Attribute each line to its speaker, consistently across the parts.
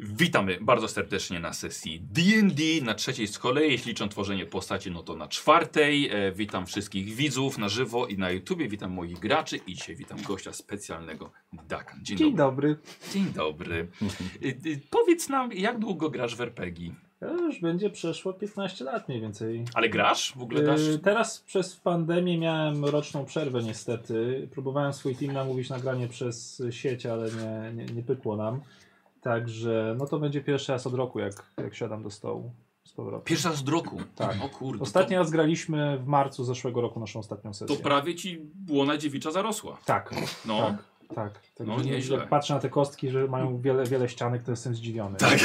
Speaker 1: Witamy bardzo serdecznie na sesji D&D, na trzeciej z kolei, jeśli liczę tworzenie postaci, no to na czwartej. E, witam wszystkich widzów na żywo i na YouTubie, witam moich graczy i dzisiaj witam gościa specjalnego, Dakan. Dzień,
Speaker 2: Dzień
Speaker 1: dobry.
Speaker 2: dobry.
Speaker 1: Dzień dobry. E, e, powiedz nam, jak długo grasz w RPG?
Speaker 2: Ja już będzie przeszło 15 lat mniej więcej.
Speaker 1: Ale grasz? W ogóle dasz?
Speaker 2: Yy, teraz przez pandemię miałem roczną przerwę niestety. Próbowałem swój team namówić na granie przez sieć, ale nie, nie, nie pykło nam. Także no to będzie pierwszy raz od roku, jak, jak siadam do stołu z powrotem.
Speaker 1: Pierwsza z roku.
Speaker 2: Tak.
Speaker 1: O kurde.
Speaker 2: Ostatni raz graliśmy w marcu zeszłego roku naszą ostatnią
Speaker 1: To, to
Speaker 2: sesję.
Speaker 1: prawie ci błona dziewicza zarosła.
Speaker 2: Tak,
Speaker 1: No.
Speaker 2: tak, tak. Także
Speaker 1: No, nieźle.
Speaker 2: jak patrzę na te kostki, że mają wiele, wiele ścianek, to jestem zdziwiony.
Speaker 1: Tak.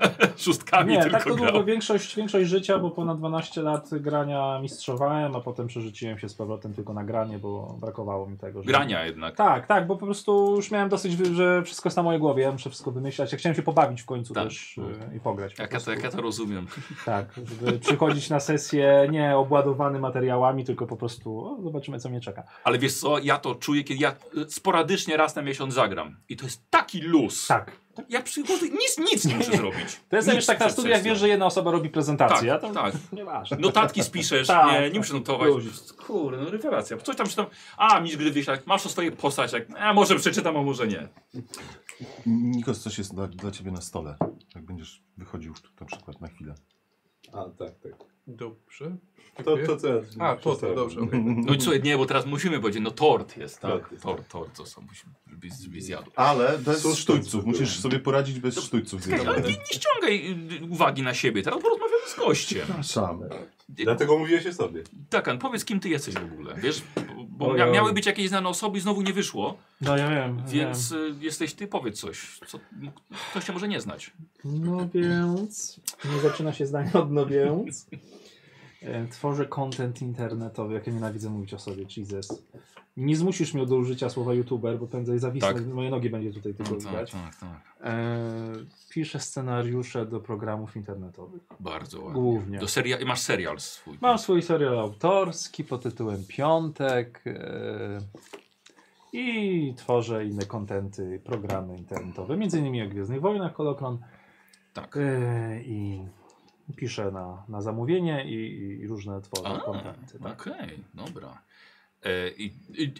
Speaker 2: No.
Speaker 1: Szóstkami
Speaker 2: Nie,
Speaker 1: tylko
Speaker 2: tak to
Speaker 1: grał.
Speaker 2: długo większość, większość życia, bo ponad 12 lat grania mistrzowałem, a potem przerzuciłem się z powrotem tylko na granie, bo brakowało mi tego. Że...
Speaker 1: Grania jednak.
Speaker 2: Tak, tak, bo po prostu już miałem dosyć, wy- że wszystko jest na mojej głowie, ja muszę wszystko wymyślać. Ja chciałem się pobawić w końcu
Speaker 1: Tak.
Speaker 2: też y, i pograć. po
Speaker 1: Jak ja,
Speaker 2: prostu.
Speaker 1: to, jak ja to rozumiem.
Speaker 2: Tak, żeby przychodzić na sesję nie obładowany materiałami, tylko po prostu o, zobaczymy, co mnie czeka.
Speaker 1: Ale wiesz co, ja to czuję, kiedy ja y, sporadycznie raz na miesiąc zagram. I to jest taki luz.
Speaker 2: Tak.
Speaker 1: Ja przychodzę, nic, nic nie muszę zrobić.
Speaker 2: To jest
Speaker 1: Nic
Speaker 2: też tak na
Speaker 1: przed
Speaker 2: studiach,
Speaker 1: sesją.
Speaker 2: wiesz, że jedna osoba robi
Speaker 1: tak,
Speaker 2: prezentację, a to
Speaker 1: tak.
Speaker 2: nieważne.
Speaker 1: Notatki spiszesz,
Speaker 2: Tak,
Speaker 1: nie, nie
Speaker 2: tak.
Speaker 1: muszę notować.
Speaker 2: Luzik.
Speaker 1: Kurde, no rewelacja. Coś tam się tam. A, mistrz gry wyślak, masz o swojej postaci. jak- A może przeczytam, a może nie.
Speaker 3: Nikos, coś jest dla, dla ciebie na stole. Jak będziesz wychodził tu na przykład na chwilę.
Speaker 4: A, tak, tak.
Speaker 5: Dobrze.
Speaker 4: To,
Speaker 5: Dziękuję.
Speaker 4: to co ja
Speaker 5: A, to, to,
Speaker 4: przestałem.
Speaker 5: dobrze.
Speaker 1: No i co, nie, bo teraz musimy powiedzieć, no tort jest, tak?
Speaker 4: Tort jest,
Speaker 1: Tort, tort, co są, musimy, żebyś żebyś zjadł.
Speaker 3: Ale bez
Speaker 4: Są
Speaker 3: sztućców.
Speaker 4: sztućce.
Speaker 3: Musisz sobie poradzić bez
Speaker 1: To-
Speaker 3: sztućców.
Speaker 1: Czekaj, ale nie, nie ściągaj y, uwagi na siebie, teraz porozmawiamy z gościem.
Speaker 3: Przepraszam.
Speaker 4: Dlatego mówiłeś o sobie.
Speaker 1: Takan, powiedz kim ty jesteś w ogóle, wiesz? Bo
Speaker 2: Oj,
Speaker 1: mia
Speaker 2: oj.
Speaker 1: miały być jakieś znane osoby i znowu nie wyszło,
Speaker 2: No ja wiem.
Speaker 1: więc y, jesteś ty, powiedz coś. Co, m- ktoś cię może nie znać.
Speaker 2: No więc. Nie zaczyna się zdanie od no więc. E, Tworzę content internetowy, jak ja nienawidzę mówić o sobie, Jesus. Nie zmusisz mnie do użycia słowa youtuber, bo prędzej zawisnę,
Speaker 1: Tak.
Speaker 2: moje nogi będzie tutaj tylko widać.
Speaker 1: tak, tak.
Speaker 2: E, piszę scenariusze do programów internetowych.
Speaker 1: Bardzo ładnie.
Speaker 2: Głównie.
Speaker 1: Do seria masz serial swój.
Speaker 2: Mam swój serial autorski pod tytułem Piątek. E, I tworzę inne kontenty, programy internetowe, między innymi o Gwiezdnych Wojnach, Kolokron.
Speaker 1: Tak.
Speaker 2: Yy, I piszę na, na zamówienie i, i- i różne
Speaker 1: A,
Speaker 2: tworzę kontenty. Tak.
Speaker 1: Okej, dobra. E, i, i, i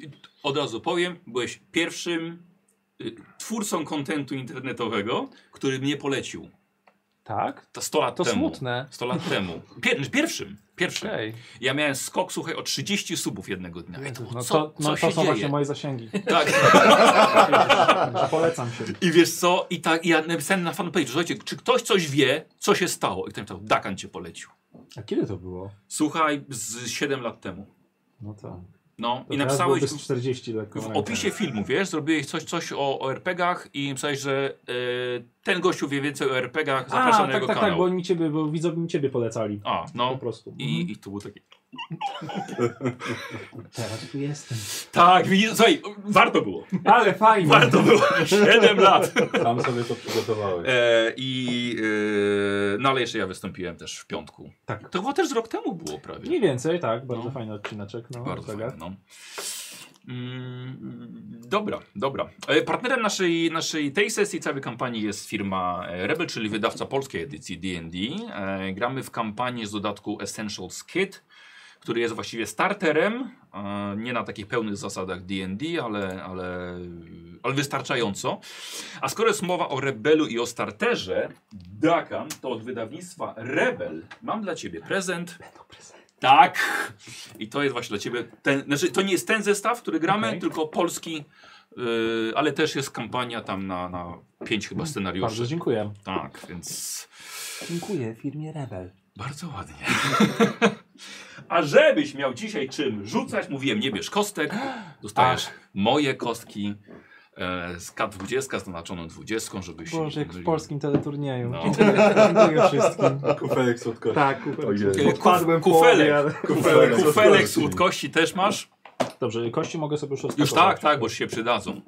Speaker 1: od razu powiem, byłeś pierwszym y, twórcą kontentu internetowego, który mnie polecił.
Speaker 2: tak?
Speaker 1: To 100 lat
Speaker 2: To
Speaker 1: temu.
Speaker 2: smutne.
Speaker 1: 100 lat temu. Pier, znaczy pierwszym. Pierwszym.
Speaker 2: Okej.
Speaker 1: Ja miałem skok, słuchaj, o 30 subów jednego dnia. I to, było,
Speaker 2: No
Speaker 1: co,
Speaker 2: to,
Speaker 1: co
Speaker 2: no, to
Speaker 1: się
Speaker 2: są
Speaker 1: dzieje?
Speaker 2: właśnie moje zasięgi.
Speaker 1: Tak.
Speaker 2: Polecam się.
Speaker 1: I wiesz co? I tak, i ja napisałem na fanpage, słuchajcie, czy ktoś coś wie, co się stało? I ktoś tam Dakan cię polecił.
Speaker 2: A kiedy to było?
Speaker 1: Słuchaj, z 7 lat temu.
Speaker 2: No to.
Speaker 1: No
Speaker 2: to
Speaker 1: i
Speaker 2: teraz
Speaker 1: napisałeś
Speaker 2: byłoby z
Speaker 1: w,
Speaker 2: 40 lekko.
Speaker 1: w opisie filmu, wiesz, zrobiłeś coś, coś o, o RPGach i napisałeś, że e, ten gościu wie więcej o RPGach,
Speaker 2: A,
Speaker 1: zapraszam
Speaker 2: tak,
Speaker 1: na
Speaker 2: tak,
Speaker 1: jego
Speaker 2: tak,
Speaker 1: kanał.
Speaker 2: bo oni ciebie, bo widzowie mi ciebie polecali.
Speaker 1: A,
Speaker 2: Po
Speaker 1: no.
Speaker 2: prostu. mhm.
Speaker 1: I, I to było takie.
Speaker 2: Teraz tu jestem.
Speaker 1: Tak, widzisz, słuchaj, warto było.
Speaker 2: Ale fajnie.
Speaker 1: Warto było. 7 lat.
Speaker 4: Sam sobie to przygotowałeś.
Speaker 1: E, I e, no ale jeszcze ja wystąpiłem też w piątku.
Speaker 2: Tak.
Speaker 1: To chyba też z rok temu było prawie.
Speaker 2: Mniej więcej, tak. Bardzo
Speaker 1: No.
Speaker 2: fajny odcineczek. No,
Speaker 1: Bardzo
Speaker 2: Ortega.
Speaker 1: fajne, no. Mm, Dobra, dobra. E, Partnerem naszej, naszej tej sesji całej kampanii jest firma e, Rebel, czyli wydawca polskiej edycji D&D. E, Gramy w kampanię z dodatku Essentials Kit, który jest właściwie starterem, e, nie na takich pełnych zasadach D&D, ale, ale, ale wystarczająco. A skoro jest mowa o Rebelu i o starterze, Dakan, to od wydawnictwa Rebel mam dla Ciebie prezent. Tak. I to jest właśnie dla ciebie. Ten, znaczy, to nie jest ten zestaw, który gramy,
Speaker 2: Okej.
Speaker 1: tylko polski, yy, ale też jest kampania tam na, na pięć chyba
Speaker 2: Mm, Bardzo
Speaker 1: scenariuszy.
Speaker 2: dziękuję.
Speaker 1: Tak, więc
Speaker 2: Dziękuję firmie Rebel.
Speaker 1: bardzo ładnie. A żebyś miał dzisiaj czym rzucać, mówiłem, nie bierz kostek, dostajesz
Speaker 2: Tak.
Speaker 1: moje kostki e, z K20 zaznaczoną 20, żebyś się
Speaker 2: Boże,
Speaker 1: nie
Speaker 2: jak w
Speaker 1: mylił.
Speaker 2: polskim teleturnieju.
Speaker 1: No.
Speaker 2: Dziękuję, dziękuję wszystkim.
Speaker 4: Kufelek słodkości.
Speaker 2: Tak,
Speaker 3: Ojej.
Speaker 2: Odpadłem
Speaker 1: Kuf- kufelek.
Speaker 2: połowie, ale...
Speaker 4: Kufelek,
Speaker 1: Kufelek słodkości też masz?
Speaker 2: Dobrze, kości mogę sobie już
Speaker 1: Już
Speaker 2: rozpakować.
Speaker 1: tak, tak, bo się przydadzą.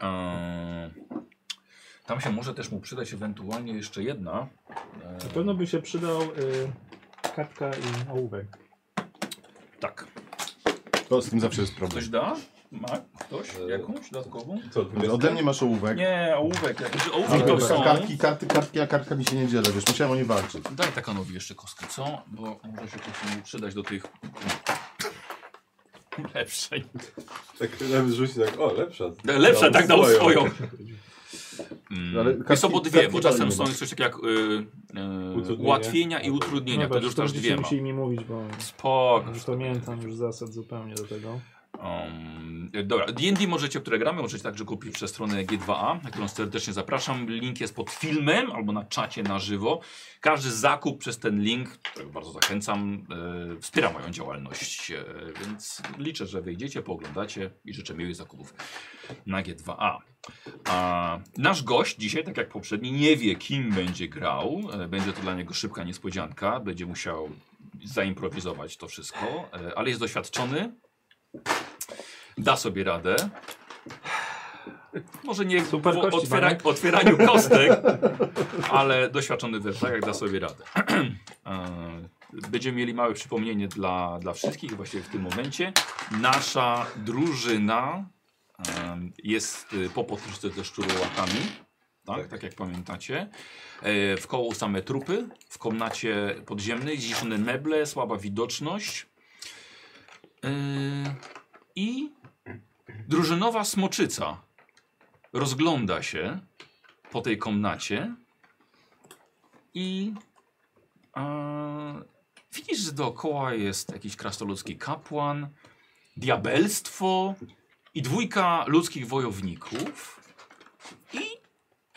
Speaker 1: Eee, tam się może też mu przydać ewentualnie jeszcze jedna. Eee,
Speaker 2: Na pewno by się przydał y, kartka i ołówek.
Speaker 1: Tak.
Speaker 3: To z tym zawsze jest problem.
Speaker 1: Ktoś da? Ma? ktoś?
Speaker 4: E,
Speaker 1: Jakąś dodatkową?
Speaker 4: Co,
Speaker 3: Ode mnie masz ołówek.
Speaker 1: Nie, ołówek. Jakieś tak. ołówki
Speaker 3: Ale
Speaker 1: to
Speaker 3: wiesz,
Speaker 1: są.
Speaker 3: kartki, karty, kartki, a kartkami się nie dzielę, wiesz, musiałem o nie walczyć.
Speaker 1: Daj Takanowi jeszcze kostkę, co? Bo może się potem przydać do tych lepszej.
Speaker 4: Tak nam rzuci tak, o lepsza.
Speaker 1: Lepsza, tak dał swoją.
Speaker 3: Ale
Speaker 1: Mm. Jest
Speaker 3: kartki-
Speaker 1: bo dwie, bo
Speaker 3: kartki
Speaker 1: czasem
Speaker 3: palimy.
Speaker 1: są coś takiego jak y, y,
Speaker 4: Utrudnienia.
Speaker 1: ułatwienia i
Speaker 2: No,
Speaker 1: utrudnienia, to już dasz dwiema.
Speaker 2: Musi mi mówić, bo
Speaker 1: Spoko.
Speaker 2: już pamiętam już zasad zupełnie do tego.
Speaker 1: Um, dobra, D&D możecie, które gramy, możecie także kupić przez stronę G2A, na którą serdecznie zapraszam. Link jest pod filmem albo na czacie na żywo. Każdy zakup przez ten link, którego bardzo zachęcam, e, wspiera moją działalność, e, więc liczę, że wyjdziecie, pooglądacie i życzę miłych zakupów na G2A. A, nasz gość dzisiaj, tak jak poprzedni, nie wie kim będzie grał. E, Będzie to dla niego szybka niespodzianka, będzie musiał zaimprowizować to wszystko, e, ale jest doświadczony, da sobie radę. Może nie
Speaker 2: Super
Speaker 1: w
Speaker 2: kości,
Speaker 1: otwiera,
Speaker 2: Maniek.
Speaker 1: otwieraniu kostek, ale doświadczony też, tak jak da sobie radę. E, Będziemy mieli małe przypomnienie dla, dla wszystkich właśnie w tym momencie. Nasza drużyna em, jest y, po potyczce ze szczurłakami. Tak, tak. jak pamiętacie. E, W koło same trupy, w komnacie podziemnej, zniszczone meble, słaba widoczność. E, I drużynowa smoczyca rozgląda się po tej komnacie i e, widzisz, że dookoła jest jakiś krasnoludzki kapłan, diabelstwo i dwójka ludzkich wojowników. I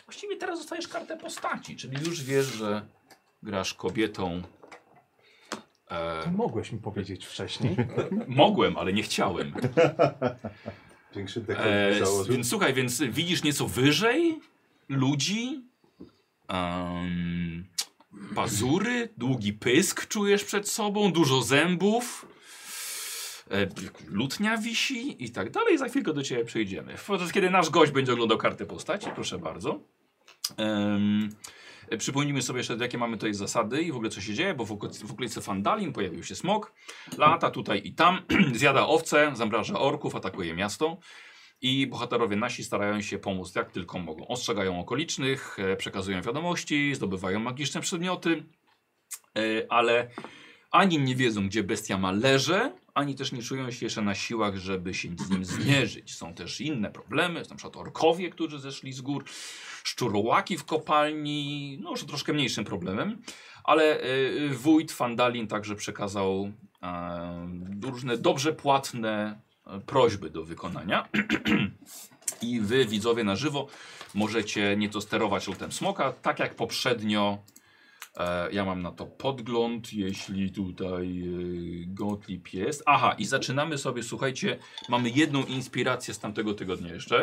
Speaker 1: właściwie teraz dostajesz kartę postaci, czyli już wiesz, że grasz kobietą. E,
Speaker 5: Mogłeś mi powiedzieć wcześniej.
Speaker 1: mogłem, ale nie chciałem.
Speaker 4: Większy dekor
Speaker 1: E, s-
Speaker 4: założył.
Speaker 1: więc słuchaj, więc widzisz nieco wyżej ludzi, em, pazury, długi pysk czujesz przed sobą, dużo zębów, e, lutnia wisi i tak dalej. Za chwilkę do ciebie przejdziemy. Podczas kiedy nasz gość będzie oglądał kartę postaci, proszę bardzo. Em, e, Przypomnijmy sobie jeszcze, jakie mamy tutaj zasady i w ogóle co się dzieje, bo w okolicy, w okolicy Fandalin pojawił się smok, lata tutaj i tam, zjada owce, zamraża orków, atakuje miasto. I bohaterowie nasi starają się pomóc jak tylko mogą. Ostrzegają okolicznych, e, przekazują wiadomości, zdobywają magiczne przedmioty, e, ale ani nie wiedzą, gdzie bestia ma leże, ani też nie czują się jeszcze na siłach, żeby się z nim zmierzyć. Są też inne problemy, na przykład orkowie, którzy zeszli z gór, szczurołaki w kopalni, no już troszkę mniejszym problemem, ale e, wójt Fandalin także przekazał e, różne dobrze płatne e, prośby do wykonania. I wy, widzowie na żywo, możecie nieco sterować lutem smoka, tak jak poprzednio. E, ja mam na to podgląd, jeśli tutaj e, Gotlip jest. Aha, i zaczynamy sobie, słuchajcie, mamy jedną inspirację z tamtego tygodnia jeszcze.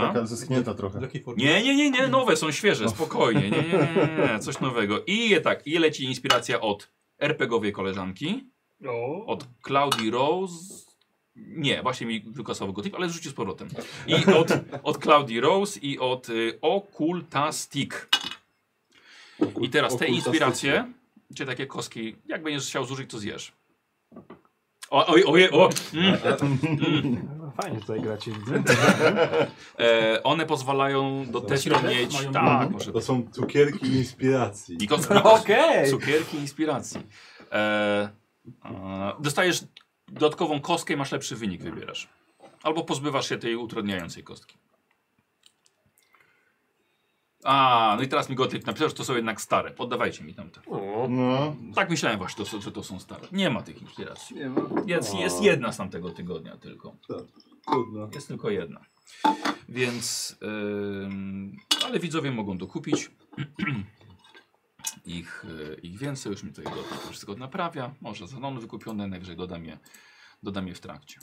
Speaker 1: Dobra.
Speaker 3: Taka zeschnięta trochę.
Speaker 5: jakiej formie?
Speaker 1: Nie, nie, nie, nie, nowe są świeże, spokojnie. Nie, nie, nie, nie, coś nowego. I je tak, i leci inspiracja od RPGowej koleżanki, od Claudii Rose. Nie, właśnie mi wykasował gotyk, ale zrzucił z powrotem. I od, od Claudii Rose i od y, Okultastik. I teraz te
Speaker 4: Okultastycznie.
Speaker 1: inspiracje, czy takie kostki, jak będziesz chciał zużyć, to zjesz. O, oj, oj, o, mm,
Speaker 2: No, Fajnie tutaj gracie, widzę.
Speaker 1: e, one pozwalają do testu mieć. Tak, może
Speaker 4: To są cukierki inspiracji.
Speaker 1: I kostka, Cukierki inspiracji. E, e, dostajesz dodatkową kostkę i masz lepszy wynik, wybierasz. Albo pozbywasz się tej utrudniającej kostki. A, no i teraz mi Gottlieb napisał, że to są jednak stare. Poddawajcie mi tamte.
Speaker 3: No,
Speaker 1: Tak myślałem właśnie, to, są- że to są stare. Nie ma tych inspiracji.
Speaker 4: Nie ma.
Speaker 1: Jest,
Speaker 4: O.
Speaker 1: jest jedna z tamtego tygodnia tylko.
Speaker 4: Trudno.
Speaker 1: Jest tylko jedna. Więc, ym, ale widzowie mogą dokupić. ich, y, ich więcej, już mi tutaj Gotlib to wszystko naprawia. Może zanon wykupione, najwyżej dodam je, dodam je w trakcie.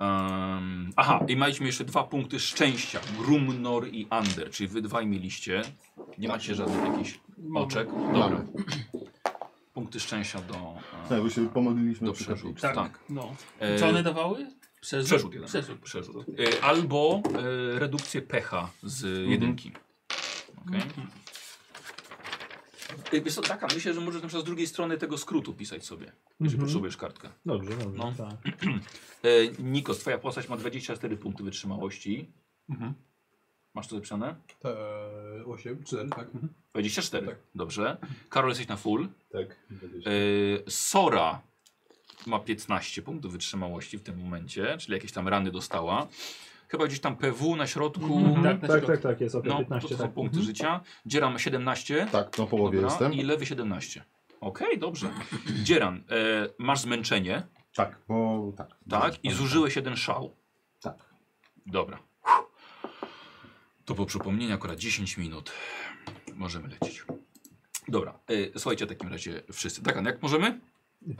Speaker 1: Ym, aha, i mieliśmy jeszcze dwa punkty szczęścia. Grumnor i Ander, czyli wy dwaj mieliście. Nie macie żadnych jakichś oczek. Dobra. Punkty szczęścia do,
Speaker 3: tak, bo się
Speaker 1: e,
Speaker 3: pomodliliśmy
Speaker 1: do
Speaker 3: przy kaplicy.
Speaker 1: przerzutów. Tak.
Speaker 5: No.
Speaker 1: E,
Speaker 5: Co one dawały? Przerzut.
Speaker 1: Przerzut jeden.
Speaker 5: Przerzut.
Speaker 1: Przerzut. Y, Albo y, redukcję pecha z jedynki. Okej. Ej, E, Wiesz co, taka, myślę, że możesz na przykład z drugiej strony tego skrótu pisać sobie, jeżeli
Speaker 2: Mhm.
Speaker 1: potrzebujesz kartkę.
Speaker 2: Dobrze, dobrze.
Speaker 1: No.
Speaker 2: Tak.
Speaker 1: E, Nikos, twoja postać ma 24 punkty wytrzymałości. Masz to zapisane?
Speaker 6: Te 8, 4, tak?
Speaker 1: 24.
Speaker 6: Tak.
Speaker 1: Dobrze. Karol, jesteś na full.
Speaker 4: Tak. będziesz-
Speaker 1: E, Sora ma 15 punktów wytrzymałości w tym momencie, czyli jakieś tam rany dostała. Chyba gdzieś tam PW na środku.
Speaker 2: Mhm.
Speaker 6: Tak,
Speaker 2: Tak,
Speaker 6: na
Speaker 2: tak,
Speaker 6: środku.
Speaker 2: tak, tak, jest, ok,
Speaker 1: No,
Speaker 2: 15.
Speaker 1: to są
Speaker 2: tak.
Speaker 1: punkty
Speaker 2: Mhm.
Speaker 1: życia. Dziera ma 17.
Speaker 3: Tak, na połowie
Speaker 1: Dobra,
Speaker 3: jestem.
Speaker 1: I lewy 17. Okej, dobrze. Dzieran, e, masz zmęczenie,
Speaker 3: Tak, bo tak.
Speaker 1: tak? I zużyłeś jeden szał.
Speaker 3: Tak.
Speaker 1: Dobra. To po przypomnieniu akurat 10 minut. Możemy lecieć. Dobra, e, słuchajcie w takim razie wszyscy. Tak, Anna, jak możemy?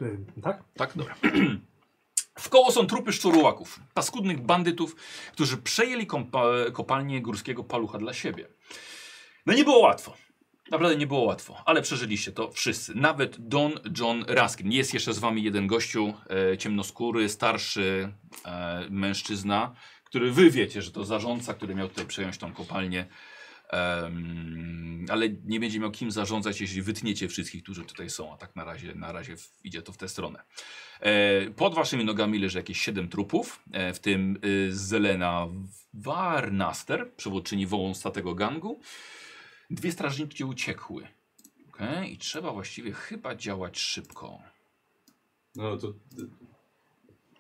Speaker 2: Y, Tak?
Speaker 1: Tak, dobra. W koło są trupy szczurułaków, paskudnych bandytów, którzy przejęli kompa- kopalnię górskiego palucha dla siebie. No nie było łatwo. Naprawdę nie było łatwo, ale przeżyliście to wszyscy. Nawet Don John Raskin. Jest jeszcze z wami jeden gościu, e, ciemnoskóry, starszy e, mężczyzna, który wy wiecie, że to zarządca, który miał tutaj przejąć tą kopalnię. Em, ale nie będzie miał kim zarządzać, jeśli wytniecie wszystkich, którzy tutaj są, a tak na razie, na razie w- idzie to w tę stronę. E, pod waszymi nogami leży jakieś 7 trupów, e, w tym e, Zelena Warnaster, przewodczyni wołąstatego gangu. Dwie strażniczki uciekły. Okay? I trzeba właściwie chyba działać szybko.
Speaker 4: No to... y,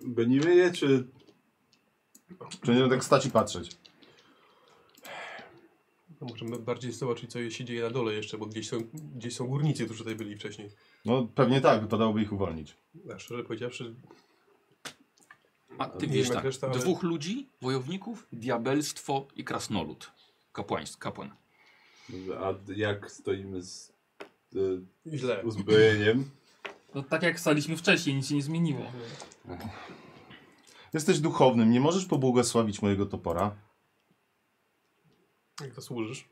Speaker 4: Będziemy je, czy...
Speaker 3: Czy nie będę tak stać i patrzeć?
Speaker 6: No, Możemy bardziej zobaczyć, co się dzieje na dole jeszcze, bo gdzieś są, gdzieś są górnicy, którzy tutaj byli wcześniej.
Speaker 3: No pewnie tak, wypadałoby ich uwolnić.
Speaker 6: A szczerze powiedziawszy,
Speaker 1: A ty
Speaker 6: Nie
Speaker 1: widzisz
Speaker 6: wiem,
Speaker 1: tak,
Speaker 6: jak reszta, ale-
Speaker 1: dwóch ludzi, wojowników, diabelstwo i krasnolud. Kapłańs, kapłan.
Speaker 4: A jak stoimy z... y,
Speaker 6: źle.
Speaker 4: uzbrojeniem?
Speaker 7: No tak jak staliśmy wcześniej, nic się nie zmieniło.
Speaker 3: Jesteś duchownym, nie możesz pobłogosławić mojego topora?
Speaker 6: Jak zasłużysz.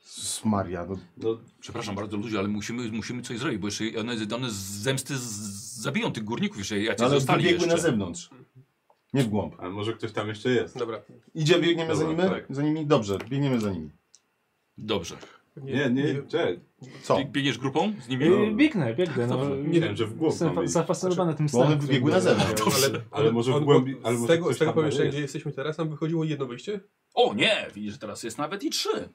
Speaker 3: Z Maria, no,
Speaker 4: No,
Speaker 1: Przepraszam bardzo ludzi, ale musimy, musimy coś zrobić, bo jeszcze one, one z zemsty z, zabiją tych górników, jeżeli jacyś
Speaker 3: no ale
Speaker 1: zostali
Speaker 3: wybiegły
Speaker 1: jeszcze.
Speaker 3: na zewnątrz. Nie w głąb.
Speaker 4: a może ktoś tam jeszcze jest?
Speaker 6: Dobra.
Speaker 3: Idzie, biegniemy za,
Speaker 4: Dobra,
Speaker 3: nimi?
Speaker 4: tak.
Speaker 3: za nimi? Dobrze, biegniemy za nimi.
Speaker 1: Dobrze.
Speaker 4: Nie, nie, czekaj.
Speaker 3: Co?
Speaker 1: Bieg- Biegniesz grupą z nimi?
Speaker 2: Y, Biegnę, biegnę. No,
Speaker 1: Dobrze.
Speaker 4: Nie wiem, że w głąb
Speaker 2: Jestem
Speaker 4: mamy
Speaker 2: fa-
Speaker 4: iść.
Speaker 2: zafascynowany tym
Speaker 3: Bo
Speaker 2: stanem.
Speaker 3: one wybiegły na zewnątrz.
Speaker 6: Ale,
Speaker 4: ale może w
Speaker 6: on-
Speaker 4: głębi- ale
Speaker 6: z
Speaker 4: może
Speaker 6: tego,
Speaker 4: ktoś
Speaker 6: z tego
Speaker 4: tam dalej
Speaker 6: pomieszczenia,
Speaker 4: jest.
Speaker 6: gdzie jesteśmy teraz, nam wychodziło jedno wyjście.
Speaker 1: O nie, widzisz, że teraz jest nawet i trzy.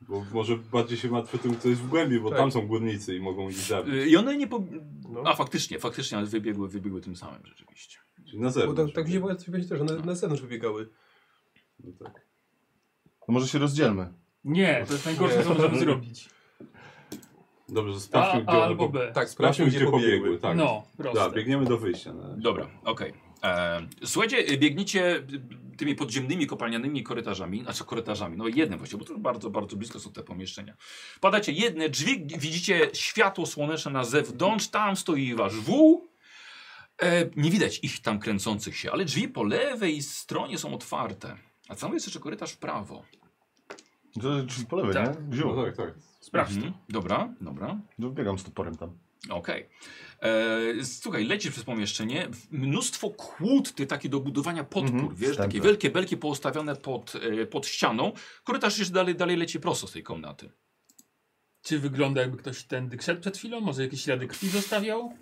Speaker 4: Bo może bardziej się martwię tym, co jest w głębi, bo
Speaker 6: Tak.
Speaker 4: tam są górnicy i mogą ich zabić.
Speaker 1: Y, I one nie po...
Speaker 6: No.
Speaker 1: A faktycznie, faktycznie, ale wybiegły, wybiegły tym samym rzeczywiście.
Speaker 4: Czyli na
Speaker 6: Bo tak,
Speaker 4: zewnątrz.
Speaker 6: tak mi się wydaje, też, że na, na zewnątrz wybiegały.
Speaker 4: No tak.
Speaker 3: To No może się rozdzielmy.
Speaker 7: Nie, to jest najgorsze, co możemy zrobić.
Speaker 4: Dobrze, że
Speaker 7: A,
Speaker 4: sprawdźmy,
Speaker 7: A
Speaker 4: gdzie one
Speaker 7: albo
Speaker 4: po...
Speaker 7: B.
Speaker 6: Tak,
Speaker 4: Sprawdźmy, gdzie pobiegły. Tak.
Speaker 7: No,
Speaker 4: Da,
Speaker 7: proste.
Speaker 4: biegniemy do wyjścia. Na razie.
Speaker 1: Dobra, okej. E, Słuchajcie, y, biegniecie y, tymi podziemnymi kopalnianymi korytarzami, znaczy korytarzami, no jednym właściwie, bo to bardzo, bardzo blisko są te pomieszczenia. Padacie jedne drzwi, g- widzicie światło słoneczne na zewnątrz, tam stoi wasz wół. E, nie widać ich tam kręcących się, ale drzwi po lewej stronie są otwarte. A tam jest jeszcze korytarz w prawo.
Speaker 3: To drzwi po lewej,
Speaker 1: Tak.
Speaker 3: nie?
Speaker 4: No
Speaker 3: Wziął.
Speaker 4: tak, tak.
Speaker 3: Sprawdź to.
Speaker 1: Mhm. Dobra, dobra.
Speaker 3: Biegam z toporem tam.
Speaker 1: Okej. E, Słuchaj, lecisz przez pomieszczenie. Mnóstwo kłód, ty takie do budowania podpór,
Speaker 3: Mhm,
Speaker 1: wiesz,
Speaker 6: tak,
Speaker 1: takie
Speaker 3: wstępy.
Speaker 1: wielkie belki poustawione pod, e, pod ścianą. Korytarz jeszcze dalej, dalej leci prosto z tej komnaty.
Speaker 7: Czy wygląda jakby ktoś tędy szedł przed chwilą? Może jakieś ślady krwi zostawiał?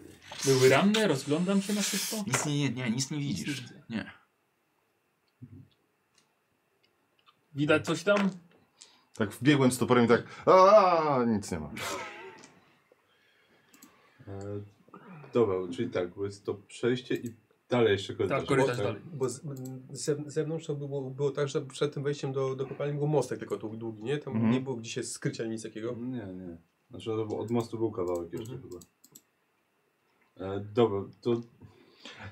Speaker 7: Były ranne? Rozglądam się na wszystko?
Speaker 1: Nic nie, nie, nic nie widzisz.
Speaker 7: widzę.
Speaker 1: Nie.
Speaker 7: Widać coś tam?
Speaker 3: Tak wbiegłem z toporem i tak. A nic nie ma.
Speaker 4: E, dobra, czyli tak, bo jest to przejście i dalej jeszcze korytarz.
Speaker 7: Tak, korytarz
Speaker 4: Tak.
Speaker 7: dalej.
Speaker 6: Bo z, z zewnątrz to było, było tak, że przed tym wejściem do, do kopalni był mostek tylko dłu- długi, nie? Tam
Speaker 3: Mhm.
Speaker 6: nie było gdzieś się skrycia ani nic takiego.
Speaker 4: No Nie, nie. Znaczy no to było- od mostu był kawałek jeszcze
Speaker 7: Mhm.
Speaker 4: chyba. E, dobra, to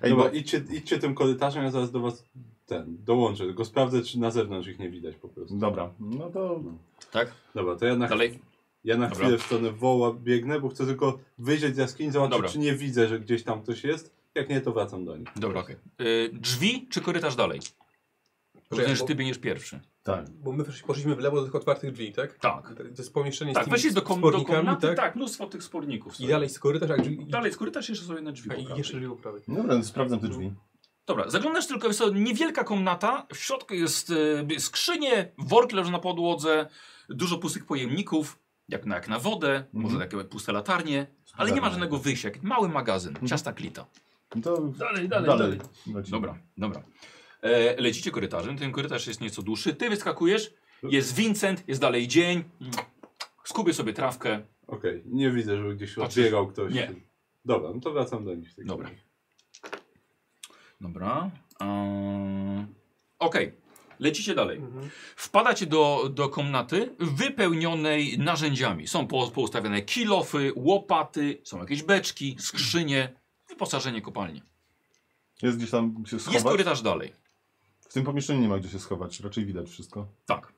Speaker 3: Ej,
Speaker 4: dobra,
Speaker 3: bo
Speaker 4: idźcie, idźcie tym korytarzem, ja zaraz do was ten, dołączę. Tylko sprawdzę, czy na zewnątrz ich nie widać po prostu.
Speaker 3: Dobra, no to
Speaker 1: Tak?
Speaker 4: Dobra, to ja na,
Speaker 1: Dalej?
Speaker 4: ja na
Speaker 1: Dobra.
Speaker 4: chwilę w stronę woła biegnę, bo chcę tylko wyjrzeć z jaskini, zobaczyć,
Speaker 1: Dobra.
Speaker 4: czy nie widzę, że gdzieś tam ktoś jest. Jak nie, to wracam do nich.
Speaker 1: Dobra, okej. E, Drzwi czy korytarz dalej? Rozumiem, że ty biegniesz pierwszy.
Speaker 3: tak.
Speaker 6: Bo my wesz- poszliśmy w lewo do tych otwartych drzwi, tak?
Speaker 1: Tak.
Speaker 6: To jest pomieszczenie z
Speaker 1: Tak,
Speaker 6: tymi
Speaker 1: weszli do, kom, do
Speaker 6: spornikami,
Speaker 1: komnaty, tak?
Speaker 6: tak?
Speaker 1: mnóstwo tych sporników.
Speaker 6: I dalej z korytarz, tak? drzwi-
Speaker 1: Dalej jest korytarz, jeszcze są jedne drzwi.
Speaker 6: A,
Speaker 1: po
Speaker 6: I
Speaker 1: prawej.
Speaker 6: jeszcze lewo prawej.
Speaker 3: Dobra, no sprawdzam te drzwi.
Speaker 1: Dobra, zaglądasz tylko, jest to niewielka komnata, w środku jest e, skrzynie, worki leżą na podłodze, dużo pustych pojemników, Jak na, jak na wodę, może takie puste latarnie, ale nie ma żadnego wyjścia. jak Mały magazyn, ciasta klita.
Speaker 3: No To dalej.
Speaker 7: Dalej, dalej, dalej.
Speaker 3: Lecimy.
Speaker 1: Dobra, dobra. E, lecicie korytarzem, ten korytarz jest nieco dłuższy, ty wyskakujesz, jest Vincent, jest dalej dzień. Skubię sobie trawkę.
Speaker 4: Okej, nie widzę, żeby gdzieś
Speaker 1: Patrzysz?
Speaker 4: odbiegał ktoś.
Speaker 1: Nie.
Speaker 4: Dobra, no to wracam do nich. w takim
Speaker 1: Dobra.
Speaker 4: razie.
Speaker 1: Dobra. Eee, Okej. Lecicie dalej.
Speaker 6: Mhm.
Speaker 1: Wpadacie do, do komnaty wypełnionej narzędziami. Są po- poustawiane kilofy, łopaty, są jakieś beczki, skrzynie, wyposażenie kopalni.
Speaker 3: Jest gdzieś tam się
Speaker 1: Jest
Speaker 3: schować?
Speaker 1: korytarz dalej.
Speaker 3: W tym pomieszczeniu nie ma gdzie się schować, raczej widać wszystko.
Speaker 1: Tak.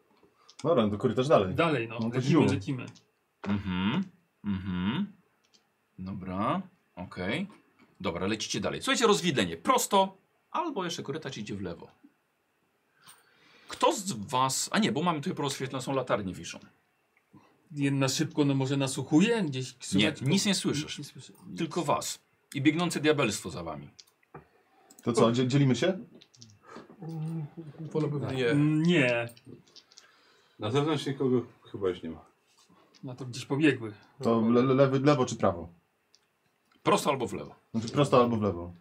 Speaker 3: Dobra, no to korytarz dalej.
Speaker 7: Dalej, no.
Speaker 3: No to
Speaker 7: lecimy,
Speaker 3: siłą.
Speaker 7: lecimy.
Speaker 1: Mhm. Mhm. Dobra. Okej. Dobra, lecicie dalej. Słuchajcie, rozwidlenie. Prosto albo jeszcze korytarz idzie w lewo. Kto z was... A nie, bo mamy tutaj porozświetlone, są latarnie wiszą.
Speaker 7: Jedna szybko, no może nasłuchuje? Gdzieś
Speaker 1: Nie,
Speaker 7: słychać?
Speaker 1: nic nie słyszysz.
Speaker 7: Nic słyszę.
Speaker 1: Tylko was. I biegnące diabelstwo za wami.
Speaker 3: To co, dzie- dzielimy się?
Speaker 6: Mm, Wolałbym nie.
Speaker 7: Mm, Nie.
Speaker 4: Na zewnątrz nikogo chyba już nie ma.
Speaker 7: No to gdzieś pobiegły.
Speaker 3: To le le- lewy, lewo czy prawo?
Speaker 1: Prosto albo w lewo.
Speaker 3: Znaczy prosto albo w lewo.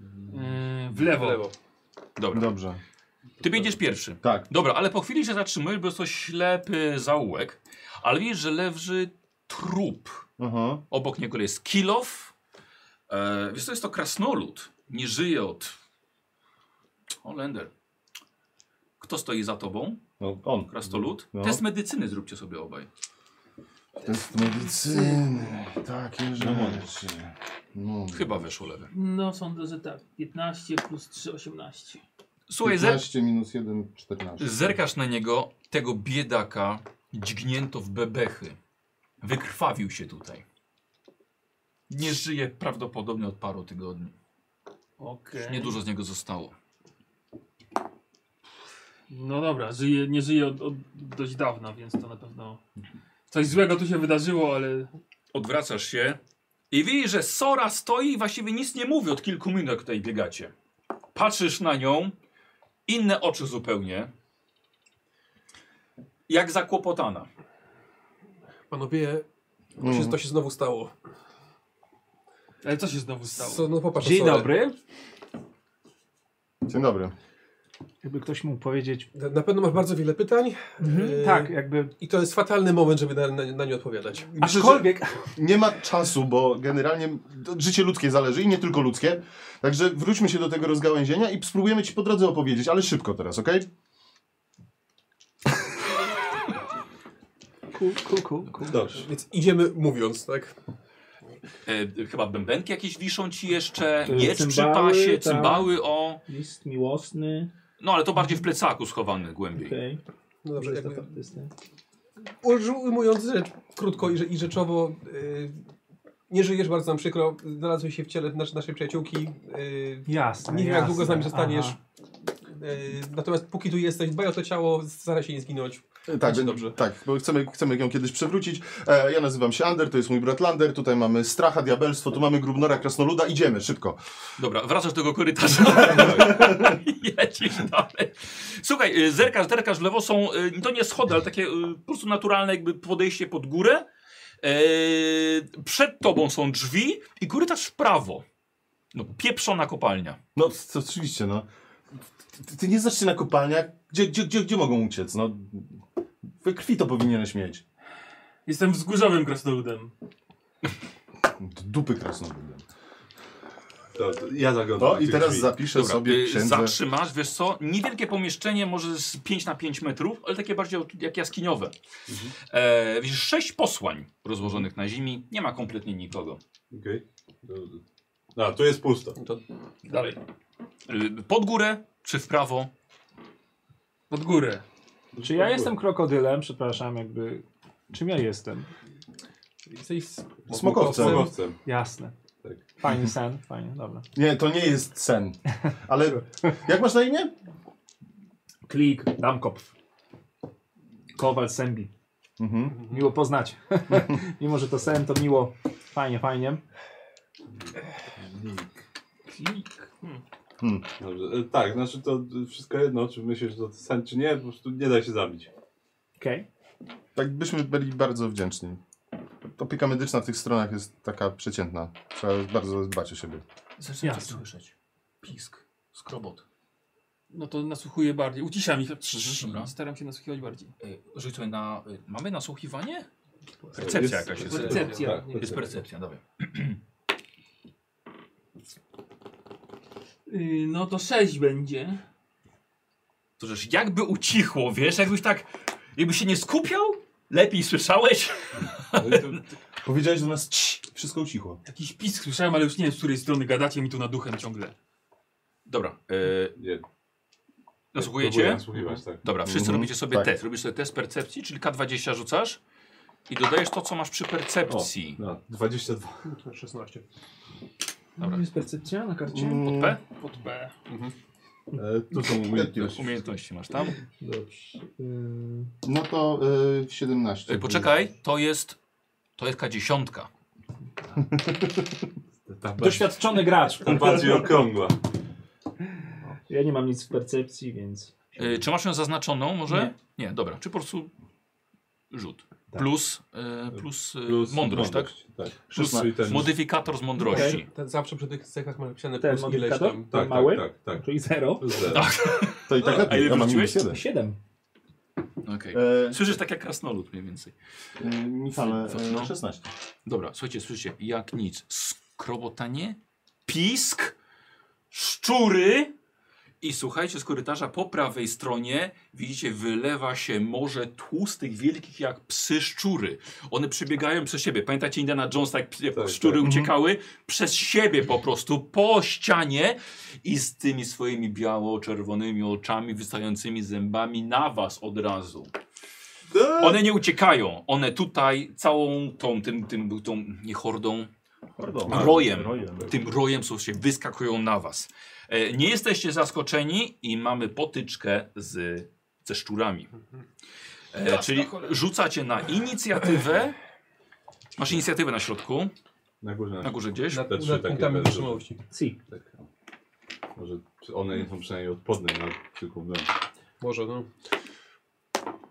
Speaker 7: Yy, w lewo.
Speaker 6: W lewo.
Speaker 1: Dobra.
Speaker 3: Dobrze.
Speaker 1: Ty będziesz pierwszy.
Speaker 3: Tak.
Speaker 1: Dobra, ale po chwili się zatrzymujesz, bo jest to ślepy zaułek. Ale widzisz, że leży trup.
Speaker 3: Aha.
Speaker 1: Obok niego jest kilof. E, wiesz, to jest to krasnolud. Nie żyje od... Holender. Kto stoi za tobą?
Speaker 3: No, on.
Speaker 1: Krasnolud?
Speaker 3: No.
Speaker 1: Test medycyny zróbcie sobie obaj.
Speaker 3: Test medycyny. Takie rzeczy. No.
Speaker 1: Chyba wyszło lewy.
Speaker 7: No sądzę, że tak. 15 plus 3, 18.
Speaker 1: Słuchaj, ze...
Speaker 3: 15 minus 1, 14.
Speaker 1: Zerkasz na niego, tego biedaka dźgnięto w bebechy. Wykrwawił się tutaj. Nie żyje prawdopodobnie od paru tygodni.
Speaker 7: Okej.
Speaker 1: Niedużo z niego zostało.
Speaker 7: No dobra, żyje, nie żyje od, od dość dawna, więc to na pewno... Coś złego tu się wydarzyło, ale...
Speaker 1: Odwracasz się i widzisz, że Sora stoi i właściwie nic nie mówi od kilku minut, jak tutaj biegacie. Patrzysz na nią, inne oczy zupełnie. Jak zakłopotana.
Speaker 6: Panowie, to się,
Speaker 3: Mhm.
Speaker 6: to się znowu stało.
Speaker 7: Ale co się znowu stało?
Speaker 6: So, no popatrz,
Speaker 2: Dzień
Speaker 6: sorry.
Speaker 2: dobry.
Speaker 3: Dzień dobry.
Speaker 2: Jakby ktoś mógł powiedzieć.
Speaker 6: Na na pewno masz bardzo wiele pytań. Yy,
Speaker 2: Tak, jakby.
Speaker 6: I to jest fatalny moment, żeby na, na, na nie odpowiadać.
Speaker 2: Aczkolwiek.
Speaker 3: Nie ma czasu, bo generalnie to życie ludzkie zależy i nie tylko ludzkie. Także wróćmy się do tego rozgałęzienia i spróbujemy ci po drodze opowiedzieć, ale szybko teraz, okej?
Speaker 2: Ku, ku, ku, ku.
Speaker 4: Dobrze.
Speaker 6: Więc idziemy mówiąc, tak?
Speaker 1: E, chyba bębenki jakieś wiszą ci jeszcze,
Speaker 2: Y,
Speaker 1: miecz przy
Speaker 2: cymbały,
Speaker 1: pasie,
Speaker 2: tak.
Speaker 1: cymbały o...
Speaker 2: List miłosny.
Speaker 1: No ale to bardziej w plecaku schowany głębiej.
Speaker 2: Okej.
Speaker 6: No dobrze,
Speaker 2: Dobrze, jest
Speaker 6: jakby,
Speaker 2: to faktycznie.
Speaker 6: uż- ujmując rzecz krótko i, rze- i rzeczowo, yy, nie żyjesz, bardzo nam przykro, znalazłeś się w ciele nas, naszej przyjaciółki. Yy,
Speaker 2: Jasne.
Speaker 6: nie wiem, jak
Speaker 2: jasne.
Speaker 6: długo z nami zostaniesz.
Speaker 2: Aha.
Speaker 6: Yy, natomiast póki tu jesteś, dbaj o to ciało, staraj się nie zginąć.
Speaker 3: E, Tak,
Speaker 6: Będzie
Speaker 3: będzie-
Speaker 6: dobrze.
Speaker 3: tak, bo chcemy, chcemy ją kiedyś przewrócić. E, ja nazywam się Ander, to jest mój brat Lander, tutaj mamy stracha, diabelstwo, tu mamy grubnora, krasnoluda, idziemy, szybko.
Speaker 1: Dobra, wracasz do tego korytarza. Jedziesz dalej. Słuchaj, y, zerkasz, zerkasz w lewo, są, y, to nie schody, ale takie y, po prostu naturalne jakby podejście pod górę. Yy, przed tobą są drzwi i korytarz w prawo. No, pieprzona kopalnia.
Speaker 3: No, c- oczywiście, no. Ty, ty- ty nie znasz się na kopalniach, gdzie, gdzie, gdzie, gdzie mogą uciec, no. We krwi to powinieneś mieć.
Speaker 7: Jestem wzgórzowym krasnoludem.
Speaker 3: D- Dupy krasnoludem.
Speaker 4: Dobrze. Ja zaglądam.
Speaker 3: To
Speaker 4: do
Speaker 3: i
Speaker 4: tych
Speaker 3: teraz
Speaker 4: drzwi.
Speaker 3: zapiszę
Speaker 1: Dobra,
Speaker 3: sobie
Speaker 1: y,
Speaker 3: księdze.
Speaker 1: zatrzymasz, wiesz co, niewielkie pomieszczenie, może z 5 na 5 metrów, ale takie bardziej jak jaskiniowe. E, widzisz, sześć posłań rozłożonych na ziemi, nie ma kompletnie nikogo.
Speaker 4: Okej. Dobrze. A, tu jest pusto.
Speaker 6: To
Speaker 7: Dalej.
Speaker 1: Y, Pod górę czy w prawo?
Speaker 7: Pod górę.
Speaker 2: Czy ja jestem krokodylem? Przepraszam, jakby. Czym ja jestem?
Speaker 6: jesteś s-
Speaker 3: Smokowcem.
Speaker 4: Smogowcem.
Speaker 2: Jasne.
Speaker 4: Tak.
Speaker 2: Fajny sen, fajnie, dobra.
Speaker 3: Nie, to nie jest sen. Ale jak masz na imię?
Speaker 2: Klik, Damkopf. Kowal Sembi.
Speaker 3: Mhm.
Speaker 2: Miło poznać. Mimo, że to sen, to miło. Fajnie, fajnie.
Speaker 7: Klik. Hmm.
Speaker 4: Dobrze. E, Tak, znaczy to wszystko jedno, czy myślisz, że to sen, czy nie, po prostu nie da się zabić.
Speaker 2: Okej.
Speaker 3: Tak byśmy byli bardzo wdzięczni. Opieka medyczna w tych stronach jest taka przeciętna. Trzeba bardzo dbać o siebie.
Speaker 7: Zaczynacie
Speaker 5: Jasne.
Speaker 7: słyszeć. Pisk. Skrobot. No to nasłuchuję bardziej. Uciszam ich.
Speaker 1: Mhm, Dobra.
Speaker 7: Staram się nasłuchiwać bardziej.
Speaker 1: Y, Rzucmy na... y, Mamy nasłuchiwanie?
Speaker 4: Jest-
Speaker 1: Percepcja jakaś jest.
Speaker 4: percepcja,
Speaker 6: Percepcja.
Speaker 4: tak,
Speaker 1: Jest percepcja, dobra.
Speaker 7: Yy, no to 6 będzie.
Speaker 1: To żeż jakby ucichło, wiesz, jakbyś tak... Jakbyś się nie skupiał, lepiej słyszałeś.
Speaker 4: Ale No to-
Speaker 3: Powiedziałeś do nas, "Cii", wszystko ucichło.
Speaker 7: Jakiś pisk słyszałem, ale już nie wiem z której strony gadacie mi tu na duchem ciągle.
Speaker 1: Dobra, y,
Speaker 4: Nie, próbuję
Speaker 1: nasłuchujecie?
Speaker 4: Nasłuchiwać, tak.
Speaker 1: Dobra, wszyscy
Speaker 3: Mhm,
Speaker 1: robicie sobie
Speaker 3: tak.
Speaker 1: test. Robisz sobie test percepcji, czyli K20 rzucasz i dodajesz to, co masz przy percepcji.
Speaker 4: No, 22.
Speaker 6: 16.
Speaker 1: Dobra.
Speaker 2: Jest percepcja na karcie?
Speaker 1: Pod P?
Speaker 7: Pod B.
Speaker 3: Mm,
Speaker 4: E, tu są umiejętności.
Speaker 1: Umiejętności masz tam.
Speaker 2: Dobrze. Yy,
Speaker 3: No to y, 17.
Speaker 1: Ej, poczekaj, to jest. To jest K10.
Speaker 4: Ta bardziej-
Speaker 2: doświadczony gracz.
Speaker 4: ta bardziej okrągła.
Speaker 1: Y,
Speaker 2: Ja nie mam nic w percepcji, więc.
Speaker 1: Y, Czy masz ją zaznaczoną może? Nie, dobra. Czy po prostu rzut. Plus, y, plus, y,
Speaker 4: Plus
Speaker 1: mądrość, tak?
Speaker 4: Tak.
Speaker 1: Plus
Speaker 4: Szósty i ten-
Speaker 1: Modyfikator z mądrości.
Speaker 2: Okej.
Speaker 6: Ten, zawsze przy tych cechach mamy napisane
Speaker 2: Ten
Speaker 6: plus ileś
Speaker 2: modyfikator?
Speaker 6: tam.
Speaker 4: Tak,
Speaker 2: mały?
Speaker 4: tak, tak, tak.
Speaker 2: Czyli 0.
Speaker 4: Plus zero.
Speaker 3: To i tak
Speaker 1: A ile
Speaker 3: lepiej, ja mam
Speaker 1: wyrzuciłeś?
Speaker 3: minus 1.
Speaker 2: 7.
Speaker 1: Okej.
Speaker 3: E,
Speaker 1: Słyszysz tak jak krasnolud mniej więcej.
Speaker 3: e, Michale,
Speaker 1: No.
Speaker 3: e, 16.
Speaker 1: Dobra, słuchajcie, słyszycie, jak nic. Skrobotanie, pisk, szczury i słuchajcie, z korytarza po prawej stronie widzicie, wylewa się morze tłustych, wielkich jak psy szczury. One przebiegają przez siebie. Pamiętacie Indiana Jones, jak, jak
Speaker 4: Tak,
Speaker 1: szczury
Speaker 4: tak.
Speaker 1: uciekały? Przez siebie po prostu, po ścianie i z tymi swoimi biało-czerwonymi oczami, wystającymi zębami na was od razu.
Speaker 4: Tak.
Speaker 1: One nie uciekają. One tutaj całą tą, tym, tym, tą, nie hordą, rojem, tym rojem są się wyskakują na was. E, nie jesteście zaskoczeni i mamy potyczkę z, ze szczurami. E, czyli rzucacie na inicjatywę. Masz inicjatywę na środku,
Speaker 4: Na górze.
Speaker 1: na górze gdzieś.
Speaker 6: Nad,
Speaker 4: Te trzy
Speaker 6: nad
Speaker 4: takie
Speaker 6: punktami
Speaker 4: bez-
Speaker 6: wytrzymałości.
Speaker 2: Si.
Speaker 4: Tak. Może one nie są przynajmniej odporne na kilku mną.
Speaker 6: Może, no.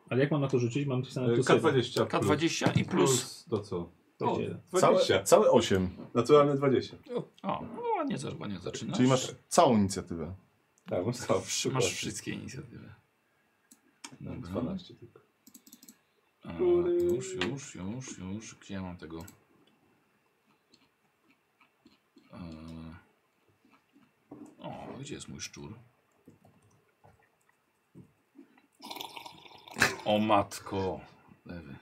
Speaker 2: Ale jak mam na to rzucić? Mam
Speaker 4: No,
Speaker 2: wpisane
Speaker 4: E,
Speaker 2: tu sobie.
Speaker 4: K20 plus.
Speaker 1: K20 i plus.
Speaker 4: plus to co?
Speaker 2: To
Speaker 4: O,
Speaker 2: gdzie?
Speaker 4: 20.
Speaker 3: Całe, całe 8.
Speaker 4: Naturalne 20.
Speaker 1: O, no ładnie, za- ładnie zaczynasz.
Speaker 3: Czyli masz całą inicjatywę.
Speaker 4: Tak, mam stało.
Speaker 1: masz wszystkie inicjatywy.
Speaker 4: No, 12 tylko.
Speaker 1: A, już, już, już, już. Gdzie ja mam tego? E... O, gdzie jest mój szczur? O matko. Lewy.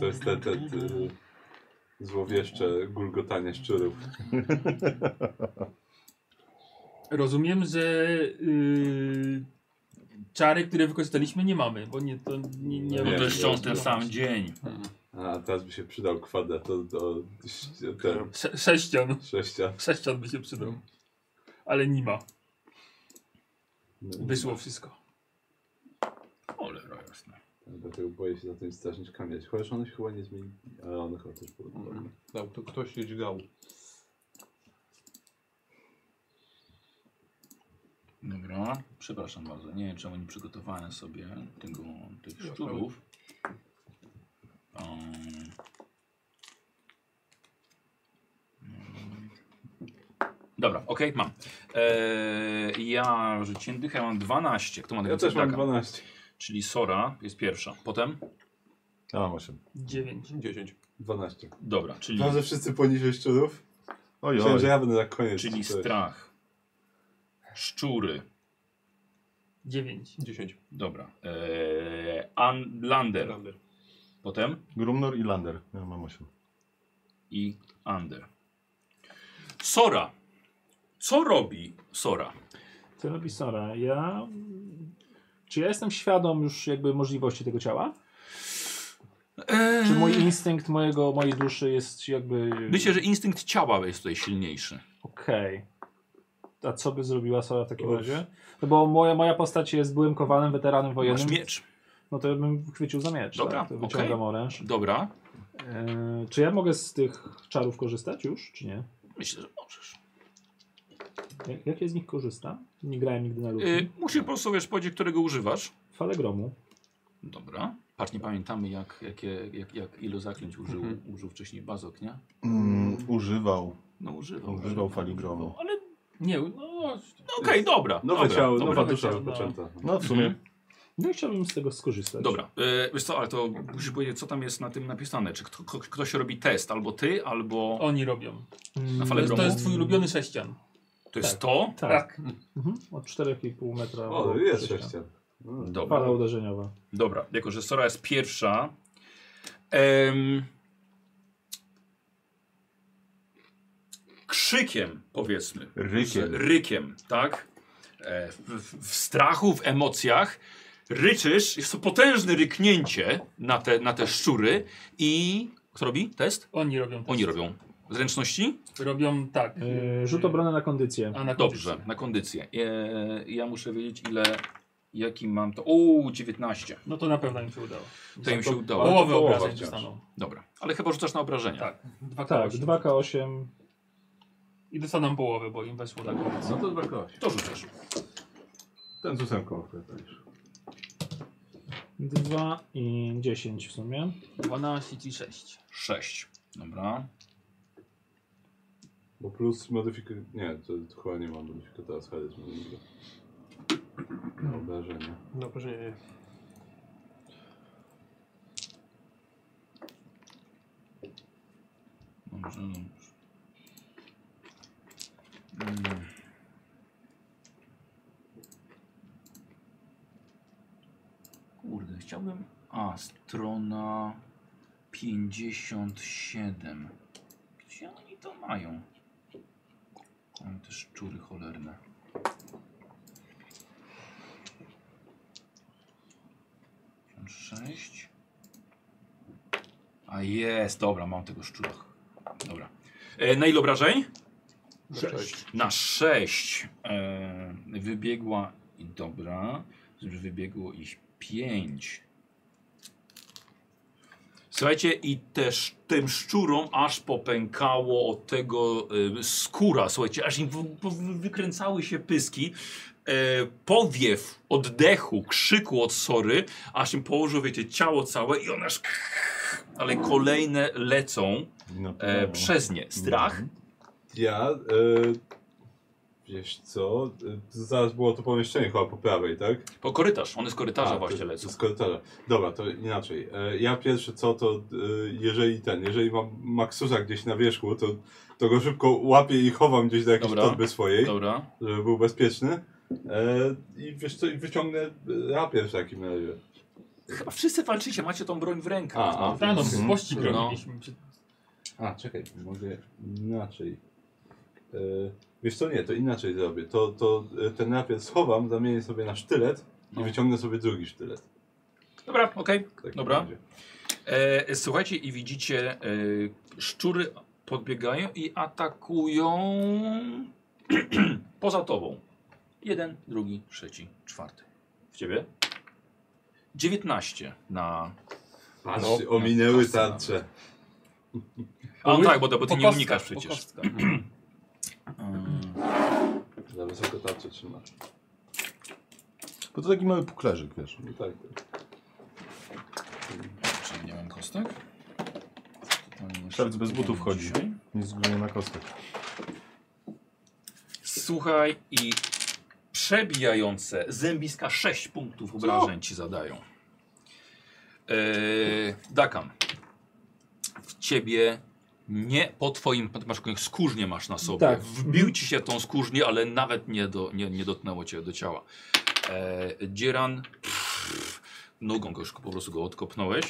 Speaker 4: To jest te, te, te złowieszcze gulgotanie szczurów.
Speaker 7: Rozumiem, że yy, czary, które wykorzystaliśmy, nie mamy, bo nie to nie, nie,
Speaker 1: Bo
Speaker 4: Nie,
Speaker 1: No to jest
Speaker 4: nie,
Speaker 1: wciąż ten sam dzień.
Speaker 4: A teraz by się przydał kwadrat do, do, ten,
Speaker 7: Se, sześcian.
Speaker 4: sześcia.
Speaker 7: Sześcian by się przydał. Ale nie ma.
Speaker 4: No,
Speaker 7: Wysło wszystko.
Speaker 1: Cholera jasna.
Speaker 4: Dlatego boję się za tymi strażniczkami jeździć. Chociaż one się chyba nie zmienili. Ale one chyba też były
Speaker 1: Mm.
Speaker 4: podobne.
Speaker 6: Dał, to ktoś się dźgał.
Speaker 1: Dobra, przepraszam bardzo. Nie wiem czemu nie przygotowałem sobie tego, tych szczurów. Um, Dobra, okej, mam. Eee, ja rzuciłem dychę, mam 12. Kto ma tego
Speaker 4: Ja też mam
Speaker 1: cydaka?
Speaker 4: 12.
Speaker 1: Czyli Sora jest pierwsza. Potem?
Speaker 3: Ja mam 8.
Speaker 7: Dziewięć.
Speaker 6: 10.
Speaker 4: 12.
Speaker 1: Dobra, czyli,
Speaker 4: Mam, że wszyscy poniżej szczurów.
Speaker 3: Oj,
Speaker 4: Myślałem,
Speaker 3: oj.
Speaker 4: że ja będę na koniec.
Speaker 1: czyli
Speaker 4: To jest-
Speaker 1: strach. Szczury.
Speaker 7: Dziewięć.
Speaker 6: 10.
Speaker 1: Dobra. Eee, An- Lander.
Speaker 6: Rander.
Speaker 1: Potem?
Speaker 3: Grumnor i Lander. Ja mam 8.
Speaker 1: i Under. Sora. Co robi Sora?
Speaker 2: Co robi Sora? Ja. Czy ja jestem świadom już jakby możliwości tego ciała?
Speaker 4: Eee.
Speaker 2: Czy mój instynkt mojego, mojej duszy jest jakby.
Speaker 1: Myślę, że instynkt ciała jest tutaj silniejszy.
Speaker 2: Okej. A co by zrobiła Sora w takim
Speaker 4: Uff.
Speaker 2: razie? No bo moja, moja postać jest byłym kowalem, weteranem wojennym.
Speaker 1: Masz miecz.
Speaker 2: No to ja bym chwycił za miecz.
Speaker 1: Dobra,
Speaker 2: tak? to wyciągam
Speaker 1: okej.
Speaker 2: oręż.
Speaker 1: Dobra.
Speaker 2: E, czy ja mogę z tych czarów korzystać już, czy nie?
Speaker 1: Myślę, że możesz.
Speaker 2: Jak, jakie z nich korzystam? Nie grałem nigdy na ludzi.
Speaker 1: Y, musisz po prostu wiesz, powiedzieć, którego używasz.
Speaker 2: Fale gromu.
Speaker 1: Dobra. Patrz, nie pamiętamy, jak, jakie, jak, jak ilu zaklęć użył, użył wcześniej Bazok, nie?
Speaker 3: Mm, używał.
Speaker 1: No używał.
Speaker 3: Używał fali gromu.
Speaker 1: Ale
Speaker 7: Nie, no...
Speaker 1: no, okej, dobra.
Speaker 4: Nowe
Speaker 1: dobra,
Speaker 4: ciało,
Speaker 1: dobra. Mhm.
Speaker 4: nowa dusza
Speaker 2: ciało, no.
Speaker 4: wypoczęta.
Speaker 3: No w sumie.
Speaker 2: No i chciałbym z tego skorzystać.
Speaker 1: Dobra, e, wiesz co, ale to musisz powiedzieć, co tam jest na tym napisane. Czy kto, kto, ktoś robi test, albo ty, albo...
Speaker 7: Oni robią.
Speaker 2: Mm,
Speaker 1: fale
Speaker 7: To jest, to
Speaker 1: gromu.
Speaker 7: jest twój ulubiony sześcian.
Speaker 1: to jest to?
Speaker 2: Tak. Mhm. Od 4,5 metra.
Speaker 4: O,
Speaker 1: No,
Speaker 2: do
Speaker 4: jest
Speaker 2: sześcia.
Speaker 4: sześcian.
Speaker 1: Dobra.
Speaker 2: Fala uderzeniowa.
Speaker 1: Dobra, jako że Sora jest pierwsza. em, krzykiem, powiedzmy.
Speaker 3: Rykiem.
Speaker 1: Z rykiem, tak? E, w, w- w strachu, w emocjach. Ryczysz, jest to potężne ryknięcie na te, na te szczury i. Kto robi test?
Speaker 7: Oni robią. tak.
Speaker 1: Oni robią. Zręczności?
Speaker 7: Robią tak.
Speaker 2: Yy, rzut obrony na kondycję.
Speaker 7: A na
Speaker 1: Dobrze,
Speaker 7: kondycję.
Speaker 1: na kondycję. E, ja muszę wiedzieć, ile. Jaki mam to. O, 19.
Speaker 7: No to na pewno im się udało.
Speaker 1: To im się udało.
Speaker 7: Połowę
Speaker 4: połowa
Speaker 7: obrażeń
Speaker 4: wciąż.
Speaker 7: dostaną.
Speaker 1: Dobra, ale chyba rzucasz na obrażenia.
Speaker 7: Tak. Dwa
Speaker 2: Tak,
Speaker 7: kości.
Speaker 2: 2K8.
Speaker 7: I dostaną połowę, bo im weszło tak.
Speaker 4: No to dwa kości.
Speaker 1: To rzucasz.
Speaker 4: Ten z ósemką wklecasz.
Speaker 2: 2 i 10 w sumie.
Speaker 7: 12 i 6.
Speaker 1: 6. Dobra.
Speaker 4: Bo plus modyfikator... Nie, to, to chyba nie mam modyfikatora z charyzmy. Na obrażenie.
Speaker 6: No, proszę nie. nie.
Speaker 1: Dobrze, dobrze. Mm. Kurde, chciałbym. A, strona 57. Gdzie oni to mają? Mam te szczury cholerne. Sześć. A jest, dobra, mam tego szczura. Dobra. E, na ile obrażeń?
Speaker 6: Sześć.
Speaker 1: Na 6 e, wybiegła i dobra, Znaczy, wybiegło ich 5. Słuchajcie, i też tym szczurom aż popękało od tego e, skóra, słuchajcie, aż im w, w, wykręcały się pyski. E, powiew oddechu, krzyku od sory, aż im położył, wiecie, ciało całe i one aż... Ale kolejne lecą
Speaker 3: No,
Speaker 1: e, przez nie. Strach.
Speaker 4: Ja... E, wiesz co? E, zaraz było to pomieszczenie chyba po prawej, tak?
Speaker 1: Po korytarz, one z korytarza
Speaker 4: A,
Speaker 1: właśnie
Speaker 4: to-
Speaker 1: lecą.
Speaker 4: to Z korytarza. Dobra, to inaczej. E, Ja pierwsze co, to e, jeżeli ten, jeżeli mam Maxusa gdzieś na wierzchu, to, to go szybko łapię i chowam gdzieś do jakiejś
Speaker 1: Dobra.
Speaker 4: torby swojej,
Speaker 1: Dobra.
Speaker 4: żeby był bezpieczny. E, I wiesz co, i wyciągnę y, rapier w takim razie.
Speaker 1: Chyba wszyscy walczycie, macie tą broń w rękach.
Speaker 4: A, a.
Speaker 7: Tak, no,
Speaker 4: Mhm.
Speaker 7: z pości
Speaker 1: No.
Speaker 7: broniliśmy.
Speaker 4: A, czekaj, mogę inaczej. E, Wiesz co, nie, to inaczej zrobię. To, to e, ten rapier schowam, zamienię sobie na sztylet i
Speaker 1: No.
Speaker 4: wyciągnę sobie drugi sztylet.
Speaker 1: Dobra, okej.
Speaker 4: w takim
Speaker 1: Dobra.
Speaker 4: razie.
Speaker 1: E, Słuchajcie i widzicie, e, szczury podbiegają i atakują poza tobą. Jeden, drugi, trzeci, czwarty. W ciebie? 19 na...
Speaker 4: Patrzcie, ominęły tarcze.
Speaker 1: A no tak, bo, bo ty
Speaker 7: Po
Speaker 1: nie
Speaker 7: kostkach,
Speaker 1: unikasz
Speaker 7: po
Speaker 1: przecież.
Speaker 7: kostkach.
Speaker 1: Mm,
Speaker 4: Za wysoko tarcze trzymasz.
Speaker 3: Bo to taki mały puklerzyk, wiesz.
Speaker 4: No tak, tak.
Speaker 1: Czy nie mam kostek? Totalnie
Speaker 3: Szewc bez
Speaker 1: szybko
Speaker 3: butów
Speaker 1: mam
Speaker 3: chodzi.
Speaker 1: dzisiaj.
Speaker 3: Nic głównie na kostek.
Speaker 1: Słuchaj i przebijające zębiska 6 punktów obrażeń ci zadają. Eee, Dakan. W ciebie nie po twoim, ty masz jakąś skórznię masz na sobie.
Speaker 2: Tak.
Speaker 1: Wbił ci się tą skórznię, ale nawet nie, do, nie, nie dotknęło cię do ciała. Eee, Dzieran pff, nogą go już po prostu go odkopnąłeś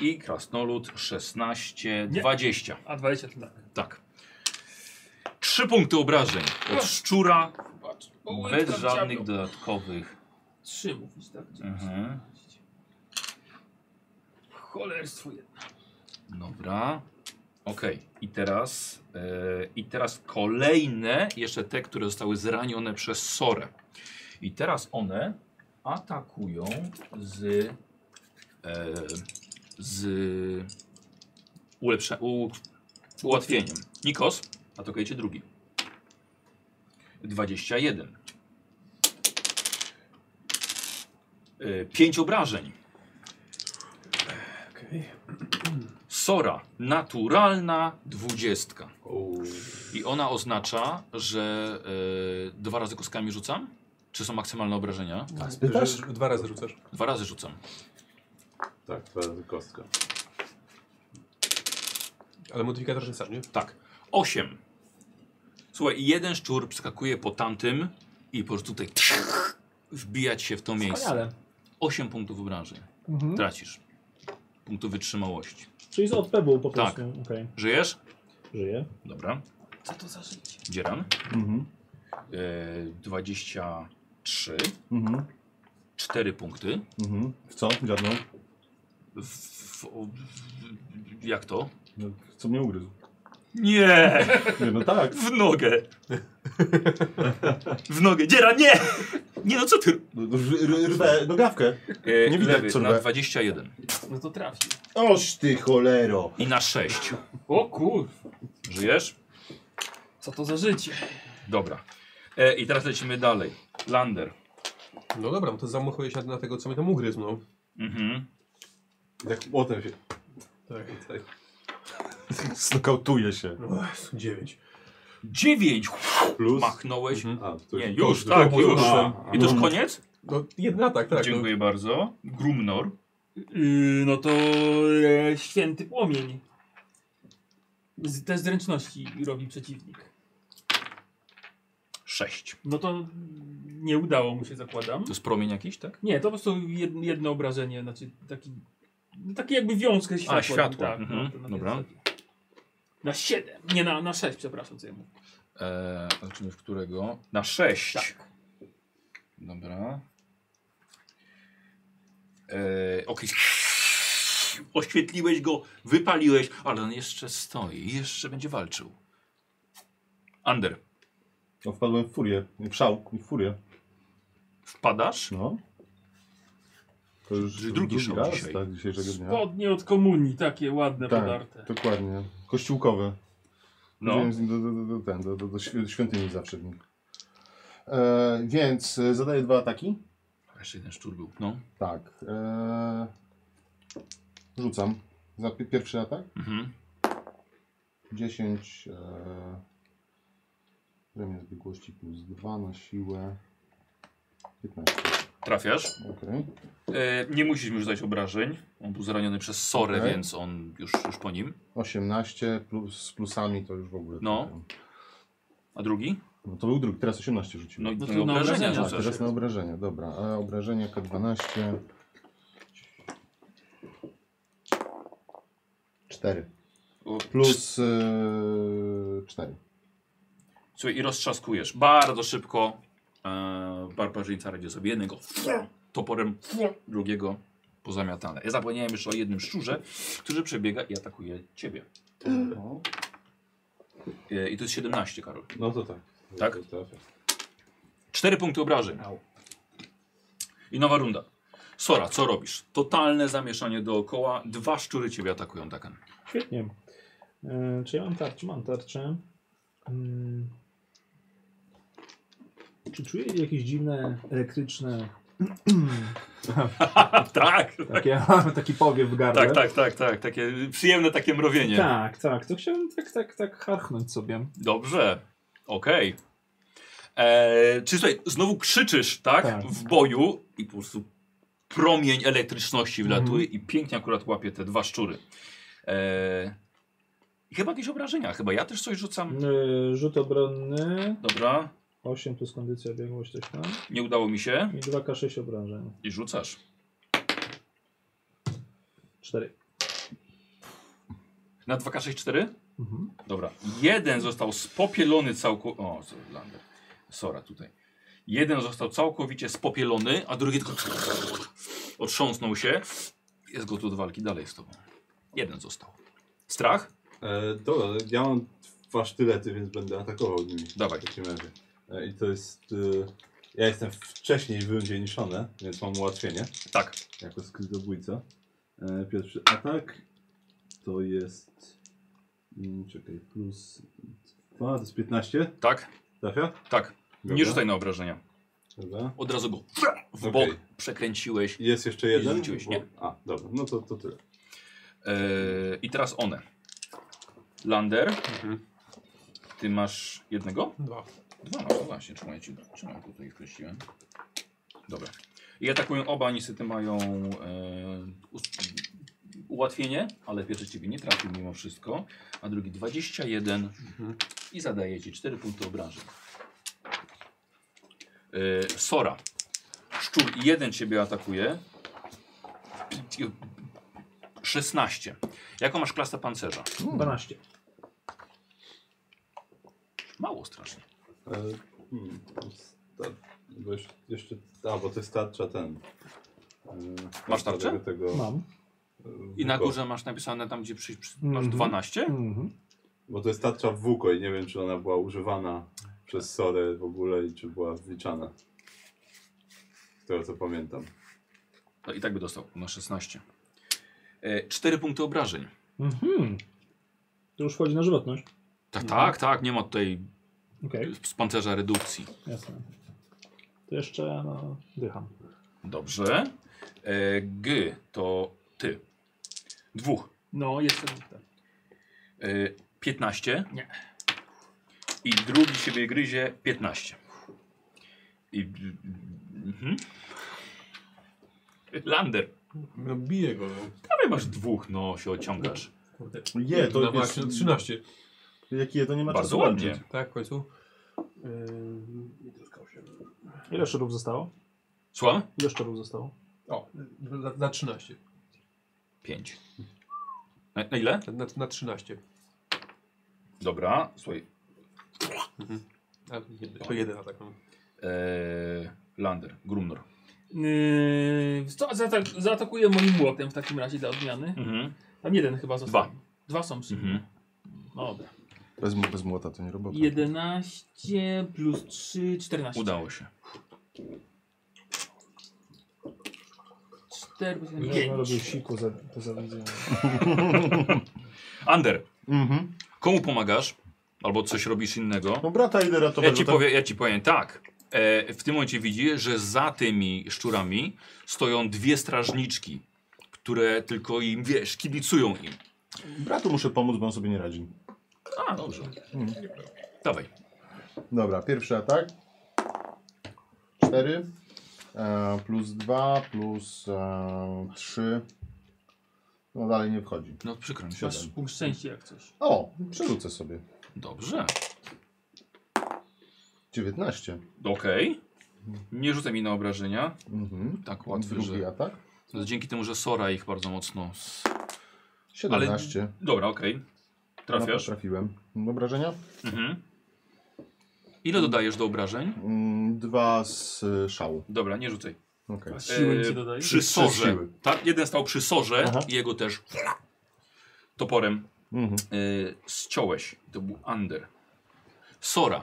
Speaker 1: i krasnolud 16,
Speaker 7: Nie.
Speaker 1: 20.
Speaker 7: A 20 to tak.
Speaker 1: Tak. Trzy punkty obrażeń od szczura bez żadnych dodatkowych.
Speaker 7: 3 mówisz, tak?
Speaker 1: Mhm.
Speaker 7: Cholerstwo jedno.
Speaker 1: Dobra. Okej. I teraz e, i teraz kolejne, jeszcze te, które zostały zranione przez Sorę. I teraz one atakują z e, z ulepsze, u, ułatwieniem. Nikos, atakujecie drugi. 21. Y, Pięć obrażeń.
Speaker 6: Okej.
Speaker 1: Sora, naturalna dwudziestka.
Speaker 4: Uuu.
Speaker 1: I ona oznacza, że y, dwa razy kostkami rzucam? Czy są maksymalne obrażenia?
Speaker 6: Pytasz? Dwa razy rzucasz.
Speaker 1: Dwa razy rzucam.
Speaker 4: Tak, dwa razy kostka.
Speaker 6: Ale modyfikator rzucasz, nie?
Speaker 1: Tak. Osiem. Słuchaj, jeden szczur przeskakuje po tamtym i po prostu tutaj wbijać się w to miejsce.
Speaker 2: Wspaniale.
Speaker 1: Osiem punktów obrażeń.
Speaker 2: Mhm.
Speaker 1: Tracisz. Punktu wytrzymałości.
Speaker 2: Czyli z OP był po prostu.
Speaker 1: Tak.
Speaker 2: Okej,
Speaker 1: Żyjesz?
Speaker 2: żyje.
Speaker 1: Dobra.
Speaker 7: Co to za życie?
Speaker 1: Dzieran.
Speaker 3: Mhm.
Speaker 1: Yy, 23.
Speaker 3: Mhm.
Speaker 1: 4 punkty.
Speaker 3: Mhm. W co? Gadną?
Speaker 1: W, w, o- w, jak to?
Speaker 3: No, co mnie ugryzł?
Speaker 1: Nie!
Speaker 3: Nie, no tak.
Speaker 1: W nogę! W nogę! Dzieran, nie! Nie no, co ty?
Speaker 3: No, no, r- r- Rwę nogawkę.
Speaker 1: Yy,
Speaker 3: Nie widać,
Speaker 1: lewy
Speaker 3: co
Speaker 1: na
Speaker 3: rwę.
Speaker 1: 21.
Speaker 7: No to trafi.
Speaker 3: Oż ty cholero.
Speaker 1: I na 6.
Speaker 7: O kur...
Speaker 1: Żyjesz?
Speaker 7: Co to za życie?
Speaker 1: Dobra. E, I teraz lecimy dalej. Lander.
Speaker 6: No dobra, no to zamuchuję się na tego, co mnie tam ugryzł, no.
Speaker 1: Mhm.
Speaker 4: I tak potem się...
Speaker 6: Tak. No,
Speaker 4: Tak.
Speaker 3: Znokautuje się.
Speaker 6: Dziewięć.
Speaker 1: 9.
Speaker 4: Plus... Mhm.
Speaker 1: Machnąłeś.
Speaker 4: A, to
Speaker 1: Nie, Mhm. już, tak, już.
Speaker 4: A,
Speaker 1: I to Mhm. już koniec?
Speaker 6: No jedna tak, tak.
Speaker 1: Dziękuję bardzo. Grumnor.
Speaker 7: Yy, no to e, święty płomień. Z, te zręczności robi przeciwnik.
Speaker 1: 6.
Speaker 7: No to mm, nie udało mu się, zakładam.
Speaker 1: To jest promień jakiś, tak?
Speaker 7: Nie, to po prostu jed, jedno obrażenie, znaczy taki, no taki jakby wiązkę światła.
Speaker 1: światło,
Speaker 7: Tak,
Speaker 1: mhm,
Speaker 7: no, to na tej
Speaker 1: dobra.
Speaker 7: zasadzie. Na 7, nie na, na 6, przepraszam, co ja mówię.
Speaker 1: Eee, zobaczymy w którego. Na 6.
Speaker 7: Tak.
Speaker 1: Dobra. Eee, ok. Oświetliłeś go, wypaliłeś, ale on jeszcze stoi, jeszcze będzie walczył. Ander,
Speaker 3: No, wpadłem w furię. W szał. W furię.
Speaker 1: wpadasz?
Speaker 3: No. To już
Speaker 1: Czyli drugi szał
Speaker 3: raz,
Speaker 1: dzisiaj.
Speaker 3: tak, dzisiejszego dnia.
Speaker 7: Spodnie od komunii, takie ładne,
Speaker 3: Tak.
Speaker 7: podarte.
Speaker 3: Dokładnie. Kościółkowe.
Speaker 1: No.
Speaker 3: Chodziłem z nim do, do, do, do, ten, do, do, do świ- świątyni zawsze w nim. E, więc e, zadaję dwa ataki.
Speaker 1: Jeszcze jeden szczur był. No.
Speaker 3: Tak. E, rzucam. Za pi- pierwszy atak.
Speaker 1: Mhm.
Speaker 3: 10. E, premia zbiegłości plus 2 na siłę. 15.
Speaker 1: Trafiasz.
Speaker 3: Okej.
Speaker 1: Eee, nie musisz mu już dać obrażeń. On był zraniony przez Sorę,
Speaker 3: Okej.
Speaker 1: więc on już, już po nim.
Speaker 3: 18 plus, z plusami to już w ogóle.
Speaker 1: No.
Speaker 3: tak.
Speaker 1: A drugi?
Speaker 3: no to był drugi. Teraz 18 rzuciłem.
Speaker 1: No, no,
Speaker 7: No to
Speaker 1: no
Speaker 7: na
Speaker 1: obrażenia
Speaker 7: obrażenia
Speaker 3: Tak,
Speaker 1: rzucasz.
Speaker 3: teraz na obrażenia, dobra. E, obrażenia K12. 4.
Speaker 1: O,
Speaker 3: Plus e, 4.
Speaker 1: Słuchaj, i roztrzaskujesz. Bardzo szybko e, barbarzyńca radzi sobie jednego toporem, drugiego pozamiatane. Ja zapomniałem jeszcze o jednym szczurze, który przebiega i atakuje ciebie. E, I to jest 17, Karol.
Speaker 4: No to tak.
Speaker 1: Tak?
Speaker 4: Trafia.
Speaker 1: 4 punkty obrażeń.
Speaker 7: Au.
Speaker 1: I nowa runda. Sora, co robisz? Totalne zamieszanie dookoła. Dwa szczury ciebie atakują, Takan.
Speaker 2: Świetnie. E, czy ja mam tarczę? Mam tarczę. Mm. Czy czuję jakieś dziwne elektryczne.
Speaker 1: A, tak,
Speaker 2: Takie, taki powiew w gardle.
Speaker 1: tak, tak, tak, tak. Takie przyjemne takie mrowienie.
Speaker 2: Tak, tak. To chciałem tak, tak, tak harchnąć sobie.
Speaker 1: Dobrze, okej. Eee, Czy tutaj znowu krzyczysz, tak,
Speaker 2: Tak.
Speaker 1: W boju i po prostu promień elektryczności wlatuje i pięknie akurat łapie te dwa szczury. Eee, I chyba jakieś obrażenia, chyba ja też coś rzucam.
Speaker 2: Yy, rzut obronny.
Speaker 1: Dobra,
Speaker 2: 8 plus kondycja, biegłość, coś tam.
Speaker 1: nie udało mi się.
Speaker 2: I 2K6 obrażeń.
Speaker 1: I rzucasz.
Speaker 2: 4.
Speaker 1: Na 2K64?
Speaker 2: Mhm.
Speaker 1: Dobra. Jeden został spopielony całkowicie. O, sorry, Lander. Sora tutaj. Jeden został całkowicie spopielony, a drugi tylko otrząsnął się. Jest gotów do walki dalej z tobą. Jeden został. Strach?
Speaker 4: E, dobra, ja mam dwa sztylety, więc będę atakował nimi.
Speaker 1: Dawaj.
Speaker 4: W takim razie. E, I to jest... E, ja jestem wcześniej wydzielniszony, więc mam ułatwienie.
Speaker 1: Tak.
Speaker 4: Jako skrytobójca. E, pierwszy atak to jest... Mm, czekaj, plus 2, to jest 15.
Speaker 1: Tak?
Speaker 4: Trafia?
Speaker 1: Tak. Nie rzucaj na obrażenia.
Speaker 4: Dobra.
Speaker 1: Od razu go w bok
Speaker 4: Okej.
Speaker 1: przekręciłeś.
Speaker 4: Jest jeszcze jeden?
Speaker 1: rzuciłeś, nie.
Speaker 4: Bo- A, dobra, no to, to tyle.
Speaker 1: E, I teraz one. Lander. Ty masz jednego?
Speaker 6: Dwa.
Speaker 1: Dwa masz, no właśnie, trzymaj, ci, trzymaj tutaj wkreśliłem. Dobra. I atakują oba, niestety mają e, us- ułatwienie, ale pierwszy ciebie nie trafił mimo wszystko, a drugi 21 i zadaje ci 4 punkty obrażeń. E, Sora. Szczur jeden ciebie atakuje. 16. Jaką masz klasę pancerza?
Speaker 2: 12.
Speaker 1: Mało strasznie.
Speaker 4: E, hmm, sta, bo jeszcze, jeszcze, a, bo to jest tarcza ten. E,
Speaker 1: Masz tarczę?
Speaker 4: Tego, tego,
Speaker 2: Mam.
Speaker 4: e,
Speaker 1: I na
Speaker 4: Vuko.
Speaker 1: górze masz napisane tam, gdzie przy, przy, masz
Speaker 2: Mhm.
Speaker 1: 12?
Speaker 2: Mhm.
Speaker 4: Bo to jest tarcza w WUKO i nie wiem, czy ona była używana przez Sorę w ogóle i czy była wliczana. Z tego co pamiętam.
Speaker 1: No i tak by dostał na 16. E, 4 punkty obrażeń.
Speaker 2: Mhm. To już wchodzi na żywotność.
Speaker 1: Tak,
Speaker 3: No.
Speaker 1: tak, tak, nie ma tutaj
Speaker 2: Okej,
Speaker 1: z pancerza redukcji.
Speaker 2: jasne. To jeszcze no, dycham.
Speaker 1: Dobrze. E, G to ty. Dwóch.
Speaker 5: No, jestem. tak.
Speaker 1: E, 15.
Speaker 5: Nie.
Speaker 1: I drugi siebie gryzie 15. I. Mhm. Lander.
Speaker 8: No bije go. No.
Speaker 1: Prawie masz dwóch, no się ociągasz.
Speaker 8: Kurde.
Speaker 3: Je, to
Speaker 8: no
Speaker 3: jest,
Speaker 8: właśnie, no 13.
Speaker 3: jak je, to nie ma
Speaker 1: Bardzo
Speaker 3: czasu
Speaker 1: ładnie.
Speaker 8: Tak, w końcu. Yy,
Speaker 2: Ile szczurów zostało?
Speaker 1: Słucham?
Speaker 2: Ile szczurów zostało?
Speaker 8: o, na, na 13.
Speaker 1: 5. Na, na ile?
Speaker 8: Na, na, na 13.
Speaker 1: Dobra, słuchaj.
Speaker 8: A, jedy- to jeden atak. no.
Speaker 1: Eee, Lander, Grumnor.
Speaker 7: Yy, co, zaatak, zaatakuję moim młotem w takim razie dla odmiany.
Speaker 1: Mhm.
Speaker 7: Tam jeden chyba został.
Speaker 1: Dwa.
Speaker 7: Dwa są. Mhm.
Speaker 1: Mhm.
Speaker 7: Dobra.
Speaker 3: Bez, mu- bez młota to nie robota.
Speaker 7: 11 plus 3, 14.
Speaker 1: Udało się.
Speaker 7: 4 plus
Speaker 2: Ile
Speaker 7: 5.
Speaker 2: robił siku za, za widzenie.
Speaker 1: Ander,
Speaker 3: Mhm.
Speaker 1: komu pomagasz? Albo coś robisz innego?
Speaker 3: No brata idę ratować.
Speaker 1: Ja ci,
Speaker 3: bo tam-
Speaker 1: powie, ja ci powiem tak. E, w tym momencie widzisz, że za tymi szczurami stoją dwie strażniczki, które tylko im, wiesz, kibicują im.
Speaker 3: Bratu muszę pomóc, bo on sobie nie radzi.
Speaker 1: A, dobrze.
Speaker 3: Mhm.
Speaker 1: Dawaj.
Speaker 3: Dobra, pierwszy atak. 4 e, plus 2 plus e, 3. No dalej nie wchodzi.
Speaker 1: No przykro mi.
Speaker 7: Masz punkt szczęścia jak coś.
Speaker 3: O, przerzucę sobie.
Speaker 1: Dobrze.
Speaker 3: 19.
Speaker 1: Okej. Nie rzucę mi na obrażenia.
Speaker 3: Mhm.
Speaker 1: Tak łatwy,
Speaker 3: Drugi
Speaker 1: że...
Speaker 3: atak.
Speaker 1: No, dzięki temu, że Sora ich bardzo mocno... s-
Speaker 3: 17. Ale...
Speaker 1: Dobra, okej. Trafiasz.
Speaker 3: trafiłem. Obrażenia?
Speaker 1: Mhm. Ile dodajesz do obrażeń?
Speaker 3: Mm, Dwa z y, szału.
Speaker 1: Dobra, nie rzucaj.
Speaker 3: Okej.
Speaker 7: Siły
Speaker 1: E,
Speaker 7: ci dodaję.
Speaker 1: Przy
Speaker 3: Trzy
Speaker 1: sorze.
Speaker 3: siły.
Speaker 1: Tak, jeden stał przy sorze
Speaker 3: Aha.
Speaker 1: i jego też toporem
Speaker 3: Mhm.
Speaker 1: e, ściąłeś. To był Ander. Sora.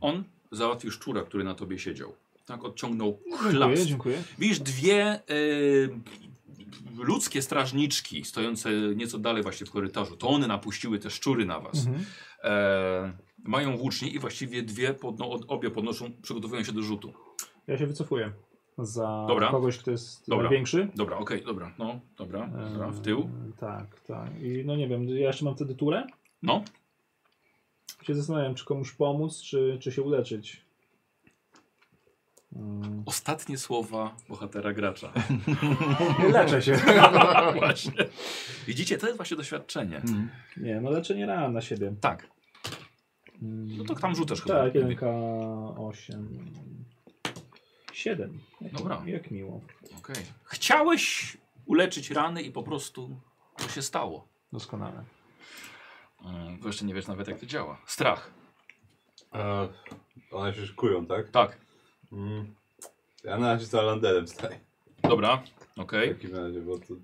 Speaker 1: On załatwił szczura, który na tobie siedział. Tak, odciągnął
Speaker 2: Dziękuję,
Speaker 1: chlast.
Speaker 2: dziękuję.
Speaker 1: Widzisz dwie e, ludzkie strażniczki stojące nieco dalej właśnie w korytarzu. To one napuściły te szczury na was.
Speaker 2: Mhm.
Speaker 1: E, mają włócznie i właściwie dwie, podno, od- obie podnoszą, przygotowują się do rzutu.
Speaker 2: Ja się wycofuję. Za
Speaker 1: Dobra.
Speaker 2: kogoś, kto jest
Speaker 1: Dobra.
Speaker 2: największy.
Speaker 1: Dobra, okej, dobra, no, dobra, dobra, w
Speaker 2: Eee,
Speaker 1: tył.
Speaker 2: Tak, tak. I no nie wiem, ja jeszcze mam wtedy turę?
Speaker 1: No.
Speaker 2: Się zastanawiam, czy komuś pomóc, czy, czy się uleczyć. Mm.
Speaker 1: Ostatnie słowa bohatera gracza.
Speaker 2: Leczę się.
Speaker 1: właśnie. Widzicie, to jest właśnie doświadczenie.
Speaker 2: Nie, no leczenie ran na siebie.
Speaker 1: Tak,
Speaker 2: Mm.
Speaker 1: no to tam rzucasz chyba.
Speaker 2: Tak, 1K8. 7. Jak,
Speaker 1: Dobra.
Speaker 2: Jak miło.
Speaker 1: Okej. Chciałeś uleczyć rany i po prostu to się stało.
Speaker 2: Doskonale.
Speaker 1: Yy, Bo jeszcze nie wiesz nawet jak to działa. Strach.
Speaker 4: E, one się szykują, tak?
Speaker 1: Tak,
Speaker 4: Mm. Ja na razie za Landerem staję.
Speaker 1: dobra,
Speaker 4: W
Speaker 1: okej.
Speaker 4: takim razie, bo to...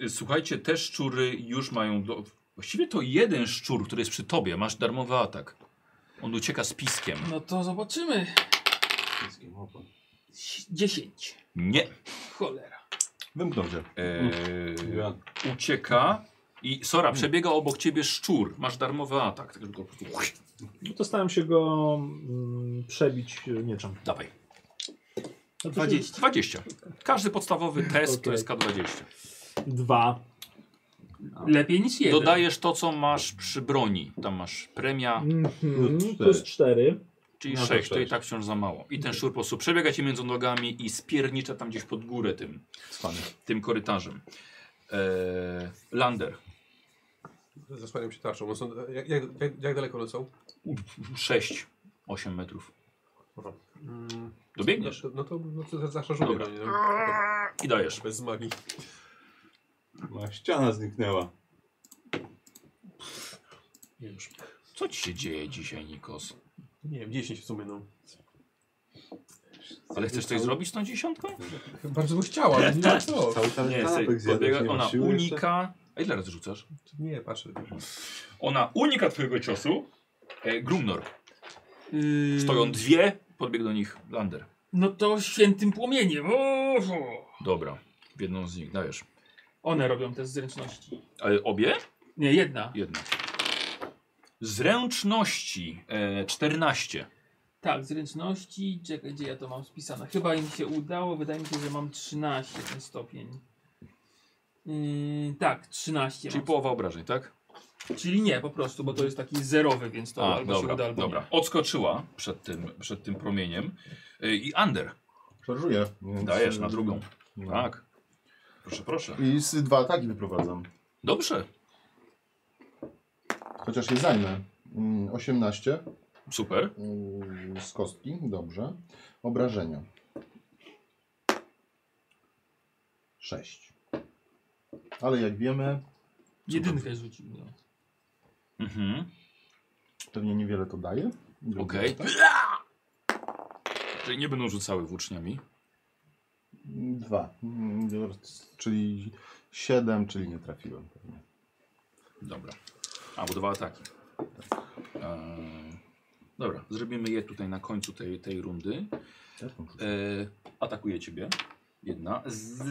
Speaker 1: Yy, słuchajcie, te szczury już mają... Do... Właściwie to jeden szczur, który jest przy tobie. Masz darmowy atak. On ucieka z piskiem.
Speaker 7: No to zobaczymy.
Speaker 4: wszystkim opa.
Speaker 7: 10.
Speaker 1: Nie.
Speaker 7: Cholera.
Speaker 3: Wymknął się.
Speaker 1: Yy,
Speaker 4: Ja
Speaker 1: ucieka I Sora, przebiega obok ciebie szczur. Masz darmowy atak. Tak, żeby go po prostu...
Speaker 2: No to staram się go mm, przebić y, mieczem.
Speaker 1: Dawaj.
Speaker 2: No to
Speaker 1: 20. 20. Każdy podstawowy test to
Speaker 2: Okej.
Speaker 1: jest K20.
Speaker 2: się- Dwa.
Speaker 7: Lepiej niż jeden.
Speaker 1: Dodajesz to, co masz przy broni. Tam masz premia, No,
Speaker 2: Mhm.
Speaker 4: cztery.
Speaker 2: Plus cztery.
Speaker 1: czyli
Speaker 4: No to
Speaker 1: 6. To i
Speaker 4: sześć.
Speaker 1: tak wciąż za mało. I ten szur po prostu przebiega ci między nogami i spiernicza tam gdzieś pod górę tym,
Speaker 4: Cwany.
Speaker 1: tym korytarzem. Eee, Lander.
Speaker 6: Zasłaniam się tarczą. One są, jak, jak, jak, jak daleko one są?
Speaker 1: 6, 8 metrów.
Speaker 6: Mm,
Speaker 1: Dobiegniesz
Speaker 6: No, no to, no to za- zaszarżuję
Speaker 1: Dobra.
Speaker 6: do niej. No.
Speaker 1: i dajesz.
Speaker 6: Bez magii.
Speaker 4: Moja ściana zniknęła.
Speaker 6: Już.
Speaker 1: Co ci się dzieje dzisiaj, Nikos?
Speaker 6: Nie wiem, 10 w sumie, no.
Speaker 1: Ale chcesz coś zrobić z tą dziesiątką?
Speaker 6: Bardzo bym chciała, ale nie ma co.
Speaker 4: Cały tam
Speaker 1: Nie,
Speaker 4: kanapek
Speaker 1: sobie
Speaker 4: zjadłeś,
Speaker 1: podbiega,
Speaker 4: tak, nie
Speaker 1: ona
Speaker 4: masz siły jeszcze?
Speaker 1: unika. A ile razy rzucasz?
Speaker 6: Nie, patrzę.
Speaker 1: Ona unika twojego ciosu. E, Grumnor.
Speaker 7: Yy,
Speaker 1: Stoją dwie, podbieg do nich Lander.
Speaker 7: No to świętym płomieniem. Oho.
Speaker 1: Dobra, w jedną z nich dajesz.
Speaker 7: One robią te zręczności.
Speaker 1: Ale obie?
Speaker 7: Nie, jedna.
Speaker 1: Jedna. Zręczności e, 14.
Speaker 7: Tak, zręczności. Czekaj, gdzie ja to mam spisane? Chyba im się udało. Wydaje mi się, że mam 13 ten stopień. Yy, tak, 13.
Speaker 1: Czyli
Speaker 7: Czyli,
Speaker 1: połowa obrażeń, tak?
Speaker 7: Czyli nie po prostu, bo to jest taki zerowy, więc to
Speaker 1: A,
Speaker 7: albo się uda,
Speaker 1: dobra,
Speaker 7: albo
Speaker 1: dobra.
Speaker 7: nie.
Speaker 1: Odskoczyła przed tym, przed tym promieniem. E, I Ander,
Speaker 3: Szarżuję.
Speaker 4: Więc,
Speaker 1: dajesz
Speaker 4: e,
Speaker 1: na drugą.
Speaker 4: no.
Speaker 1: Tak. Proszę, proszę.
Speaker 3: I z dwa ataki wyprowadzam.
Speaker 1: Dobrze,
Speaker 3: Chociaż je zajmę. Mm, 18
Speaker 1: super.
Speaker 3: mm, z kostki, dobrze. Obrażenia. 6. Ale jak wiemy,
Speaker 7: Jedynkę rzucił. No.
Speaker 1: Mhm.
Speaker 3: pewnie niewiele to daje. Drugi
Speaker 1: Okej.
Speaker 3: atak.
Speaker 1: Czyli nie będą rzucały włóczniami.
Speaker 3: Dwa. Mm, Czyli 7, czyli nie trafiłem pewnie.
Speaker 1: Dobra. A, bo dwa ataki. Eee, dobra, zrobimy je tutaj na końcu tej, tej rundy.
Speaker 3: Jak on rzuca?
Speaker 1: Eee, atakuje ciebie. Jedna. Z, e,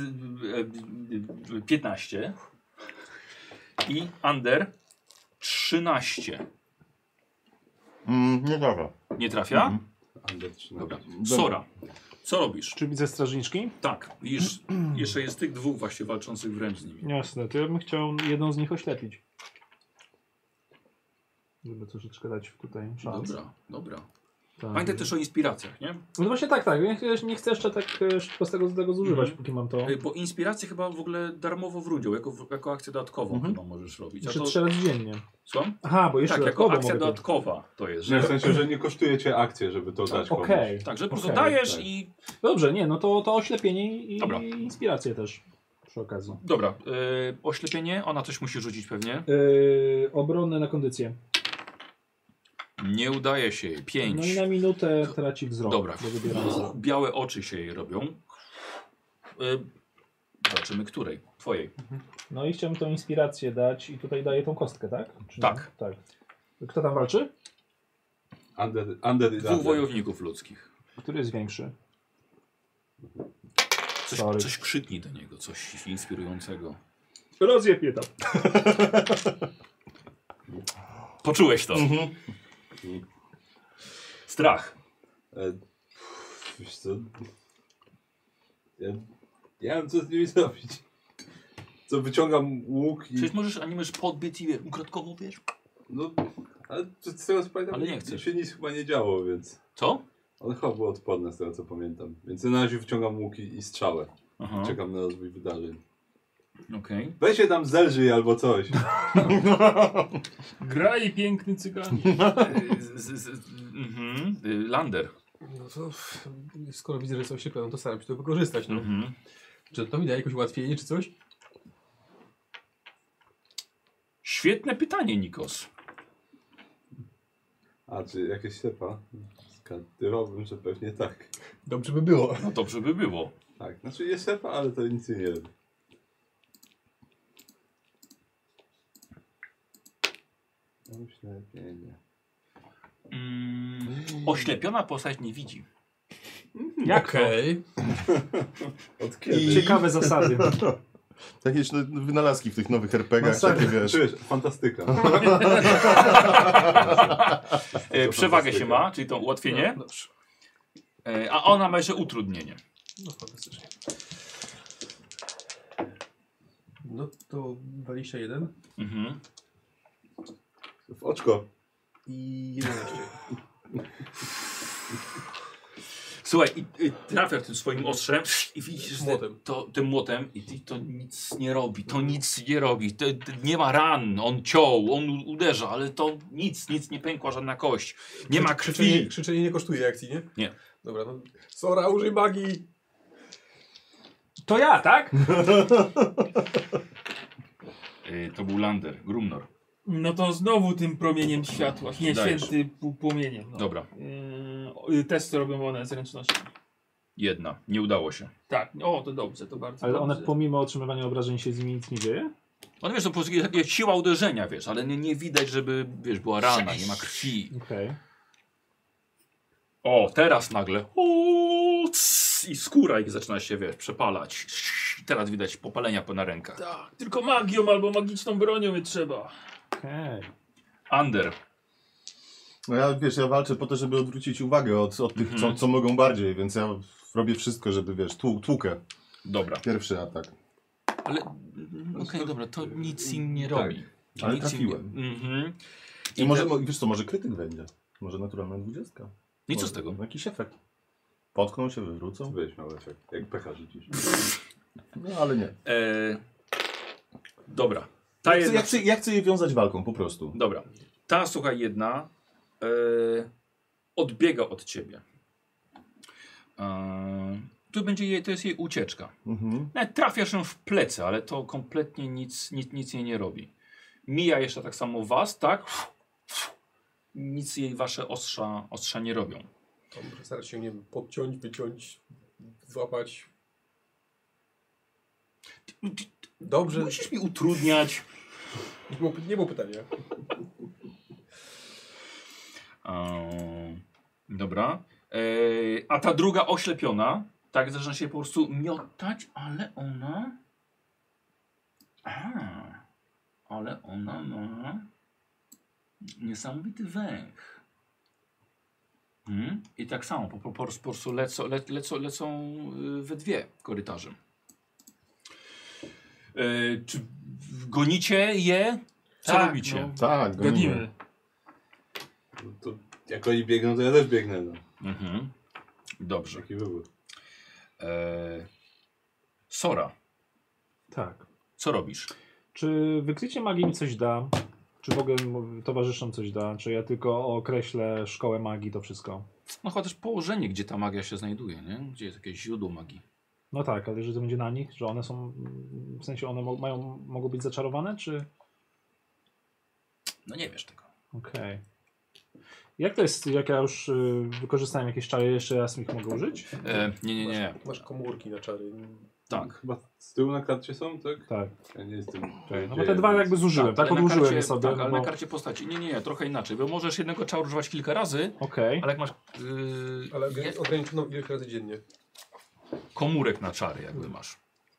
Speaker 1: e, 15. I Under 13.
Speaker 3: Mm, nie trafia.
Speaker 1: Nie trafia?
Speaker 3: Mhm.
Speaker 4: Under 13.
Speaker 1: Dobra. Sora. Co robisz?
Speaker 2: Czy widzę strażniczki?
Speaker 1: Tak, widzisz, jeszcze jest tych dwóch właśnie walczących wręcz z nimi.
Speaker 2: Jasne, to ja bym chciał jedną z nich oślepić. Żeby troszeczkę dać tutaj szans.
Speaker 1: Dobra, dobra.
Speaker 2: Tak.
Speaker 1: Pamiętaj też o inspiracjach, nie?
Speaker 2: No właśnie tak, tak. Nie, nie chcę jeszcze tak e, szybko z tego, z tego zużywać,
Speaker 1: Mhm.
Speaker 2: póki mam to.
Speaker 1: Ej, Bo inspirację chyba w ogóle darmowo w rundziu, jako, jako akcję dodatkową
Speaker 3: Mhm.
Speaker 1: chyba możesz robić. A
Speaker 2: Jeszcze
Speaker 1: to,
Speaker 2: trzy razy dziennie.
Speaker 1: słucham?
Speaker 2: Aha, bo jeszcze
Speaker 1: Tak, jako
Speaker 2: dodatkowo
Speaker 1: akcja
Speaker 2: mogę to-
Speaker 1: dodatkowa to jest.
Speaker 4: Nie,
Speaker 1: Że,
Speaker 4: w sensie, że nie kosztuje cię akcję, żeby to dać komuś.
Speaker 2: Okej.
Speaker 1: tak, że po prostu
Speaker 2: Okej,
Speaker 1: dajesz
Speaker 4: tak.
Speaker 1: i...
Speaker 2: Dobrze, nie, no to, to oślepienie i
Speaker 1: Dobra.
Speaker 2: i inspirację też przy okazji.
Speaker 1: Dobra, yy, oślepienie, ona coś musi rzucić pewnie.
Speaker 2: Yy, obronne na kondycję.
Speaker 1: Nie udaje się jej,
Speaker 2: No
Speaker 1: pięć.
Speaker 2: i na minutę traci wzrok.
Speaker 1: Dobra.
Speaker 2: Bo wybieram wzrok.
Speaker 1: Białe oczy się jej robią. Yy, zobaczymy której, twojej.
Speaker 2: No i chciałem tą inspirację dać i tutaj daję tą kostkę, tak? Czy nie?
Speaker 1: Tak.
Speaker 2: tak. Kto tam walczy?
Speaker 4: Under, under i
Speaker 1: Dwóch
Speaker 4: under.
Speaker 1: wojowników ludzkich.
Speaker 2: Który jest większy? Sorry.
Speaker 1: Coś, coś krzyknij do niego, coś inspirującego.
Speaker 2: Rozjepie tam.
Speaker 1: Poczułeś to.
Speaker 2: Mhm.
Speaker 1: Strach.
Speaker 4: E, Wiesz co? Ja, ja wiem, co z nimi zrobić. Co, wyciągam łuk i...
Speaker 1: Przecież możesz, a nie możesz podbić i wiesz, ukradkowo wiesz.
Speaker 4: No, ale z tego co pamiętam,
Speaker 1: Ale nie chcesz.
Speaker 4: się nic chyba nie działo, więc...
Speaker 1: Co?
Speaker 4: On chyba był odporny z tego co pamiętam. Więc na razie wyciągam łuk i, i strzałę.
Speaker 1: Aha,
Speaker 4: Czekam na rozwój wydarzeń.
Speaker 1: okej.
Speaker 4: Weź się tam zelżyj albo coś.
Speaker 7: Graj piękny cygan.
Speaker 1: Y, Z- z- z- mhm. Y, Lander.
Speaker 6: No to, skoro widzę, że są ślepe, no to staram się to wykorzystać, no.
Speaker 1: Mhm.
Speaker 6: Czy to mi da jakoś ułatwienie, czy coś?
Speaker 1: Świetne pytanie, Nikos.
Speaker 4: A, czy jakieś ślepa? Skadywałbym, że pewnie tak.
Speaker 6: Dobrze by było.
Speaker 1: No dobrze by było.
Speaker 4: Tak, znaczy jest ślepa, ale to nic nie robi. Oślepienie.
Speaker 1: Mm, oślepiona postać nie widzi.
Speaker 2: Jak
Speaker 6: Okej.
Speaker 4: Od
Speaker 2: to? Ciekawe zasady.
Speaker 3: Jakieś no, wynalazki w tych nowych RPGach,
Speaker 4: Masakra.
Speaker 3: takie wiesz.
Speaker 4: Czujesz, fantastyka.
Speaker 1: E, przewagę się
Speaker 4: fantastyka.
Speaker 1: ma, czyli to ułatwienie.
Speaker 8: No, dobrze.
Speaker 1: E, a ona ma jeszcze utrudnienie.
Speaker 8: No fantastycznie. No to 21
Speaker 1: Mhm.
Speaker 4: W oczko.
Speaker 8: i 11.
Speaker 1: Słuchaj, i, i trafiasz tym swoim ostrzem i widzisz, że
Speaker 8: Młotem.
Speaker 1: to, tym młotem i ty, to nic nie robi, to nic nie robi, to, to nie ma ran, on ciął, on u- uderza, ale to nic, nic nie pękła, żadna kość, nie ma
Speaker 8: Krzyczenie,
Speaker 1: krwi.
Speaker 8: krzyczenie nie kosztuje akcji, nie?
Speaker 1: Nie.
Speaker 8: Dobra, no. Sora, użyj magii!
Speaker 2: To ja, tak?
Speaker 1: E, to był Lander, Grumnor,
Speaker 7: No to znowu tym promieniem światła. Nie,
Speaker 1: Dajesz.
Speaker 7: święty pu- płomieniem. No.
Speaker 1: dobra,
Speaker 7: Yy, o, y, testy robią one zręczności.
Speaker 1: jedna, nie udało się.
Speaker 7: Tak, o to dobrze, to bardzo
Speaker 2: Ale
Speaker 7: dobrze.
Speaker 2: one pomimo otrzymywania obrażeń się z nimi nic nie dzieje?
Speaker 1: On wiesz, to po prostu jest taka siła uderzenia, wiesz, ale nie, nie widać, żeby, wiesz, była rana, nie ma krwi.
Speaker 2: Okej.
Speaker 1: O, teraz nagle. O, cs, I skóra ich zaczyna się, wiesz, przepalać. Teraz widać popalenia po na rękach.
Speaker 7: Tak, tylko magią albo magiczną bronią je trzeba.
Speaker 2: Okej.
Speaker 1: Under.
Speaker 3: No ja wiesz, ja walczę po to, żeby odwrócić uwagę od, od tych, co,
Speaker 1: Mhm.
Speaker 3: co mogą bardziej, więc ja robię wszystko, żeby wiesz, tłu, tłukę.
Speaker 1: Dobra.
Speaker 3: Pierwszy atak.
Speaker 1: Ale. mm, Okej, dobra, to nic im nie
Speaker 4: Tak,
Speaker 1: robi.
Speaker 3: ale
Speaker 1: No nic im
Speaker 3: trafiłem.
Speaker 1: Nie... Mhm.
Speaker 3: I,
Speaker 1: I
Speaker 3: może,
Speaker 1: te-
Speaker 3: mo- wiesz co, może krytyk będzie. Może naturalna dwudziestka.
Speaker 1: No i co
Speaker 3: Może
Speaker 1: z tego?
Speaker 3: Jakiś efekt. Potkną się, wywrócą.
Speaker 4: Weź mały efekt, jak pecha rzucisz.
Speaker 3: No ale nie.
Speaker 1: E... Dobra. Ta
Speaker 3: Ja chcę,
Speaker 1: jedna.
Speaker 3: ja, chcę, ja chcę je wiązać walką, po prostu.
Speaker 1: Dobra. Ta słuchaj jedna. E... Odbiega od ciebie. E... Tu będzie jej, to jest jej ucieczka.
Speaker 3: Mhm.
Speaker 1: Nawet trafiasz ją w plecy, ale to kompletnie nic, nic, nic jej nie robi. Mija jeszcze tak samo was, tak? Nic jej wasze ostrza, ostrza nie robią.
Speaker 8: To muszę starać się, nie wiem, podciąć, wyciąć, złapać. Dobrze,
Speaker 1: Musisz mi utrudniać.
Speaker 8: nie było, nie było pytania.
Speaker 1: Eee, dobra. Eee, a ta druga oślepiona, tak, zaczyna się po prostu miotać, ale ona... A, ale ona ma niesamowity węch. Mhm. I tak samo, po, po, po prostu lecą, le, lecą, lecą y, we dwie korytarzem. Eee, czy gonicie je? Co
Speaker 7: Tak,
Speaker 1: robicie?
Speaker 7: no.
Speaker 3: Tak, gonimy.
Speaker 7: Gadimy.
Speaker 4: No To jak oni biegną, to ja też biegnę. No.
Speaker 1: Mhm. Dobrze.
Speaker 4: Taki wybór.
Speaker 1: Eee, Sora,
Speaker 2: Tak.
Speaker 1: co robisz?
Speaker 2: Czy wykrycie magii mi coś da? Czy w ogóle m- towarzyszom coś da? Czy ja tylko określę szkołę magii, to wszystko?
Speaker 1: No chyba też położenie, gdzie ta magia się znajduje, nie? Gdzie jest jakieś źródło magii.
Speaker 2: No tak, ale że to będzie na nich, że one są, w sensie one mo- mają, mogą być zaczarowane, czy...
Speaker 1: No nie wiesz tego.
Speaker 2: Okej. Jak to jest, jak ja już y, wykorzystałem jakieś czary, jeszcze raz ich mogę użyć?
Speaker 1: E, nie, nie, nie.
Speaker 8: Masz, masz komórki na czary.
Speaker 1: Tak.
Speaker 4: Chyba z tyłu na karcie są, tak?
Speaker 2: Tak.
Speaker 4: Ja nie jestem
Speaker 2: No bo te dwa jakby zużyłem, tak?
Speaker 1: ale na
Speaker 2: Odłożyłem je
Speaker 1: karcie-
Speaker 2: sobie.
Speaker 1: Tak,
Speaker 2: no
Speaker 1: ale
Speaker 2: bo...
Speaker 1: na karcie postaci. Nie, nie, nie, trochę inaczej. Bo możesz jednego czaru używać kilka razy,
Speaker 2: Okej.
Speaker 1: ale jak masz yy,
Speaker 8: Ale
Speaker 1: je-
Speaker 8: ograni- ograniczoną ilość razy dziennie.
Speaker 1: komórek na czary jakby masz.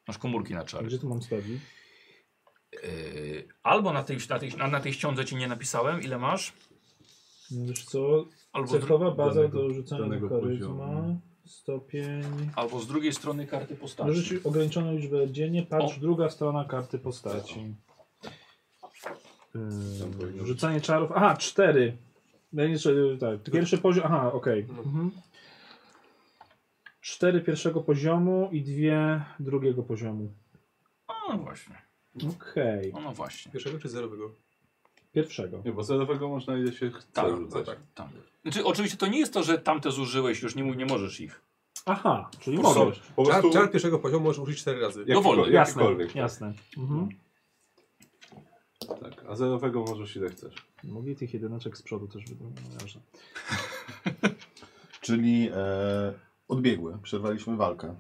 Speaker 1: Masz komórki na czary.
Speaker 2: Gdzie tu mam sprawdzić?
Speaker 1: Yy, albo na tej, na, tej, na, na tej ściądze ci nie napisałem, ile masz.
Speaker 2: No Wiesz co,
Speaker 1: Albo, z dru-
Speaker 2: cechowa baza
Speaker 4: danego-
Speaker 2: do rzucenia na
Speaker 4: danego
Speaker 2: karyzma,
Speaker 4: poziomu.
Speaker 2: stopień...
Speaker 1: albo z drugiej strony karty
Speaker 2: Możesz
Speaker 7: Tak.
Speaker 1: postaci.
Speaker 2: ograniczoną liczbę dziennie, patrz
Speaker 1: O.
Speaker 2: druga strona karty postaci.
Speaker 4: Tam powinno
Speaker 2: Ym,
Speaker 4: być.
Speaker 2: rzucanie czarów. Aha, cztery. Najniższe, y, tak. Pierwszy poziom. Aha, okej.
Speaker 8: No.
Speaker 2: Mhm. Cztery pierwszego poziomu i dwie drugiego poziomu.
Speaker 1: O, no właśnie.
Speaker 2: Okej.
Speaker 1: O, no właśnie.
Speaker 8: Pierwszego czy zerowego?
Speaker 2: Pierwszego.
Speaker 4: Nie, bo zerowego można ile się chce
Speaker 1: Tak,
Speaker 4: rzucać.
Speaker 2: no
Speaker 8: tak.
Speaker 1: Tam. Znaczy, oczywiście to nie jest to, że tamte zużyłeś, już nie, mu- nie możesz ich.
Speaker 2: Aha, czyli
Speaker 4: Po prostu-
Speaker 2: mogę.
Speaker 4: Po
Speaker 8: Czar,
Speaker 4: prostu
Speaker 8: czar pierwszego poziomu możesz użyć cztery razy.
Speaker 1: Dowolny,
Speaker 4: jakikolwiek.
Speaker 2: Jasne,
Speaker 4: jakikolwiek.
Speaker 2: jasne. Mhm.
Speaker 4: Tak. A zerowego możesz ile chcesz.
Speaker 2: Mogli tych jedyneczek z przodu też no wydać.
Speaker 3: Czyli e, odbiegły, przerwaliśmy walkę.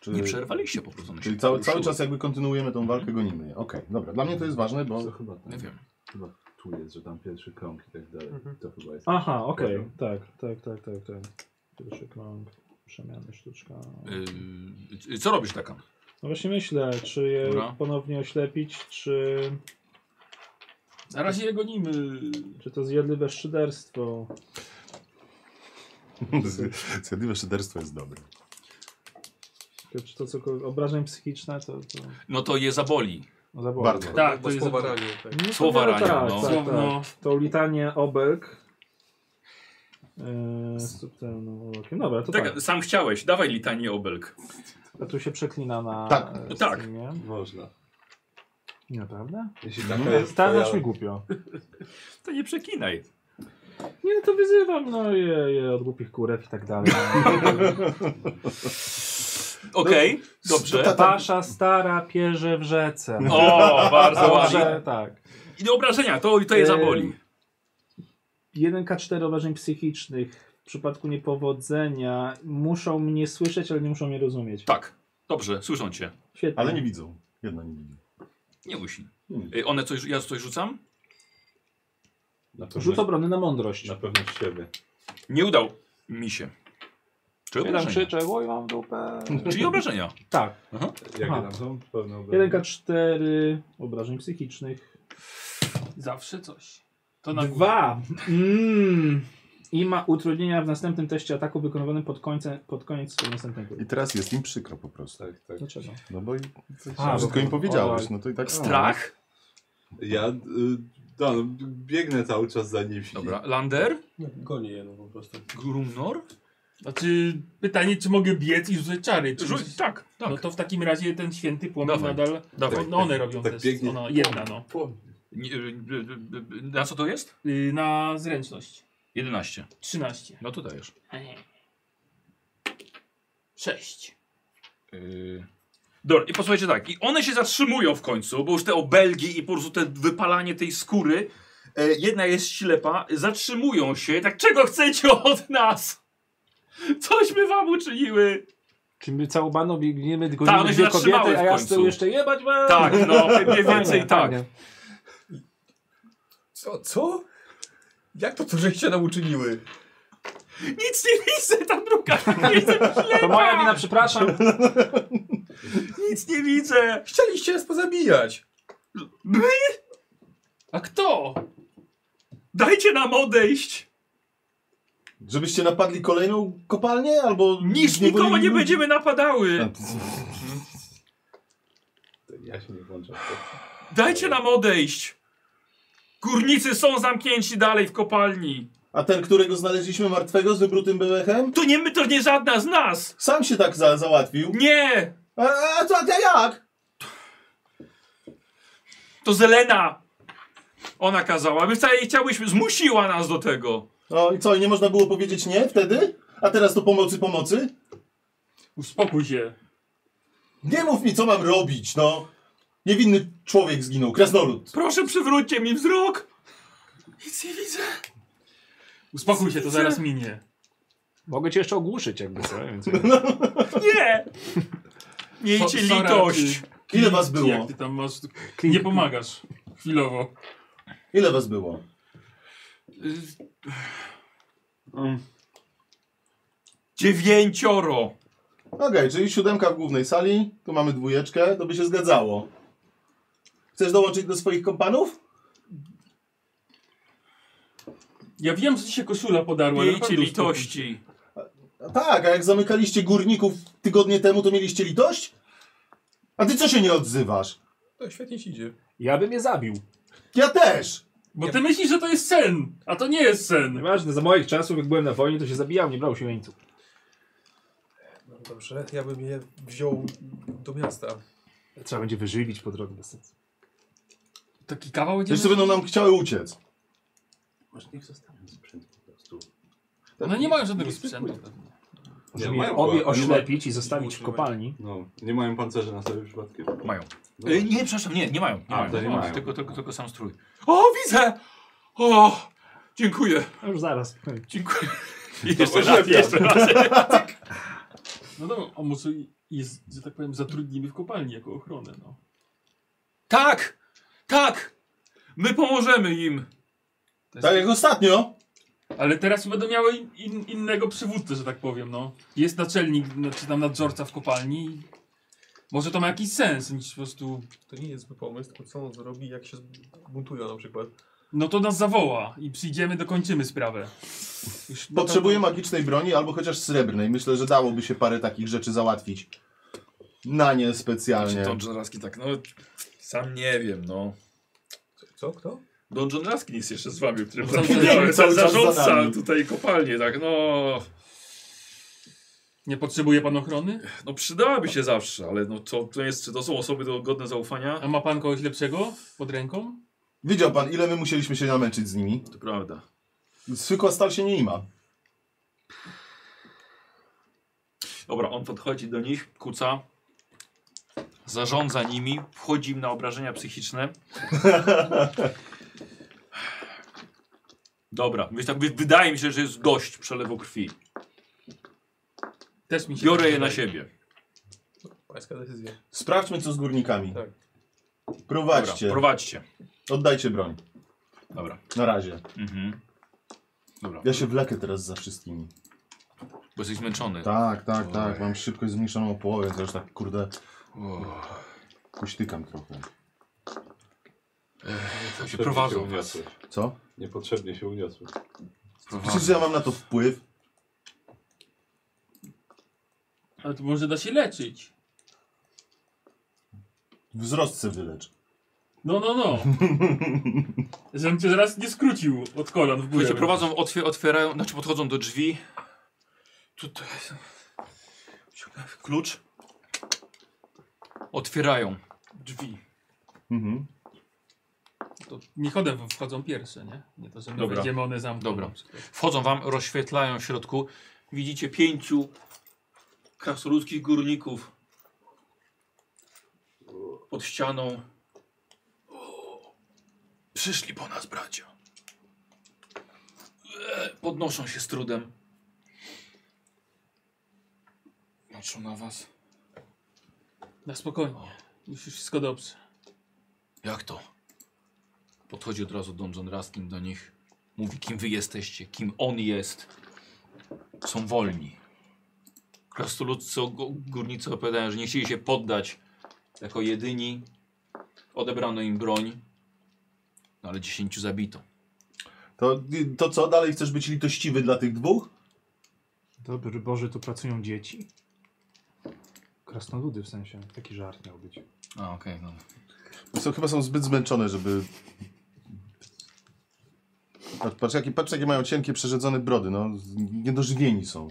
Speaker 3: Czy,
Speaker 1: Nie przerwaliście po prostu. one się
Speaker 3: Czyli cały, cały
Speaker 1: poruszyły.
Speaker 3: czas jakby kontynuujemy tą walkę, gonimy je. Okej, dobra. Dla mnie to jest ważne, bo...
Speaker 4: To chyba tam,
Speaker 1: No, Nie wiem.
Speaker 4: Chyba tu jest, że tam pierwszy krąg i tak dalej.
Speaker 8: Mhm.
Speaker 4: To chyba jest.
Speaker 2: Aha, okej. Tak, tak, tak, tak, tak. Pierwszy krąg. Przemiany sztuczka.
Speaker 1: Yy, Y, co robisz taka?
Speaker 2: No właśnie myślę, czy je
Speaker 1: Dobra.
Speaker 2: ponownie oślepić, czy,
Speaker 7: Na razie je gonimy.
Speaker 2: czy to zjedli bezszyderstwo.
Speaker 3: Zjadliwe szyderstwo jest dobre.
Speaker 2: Czy- Czy to co obrażeń psychiczne, to, to
Speaker 1: No to je zaboli.
Speaker 2: no, zaboli.
Speaker 3: Bardzo.
Speaker 7: Tak, to
Speaker 6: Bo
Speaker 7: jest...
Speaker 6: słowa ranią, tak.
Speaker 2: No to
Speaker 1: Słowa
Speaker 2: wiele-
Speaker 1: ranią,
Speaker 2: tak,
Speaker 1: no.
Speaker 2: tak,
Speaker 7: Słowno.
Speaker 2: tak. To litanie obelg. Yy, z subtelnym urokiem. Dobra, to tak.
Speaker 1: Tak, sam chciałeś, dawaj litanie obelg.
Speaker 2: A tu się przeklina na
Speaker 3: Tak.
Speaker 2: e,
Speaker 1: Tak.
Speaker 2: streamie.
Speaker 4: Można.
Speaker 2: Naprawdę?
Speaker 4: Jeśli
Speaker 1: No,
Speaker 4: taka jest
Speaker 2: Starasz
Speaker 4: twoja-
Speaker 2: mi głupio.
Speaker 1: To nie przekinaj.
Speaker 2: Nie, no to wyzywam, no je, je od głupich kurek i tak dalej. No,
Speaker 1: Okej,
Speaker 3: Ta-
Speaker 1: dobrze.
Speaker 3: ta-
Speaker 2: Pasza stara pierze w rzece.
Speaker 1: O, bardzo ładnie.
Speaker 2: Dobrze, Y- tak.
Speaker 1: I do obrażenia, to, to je
Speaker 2: Ym,
Speaker 1: zaboli.
Speaker 2: 1K4 obrażeń psychicznych. W przypadku niepowodzenia muszą mnie słyszeć, ale nie muszą mnie rozumieć.
Speaker 1: Tak, dobrze, słyszą cię.
Speaker 2: Świetnie.
Speaker 3: Ale nie widzą. Jedna nie widzi.
Speaker 1: Nie musi.
Speaker 4: Hmm.
Speaker 1: Y, One coś, ja coś rzucam?
Speaker 4: Na pewno,
Speaker 2: Rzut obrony na mądrość.
Speaker 4: na pewno z siebie.
Speaker 1: Nie udał mi się. Czy
Speaker 2: Ja tam
Speaker 1: obrażenia?
Speaker 2: krzyczę, oj mam dupę.
Speaker 1: Czyli obrażenia.
Speaker 2: Tak.
Speaker 4: Jakie
Speaker 2: Aha.
Speaker 4: tam są? Pewno
Speaker 2: 1K4 obrażeń psychicznych.
Speaker 7: Zawsze coś. To na górze.
Speaker 2: Dwa. Mm. I ma utrudnienia w następnym teście ataku wykonywanym pod, końce, pod koniec swojej następnej tury.
Speaker 3: I teraz jest im przykro po prostu.
Speaker 4: Tak, tak.
Speaker 2: Dlaczego?
Speaker 3: No bo i,
Speaker 2: A,
Speaker 3: wszystko im
Speaker 2: bo-
Speaker 3: powiedziałeś.
Speaker 2: o,
Speaker 3: No to i tak.
Speaker 1: Strach.
Speaker 4: Ja y, da, no, biegnę cały czas za nim.
Speaker 1: Dobra, Lander,
Speaker 6: No, Gonię je no po prostu.
Speaker 1: Grumnor.
Speaker 7: Znaczy, pytanie, czy mogę biec i rzucać czary? Czy
Speaker 1: Rzuć, tak, tak.
Speaker 7: No to w takim razie ten święty płomień
Speaker 1: Dawaj.
Speaker 7: nadal.
Speaker 1: Dawaj.
Speaker 7: No one robią
Speaker 4: Tak
Speaker 7: test.
Speaker 4: biegnie.
Speaker 7: Ona, jedna, no.
Speaker 1: Nie, y, y, y, Na co to jest?
Speaker 7: Y, na zręczność.
Speaker 1: 11.
Speaker 7: 13.
Speaker 1: No to dajesz.
Speaker 7: 6.
Speaker 1: Dobra, Yy, i posłuchajcie tak, i one się zatrzymują w końcu, bo już te obelgi i po prostu te wypalanie tej skóry, e, jedna jest ślepa, zatrzymują się, tak czego chcecie od nas? Cośmy wam uczyniły?
Speaker 2: Czy my całubano biegniemy, tylko
Speaker 1: Tak,
Speaker 2: Ta,
Speaker 1: one się
Speaker 2: dwie
Speaker 1: zatrzymały
Speaker 2: kobiety,
Speaker 1: w
Speaker 2: a ja
Speaker 1: końcu.
Speaker 2: z tyłu jeszcze jebać będę.
Speaker 1: Tak, no, mniej więcej
Speaker 2: Fajnie,
Speaker 1: tak.
Speaker 2: fajnie.
Speaker 6: Co? Co? Jak to to, żeście nam uczyniły?
Speaker 1: Nic nie widzę, ta druga nie widzę,
Speaker 2: To moja wina, przepraszam.
Speaker 1: nic nie widzę.
Speaker 6: Chcieliście nas pozabijać.
Speaker 7: A kto?
Speaker 1: Dajcie nam odejść.
Speaker 3: Żebyście napadli kolejną kopalnię albo.
Speaker 1: Niż
Speaker 3: zniewolili
Speaker 1: nikogo nie
Speaker 3: ludzi?
Speaker 1: będziemy
Speaker 3: Tak.
Speaker 1: napadały.
Speaker 4: Ja się nie włączam.
Speaker 1: Dajcie nam odejść. Górnicy są zamknięci dalej w kopalni.
Speaker 3: A ten, którego znaleźliśmy martwego z wybrutym bełechem?
Speaker 1: To nie my, to nie żadna z nas.
Speaker 3: Sam się tak za załatwił.
Speaker 1: Nie,
Speaker 3: A, a, co, a jak?
Speaker 1: to Zelena. Ona kazała, my wcale nie chciałyśmy, zmusiła nas do tego.
Speaker 3: No i co, i nie można było powiedzieć nie wtedy? A teraz to pomocy, pomocy?
Speaker 7: Uspokój się.
Speaker 3: Nie mów mi, co mam robić, no. Niewinny człowiek zginął, krasnolud.
Speaker 1: Proszę przywróćcie mi wzrok. Nic nie widzę.
Speaker 7: Uspokój się, to zaraz minie.
Speaker 2: Mogę cię jeszcze ogłuszyć jakby co, więc...
Speaker 1: Nie. Miejcie
Speaker 7: So- sorry,
Speaker 1: litość.
Speaker 3: Ile was
Speaker 7: Ty, jak
Speaker 3: było?
Speaker 7: ty tam masz. Nie pomagasz. Chwilowo.
Speaker 3: Ile was było?
Speaker 1: Dziewięcioro.
Speaker 3: Okej, czyli siódemka w głównej sali, tu mamy dwójeczkę, to by się zgadzało. Chcesz dołączyć do swoich kompanów?
Speaker 7: Ja wiem, że ci się koszula podarła. na
Speaker 1: Miejcie
Speaker 7: pewno
Speaker 1: litości.
Speaker 3: A Tak, a jak zamykaliście górników tygodnie temu, to mieliście litość? A ty co się nie odzywasz?
Speaker 6: To świetnie ci idzie.
Speaker 2: Ja bym je zabił.
Speaker 3: Ja też!
Speaker 7: Bo ty myślisz, że to jest sen, a to nie jest sen.
Speaker 2: Nieważne, za moich czasów jak byłem na wojnie, to się zabijał, nie brał się jeńców.
Speaker 6: No dobrze, ja bym je wziął do miasta.
Speaker 2: Trzeba będzie wyżywić po drodze bez sensu.
Speaker 7: Taki kawał będzie.
Speaker 1: no-
Speaker 3: Jeszcze będą nam chciały uciec.
Speaker 4: Może niech zostawiam sprzęt po prostu.
Speaker 7: No nie mają żadnego sprzętu.
Speaker 4: Nie,
Speaker 2: Żeby je
Speaker 4: mają
Speaker 2: obie
Speaker 4: była- nie
Speaker 2: oślepić i zostawić w
Speaker 6: utrzymać.
Speaker 2: kopalni.
Speaker 4: No, nie mają pancerza na sobie przypadkiem?
Speaker 1: Mają.
Speaker 4: No,
Speaker 1: Y, nie, przepraszam, nie, nie mają. Nie
Speaker 4: A,
Speaker 1: mają.
Speaker 4: to nie mają.
Speaker 1: Tylko, tylko, tylko sam strój. O, widzę! O, dziękuję,
Speaker 2: A Już zaraz.
Speaker 1: dziękuję. I jeszcze raz,
Speaker 4: oślepia.
Speaker 1: jeszcze raz.
Speaker 7: No dobra, a może jest, że tak powiem, zatrudnimy w kopalni jako ochronę, no.
Speaker 1: Tak, tak. My pomożemy im.
Speaker 7: To jest-
Speaker 3: Tak jak ostatnio.
Speaker 7: Ale teraz będą miały in, in, innego przywódcę, że tak powiem, no. Jest naczelnik, no, czy tam nadzorca w kopalni. Może to ma jakiś sens, niż po prostu...
Speaker 6: To nie jest zły pomysł, tylko co on zrobi, jak się buntują na przykład.
Speaker 7: No to nas zawoła i przyjdziemy, dokończymy sprawę. Już na
Speaker 3: Potrzebuję
Speaker 7: pewno-
Speaker 3: magicznej broni albo chociaż srebrnej. Myślę, że dałoby się parę takich rzeczy załatwić. Na nie specjalnie.
Speaker 1: Don John tak, no sam nie wiem, no.
Speaker 6: Co? Kto?
Speaker 1: Don John Raskin jest jeszcze z wami, o którym
Speaker 7: Cały
Speaker 1: zapomniałem,
Speaker 3: czas za
Speaker 1: No cały zarządca
Speaker 3: nami.
Speaker 1: tutaj kopalnie, tak, no.
Speaker 7: Nie potrzebuje pan ochrony?
Speaker 1: No przydałaby się zawsze, ale no to, to jest, czy to są osoby do- godne
Speaker 7: A
Speaker 1: zaufania?
Speaker 7: ma pan kogoś lepszego pod ręką?
Speaker 3: Widział pan, ile my musieliśmy się namęczyć z nimi?
Speaker 1: To prawda.
Speaker 3: Zwykła stal się nie ima.
Speaker 1: Dobra, on podchodzi do nich, kuca, zarządza nimi, wchodzi im na obrażenia psychiczne. Dobra, wiesz, tak, wy- wydaje mi się, że jest gość przelewu krwi.
Speaker 7: Też mi się
Speaker 1: Biorę
Speaker 7: tak
Speaker 1: je na
Speaker 7: wydaje.
Speaker 1: siebie.
Speaker 6: Pańska decyzja.
Speaker 3: Sprawdźmy, co z górnikami.
Speaker 6: Tak.
Speaker 1: Dobra,
Speaker 3: Prowadźcie.
Speaker 1: prowadźcie.
Speaker 3: Oddajcie broń.
Speaker 1: Dobra.
Speaker 3: Na razie.
Speaker 1: Mhm. Dobra,
Speaker 3: Ja się wlekę teraz za wszystkimi.
Speaker 1: bo jesteś zmęczony.
Speaker 3: Tak, tak, tak. Mam szybkość zmniejszoną o połowę, to już tak kurde
Speaker 1: O,
Speaker 3: kuśtykam trochę.
Speaker 1: tam się
Speaker 4: Niepotrzebnie się
Speaker 1: prowadzą. was.
Speaker 4: uniosłeś.
Speaker 3: Co?
Speaker 4: Niepotrzebnie się uniosłeś.
Speaker 3: Przecież ja mam na to wpływ.
Speaker 7: Ale to może da się leczyć.
Speaker 3: Wzrost se wylecz.
Speaker 7: No, no, no. Żebym cię zaraz nie skrócił od kolan w górę.
Speaker 1: Słuchajcie, prowadzą, otwier otwierają, znaczy podchodzą do drzwi. Tutaj. Klucz. Otwierają drzwi.
Speaker 3: Mhm.
Speaker 7: To nie chodem wchodzą pierwsze, nie? Nie to, że my
Speaker 1: Dobra.
Speaker 7: wejdziemy, one zamkną.
Speaker 1: Dobra. Wchodzą wam, rozświetlają w środku. Widzicie pięciu krasoludzkich górników. Pod ścianą. Przyszli po nas, bracia. E, Podnoszą się z trudem. Patrzą na was.
Speaker 7: Na spokojnie. Już już wszystko dobrze.
Speaker 1: Jak to? Podchodzi od razu Don John Raskin do nich. Mówi, kim wy jesteście, kim on jest. Są wolni. Krastoludcy, go- górnicy opowiadają, że nie chcieli się poddać jako jedyni. Odebrano im broń, no ale dziesięciu zabito.
Speaker 3: To, to co, dalej chcesz być litościwy dla tych dwóch?
Speaker 2: Dobry Boże, tu pracują dzieci? Krasnoludy w sensie, taki żart miał być.
Speaker 1: A, okej, no.
Speaker 3: Są, chyba są zbyt zmęczone, żeby... Patrz, patrz, jakie, patrz jakie mają cienkie, przerzedzone brody, no. z- Niedożywieni są.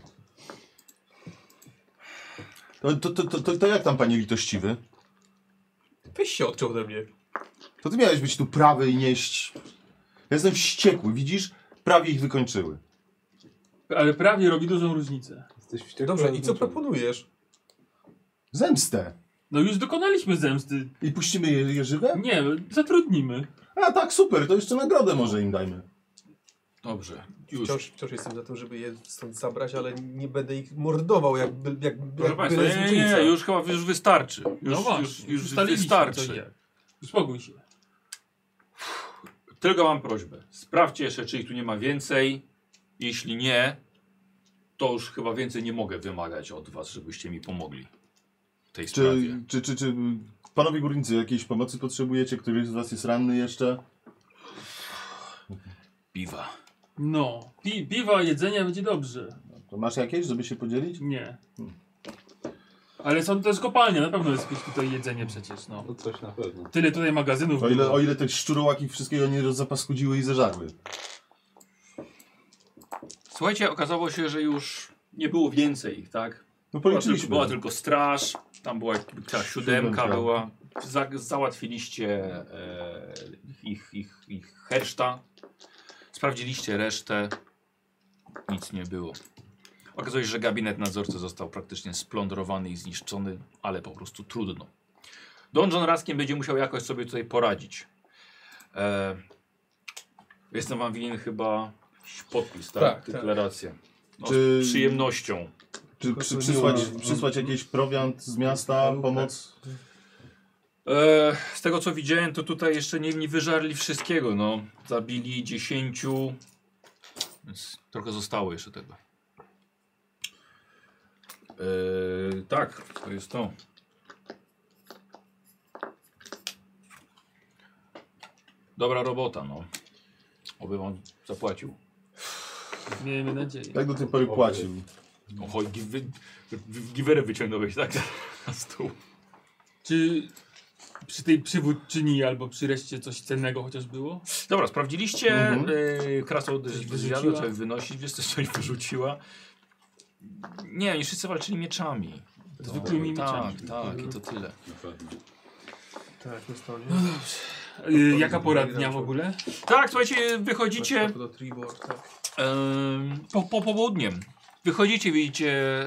Speaker 3: To, to, to, to, to, to jak tam, panie litościwy?
Speaker 6: Weź się odciął ode mnie.
Speaker 3: To ty miałeś być tu prawy i nieść... Ja jestem wściekły, widzisz? Prawie ich wykończyły.
Speaker 7: Ale prawie robi dużą różnicę.
Speaker 4: Jesteś wściekły,
Speaker 6: Dobrze,
Speaker 4: ale
Speaker 6: i co
Speaker 4: zmęczony.
Speaker 6: proponujesz?
Speaker 3: Zemstę!
Speaker 7: No już dokonaliśmy zemsty.
Speaker 3: I puścimy je, je żywe?
Speaker 7: Nie, zatrudnimy.
Speaker 3: A tak, super, to jeszcze nagrodę może im dajmy.
Speaker 1: Dobrze, już.
Speaker 6: Wciąż, wciąż jestem za tym, żeby je stąd zabrać, ale nie będę ich mordował jak, by- jak,
Speaker 1: Proszę
Speaker 6: jak
Speaker 1: Państwa,
Speaker 6: byle
Speaker 1: nie, nie,
Speaker 6: złoczyńca.
Speaker 1: nie, już chyba już wystarczy. Już,
Speaker 7: no właśnie,
Speaker 1: już, już
Speaker 7: ustaliliśmy co i
Speaker 1: wystarczy.
Speaker 7: jak. Uspokój się.
Speaker 1: Tylko mam prośbę. Sprawdźcie jeszcze, czy ich tu nie ma więcej. Jeśli nie, to już chyba więcej nie mogę wymagać od was, żebyście mi pomogli w tej sprawie.
Speaker 3: Czy, czy, czy, czy panowie górnicy jakiejś pomocy potrzebujecie? Któryś z was jest ranny jeszcze?
Speaker 1: Piwa.
Speaker 7: No, pi piwa, jedzenia będzie dobrze.
Speaker 3: To masz jakieś, żeby się podzielić?
Speaker 7: Nie.
Speaker 1: Hmm.
Speaker 7: Ale są to jest kopalnia, na pewno jest jakieś tutaj jedzenie przecież, no.
Speaker 4: No coś na pewno.
Speaker 7: Tyle tutaj magazynów
Speaker 3: O ile,
Speaker 7: było.
Speaker 3: o ile te szczurołaki wszystkiego nie zapaskudziły i zeżarły.
Speaker 1: Słuchajcie, okazało się, że już nie było więcej ich, tak?
Speaker 3: No
Speaker 1: Była tylko,
Speaker 3: policzyliśmy.
Speaker 1: była tylko straż, tam była ta siódemka
Speaker 3: Siódemka.
Speaker 1: była. Za, załatwiliście e, ich, ich, ich herszta. Sprawdziliście resztę. Nic nie było. Okazuje się, że gabinet nadzorcy został praktycznie splądrowany i zniszczony, ale po prostu trudno. Don John Raskin będzie musiał jakoś sobie tutaj poradzić. E, jestem wam winien chyba jakiś podpis, tak?
Speaker 6: Tak, tak.
Speaker 1: Deklarację. No,
Speaker 3: Czy-
Speaker 1: Z przyjemnością.
Speaker 3: Czy przy, przysłać, przysłać jakiś prowiant z miasta, pomoc?
Speaker 1: E, z tego co widziałem, to tutaj jeszcze nie, nie wyżarli wszystkiego. No. Zabili 10. Więc trochę zostało jeszcze tego. E, tak, to jest to. Dobra robota, no. Oby wam zapłacił.
Speaker 7: Miejmy nadzieję.
Speaker 3: Jak Tak do tej pory płacił.
Speaker 1: Oj, giwy, w- giwerę No, wyciągnąłeś, tak? Na stół.
Speaker 7: Czy przy tej przywódczyni albo przy reszcie coś cennego chociaż było?
Speaker 1: Dobra, sprawdziliście.
Speaker 3: Mhm.
Speaker 1: Yy, krasa od-
Speaker 7: Coś
Speaker 1: zjadła,
Speaker 7: wyrzuciła?
Speaker 1: coś wynosić, wiesz, coś coś wyrzuciła. Nie, oni wszyscy walczyli mieczami.
Speaker 7: Zwykłymi
Speaker 1: tak,
Speaker 7: mieczami.
Speaker 1: Tak, i to tyle.
Speaker 8: Tak, na stronie.
Speaker 7: Yy, jaka pora dnia w ogóle?
Speaker 1: Tak, słuchajcie, wychodzicie
Speaker 8: Do Tribor, tak.
Speaker 1: em, po, po południem. Wychodzicie, widzicie...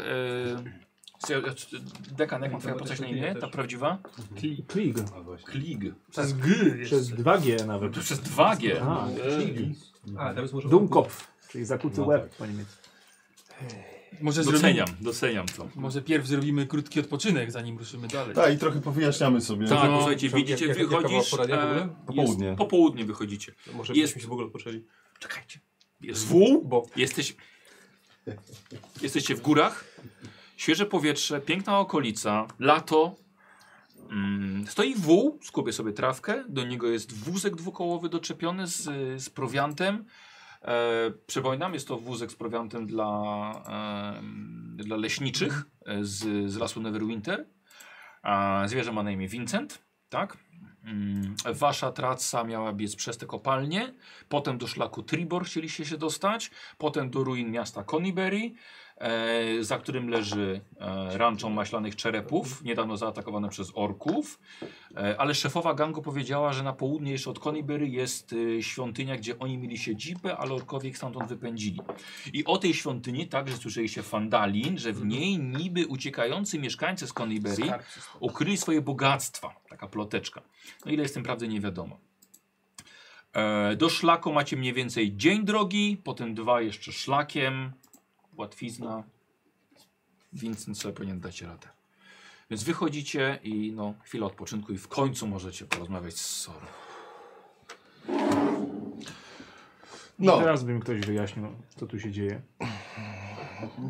Speaker 1: em, co ja- czy- Dekan, jak ma twoja postać na imię? Ta prawdziwa?
Speaker 2: Klig.
Speaker 4: A właśnie.
Speaker 1: Klig.
Speaker 7: Tak. Przez G
Speaker 2: Przez
Speaker 7: jeszcze.
Speaker 2: 2G nawet.
Speaker 1: To przez 2G.
Speaker 2: A,
Speaker 7: Eee,
Speaker 6: A, teraz może...
Speaker 2: Dummkopf, czyli zakuty
Speaker 4: No
Speaker 2: łeb
Speaker 4: tak.
Speaker 2: po niemiecku.
Speaker 7: Może zrobimy,
Speaker 1: Doceniam, doceniam to.
Speaker 7: może pierw zrobimy krótki odpoczynek, zanim ruszymy dalej.
Speaker 3: Tak, i trochę powyjaśniamy sobie.
Speaker 1: Tak,
Speaker 7: No,
Speaker 1: słuchajcie,
Speaker 6: czemu-
Speaker 1: widzicie,
Speaker 6: jak- jak- jaka była
Speaker 1: wychodzisz...
Speaker 6: pora dnia w
Speaker 1: e,
Speaker 6: ogóle?
Speaker 1: jest-
Speaker 3: Popołudnie.
Speaker 1: Popołudnie wychodzicie.
Speaker 8: To Może
Speaker 1: Jest-
Speaker 8: byśmy się w ogóle poczęli.
Speaker 1: Czekajcie. Jest wół?
Speaker 8: Bo
Speaker 1: Jesteś... Jesteście w górach. Świeże powietrze, piękna okolica, lato. Mm, stoi wół, skupię sobie trawkę. Do niego jest wózek dwukołowy doczepiony z, y, z prowiantem. E, przypominam, jest to wózek z prowiantem dla, em, dla leśniczych e, z, z lasu Neverwinter. A zwierzę ma na imię Vincent, tak? Mm, wasza traca miała biec przez te kopalnie, potem do szlaku Tribor chcieliście się dostać, potem do ruin miasta Conyberry, e, za którym leży e, ranczą maślanych czerepów, niedawno zaatakowane przez orków. E, ale szefowa gangu powiedziała, że na południe jeszcze od Conyberry jest e, świątynia, gdzie oni mieli siedzibę, ale orkowie ich stamtąd wypędzili. I o tej świątyni także słyszeliście fandalin, że w niej niby uciekający mieszkańcy z Conyberry ukryli swoje bogactwa. Taka ploteczka. No ile jest tym prawdy, nie wiadomo. E, do szlaku macie mniej więcej dzień drogi, potem dwa jeszcze szlakiem, łatwizna, więc nic sobie powinien dać radę. Więc wychodzicie i no, chwilę odpoczynku i w końcu możecie porozmawiać z Sorą.
Speaker 3: No,
Speaker 2: Teraz bym ktoś wyjaśnił, co tu się dzieje.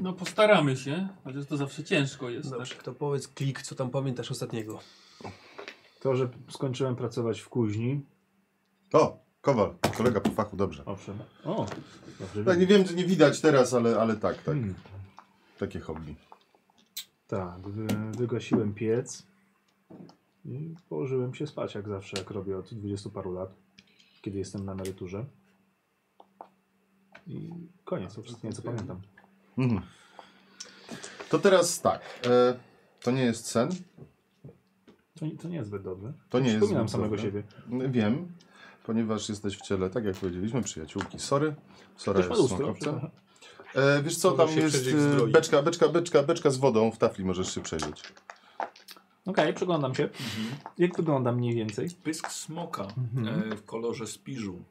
Speaker 7: No postaramy się, chociaż to zawsze ciężko jest. tak?
Speaker 8: Dobrze, to powiedz klik, co tam pamiętasz ostatniego.
Speaker 2: To, że skończyłem pracować w kuźni.
Speaker 3: o, Kowal, kolega po fachu, dobrze.
Speaker 2: Owszem. O, dobrze.
Speaker 3: Tak, nie
Speaker 2: widzę.
Speaker 3: wiem, że nie widać teraz, ale, ale tak, tak.
Speaker 2: Hmm,
Speaker 3: Takie hobby.
Speaker 2: tak, wy, wygasiłem piec i położyłem się spać, jak zawsze, jak robię od 20 paru lat, kiedy jestem na emeryturze. I koniec, to wszystko, co pamiętam.
Speaker 3: Mhm. To teraz tak. E, to nie jest sen.
Speaker 2: To, nie- to nie jest zbyt dobre.
Speaker 3: To nie jest
Speaker 2: Wspominam
Speaker 3: zbyt
Speaker 2: samego
Speaker 3: dobre.
Speaker 2: siebie.
Speaker 3: Wiem, ponieważ jesteś w ciele, tak jak powiedzieliśmy, przyjaciółki. Sorry. Sorry,
Speaker 2: Ktoś ma
Speaker 3: jest
Speaker 2: lustro.
Speaker 3: smokowcem. E, wiesz co,
Speaker 8: Możesz
Speaker 3: tam
Speaker 8: się
Speaker 3: jest
Speaker 8: przejrzeć w
Speaker 3: e,
Speaker 8: zdroi.
Speaker 3: beczka, beczka, beczka, beczka z wodą w tafli możesz się przejrzeć.
Speaker 2: Okej, przeglądam się.
Speaker 3: Mhm.
Speaker 2: Jak wygląda mniej więcej?
Speaker 1: Pysk smoka
Speaker 2: Mhm.
Speaker 1: e, w kolorze spiżu,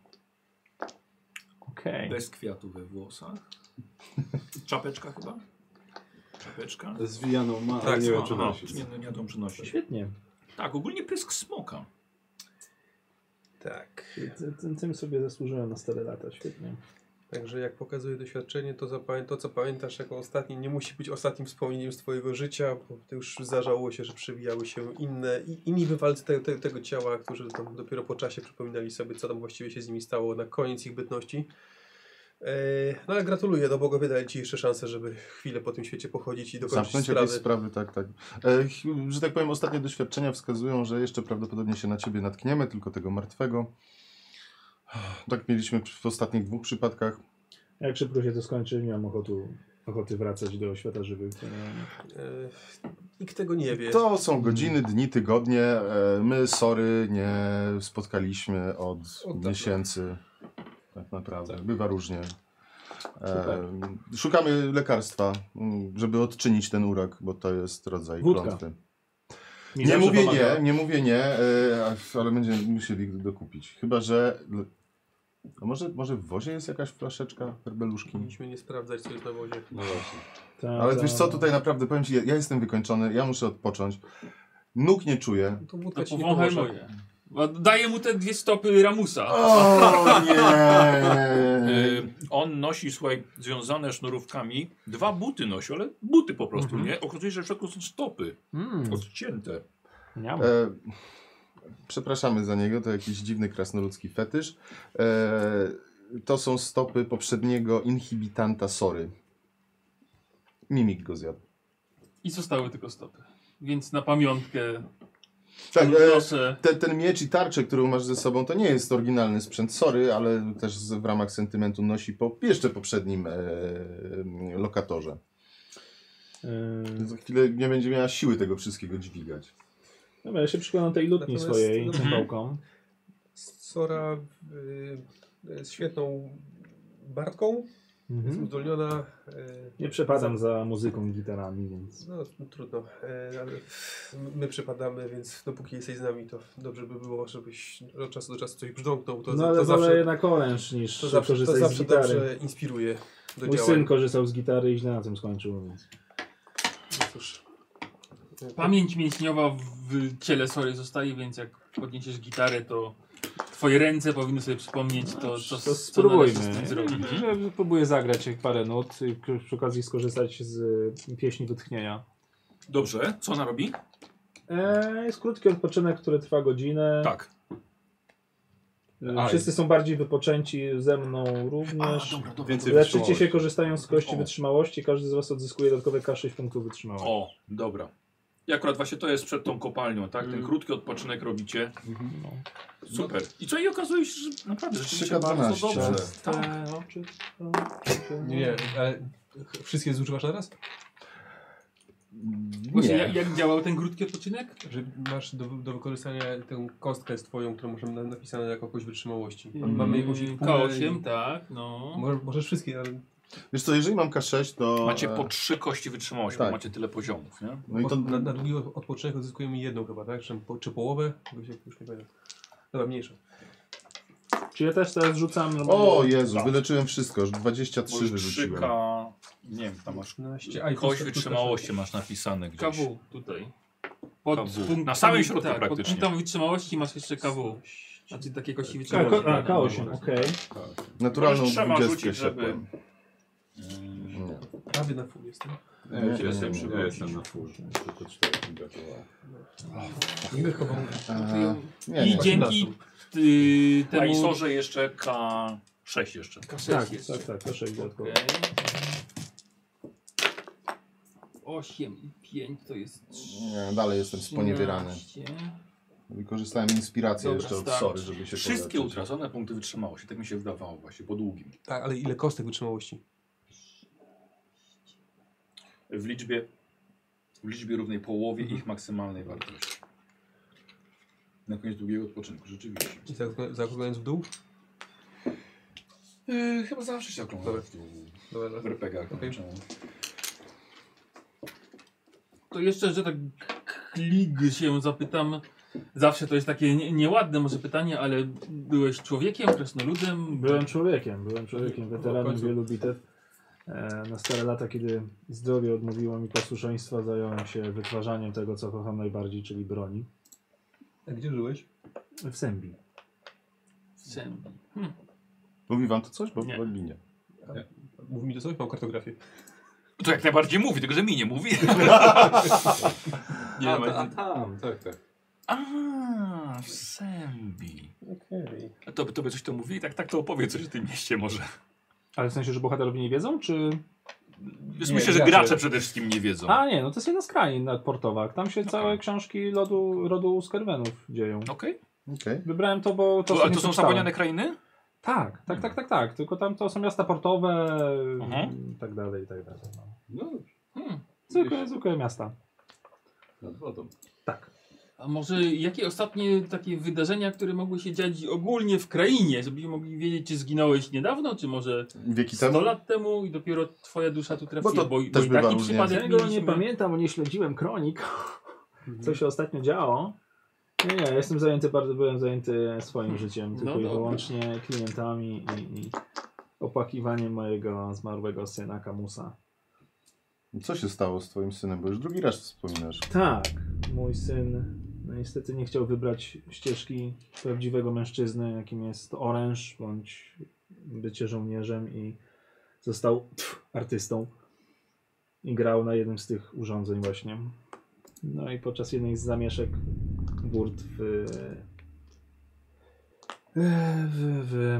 Speaker 2: Okej.
Speaker 1: bez kwiatu we włosach. Czapeczka chyba? Czapeczka?
Speaker 4: Zwijaną ma, ale
Speaker 8: Tak,
Speaker 4: nie wiem
Speaker 1: A,
Speaker 4: czy
Speaker 1: aha,
Speaker 4: nosi.
Speaker 1: Nie, no, nie wiadomo czy nosi.
Speaker 2: Świetnie.
Speaker 1: Tak, ogólnie pysk smoka.
Speaker 8: Tak.
Speaker 2: Tym, tym sobie zasłużyłem na stare lata. Świetnie.
Speaker 6: Także jak pokazuje doświadczenie, to, zapamię- to co pamiętasz jako ostatni nie musi być ostatnim wspomnieniem z twojego życia, bo to już zdarzało się, że przewijały się inne i inni wywalcy te, te, tego ciała, którzy tam dopiero po czasie przypominali sobie, co tam właściwie się z nimi stało na koniec ich bytności. Eee, no ale gratuluję, no Bogowie dali ci jeszcze szansę, żeby chwilę po tym świecie pochodzić i dokończyć
Speaker 3: Zamknąć
Speaker 6: sprawy.
Speaker 3: jakieś sprawy, tak, tak. E, ch- że tak powiem, ostatnie doświadczenia wskazują, że jeszcze prawdopodobnie się na ciebie natkniemy, tylko tego martwego. Tak mieliśmy w ostatnich dwóch przypadkach.
Speaker 2: Jak szybko się to skończy, nie mam ochotu, ochoty wracać do świata żywych.
Speaker 6: Eee, nikt tego nie wie.
Speaker 3: To są godziny, dni, tygodnie. E, My, sorry, nie spotkaliśmy od,
Speaker 6: Od dawna.
Speaker 3: miesięcy. Tak naprawdę. Bywa różnie.
Speaker 2: Super.
Speaker 3: E, szukamy lekarstwa, m, żeby odczynić ten urok, bo to jest rodzaj
Speaker 2: Wódka.
Speaker 3: klątwy. Nie mówię nie, nie mówię nie, e, a- ale będziemy musieli dokupić. Chyba, że... A może, może w wozie jest jakaś flaszeczka herbeluszki?
Speaker 6: Powinniśmy nie sprawdzać, co jest na wozie.
Speaker 4: No właśnie.
Speaker 3: Ale wiesz co, tutaj naprawdę powiem Ci, ja, ja jestem wykończony, ja muszę odpocząąć. Nóg nie czuję.
Speaker 6: To wódka
Speaker 7: No
Speaker 6: ci nie
Speaker 7: powąchaj
Speaker 6: pomoże.
Speaker 7: moje. Bo Daję mu te dwie stopy Ramusa.
Speaker 3: O E,
Speaker 1: E,
Speaker 3: nie!
Speaker 1: on nosi, słuchaj, związane sznurówkami. Dwa buty nosi, ale buty po prostu, nie? Okazuje się, że w środku są stopy
Speaker 2: Mm,
Speaker 1: odcięte.
Speaker 2: miam.
Speaker 3: E, Przepraszamy za niego, to jakiś dziwny krasnoludzki fetysz. E, to są stopy poprzedniego inhibitanta Sory. Mimik go zjadł.
Speaker 7: I zostały tylko stopy. Więc na pamiątkę
Speaker 3: Tak, e,
Speaker 7: proszę.
Speaker 3: te, ten miecz i tarczę, którą masz ze sobą, to nie jest oryginalny sprzęt, sorry, ale też z, w ramach sentymentu nosi po jeszcze poprzednim e, lokatorze.
Speaker 2: Yy,
Speaker 3: Za chwilę nie będzie miała siły tego wszystkiego dźwigać.
Speaker 2: dobra, ja się przyglądam tej lutni
Speaker 6: Natomiast-
Speaker 2: swojej
Speaker 6: Mhm.
Speaker 2: cymbałką.
Speaker 6: Sora y, jest świetną bartką, jest
Speaker 2: Mhm.
Speaker 6: uzdolniona. y,
Speaker 2: Nie przepadam za muzyką i gitarami, więc...
Speaker 6: No trudno, y, ale my przepadamy, więc dopóki jesteś z nami, to dobrze by było, żebyś od czasu do czasu coś brzdąknął. To,
Speaker 2: No
Speaker 6: to
Speaker 2: ale wolę
Speaker 6: zawsze,
Speaker 2: jednak oręż niż
Speaker 6: to zawsze, to
Speaker 2: korzystać
Speaker 6: zawsze
Speaker 2: z gitary.
Speaker 6: dobrze inspiruje do
Speaker 2: Mój
Speaker 6: działań.
Speaker 2: syn korzystał z gitary i źle na tym skończył, więc...
Speaker 6: No cóż. Y,
Speaker 7: Pamięć mięśniowa w ciele Sory zostaje, więc jak podniesiesz gitarę, to twoje ręce powinny sobie przypomnieć to,
Speaker 2: To
Speaker 7: co, co należy z
Speaker 2: spróbujmy.
Speaker 7: tym zrobić. Mhm.
Speaker 2: Że Próbuję zagrać parę nut i k- przy okazji skorzystać z y, pieśni wytchnienia.
Speaker 1: Dobrze, co ona robi?
Speaker 2: E, jest krótki odpoczynek, który trwa godzinę.
Speaker 1: Tak.
Speaker 2: E, Wszyscy są bardziej wypoczęci, ze mną również.
Speaker 4: Więcej
Speaker 2: Leczycie się
Speaker 4: wytrzymałości.
Speaker 2: korzystając z kości
Speaker 1: O.
Speaker 2: wytrzymałości. Każdy z Was odzyskuje dodatkowe K6 punktów wytrzymałości.
Speaker 1: O, dobra. I akurat właśnie to jest przed tą kopalnią, tak? Ten krótki odpoczynek robicie. Super. I co i okazuje się, że naprawdę rzeczywiście bardzo
Speaker 3: 3K12.
Speaker 1: dobrze. Tak.
Speaker 2: Te oczy są
Speaker 8: Nie, nie, ale
Speaker 6: Wszystkie zużywasz naraz?
Speaker 7: Właśnie
Speaker 3: Nie.
Speaker 7: jak, jak działał ten krótki odpoczynek?
Speaker 6: Że masz do, do wykorzystania tę kostkę z twoją, którą możemy na- napisane jako jakąś wytrzymałości.
Speaker 7: Mm,
Speaker 6: Mamy jakąś ich pulę
Speaker 7: K8,
Speaker 6: i-
Speaker 7: tak, no.
Speaker 6: Możesz, możesz wszystkie, ale
Speaker 3: Wiesz co, jeżeli mam K6, to...
Speaker 1: Macie
Speaker 3: e,
Speaker 1: po trzy kości wytrzymałości,
Speaker 3: Tak.
Speaker 1: bo macie tyle poziomów, nie?
Speaker 3: No i to...
Speaker 6: na, na długi odpoczynek odzyskujemy jedną chyba, tak? Czy, po, czy połowę? Bo się Już nie pamiętam. Dobra, mniejsza.
Speaker 2: Czy ja też teraz rzucam? no bo-
Speaker 3: O Jezu,
Speaker 1: Tak.
Speaker 3: wyleczyłem wszystko, już
Speaker 1: Bo
Speaker 3: 23
Speaker 1: już
Speaker 3: wyrzuciłem.
Speaker 1: 3K... Nie wiem, tam masz...
Speaker 6: 15, a i
Speaker 1: Kość
Speaker 6: tu- tu- tu-
Speaker 1: wytrzymałości masz napisane gdzieś.
Speaker 7: KW tutaj. Pod
Speaker 1: KW.
Speaker 7: punktami-
Speaker 1: Na samym środku
Speaker 7: tak,
Speaker 1: praktycznie.
Speaker 7: Pod punktami wytrzymałości masz jeszcze KW. Znaczy takie
Speaker 6: Tak,
Speaker 7: kości
Speaker 2: A,
Speaker 7: wytrzymałości.
Speaker 2: ko- a,
Speaker 1: no.
Speaker 2: K8, okej.
Speaker 3: Naturalną
Speaker 1: Możesz trzema
Speaker 3: 20
Speaker 1: rzucić, żeby-
Speaker 3: siadłem.
Speaker 1: Ym,
Speaker 3: Nie.
Speaker 6: Prawie na full jestem.
Speaker 4: Nie,
Speaker 3: Nie,
Speaker 4: nie,
Speaker 3: nie,
Speaker 4: jestem
Speaker 3: nie,
Speaker 4: przy-
Speaker 3: nie.
Speaker 4: ja jestem na full. Tylko cztery mi brakowało.
Speaker 6: Niby chyba mówię.
Speaker 3: E, nie, nie.
Speaker 7: I dzięki y,
Speaker 1: A i
Speaker 7: temu...
Speaker 1: sorze jeszcze K6 jeszcze.
Speaker 7: K6
Speaker 2: Tak,
Speaker 7: jeszcze.
Speaker 2: tak, tak, proszę dodatkowo.
Speaker 7: Okej. 8 i 5 to jest
Speaker 3: Nie, dalej jestem sponiewierany.
Speaker 7: 13.
Speaker 3: Wykorzystałem inspirację
Speaker 7: Dobra,
Speaker 3: jeszcze od
Speaker 7: starczy.
Speaker 3: Sory, żeby się
Speaker 1: Wszystkie
Speaker 3: poleczyć.
Speaker 1: utracone punkty wytrzymałości, tak mi się wydawało właśnie, po długim.
Speaker 6: Tak, ale ile kostek wytrzymałości?
Speaker 1: W liczbie, w liczbie równej połowie ich maksymalnej wartości. Na koniec długiego odpoczynku, rzeczywiście.
Speaker 6: I zaokrąg- Zaokrąglając w dół?
Speaker 1: Yy, chyba zawsze się ogląda
Speaker 6: Dobra.
Speaker 1: w,
Speaker 6: Dobra,
Speaker 1: w RPG-ach.
Speaker 6: Okej.
Speaker 1: no, czemu?
Speaker 7: To jeszcze, że tak klig się zapytam. Zawsze to jest takie nie- nieładne może pytanie, ale byłeś człowiekiem, krasnoludem?
Speaker 2: Byłem człowiekiem, byłem człowiekiem,
Speaker 6: W
Speaker 2: weteranem
Speaker 6: końcu.
Speaker 2: wielu bitew. E, Na stare lata, kiedy zdrowie odmówiło mi posłuszeństwa, zająłem się wytwarzaniem tego, co kocham najbardziej, czyli broni.
Speaker 6: A gdzie żyłeś?
Speaker 2: W Sembii.
Speaker 7: Sem.
Speaker 3: Mówi wam to coś? Bo
Speaker 7: Nie.
Speaker 3: nie. nie.
Speaker 6: Mów mi to coś, mam kartografię.
Speaker 1: To jak najbardziej mówi, tylko że mi nie mówi.
Speaker 4: Nie,
Speaker 6: A,
Speaker 1: no,
Speaker 4: ma-
Speaker 6: ta- a
Speaker 4: Tak, tak.
Speaker 1: A, w Sembi.
Speaker 6: Okej.
Speaker 1: A to, to by coś to mówi, tak, tak to opowie coś o tym mieście może.
Speaker 2: Ale w sensie, że bohaterowie nie wiedzą, czy...
Speaker 1: Więc
Speaker 6: Nie,
Speaker 1: myślę, że
Speaker 6: gracze.
Speaker 1: gracze przede wszystkim nie wiedzą.
Speaker 2: A nie, no to jest jedna z krain nadportowych. Tam się całe książki lodu, rodu Skerwenów dzieją.
Speaker 1: Okej.
Speaker 3: Okej.
Speaker 2: Wybrałem to, bo to
Speaker 1: No. To,
Speaker 2: sobie
Speaker 1: ale to są
Speaker 2: przeczytałem.
Speaker 1: zapomniane krainy?
Speaker 2: Tak, tak, tak, tak, tak. Tylko tam to są miasta portowe
Speaker 1: Mhm.
Speaker 2: i tak dalej, i tak dalej. No.
Speaker 4: No,
Speaker 7: Hmm.
Speaker 2: Zwykłe, zwykłe miasta.
Speaker 4: nad wodą.
Speaker 2: Tak.
Speaker 7: A może jakie ostatnie takie wydarzenia, które mogły się dziać ogólnie w krainie, żebyśmy mogli wiedzieć, czy zginąłeś niedawno, czy może
Speaker 3: Wieki
Speaker 7: 100
Speaker 3: temu?
Speaker 7: lat temu i dopiero twoja dusza tu trafiła,
Speaker 3: Bo
Speaker 7: bo,
Speaker 3: tak- No to
Speaker 7: bo,
Speaker 3: też
Speaker 7: i
Speaker 3: bywa
Speaker 7: taki
Speaker 3: różnie.
Speaker 7: przypadek
Speaker 2: Tego nie
Speaker 7: mieliśmy.
Speaker 2: pamiętam, bo nie śledziłem kronik, co się ostatnio działo. Nie, nie, ja jestem zajęty, bardzo byłem zajęty swoim życiem, tylko i
Speaker 7: dobra.
Speaker 2: wyłącznie klientami i, i opłakiwaniem mojego zmarłego syna Kamusa.
Speaker 3: Co się stało z twoim synem? Bo już drugi raz wspominasz.
Speaker 2: Tak, mój syn no, niestety nie chciał wybrać ścieżki prawdziwego mężczyzny, jakim jest oręż bądź bycie żołnierzem i został pff, artystą i grał na jednym z tych urządzeń właśnie. No i podczas jednej z zamieszek Gurt w... w... w...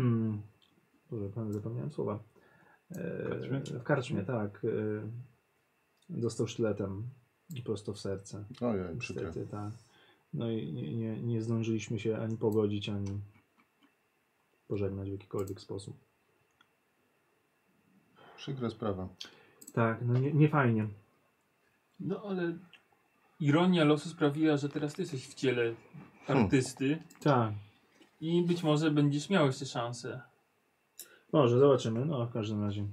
Speaker 2: Boże, pan zapomniałem słowa. E,
Speaker 4: Karczmie?
Speaker 2: W karczmie, tak. E, Dostał sztyletem prosto w serce.
Speaker 3: Ojej, przykre.
Speaker 2: Niestety, tak. No i nie, nie, nie zdążyliśmy się ani pogodzić, ani pożegnać w jakikolwiek sposób.
Speaker 3: Przykra sprawa.
Speaker 2: Tak, no nie, nie fajnie.
Speaker 7: No ale ironia losu sprawiła, że teraz ty jesteś w ciele artysty
Speaker 2: Tak,
Speaker 7: i być może będziesz miał jeszcze szansę.
Speaker 2: może, zobaczymy. No, w każdym razie.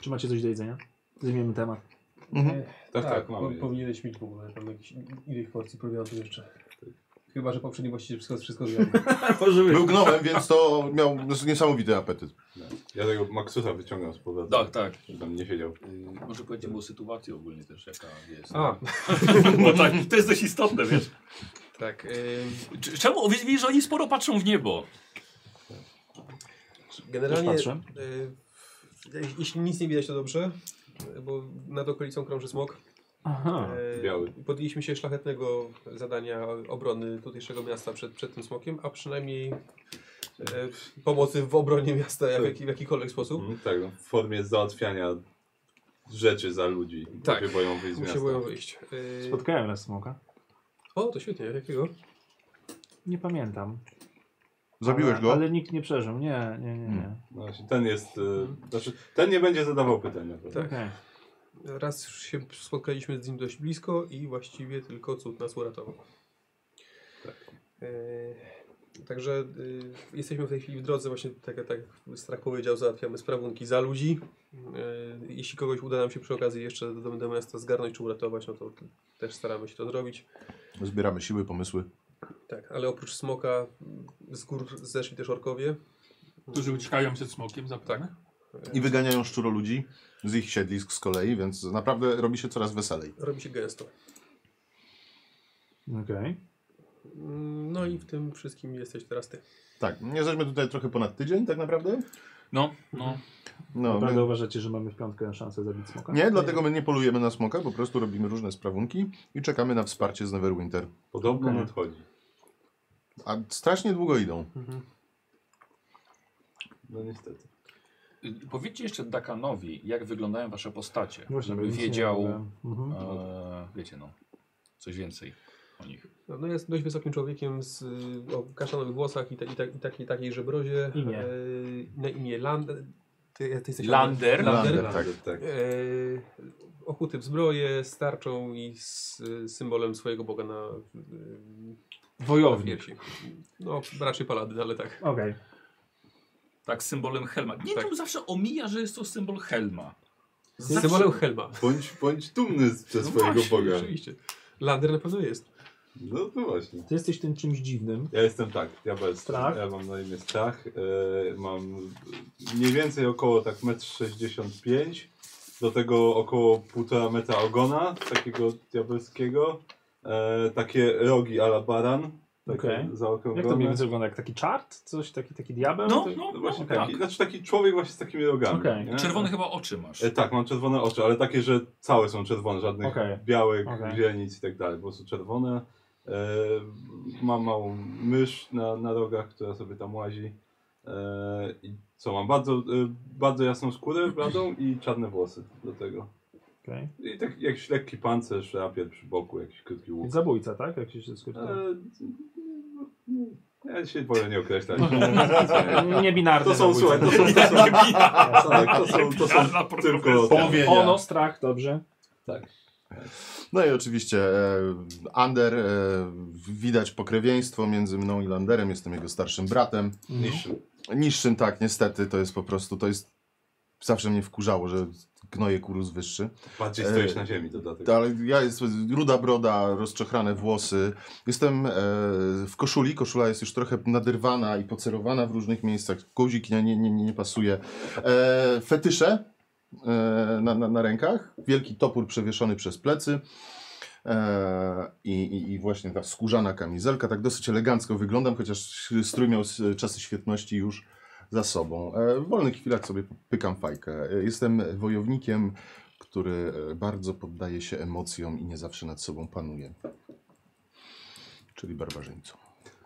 Speaker 2: Czy macie coś do jedzenia? Zmienimy temat.
Speaker 3: Mhm.
Speaker 4: Tak, tak, mamy.
Speaker 6: po- Powinieneś mieć w ogóle tam jakieś, ileś porcji prowiantu jeszcze. Chyba, że poprzedni właściciel wszystko, wszystko zjadł.
Speaker 3: Był gnomem, więc to miał niesamowity apetyt.
Speaker 4: Ja tego Maxusa wyciągam z powrotem.
Speaker 1: Tak, tak.
Speaker 4: Żeby Tam nie siedział.
Speaker 1: Może powiedzmy o sytuacji ogólnie też, jaka jest.
Speaker 6: A,
Speaker 1: Bo tak, to jest dość istotne, wiesz.
Speaker 8: Tak, ym,
Speaker 1: Cz- Czemu? Wiesz, widzisz, że oni sporo patrzą w niebo.
Speaker 2: Też
Speaker 6: generalnie,
Speaker 2: patrzę.
Speaker 6: y, jeśli nic nie widać, to dobrze, y, bo nad okolicą krąży smog.
Speaker 2: Aha.
Speaker 6: E,
Speaker 4: biały.
Speaker 6: Podjęliśmy się szlachetnego zadania obrony tutejszego miasta przed, przed tym smokiem, a przynajmniej e, pomocy w obronie miasta jak- w,
Speaker 4: Tak.
Speaker 6: jaki, w jakikolwiek sposób.
Speaker 4: Mhm, tak, no, w formie załatwiania rzeczy za ludzi.
Speaker 1: Tak.
Speaker 4: Się boją wyjść z miasta.
Speaker 6: Musimy boją wyjść. E,
Speaker 2: Spotkałem raz smoka.
Speaker 6: O, to świetnie, jakiego?
Speaker 2: Nie pamiętam.
Speaker 3: Zabiłeś
Speaker 2: ale,
Speaker 3: go? Hmm.
Speaker 2: Ale nikt nie przeżył. Nie, nie, nie. nie.
Speaker 4: No właśnie, ten jest. Y, znaczy, ten nie będzie zadawał pytań. na pewno.
Speaker 6: Tak.
Speaker 2: Okej.
Speaker 6: Raz już się spotkaliśmy z nim dość blisko i właściwie tylko cud nas uratował. E, Także e, jesteśmy w tej chwili w drodze, właśnie tak, tak jak Strach powiedział, załatwiamy sprawunki za ludzi. E, jeśli kogoś uda nam się przy okazji jeszcze do, do miasta zgarnąć czy uratować, no to t- też staramy się to zrobić.
Speaker 3: Zbieramy siły, pomysły.
Speaker 6: Tak, ale oprócz smoka m, z gór zeszli też orkowie.
Speaker 7: Którzy uciekają przed smokiem, zapewne.
Speaker 3: I wyganiają szczuro ludzi z ich siedlisk z kolei, więc naprawdę robi się coraz weselej.
Speaker 6: Robi się gęsto.
Speaker 1: Tak.
Speaker 2: Okej.
Speaker 6: Mm, No i w tym wszystkim jesteś teraz ty.
Speaker 3: Tak, nie jesteśmy tutaj trochę ponad tydzień tak naprawdę.
Speaker 1: No, no.
Speaker 3: No,
Speaker 2: Naprawdę
Speaker 3: my...
Speaker 2: uważacie, że mamy w piątkę szansę zabić smoka?
Speaker 3: Nie, dlatego my nie polujemy na smoka, po prostu robimy różne sprawunki i czekamy na wsparcie z Neverwinter.
Speaker 4: Podobno nie odchodzi.
Speaker 3: A strasznie długo idą.
Speaker 4: No niestety.
Speaker 1: Y, Powiedzcie jeszcze Dakanowi, jak wyglądają wasze postacie.
Speaker 2: Właśnie,
Speaker 1: żeby
Speaker 2: bo nic nie
Speaker 1: wiedział,
Speaker 2: mówiłem. Mhm.
Speaker 1: e, wiecie no, coś więcej o nich.
Speaker 6: No, no jest dość wysokim człowiekiem z y, o kaszanowych włosach i, ta, i, ta, i takiej, takiej żebrozie.
Speaker 2: Imię.
Speaker 6: E, na imię Lander. Ty, ty jesteś
Speaker 1: Lander?
Speaker 6: Lander.
Speaker 3: Lander.
Speaker 4: Tak, tak.
Speaker 6: E, okuty w zbroję, z tarczą i z y, symbolem swojego boga na, y, na
Speaker 2: Wojownik.
Speaker 6: piersi. No, raczej paladyn, ale tak.
Speaker 2: Okej.
Speaker 1: Tak, symbolem helma. Nie,
Speaker 6: Tak.
Speaker 1: to zawsze omija, że jest to symbol helma.
Speaker 6: Z symbolem helma.
Speaker 4: Bądź, bądź dumny z- ze
Speaker 1: No
Speaker 4: swojego
Speaker 1: właśnie,
Speaker 4: Boga.
Speaker 6: Oczywiście. Lander na pewno jest.
Speaker 4: No, no właśnie.
Speaker 2: Ty jesteś tym czymś dziwnym.
Speaker 4: Ja jestem tak, ja bez.
Speaker 2: Strach?
Speaker 4: Ja mam na imię Strach. E, mam mniej więcej około tak 1,65 m. Do tego około 1,5 metra ogona, takiego diabelskiego. E, takie rogi ala baran. Takie
Speaker 2: Okej.
Speaker 4: zaokrąglone.
Speaker 2: Jak to mniej więcej wygląda? Jak taki czart? Coś, taki, taki diabeł?
Speaker 1: No,
Speaker 2: Ty-
Speaker 1: no,
Speaker 4: No właśnie
Speaker 1: no, tak.
Speaker 4: taki, znaczy taki człowiek właśnie z takimi rogami.
Speaker 2: Okej.
Speaker 4: nie?
Speaker 1: Czerwone chyba oczy masz.
Speaker 4: E, tak, mam czerwone oczy, ale takie, że całe są czerwone, żadnych
Speaker 2: Okej.
Speaker 4: białek,
Speaker 2: Okej.
Speaker 4: źrenic i tak dalej, po prostu czerwone. E, mam małą mysz na, na rogach, która sobie tam łazi. E, I co, mam bardzo, e, bardzo jasną skórę bladą i czarne włosy do tego.
Speaker 2: Okej.
Speaker 4: I tak jakiś lekki pancerz, rapier przy boku, jakiś krótki łuk.
Speaker 2: Zabójca, tak? Jak się wszystko
Speaker 4: E, no,
Speaker 2: czyta.
Speaker 4: ja się wolę nie określać.
Speaker 2: Niebinarny
Speaker 4: To są,
Speaker 2: Znaczy, zabójca.
Speaker 4: słuchaj, to są, to są,
Speaker 2: no,
Speaker 4: tak, to są, to
Speaker 1: Czarna
Speaker 4: są tylko...
Speaker 1: profesja.
Speaker 3: Pomówienia.
Speaker 2: Ono, strach, dobrze.
Speaker 3: No i oczywiście e, Ander, e, widać pokrewieństwo między mną i Landerem, jestem jego starszym bratem.
Speaker 2: Mhm.
Speaker 4: Niższym.
Speaker 3: Niższym tak, niestety, to jest po prostu, to jest, zawsze mnie wkurzało, że gnoje kurus wyższy.
Speaker 4: Bardziej
Speaker 3: E,
Speaker 4: stoisz na ziemi, to dlatego.
Speaker 1: Tak.
Speaker 3: Ale ja jestem ruda broda, rozczochrane włosy, jestem e, w koszuli, koszula jest już trochę naderwana i pocerowana w różnych miejscach, guzik nie, nie, nie, nie pasuje. E, fetysze e, na, na, na rękach, wielki topór przewieszony przez plecy. E, I, i, I właśnie ta skórzana kamizelka, tak dosyć elegancko wyglądam, chociaż strój miał s- czasy świetności już za sobą. E, W wolnych chwilach sobie pykam fajkę. E, Jestem wojownikiem, który e, bardzo poddaje się emocjom i nie zawsze nad sobą panuje. czyli barbarzyńcą.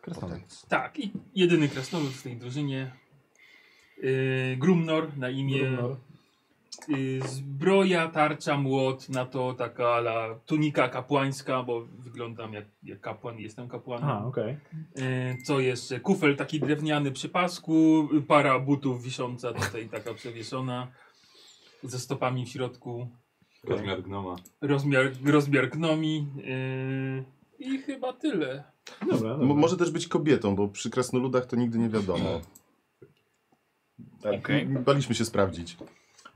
Speaker 2: Kresnolud.
Speaker 7: Tak, i jedyny krasnolud w tej drużynie. Yy, Grumnor na imię.
Speaker 2: Grumnor.
Speaker 7: Yy, zbroja, tarcza, młot, na to taka la tunika kapłańska, bo wyglądam jak, jak kapłan, jestem kapłanem.
Speaker 2: A, okej.
Speaker 7: E, Co jeszcze? Kufel taki drewniany przy pasku, para butów wisząca tutaj taka przewieszona, ze stopami w środku,
Speaker 4: Rozmiar gnoma.
Speaker 7: rozmiar, rozmiar gnomi e, i chyba tyle.
Speaker 2: Dobra,
Speaker 3: Mo-
Speaker 2: dobra.
Speaker 3: może też być kobietą, bo przy krasnoludach to nigdy nie wiadomo. Tak,
Speaker 1: Okej.
Speaker 3: m- Baliśmy się sprawdzić.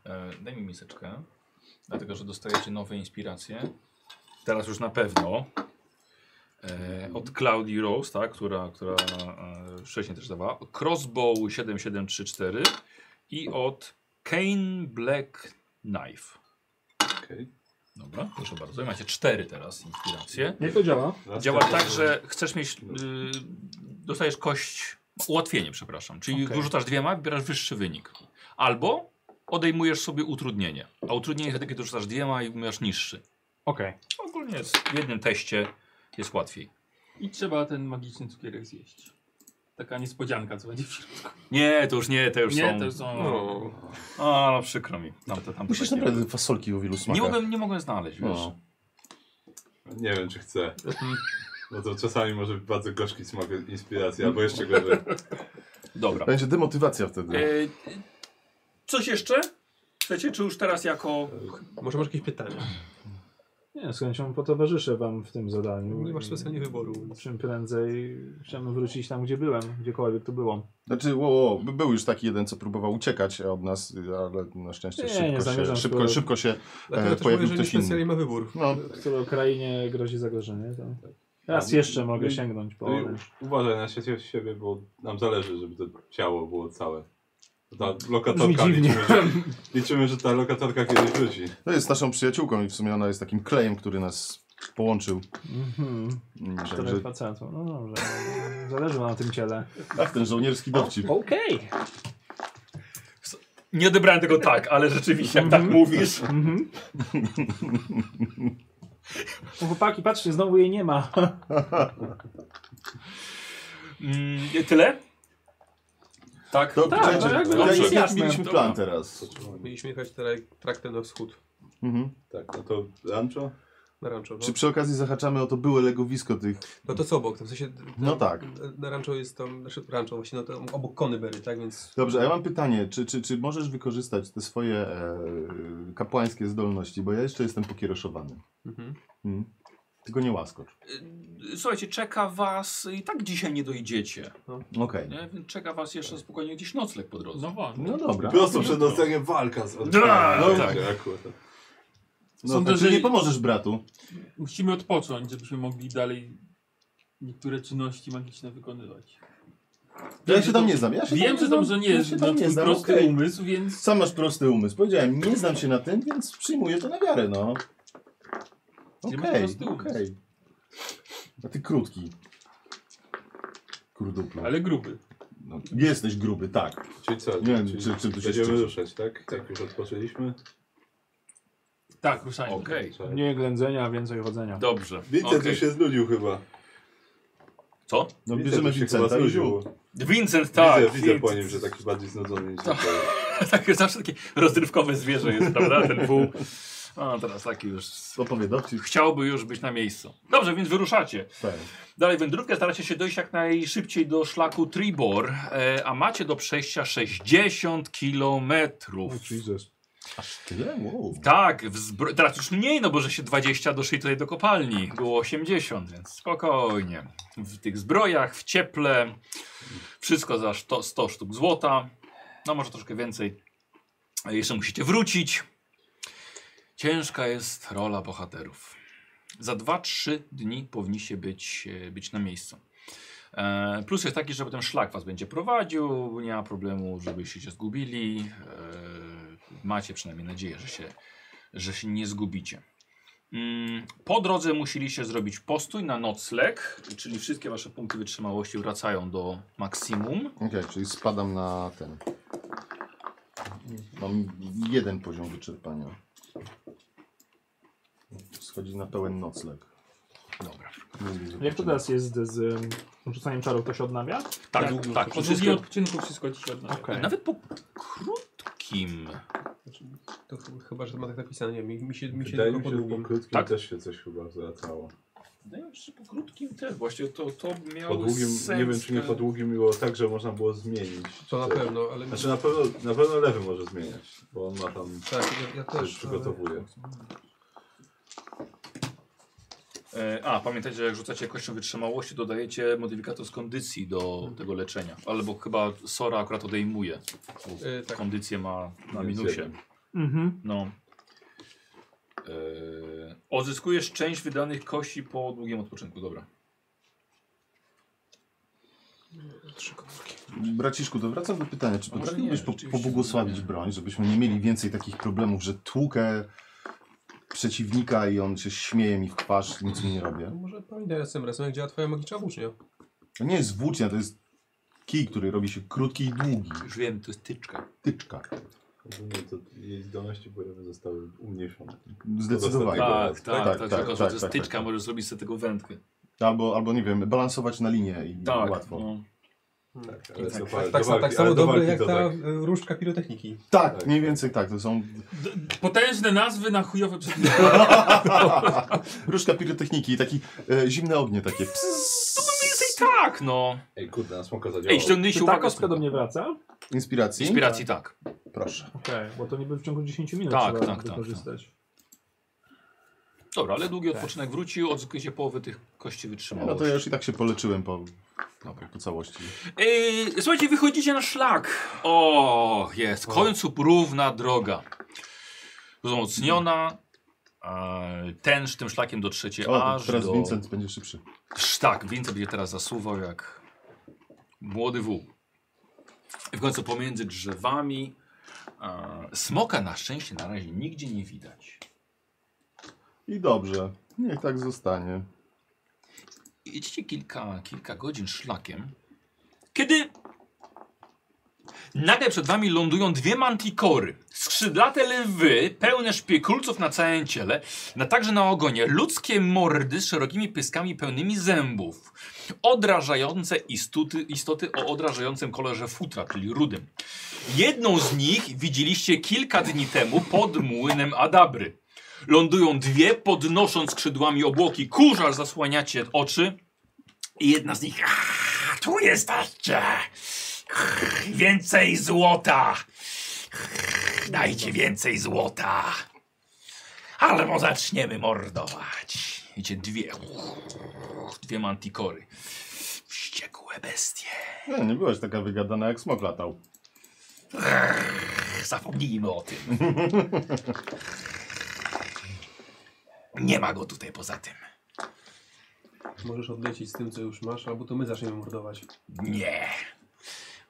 Speaker 1: E, daj mi miseczkę. Dlatego, że dostajecie nowe inspiracje. Teraz już na pewno. E, od Claudii Rose, tak, która, która e, wcześniej też dawała. Crossbow 7734 i od Kane Black Knife.
Speaker 4: Okej.
Speaker 1: Dobra, proszę bardzo. Macie cztery teraz inspiracje.
Speaker 2: Jak to działa?
Speaker 4: Raz
Speaker 1: Działa
Speaker 4: tak,
Speaker 1: tak,
Speaker 4: że-
Speaker 1: że chcesz mieć. y, dostajesz kość. Ułatwienie, przepraszam. Czyli
Speaker 2: Okej.
Speaker 1: rzucasz dwiema, wybierasz wyższy wynik. Albo odejmujesz sobie utrudnienie. A utrudnienie jest takie, kiedy rzucasz dwiema i masz niższy.
Speaker 2: Okej.
Speaker 1: Ogólnie jest w jednym teście jest łatwiej.
Speaker 7: I trzeba ten magiczny cukierek zjeść. Taka niespodzianka, co będzie w środku.
Speaker 1: Nie, to już nie, te już
Speaker 7: nie,
Speaker 1: są.
Speaker 7: to są...
Speaker 8: No.
Speaker 1: A, no przykro mi. Tamte, tamte
Speaker 3: Musisz
Speaker 1: tak nie
Speaker 3: naprawdę fasolki o wielu
Speaker 1: ma. nie
Speaker 3: smakach.
Speaker 1: mogłem, nie mogłem znaleźć, wiesz.
Speaker 3: No.
Speaker 4: Nie wiem, czy chcę. Bo to czasami może być bardzo gorzki smak inspiracji, albo jeszcze gorzej.
Speaker 1: Dobra.
Speaker 3: Będzie demotywacja wtedy.
Speaker 1: E, coś jeszcze? Chcecie, czy już teraz jako...
Speaker 6: No.
Speaker 8: Może masz jakieś pytania?
Speaker 2: Nie, z chęcią potowarzyszę wam w tym zadaniu.
Speaker 8: Nie masz
Speaker 2: I
Speaker 8: specjalnie wyboru.
Speaker 2: Czym prędzej chciałbym wrócić tam, gdzie byłem, gdziekolwiek to było.
Speaker 3: Znaczy, wow, wow, by- był już taki jeden, co próbował uciekać od nas, y, ale na szczęście
Speaker 2: Nie,
Speaker 3: szybko,
Speaker 2: nie
Speaker 3: się,
Speaker 2: zamierzam
Speaker 3: szybko,
Speaker 2: tego-
Speaker 3: szybko się...
Speaker 8: Dlatego
Speaker 3: E,
Speaker 8: też
Speaker 3: pojawił
Speaker 8: mówię, że nie
Speaker 3: ktoś inny.
Speaker 8: specjalnie ma wybór.
Speaker 3: No,
Speaker 2: W której Ukrainie grozi zagrożenie, to... Raz
Speaker 4: A,
Speaker 2: jeszcze mogę
Speaker 4: i-
Speaker 2: sięgnąć po
Speaker 4: No i
Speaker 2: oręż.
Speaker 4: Uważaj na siebie, siebie, bo nam zależy, żeby to ciało było całe. Ta
Speaker 2: Brzmi
Speaker 4: lokatorka,
Speaker 2: dziwnie.
Speaker 4: liczymy, że, liczymy, że ta lokatorka kiedyś wróci.
Speaker 3: to jest naszą przyjaciółką i w sumie ona jest takim klejem, który nas połączył.
Speaker 2: Mhm.
Speaker 3: Mm,
Speaker 2: Czterech
Speaker 3: Także,
Speaker 2: facetów. No dobrze. Zależy wam na tym ciele.
Speaker 3: ach, Tak, ten żołnierski dowcip.
Speaker 2: Okej.
Speaker 1: Nie odebrałem tego tak, ale rzeczywiście, jak tak mówisz...
Speaker 2: Mhm. O, Chłopaki, patrzcie, znowu jej nie ma.
Speaker 1: Mm, tyle? Tak.
Speaker 3: To,
Speaker 2: Tak,
Speaker 3: czekajcie,
Speaker 2: no jakby
Speaker 3: jak-
Speaker 2: to jest
Speaker 3: jak-
Speaker 2: jasne.
Speaker 3: mieliśmy
Speaker 1: Dobra.
Speaker 3: plan teraz.
Speaker 8: Mieliśmy jechać teraz traktem na wschód,
Speaker 3: Mhm.
Speaker 4: Tak, no to rancho?
Speaker 8: na rancho. No,
Speaker 3: Czy przy okazji zahaczamy o to byłe legowisko tych...
Speaker 8: no to co obok? Tam w sensie,
Speaker 3: No tak.
Speaker 8: Na rancho jest tam, znaczy rancho właśnie, no to obok Conyberry, tak? Więc
Speaker 3: Dobrze, a ja mam pytanie, czy, czy, czy możesz wykorzystać te swoje e, kapłańskie zdolności, bo ja jeszcze jestem pokieroszowany.
Speaker 8: mhm.
Speaker 3: Mm. Tylko nie łaskocz.
Speaker 1: Y, Słuchajcie, czeka was, i tak dzisiaj nie dojdziecie,
Speaker 3: Okej.
Speaker 1: nie? więc czeka was jeszcze spokojnie gdzieś nocleg po drodze.
Speaker 7: No właśnie.
Speaker 3: No dobra.
Speaker 4: Prosto przed noceniem walka z
Speaker 1: Tak,
Speaker 4: tak.
Speaker 1: tak.
Speaker 4: akurat.
Speaker 3: No,
Speaker 7: Sądzę,
Speaker 3: tak, czyli
Speaker 7: że-
Speaker 3: nie pomożesz bratu.
Speaker 7: Musimy odpocząć, żebyśmy mogli dalej niektóre czynności magiczne wykonywać.
Speaker 3: Ja się tam nie znam. Ja się
Speaker 7: Wiem,
Speaker 3: tam nie
Speaker 7: że
Speaker 3: znam.
Speaker 7: dobrze nie
Speaker 3: Ja
Speaker 7: jest
Speaker 3: się
Speaker 7: na
Speaker 3: tam nie
Speaker 7: twój
Speaker 3: znam.
Speaker 7: prosty
Speaker 3: okej.
Speaker 7: umysł, więc
Speaker 3: Sam masz prosty umysł. Powiedziałem, nie znam się na tym, więc przyjmuję to na wiarę, no.
Speaker 7: Gdzie
Speaker 3: Okej,
Speaker 7: masz prosty umysł?
Speaker 3: okej. A ty krótki. Kurduplu.
Speaker 7: ale gruby.
Speaker 3: No, jesteś gruby, tak.
Speaker 4: Czyli co?
Speaker 3: Nie wiem,
Speaker 4: czyli
Speaker 3: czy- czy tu się
Speaker 4: Będziemy
Speaker 3: szczyci.
Speaker 4: ruszać, tak? Jak już odpoczęliśmy?
Speaker 7: Tak, ruszajmy.
Speaker 1: Okej,
Speaker 4: Trzeba-
Speaker 2: Mniej ględzenia, więcej chodzenia.
Speaker 1: dobrze.
Speaker 4: Widzę,
Speaker 1: okej.
Speaker 4: tu się znudził chyba.
Speaker 1: Co?
Speaker 3: No,
Speaker 4: Widzę,
Speaker 3: bierzemy
Speaker 4: tu się chyba
Speaker 3: Vincenta i
Speaker 4: znudził.
Speaker 3: ziół.
Speaker 1: Vincent, tak.
Speaker 4: Widzę, widzę po nim, że taki bardziej znudzony niż tak.
Speaker 1: tak, zawsze takie rozrywkowe zwierzę jest, prawda? Ten pół. A teraz taki już.
Speaker 3: Opowiadowcy.
Speaker 1: Chciałby już być na miejscu. Dobrze, więc wyruszacie.
Speaker 3: Tak.
Speaker 1: Dalej wędrówkę staracie się dojść jak najszybciej do szlaku Tribor, e, a macie do przejścia 60
Speaker 2: No,
Speaker 1: kilometrów.
Speaker 2: Jesus.
Speaker 3: Aż tyle? Wow.
Speaker 1: Tak, w zbro... teraz już mniej, no bo że się 20 doszli tutaj do kopalni. Było 80, więc spokojnie. W tych zbrojach, w cieple, wszystko za 100, 100 sztuk złota. No może troszkę więcej. A Jeszcze musicie wrócić. Ciężka jest rola bohaterów. Za 2-3 dni powinniście być, e, być na miejscu. E, Plus jest taki, że potem szlak was będzie prowadził, nie ma problemu, żebyście się zgubili. E, Macie przynajmniej nadzieję, że się, że się nie zgubicie. Mm, Po drodze musieliście zrobić postój na nocleg, czyli wszystkie wasze punkty wytrzymałości wracają do maksimum.
Speaker 3: Okej, czyli spadam na ten. Mam jeden poziom wyczerpania. Schodzi na pełen nocleg.
Speaker 1: Dobra.
Speaker 2: Jak to teraz jest z um, rzucaniem czarów, to się odnawia?
Speaker 1: Tak,
Speaker 7: Tak,
Speaker 1: tak. tak
Speaker 7: Po
Speaker 1: wszystkie...
Speaker 7: długim odczynku wszystko ci się odnawia.
Speaker 2: Okej.
Speaker 1: Nawet po krótkim.
Speaker 6: Znaczy, To ch- chyba, że to ma tak napisane, nie mi, mi się, mi się
Speaker 4: Wydaje
Speaker 6: tylko
Speaker 4: mi się, że po
Speaker 6: podoba.
Speaker 4: krótkim
Speaker 1: Tak.
Speaker 4: też się coś chyba zwracało.
Speaker 1: Wydaje mi się, że po krótkim też. Właściwie to, to miało
Speaker 4: Po długim,
Speaker 1: sens.
Speaker 4: nie wiem czy nie
Speaker 1: te-
Speaker 4: po długim było tak, że można było zmienić.
Speaker 6: To na
Speaker 4: coś.
Speaker 6: pewno, ale
Speaker 4: Znaczy na pewno, na pewno lewy może zmieniać, bo on ma tam...
Speaker 6: tak, ja, ja też.
Speaker 4: Coś przygotowuję.
Speaker 1: E, a, pamiętajcie, że jak rzucacie kością wytrzymałości, dodajecie modyfikator z kondycji do
Speaker 4: Mhm.
Speaker 1: tego leczenia. Albo chyba Sora akurat odejmuje. bo
Speaker 6: E, tak.
Speaker 1: Kondycję ma na
Speaker 4: Więc
Speaker 1: minusie.
Speaker 4: jeden.
Speaker 2: Mhm.
Speaker 1: No. E, odzyskujesz część wydanych kości po długim odpoczynku. Dobra.
Speaker 3: Braciszku, to wracam do pytania, czy
Speaker 1: A może
Speaker 3: potrafiłbyś
Speaker 1: nie,
Speaker 3: po,
Speaker 1: rzeczywiście,
Speaker 3: pobłogosławić
Speaker 1: nie.
Speaker 3: broń, żebyśmy nie mieli więcej takich problemów, że tłukę przeciwnika i on się śmieje mi w twarz, nic mi nie robię.
Speaker 6: No może pamiętaj następnym razem, jak działa twoja magiczna włócznia.
Speaker 3: To nie jest włócznia, to jest kij, który robi się krótki i długi.
Speaker 1: Już wiem, to jest tyczka.
Speaker 3: Tyczka.
Speaker 4: Ogólnie to jej zdolności bojowe zostały umniejszone.
Speaker 3: Zdecydowanie.
Speaker 1: Tak, tak, tak.
Speaker 3: Tak, tak,
Speaker 1: tak,
Speaker 3: tak,
Speaker 1: to
Speaker 3: tak,
Speaker 1: jest
Speaker 3: tak,
Speaker 1: tyczka,
Speaker 3: tak.
Speaker 1: możesz zrobić sobie tego wędkę.
Speaker 3: Albo, albo, nie wiem, balansować na linię i
Speaker 1: Tak,
Speaker 3: łatwo.
Speaker 1: no.
Speaker 4: Tak, ale
Speaker 1: Tak,
Speaker 4: do
Speaker 1: tak,
Speaker 4: walki-
Speaker 6: Tak,
Speaker 4: do
Speaker 6: sa-
Speaker 4: walki-
Speaker 6: tak samo
Speaker 4: ale do
Speaker 6: dobre
Speaker 4: walki
Speaker 6: jak
Speaker 4: to
Speaker 6: ta
Speaker 4: tak.
Speaker 6: e, różdżka pirotechniki.
Speaker 3: Tak, mniej więcej tak, to są...
Speaker 7: D- Potężne nazwy na chujowe przedmioty.
Speaker 3: Różka pirotechniki i takie e, zimne ognie takie. Psss.
Speaker 1: I tak, no.
Speaker 4: Ej, kurde, na smoka zadziałał.
Speaker 1: Ej, ściągnęliście
Speaker 2: Czy tak. ta
Speaker 1: uwagę.
Speaker 2: kostka do mnie wraca?
Speaker 3: Inspiracji?
Speaker 1: tak Inspiracji, tak.
Speaker 3: Proszę.
Speaker 2: Okej, bo to niby w ciągu 10 minut
Speaker 1: Tak,
Speaker 2: trzeba
Speaker 1: tak, tak,
Speaker 2: wykorzystać.
Speaker 1: Dobra, ale długi
Speaker 7: Tak.
Speaker 1: odpoczynek wrócił, odzyskujecie połowę tych kości wytrzymałości.
Speaker 3: No to ja już i tak się poleczyłem po, no, po całości.
Speaker 1: Ej, słuchajcie, wychodzicie na szlak. O, jest. W końcu równa droga. Wzmocniona. E, tęż tym szlakiem dotrzecie
Speaker 3: O, to
Speaker 1: aż
Speaker 3: teraz
Speaker 1: do...
Speaker 3: Vincent będzie szybszy.
Speaker 1: Psz, Tak, Vincent będzie teraz zasuwał jak młody wół. I w końcu pomiędzy drzewami e, smoka na szczęście na razie nigdzie nie widać.
Speaker 3: I dobrze, niech tak zostanie.
Speaker 1: Jedziecie kilka, kilka godzin szlakiem, kiedy nagle przed wami lądują dwie mantikory. Skrzydlate lwy, pełne szpiekulców na całym ciele, na także na ogonie. Ludzkie mordy z szerokimi pyskami pełnymi zębów. Odrażające istoty, istoty o odrażającym kolorze futra, czyli rudym. Jedną z nich widzieliście kilka dni temu pod młynem Adabry. Lądują dwie, podnosząc skrzydłami obłoki. Kurza zasłaniacie oczy. I jedna z nich. "Ah, Tu jesteście! Ach, Więcej złota! Ach, Dajcie więcej złota! Albo zaczniemy mordować. Idzie dwie. Dwie mantikory. Wściekłe bestie.
Speaker 3: No, Nie, nie byłaś taka wygadana jak smok latał.
Speaker 1: Zapomnijmy o tym. Nie ma go tutaj poza tym.
Speaker 6: Możesz odlecieć z tym, co już masz, albo to my zaczniemy mordować.
Speaker 1: Nie.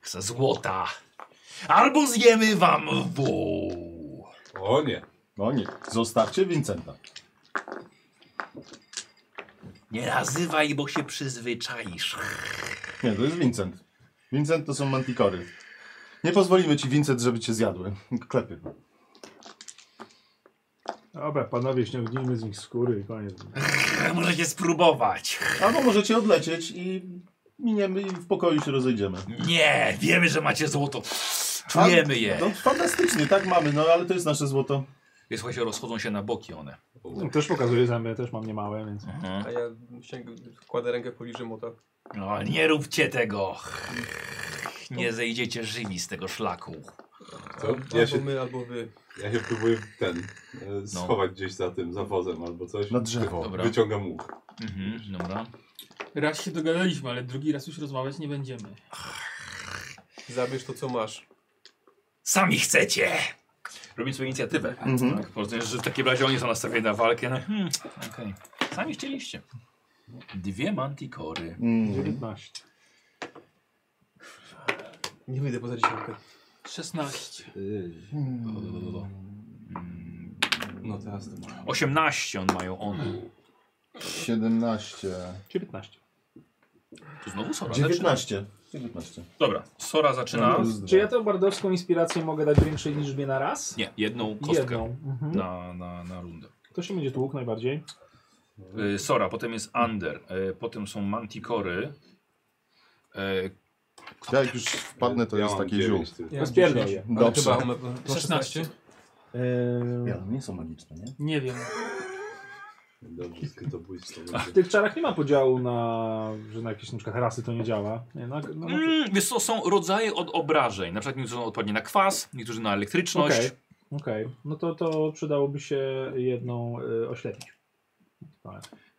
Speaker 1: Chcę złota. Albo zjemy wam wół.
Speaker 4: O nie.
Speaker 3: O nie, zostawcie Vincenta.
Speaker 1: Nie nazywaj, bo się przyzwyczaisz.
Speaker 3: Nie, to jest Vincent. Vincent to są mantikory. Nie pozwolimy ci, Vincent, żeby cię zjadły. Klepy.
Speaker 2: Dobra, panowie, ściągnijmy z nich skóry i koniec.
Speaker 1: Możecie spróbować.
Speaker 3: Albo możecie odlecieć i miniemy i w pokoju się rozejdziemy.
Speaker 1: Nie, wiemy, że macie złoto. Czujemy
Speaker 3: A,
Speaker 1: je.
Speaker 3: No fantastycznie, tak mamy, no ale to jest nasze złoto.
Speaker 1: I słuchajcie, rozchodzą się na boki one. Mhm.
Speaker 2: No, też pokazuję zęby, też mam niemałe, więc...
Speaker 6: A ja sięgam, kładę rękę poniżej mota.
Speaker 1: No, nie róbcie tego. Nie zejdziecie żywi z tego szlaku.
Speaker 4: Co? Ja
Speaker 6: Albo
Speaker 4: się,
Speaker 6: my, albo wy.
Speaker 4: ja się próbuję ten e, schować gdzieś za tym, za wozem albo coś.
Speaker 3: Na drzewo.
Speaker 1: Dobra.
Speaker 4: Wyciągam łuk.
Speaker 1: Mhm, dobra.
Speaker 7: Raz się dogadaliśmy, ale drugi raz już rozmawiać nie będziemy.
Speaker 6: Zabierz to, co masz.
Speaker 1: Sami chcecie. Robimy sobie inicjatywę.
Speaker 3: Mhm.
Speaker 1: Tak, porozumiem, że w takim razie oni są nastawieni na walkę. No, hmm, okej. Sami chcieliście. Dwie mantikory.
Speaker 3: Mm.
Speaker 2: 19.
Speaker 6: Nie wyjdę poza dziesiątkę.
Speaker 7: 16.
Speaker 1: Hmm.
Speaker 8: No teraz to ma.
Speaker 1: 18 on mają one.
Speaker 3: 17.
Speaker 2: 19.
Speaker 1: Tu znowu Sora zaczyna.
Speaker 3: 19. 19.
Speaker 1: Dobra, Sora zaczyna.
Speaker 3: Plus dwa.
Speaker 2: Czy ja tą bardowską inspirację mogę dać większej liczbie na raz?
Speaker 1: Nie, jedną kostkę
Speaker 2: Jedną. Mhm.
Speaker 1: na, na, na rundę.
Speaker 2: Tak. To się będzie tłuk najbardziej.
Speaker 1: Y, Sora, potem jest Under, y, potem są Manticory. Y,
Speaker 3: Ja jak już wpadnę, to
Speaker 4: Ja
Speaker 3: jest
Speaker 4: mam
Speaker 3: takie ziół.
Speaker 4: dziewięć tylko.
Speaker 2: Ja Rozpierdol je.
Speaker 8: Ale
Speaker 3: Dobrze.
Speaker 8: chyba one- to 16?
Speaker 2: Eee,
Speaker 9: Ja, nie są magiczne, nie?
Speaker 7: Nie wiem.
Speaker 4: Dobrze, skrytobójstwo. będzie.
Speaker 2: w tych czarach nie ma podziału na, że na jakieś na przykład rasy to nie działa. Nie, na, no, no,
Speaker 1: Mm, wiesz co, są rodzaje od obrażeń. Na przykład niektórzy są odporni na kwas, niektórzy na elektryczność.
Speaker 2: Okej, okej. No to, to przydałoby się jedną y, oślepić.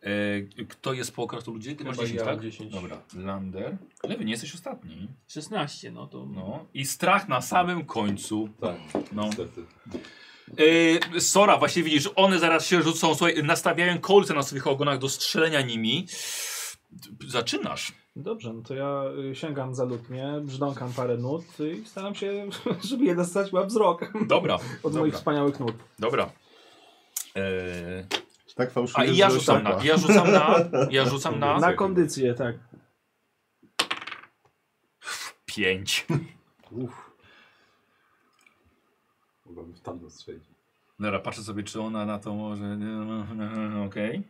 Speaker 1: E, kto jest po okratu ludzi? Ty masz
Speaker 8: Chyba
Speaker 1: 10,
Speaker 8: ja
Speaker 1: tak?
Speaker 8: 10.
Speaker 1: Dobra. Lander. Lewy, nie jesteś ostatni.
Speaker 7: 16, no to.
Speaker 1: No. I strach na samym końcu.
Speaker 4: Tak,
Speaker 1: No.
Speaker 4: niestety.
Speaker 1: E, Sora, właśnie widzisz, one zaraz się rzucą, słuchaj, nastawiają kolce na swoich ogonach do strzelenia nimi. Zaczynasz.
Speaker 2: Dobrze, no to ja y, sięgam za lutnię, brzdąkam parę nut i staram się, żeby je dostać ma wzrok od
Speaker 1: Dobra,
Speaker 2: moich
Speaker 1: dobra,
Speaker 2: wspaniałych nut.
Speaker 1: dobra. E,
Speaker 3: Tak fałszywie,
Speaker 1: A i ja
Speaker 3: że
Speaker 1: rzucam
Speaker 3: szarpa.
Speaker 1: na, ja rzucam na, ja rzucam na
Speaker 2: Na kondycję, tak.
Speaker 1: pięć.
Speaker 4: Uff. Mogłabym w tamto strzelić.
Speaker 1: Dobra, patrzę sobie, czy ona na to może, no, okej.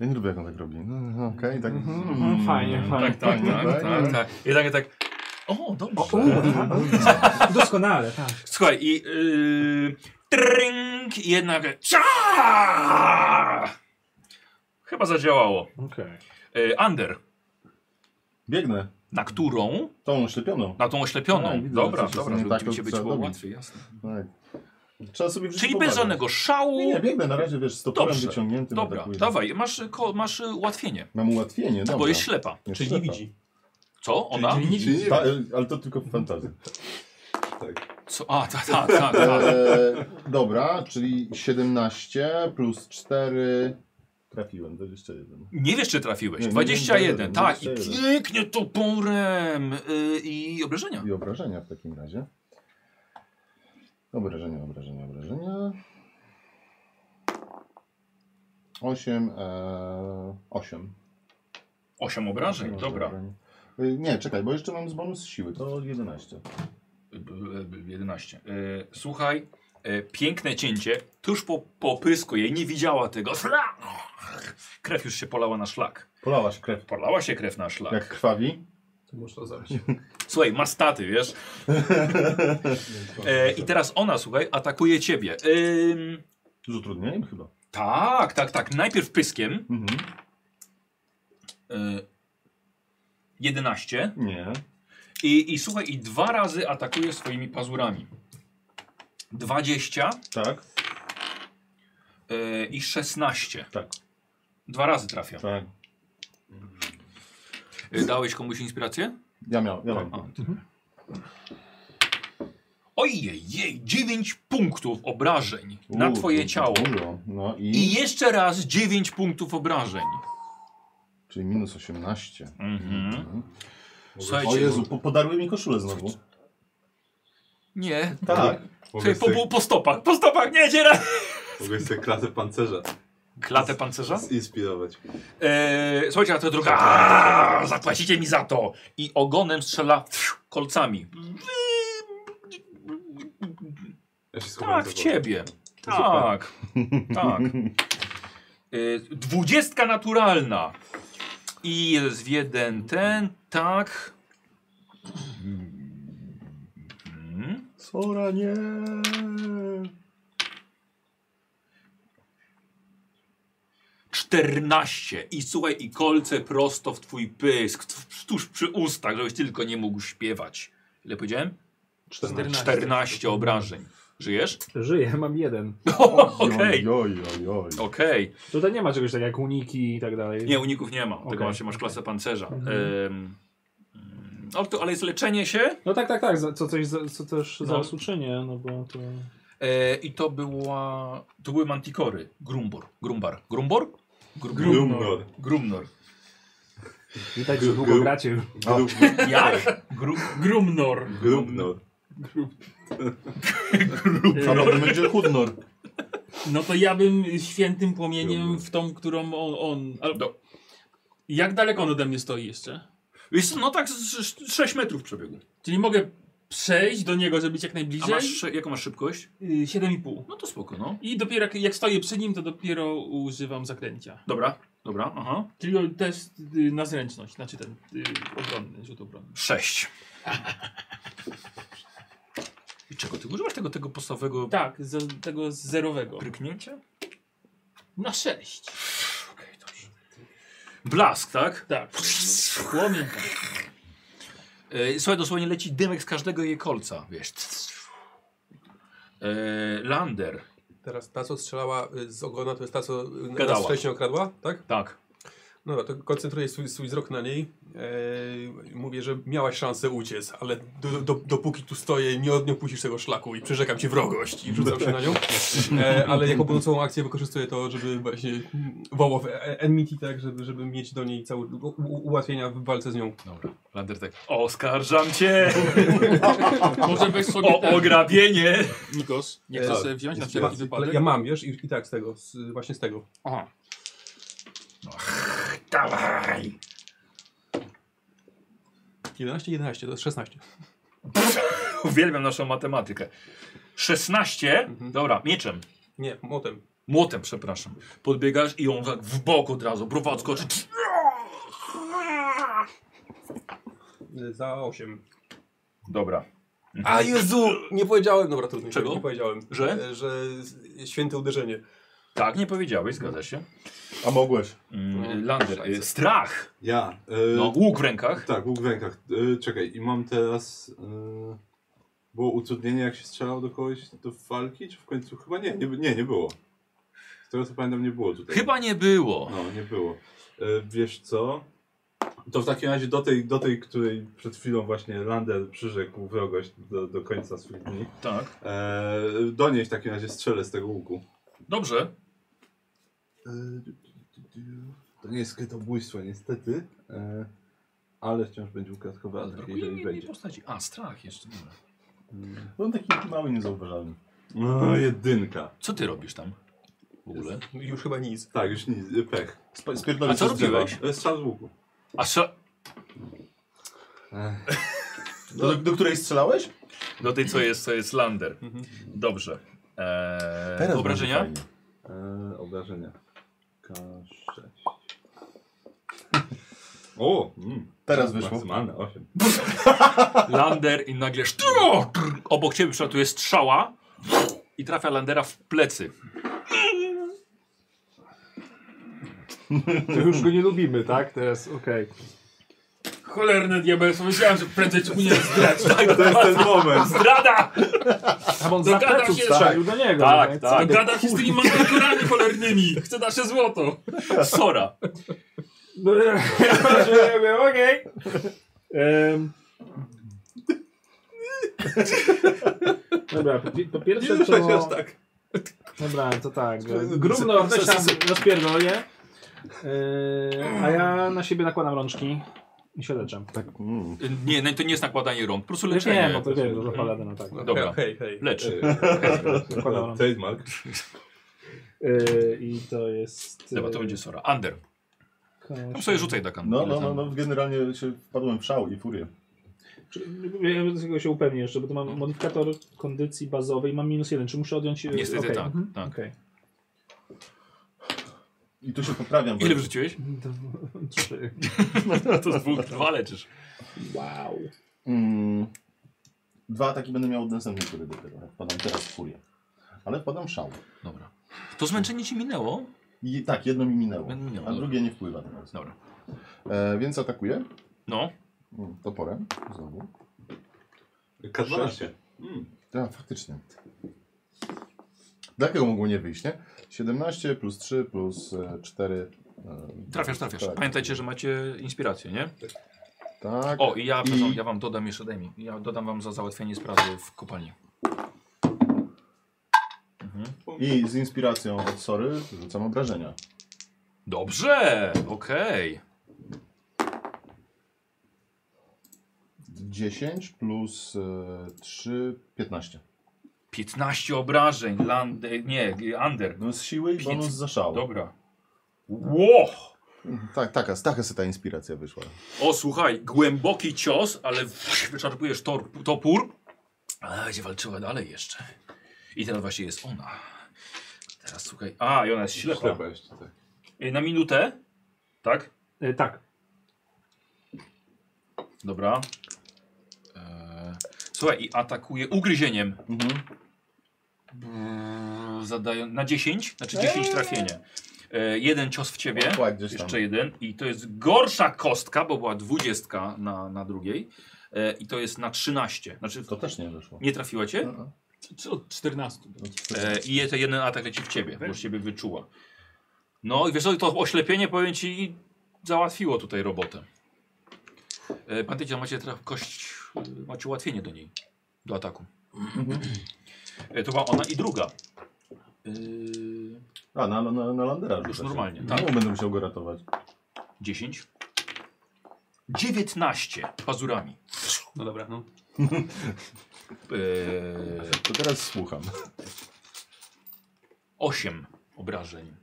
Speaker 3: Ja nie lubię, jak on tak robi. No, no, Okej, tak.
Speaker 2: Mhm, fajnie, fajnie.
Speaker 1: Tak, tak, tak, tak, tak. I tak, tak, o,
Speaker 2: U,
Speaker 1: dobrze.
Speaker 2: tak. Doskonale, tak.
Speaker 1: Słuchaj, i yy, tryng, i jednak, Cza! Chyba zadziałało.
Speaker 2: Okej.
Speaker 1: Yy, Under,
Speaker 3: Biegnę.
Speaker 1: na którą?
Speaker 3: Tą oślepioną.
Speaker 1: Na tą oślepioną.
Speaker 3: Tak, widzę,
Speaker 1: dobra,
Speaker 3: że coś
Speaker 1: dobra,
Speaker 3: nie
Speaker 1: żeby
Speaker 3: tak,
Speaker 1: oczywiście
Speaker 3: to
Speaker 1: być
Speaker 3: trzeba
Speaker 1: było
Speaker 3: robić.
Speaker 1: łatwiej, jasne.
Speaker 3: Tak. Trzeba sobie wrzucić
Speaker 1: Czyli bez
Speaker 3: powagę.
Speaker 1: żadnego szału.
Speaker 3: Nie, nie, biegnę na razie, wiesz, stoporem
Speaker 1: Dobrze.
Speaker 3: wyciągniętym.
Speaker 1: dobra,
Speaker 3: atakuję.
Speaker 1: dawaj, masz, y, ko, masz y, ułatwienie,
Speaker 3: Mam ułatwienie, dobra.
Speaker 1: bo jest ślepa.
Speaker 3: Jest
Speaker 8: Czyli nie
Speaker 3: ślepa.
Speaker 8: widzi.
Speaker 1: Co? Ona?
Speaker 3: Czyli nie Ta, e, ale to tylko w fantazji.
Speaker 4: Tak.
Speaker 1: Co? A, tak, tak, tak. Ta.
Speaker 3: E, dobra, czyli 17 plus 4. Trafiłem, 21.
Speaker 1: Nie wiesz, czy trafiłeś.
Speaker 3: Nie, nie,
Speaker 1: 21,
Speaker 3: 21,
Speaker 1: tak. I
Speaker 3: 21.
Speaker 1: pięknie toporem. Yy, I obrażenia.
Speaker 3: I obrażenia w takim razie. Obrażenia, obrażenia, obrażenia. 8, e, 8.
Speaker 1: 8 obrażeń, dobra.
Speaker 3: Y, Nie, czekaj, bo jeszcze mam z bonus siły, to 11.
Speaker 1: Y, y, y, 11. Y, Słuchaj, y, piękne cięcie. Tuż po, po pysku jej nie widziała tego. Krew już się polała na szlak.
Speaker 3: Polałaś krew.
Speaker 1: Polała się krew na szlak.
Speaker 3: Jak krwawi?
Speaker 8: To można zabić.
Speaker 1: Słuchaj, ma staty, wiesz? E, I teraz ona, słuchaj, atakuje ciebie. Ym,
Speaker 3: Z utrudnieniem chyba.
Speaker 1: tak, tak, tak. Najpierw pyskiem.
Speaker 3: Mhm.
Speaker 1: Y, 11.
Speaker 3: Nie.
Speaker 1: I, I słuchaj, i dwa razy atakuje swoimi pazurami. 20
Speaker 3: Tak,
Speaker 1: y, i 16.
Speaker 3: Tak.
Speaker 1: Dwa razy trafia.
Speaker 3: tak.
Speaker 1: Y, dałeś komuś inspirację?
Speaker 3: Ja miałem, ja mam.
Speaker 1: A, ty. Ojej, jej, 9 punktów obrażeń na
Speaker 3: U,
Speaker 1: twoje
Speaker 3: to
Speaker 1: ciało.
Speaker 3: Dużo. No i,
Speaker 1: I jeszcze raz 9 punktów obrażeń.
Speaker 3: Czyli minus 18.
Speaker 1: Mhm.
Speaker 3: Mhm. O
Speaker 1: Słuchajcie,
Speaker 3: Jezu, po, podarły mi koszulę znowu.
Speaker 1: nie.
Speaker 3: Tak.
Speaker 1: Słuchaj,
Speaker 4: Mogę
Speaker 1: po, po,
Speaker 4: sobie,
Speaker 1: po stopach, po stopach, nie, nie. nie.
Speaker 4: mogę sobie klatę pancerza
Speaker 1: Klatę pancerza?
Speaker 4: zinspirować.
Speaker 1: Eee, słuchajcie, a to druga. Aaaa, Zapłacicie mi za to! I ogonem strzela kolcami.
Speaker 4: Ja się schowałem
Speaker 1: Tak, w
Speaker 4: za
Speaker 1: ciebie. Tak. Tak. Eee, Dwudziestka naturalna. I jest jeden ten, tak. Mm.
Speaker 3: Sora, nie.
Speaker 1: Czternaście. I słuchaj, i kolce prosto w twój pysk, tw- tuż przy ustach, żebyś tylko nie mógł śpiewać. Ile powiedziałem?
Speaker 7: 14.
Speaker 1: 14 obrażeń. Żyjesz?
Speaker 2: Żyję, mam jeden.
Speaker 1: Okej.
Speaker 3: Oj, oj, oj.
Speaker 1: Okej.
Speaker 2: Tutaj nie ma czegoś takiego jak uniki i tak dalej.
Speaker 1: Nie, uników nie ma. Tego
Speaker 2: Okej.
Speaker 1: właśnie masz klasę pancerza.
Speaker 2: Mhm.
Speaker 1: Ym, mm, ale, to, ale jest leczenie się
Speaker 2: No tak, tak, tak, za- co, coś, za- co też
Speaker 1: No.
Speaker 2: no. zaraz uczynię, no bo to...
Speaker 1: e, i to była. To były mantikory. Grumbor. Grumbar. Grumbor? Gru-
Speaker 4: Grumnor.
Speaker 1: Grumnor.
Speaker 2: Widać,
Speaker 4: że
Speaker 2: że
Speaker 4: długo
Speaker 2: długo gracie.
Speaker 4: Grumnor.
Speaker 1: Jak? Gru,
Speaker 7: Grumnor.
Speaker 4: Grumnor.
Speaker 3: Grubnor. będzie chudnor.
Speaker 7: No to ja bym świętym płomieniem
Speaker 4: Grumnor.
Speaker 7: w tą, którą on. on ale
Speaker 1: Do-
Speaker 7: Jak daleko on ode mnie stoi jeszcze?
Speaker 1: Wiesz co, no tak, z, z, 6 metrów przebiegu.
Speaker 7: Czyli mogę przejść do niego, żeby być jak
Speaker 1: A
Speaker 7: najbliżej.
Speaker 1: masz, szy- jaką masz szybkość?
Speaker 7: Y, 7,5.
Speaker 1: No to spoko, no.
Speaker 7: I dopiero jak, jak stoję przy nim, to dopiero używam zaklęcia.
Speaker 1: Dobra, dobra, aha.
Speaker 7: Czyli on test y, na zręczność, znaczy ten y, obronny, rzut obronny.
Speaker 1: Sześć. I czego? Ty używasz tego, tego podstawowego
Speaker 7: Tak, z, tego z zerowego.
Speaker 1: pryknięcia?
Speaker 7: Na 6.
Speaker 1: Blask, tak?
Speaker 7: Tak. Płomień. tak.
Speaker 1: E, Słuchaj, dosłownie leci dymek z każdego jej kolca, wiesz. E, Lander,
Speaker 6: Teraz ta, co strzelała y, z ogona, to jest ta, co y,
Speaker 1: Gadała.
Speaker 6: nas wcześniej okradła, tak?
Speaker 1: tak.
Speaker 6: No to koncentruję swój, swój wzrok na niej. Eee, mówię, że miałaś szansę uciec, ale do, do, dopóki tu stoję, nie, od- nie opuścisz tego szlaku i przyrzekam ci wrogość i rzucam się na nią. Eee, ale jako pomocową akcję wykorzystuję to, żeby właśnie wołał w e- enmity, tak, żeby, żeby mieć do niej całe u, u, ułatwienia w walce z nią.
Speaker 1: Dobra, Lander tak. Oskarżam cię
Speaker 7: Może weź sobie
Speaker 1: o
Speaker 7: ten,
Speaker 1: ograbienie.
Speaker 7: Nikos. Nie
Speaker 6: E,
Speaker 7: chcę sobie wziąć na
Speaker 6: Jest-
Speaker 7: wszelki
Speaker 6: ja-
Speaker 7: wypadek.
Speaker 6: Ja mam, wiesz, i, i tak z tego, z, właśnie z tego.
Speaker 7: Aha.
Speaker 1: Dawaj.
Speaker 6: 11, 11, to jest 16.
Speaker 1: Uwielbiam naszą matematykę. 16. Dobra, mieczem.
Speaker 6: Nie, motem.
Speaker 1: Młotem, przepraszam. Podbiegasz i on tak w bok od razu, browa odskoczy.
Speaker 6: Y, Za 8.
Speaker 1: Dobra.
Speaker 6: A Jezu! Nie powiedziałem, dobra, trudno.
Speaker 1: Czego?
Speaker 6: Nie powiedziałem.
Speaker 1: Że?
Speaker 6: E, Że s- święte uderzenie.
Speaker 1: Tak, nie powiedziałeś, zgadza się.
Speaker 3: A mogłeś.
Speaker 1: Mm, Lander, e, strach.
Speaker 4: Ja. E,
Speaker 1: No, łuk w rękach.
Speaker 4: Tak, łuk w rękach. E, czekaj, i mam teraz... E, było utrudnienie, jak się strzelało do kogoś do walki? Czy w końcu? Chyba nie, nie, nie, nie było. Z tego co pamiętam, nie było tutaj.
Speaker 1: Chyba nie było.
Speaker 4: No, nie było. E, wiesz co? To w takim razie do tej, do tej której przed chwilą właśnie Lander przyrzekł wrogość do, do końca swych dni.
Speaker 1: Tak.
Speaker 4: E, do niej w takim razie strzelę z tego łuku.
Speaker 1: Dobrze.
Speaker 4: E, To nie jest krytobójstwo niestety, e, ale wciąż będzie ukradkowy atak,
Speaker 1: Brakuje
Speaker 4: jeżeli
Speaker 1: mi jednej
Speaker 4: będzie.
Speaker 1: postaci. A, strach jeszcze. Dobra.
Speaker 3: On taki mały, niezauważalny.
Speaker 4: No, jedynka.
Speaker 1: Co ty robisz tam? W ogóle?
Speaker 6: Już chyba nic.
Speaker 4: Tak, już nic, e, pech.
Speaker 3: Sp-
Speaker 1: A
Speaker 3: Spierdolił
Speaker 1: co
Speaker 3: się z drzewa.
Speaker 1: robiłeś?
Speaker 4: E, Strzał z łuku.
Speaker 1: A co?
Speaker 3: Do, do której strzelałeś?
Speaker 1: Do tej, co jest, co jest Lander. Dobrze. Eee, obrażenia?
Speaker 3: będzie fajnie.
Speaker 4: E, obrażenia. K6. O! Mm,
Speaker 3: Teraz wyszło.
Speaker 4: Maksymalne 8.
Speaker 1: Lander i nagle sztru- trr, obok ciebie przelatuje strzała i trafia Landera w plecy.
Speaker 2: To już go nie lubimy, tak? Teraz, okej.
Speaker 7: Cholerne diabelstwo, myślałem, że prędzej czy później zdrać.
Speaker 4: To jest ten moment.
Speaker 1: Zdrada!
Speaker 2: A bo on za
Speaker 7: Dogada
Speaker 2: pleców
Speaker 7: się-
Speaker 2: strzelił do niego.
Speaker 1: Tak,
Speaker 2: więc-
Speaker 1: tak.
Speaker 7: Gada się z tymi mandatorami cholernymi. Chcę nasze złoto.
Speaker 1: Sora.
Speaker 2: No, ja mówię, Okej. Em. Dobra, po, pi- po
Speaker 6: Nie
Speaker 2: pierwsze
Speaker 6: ruszaj się
Speaker 2: to...
Speaker 6: aż tak.
Speaker 2: Dobra, to tak.
Speaker 6: Weź-
Speaker 2: Grubno
Speaker 6: weź
Speaker 2: roz-
Speaker 6: tam-
Speaker 2: rozpierdolę. Yy, a ja na siebie nakładam rączki i się leczę.
Speaker 3: Tak, mm.
Speaker 1: Nie, no to nie jest nakładanie rąk, po prostu
Speaker 2: Ja
Speaker 1: leczenie.
Speaker 2: wiem, no to wiem, że zapadę na tak.
Speaker 6: No,
Speaker 1: Dobra.
Speaker 6: Hej, hej.
Speaker 4: E,
Speaker 1: Leczy.
Speaker 2: Nakładam.
Speaker 4: Trademark.
Speaker 2: Yy, I to jest...
Speaker 1: Dobra, to będzie Sora. Ander.
Speaker 2: koło-
Speaker 1: Tam sobie rzucaj taką.
Speaker 3: No, no, no, no, generalnie się wpadłem w szał i furię.
Speaker 2: Czy- Ja do tego się upewnię jeszcze, bo tu mam modyfikator kondycji bazowej, mam minus jeden. Czy muszę odjąć... yy,
Speaker 1: Niestety
Speaker 2: okej.
Speaker 1: tak,
Speaker 2: Mhm.
Speaker 1: tak.
Speaker 2: Okej.
Speaker 3: I tu się poprawiam.
Speaker 1: Ile
Speaker 3: bo-
Speaker 1: wrzuciłeś?
Speaker 2: Trzy.
Speaker 1: To z dwóch, dwa leczysz.
Speaker 2: Wow.
Speaker 3: Mm. Dwa ataki będę miał od następnej tury dopiero. jak Wpadam teraz w furię. Ale wpadam w szał.
Speaker 1: Dobra. To zmęczenie ci minęło?
Speaker 3: I tak, jedno mi minęło,
Speaker 1: Jedno minęło,
Speaker 3: a
Speaker 1: dobra.
Speaker 3: drugie nie wpływa teraz.
Speaker 1: Dobra.
Speaker 3: E, więc atakuję
Speaker 1: No.
Speaker 3: Mm, toporem znowu.
Speaker 4: K12. Mm.
Speaker 3: Tak, faktycznie. Dlaczego mogło nie wyjść, nie? 17 plus 3 plus 4.
Speaker 1: Trafiasz, trafiasz.
Speaker 3: Tak.
Speaker 1: Pamiętajcie, że macie inspirację, nie?
Speaker 3: Tak.
Speaker 1: O, i ja,
Speaker 3: I-
Speaker 1: przepraszam, ja wam dodam jeszcze, daj mi. Ja dodam wam za załatwienie sprawy w kopalni.
Speaker 3: I z inspiracją od Sory rzucam obrażenia.
Speaker 1: Dobrze, okej.
Speaker 3: 10 plus e, 3, 15.
Speaker 1: 15 obrażeń, land... e, nie, under.
Speaker 3: No z siły i
Speaker 1: Pięć.
Speaker 3: bonus za szał.
Speaker 1: Dobra. Ło!
Speaker 3: Tak, taka, taka se ta inspiracja wyszła.
Speaker 1: O, słuchaj, głęboki cios, ale wyczarpujesz tor, topór A będzie walczyła dalej jeszcze. I teraz właśnie jest ona. Teraz słuchaj. A, i ona jest ślepa.
Speaker 4: Ślepa jeszcze, tak.
Speaker 1: Y, Na minutę? Tak?
Speaker 2: E, tak.
Speaker 1: Dobra. E, Słuchaj, i atakuje ugryzieniem.
Speaker 3: Mhm.
Speaker 1: Brrr, Zadają na 10, znaczy 10 trafienie. E, jeden cios w ciebie.
Speaker 3: Ła, gdzieś tam.
Speaker 1: Jeszcze jeden. I to jest gorsza kostka, bo była 20 na, na drugiej. E, I to jest na 13. Znaczy,
Speaker 3: To też nie wyszło.
Speaker 1: nie trafiła cię?
Speaker 3: No,
Speaker 7: Czy od 14.
Speaker 3: no, to-
Speaker 1: E, I je- ten jeden atak leci w ciebie, bo już ciebie wyczuła. No i wiesz co, to oślepienie powiem ci i załatwiło tutaj robotę. E, pamiętajcie, że macie teraz kość, e, macie ułatwienie do niej, do ataku. E, to była ona i druga. E,
Speaker 3: A, na, na, na Landera
Speaker 1: Już
Speaker 3: rzuca się.
Speaker 1: normalnie,
Speaker 3: No,
Speaker 1: tak.
Speaker 3: będę musiał go ratować.
Speaker 1: 10. 19 pazurami.
Speaker 8: No dobra, no.
Speaker 1: E,
Speaker 3: To teraz słucham.
Speaker 1: 8 obrażeń.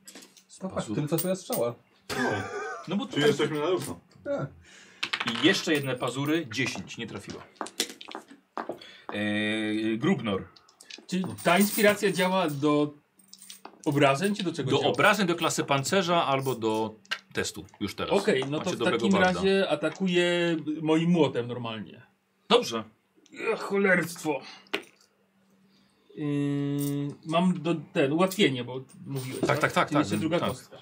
Speaker 1: z
Speaker 6: Popatrz,
Speaker 1: pazur-
Speaker 6: tyle No tak, co twoja strzała.
Speaker 1: No bo
Speaker 4: Czyli jesteśmy na równo.
Speaker 1: I jeszcze jedne pazury, 10, nie trafiła. Eee, Grubnor.
Speaker 7: Czy ta inspiracja działa do obrażeń, czy do czego
Speaker 1: Do
Speaker 7: działa?
Speaker 1: obrażeń do klasy pancerza albo do testu już teraz.
Speaker 7: Okej, no
Speaker 1: Macie
Speaker 7: to w
Speaker 1: dobrego
Speaker 7: takim
Speaker 1: barda.
Speaker 7: razie atakuje moim młotem normalnie.
Speaker 1: Dobrze.
Speaker 7: Ech, cholerstwo. Yy, mam do, ten ułatwienie, bo mówiłeś.
Speaker 1: Tak, tak, tak,
Speaker 7: Czyli
Speaker 1: tak,
Speaker 7: Jeszcze druga
Speaker 1: tak.
Speaker 7: kostka.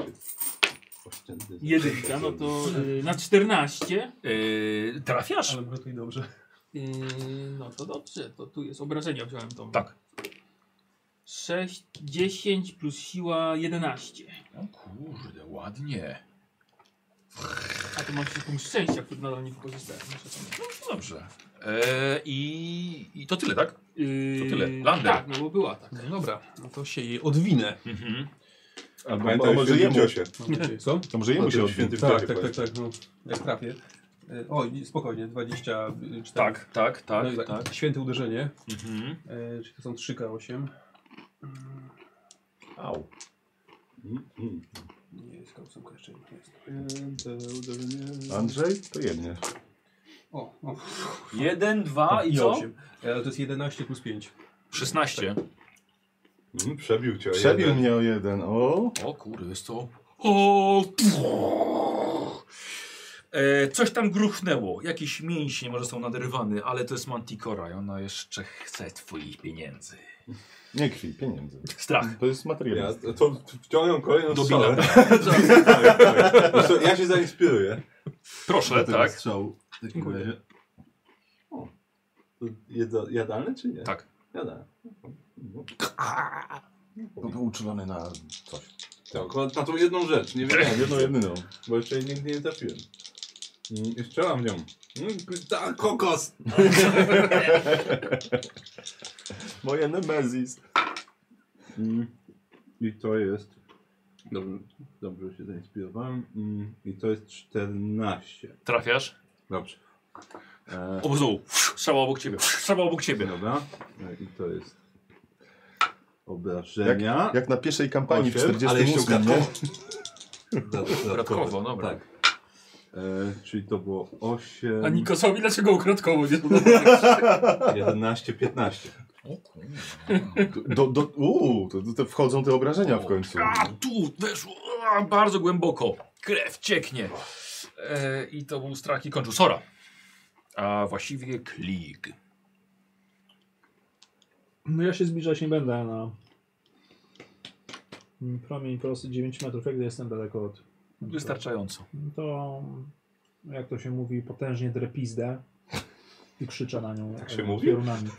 Speaker 7: Jedynka, no to yy, na 14.
Speaker 1: Eee, trafiasz?
Speaker 6: Ale gotuj dobrze.
Speaker 7: Yy, no to dobrze, to tu jest obrażenia wziąłem tą.
Speaker 1: Tak.
Speaker 7: 6, 10 plus siła 11.
Speaker 1: No kurde, ładnie.
Speaker 7: A to mam jeszcze punkt szczęścia, który nadal nie wykorzystałem. Muszę to mieć.
Speaker 1: No Dobrze. Eee, i, I to tyle, tak?
Speaker 7: Yy,
Speaker 1: To tyle. Lander.
Speaker 7: Tak, no bo była tak.
Speaker 8: No dobra, no to się jej odwinę.
Speaker 1: Mhm.
Speaker 3: Albo,
Speaker 4: Pamiętaj
Speaker 3: a
Speaker 4: o
Speaker 3: może
Speaker 4: świętym
Speaker 3: jemu,
Speaker 4: ciosie.
Speaker 6: Mam nadzieję, No co?
Speaker 3: to może jemu się
Speaker 4: Pamiętaj o
Speaker 3: odbił.
Speaker 4: świętym
Speaker 6: Tak,
Speaker 4: ciosie.
Speaker 6: tak, tak,
Speaker 4: pamiętaj.
Speaker 6: tak, no. Jak trafię. Y, O, i spokojnie, 24.
Speaker 1: Tak, tak, tak,
Speaker 6: no i tak,
Speaker 1: tak.
Speaker 6: Święte uderzenie,
Speaker 1: Mhm.
Speaker 6: y, czyli to są 3K8.
Speaker 3: Au.
Speaker 4: Mm, mm.
Speaker 6: Nie jest końcówka jeszcze nie jest.
Speaker 4: Święte uderzenie.
Speaker 3: Andrzej, to jednie.
Speaker 6: O, o.
Speaker 1: Jeden, dwa i co?
Speaker 6: osiem. E, Ale to jest 11 plus 5.
Speaker 1: 16.
Speaker 4: Mm, Przebił cię. o
Speaker 3: Przebił
Speaker 4: jeden.
Speaker 3: mnie o jeden. O,
Speaker 1: O kurde, jest to... O! E, coś tam gruchnęło, jakieś mięśnie może są naderwane, ale to jest Manticora i ona jeszcze chce twoich pieniędzy.
Speaker 3: nie krwi, pieniędzy.
Speaker 1: Strach.
Speaker 3: To jest materiał.
Speaker 4: Ja, to- to wciągam kolejną
Speaker 1: Do
Speaker 4: strzałę. tak, tak. Zresztą Ja się zainspiruję.
Speaker 1: Proszę,
Speaker 3: tego
Speaker 1: tak.
Speaker 3: strzału. W takim
Speaker 6: Dziękuję.
Speaker 3: razie.
Speaker 4: To Jedza, jadalny czy nie?
Speaker 1: Tak.
Speaker 4: Jadalny.
Speaker 3: Bo był uczulony na coś.
Speaker 4: Tak, akurat na tą jedną rzecz, nie
Speaker 3: Nie,
Speaker 4: wiedziałem,
Speaker 3: jedno jedyną.
Speaker 4: bo jeszcze jej nigdy nie trafiłem. Mm, I strzelam w nią. Mm, ta, kokos!
Speaker 3: Moje Nemezis.
Speaker 4: Mm. I to jest. Dobrze, dobrze się zainspirowałem. Mm. I to jest 14.
Speaker 1: Trafiasz.
Speaker 4: Dobrze. E,
Speaker 1: O, znowu. Strzała obok ciebie. Strzała obok ciebie.
Speaker 4: dobra. E, I to jest. Obrażenia.
Speaker 3: Jak na pierwszej kampanii
Speaker 4: Osiem,
Speaker 3: w
Speaker 4: ale jeszcze
Speaker 3: 48, nie?
Speaker 1: Dodatkowo, dobra.
Speaker 4: Tak. E, czyli to było 8,
Speaker 7: A Nikosowi dlaczego ukradkowo nie
Speaker 4: 11, 15.
Speaker 1: O kurde.
Speaker 3: no, Do, do, uu, to, to, to wchodzą te obrażenia w końcu. no.
Speaker 1: A tu weszło a, bardzo głęboko. Krew cieknie. E, I to był strach i kończył. Sora. A właściwie klik.
Speaker 2: No ja się zbliżać nie będę na Mm, promień prosty 9 metrów, jak gdy jestem daleko od...
Speaker 1: Wystarczająco.
Speaker 2: No To, jak to się mówi, potężnie drepizdę i krzyczę na nią.
Speaker 4: Tak się
Speaker 2: e,
Speaker 4: mówi?
Speaker 2: piorunami.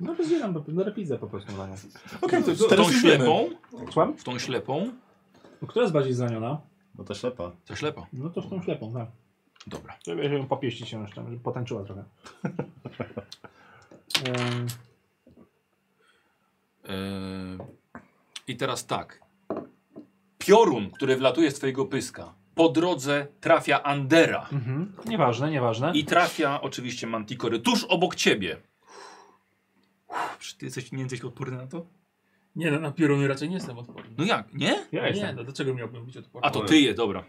Speaker 2: No rozdzielam, po- no drepizdę po prostu na nią.
Speaker 3: Okej, to
Speaker 1: Tą
Speaker 3: teraz idziemy.
Speaker 1: ślepą,
Speaker 2: Słucham?
Speaker 1: tą ślepą,
Speaker 2: No, która jest bardziej zraniona?
Speaker 3: No to ślepa.
Speaker 1: to ślepa.
Speaker 2: No to w tą ślepą, tak.
Speaker 1: Dobra.
Speaker 2: Żeby się ją popieścić się jeszcze, żeby potańczyła trochę. Em,
Speaker 1: Eee, I teraz tak. Piorun, który wlatuje z twojego pyska, po drodze trafia Andera
Speaker 2: mhm. Nieważne, nieważne.
Speaker 1: i trafia oczywiście Manticory tuż obok ciebie. Uff, Czy ty jesteś, nie jesteś odporny na to?
Speaker 7: Nie, no, na pioruny raczej nie jestem odporny.
Speaker 1: No jak, nie?
Speaker 2: Ja
Speaker 7: nie,
Speaker 2: jestem.
Speaker 7: no do czego miałbym być odporny?
Speaker 1: A to ty je, dobra.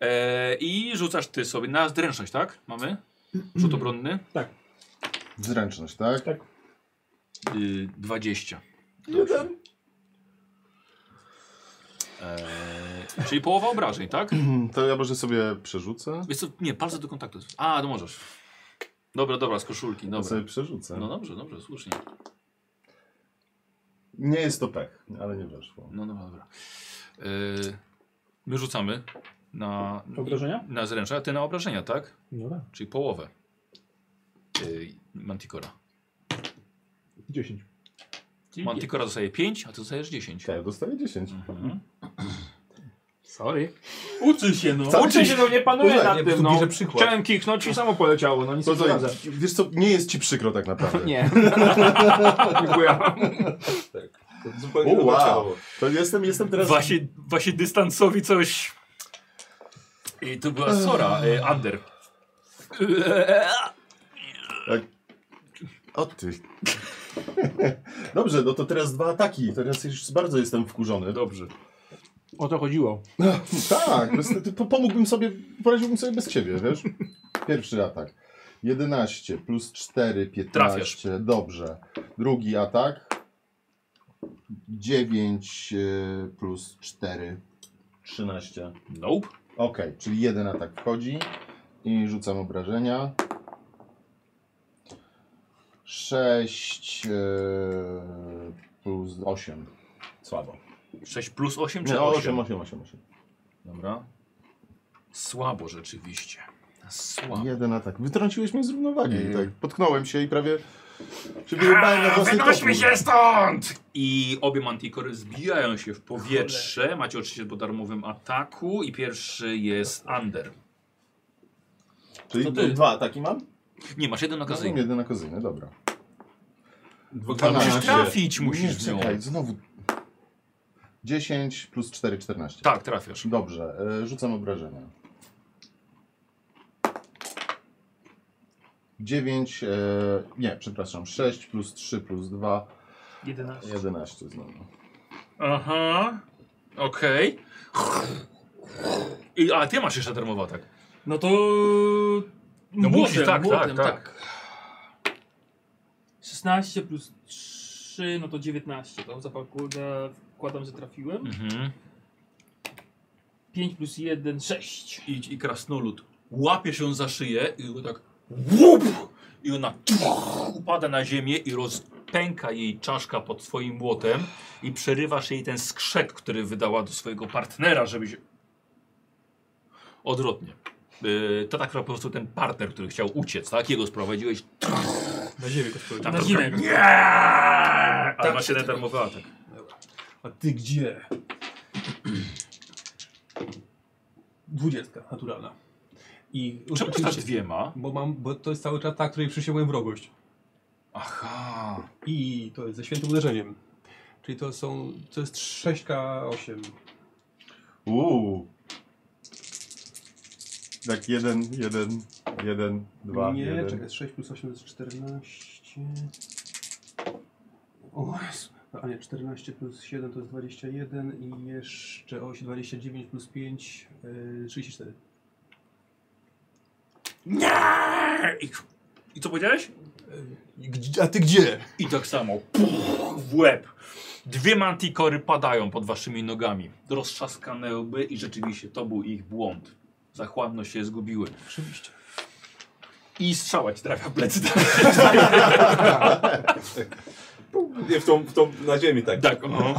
Speaker 1: Eee, I rzucasz ty sobie na zręczność, tak? Mamy? Rzut obronny?
Speaker 3: Zręczność, tak?
Speaker 2: Tak.
Speaker 1: y, 20.
Speaker 3: Jeden.
Speaker 1: Eee, czyli połowa obrażeń, tak?
Speaker 3: To ja może sobie przerzucę.
Speaker 1: Wiesz co, nie, palce do kontaktu. A, no możesz. Dobra, dobra, z koszulki,
Speaker 3: Ja
Speaker 1: dobra.
Speaker 3: sobie przerzucę.
Speaker 1: No dobrze, dobrze, słusznie.
Speaker 3: Nie jest to pech, ale nie weszło.
Speaker 1: No dobra, dobra. Eee, my rzucamy na,
Speaker 2: Obrażenia?
Speaker 1: na zręcze, a ty na obrażenia, tak?
Speaker 2: No tak.
Speaker 1: Czyli połowę. Eee, Manticora.
Speaker 2: 10.
Speaker 7: Czyli
Speaker 1: Manticora dostaje 5, a ty dostajesz 10.
Speaker 3: Tak, dostaję 10.
Speaker 1: Mhm.
Speaker 2: Sorry.
Speaker 7: Uczy się no.
Speaker 3: Wcale
Speaker 2: Uczy się, no nie panuje
Speaker 3: Użyj,
Speaker 2: nad
Speaker 6: nie,
Speaker 2: tym,
Speaker 6: tu
Speaker 2: no.
Speaker 6: bierze przykład.
Speaker 2: Chciałem kichnąć i samo poleciało, no nic
Speaker 3: No
Speaker 2: nie
Speaker 3: to,
Speaker 2: poradzę.
Speaker 3: wiesz co, nie jest ci przykro tak naprawdę.
Speaker 2: Nie. Dziękuję.
Speaker 4: To
Speaker 3: O,
Speaker 4: zupełnie nowe
Speaker 3: wow.
Speaker 4: ciało.
Speaker 3: To jestem, jestem teraz...
Speaker 1: Wasi, wasi dystansowi coś... I to była Sora, e, Under.
Speaker 3: O ty. Dobrze, no to teraz dwa ataki. Teraz już bardzo jestem wkurzony.
Speaker 1: Dobrze.
Speaker 2: O to chodziło.
Speaker 3: Tak, bez, ty, po- pomógłbym sobie, poradziłbym sobie bez ciebie, wiesz? Pierwszy atak. 11 plus 4, 15.
Speaker 1: Trafiasz.
Speaker 3: Dobrze. Drugi atak. 9 y, plus 4, 13.
Speaker 1: Nope.
Speaker 3: Ok, czyli jeden atak wchodzi i rzucam obrażenia. 6 e, plus 8. Słabo. Znaczy,
Speaker 1: 6 plus 8 czy
Speaker 3: Nie, 8,
Speaker 1: 8?
Speaker 3: 8, 8, 8.
Speaker 1: Dobra. Słabo rzeczywiście. Słabo.
Speaker 3: Jeden atak. Wytrąciłeś mnie z równowagi.
Speaker 1: Yy.
Speaker 3: Tak. Potknąłem się i prawie się wyjebałem na własny
Speaker 1: Wynośmy
Speaker 3: topór.
Speaker 1: się stąd! I obie mantikory zbijają się w powietrze. Macie oczywiście po darmowym ataku i pierwszy jest under.
Speaker 3: Czyli
Speaker 1: To ty.
Speaker 3: dwa ataki mam?
Speaker 1: Nie, masz jeden
Speaker 3: No,
Speaker 1: okazyjny.
Speaker 3: jeden okazyjny, dobra.
Speaker 1: Musisz
Speaker 3: 12.
Speaker 1: trafić, musisz
Speaker 3: Nie,
Speaker 1: z nią.
Speaker 3: czekaj, znowu. 10 plus 4, 14.
Speaker 1: Tak, trafiasz.
Speaker 3: Dobrze, e, rzucam obrażenia. 9, e, nie, przepraszam, 6 plus 3 plus 2,
Speaker 7: 11.
Speaker 3: 11 znowu.
Speaker 1: Aha. Okej. I A ty masz jeszcze darmowy atak.
Speaker 7: No to...
Speaker 1: No musisz, tak,
Speaker 7: młotem,
Speaker 1: tak, tak.
Speaker 7: 16 plus 3, no to 19. Tam zapakuję, wkładam, że trafiłem.
Speaker 1: Mhm.
Speaker 7: 5 plus 1, 6.
Speaker 1: i, i krasnolud łapie się za szyję i go tak łup, i ona upada na ziemię i rozpęka jej czaszka pod swoim młotem i przerywasz jej ten skrzek, który wydała do swojego partnera, żeby się... Odwrotnie. Yy, to tak po prostu ten partner, który chciał uciec, tak? Jego sprowadziłeś
Speaker 8: Na ziemię ktoś powiedział.
Speaker 1: tam
Speaker 7: Na
Speaker 1: trochę-
Speaker 7: zimę.
Speaker 1: Nie! Ale
Speaker 8: Tak.
Speaker 1: masz jeden darmowy atak.
Speaker 8: A ty gdzie? Dwudziestka, naturalna. I
Speaker 1: Czemu
Speaker 6: tak
Speaker 1: stasz dwiema?
Speaker 8: Bo mam, bo to jest cały czas ta, której przysięgłem wrogość.
Speaker 1: Aha.
Speaker 8: I to jest ze świętym uderzeniem. Czyli to są, to jest 6K8.
Speaker 3: Uuu. Tak, jeden, jeden, jeden, dwa,
Speaker 8: Nie,
Speaker 3: jeden.
Speaker 8: czekaj, 6 plus 8 to jest 14. O, Jezu. No, a nie, 14 plus 7 to jest 21 i jeszcze oś 29 plus 5, yy, 34.
Speaker 1: Nie! I, I co powiedziałeś?
Speaker 8: A ty gdzie?
Speaker 1: I tak samo puch, w łeb. Dwie mantikory padają pod waszymi nogami. Roztrzaskane łby i rzeczywiście to był ich błąd. Zachładno się zgubiły.
Speaker 8: Oczywiście.
Speaker 1: I strzała ci trafia w plecy.
Speaker 4: Nie, w tą, w tą, na ziemi tak.
Speaker 1: tak, no.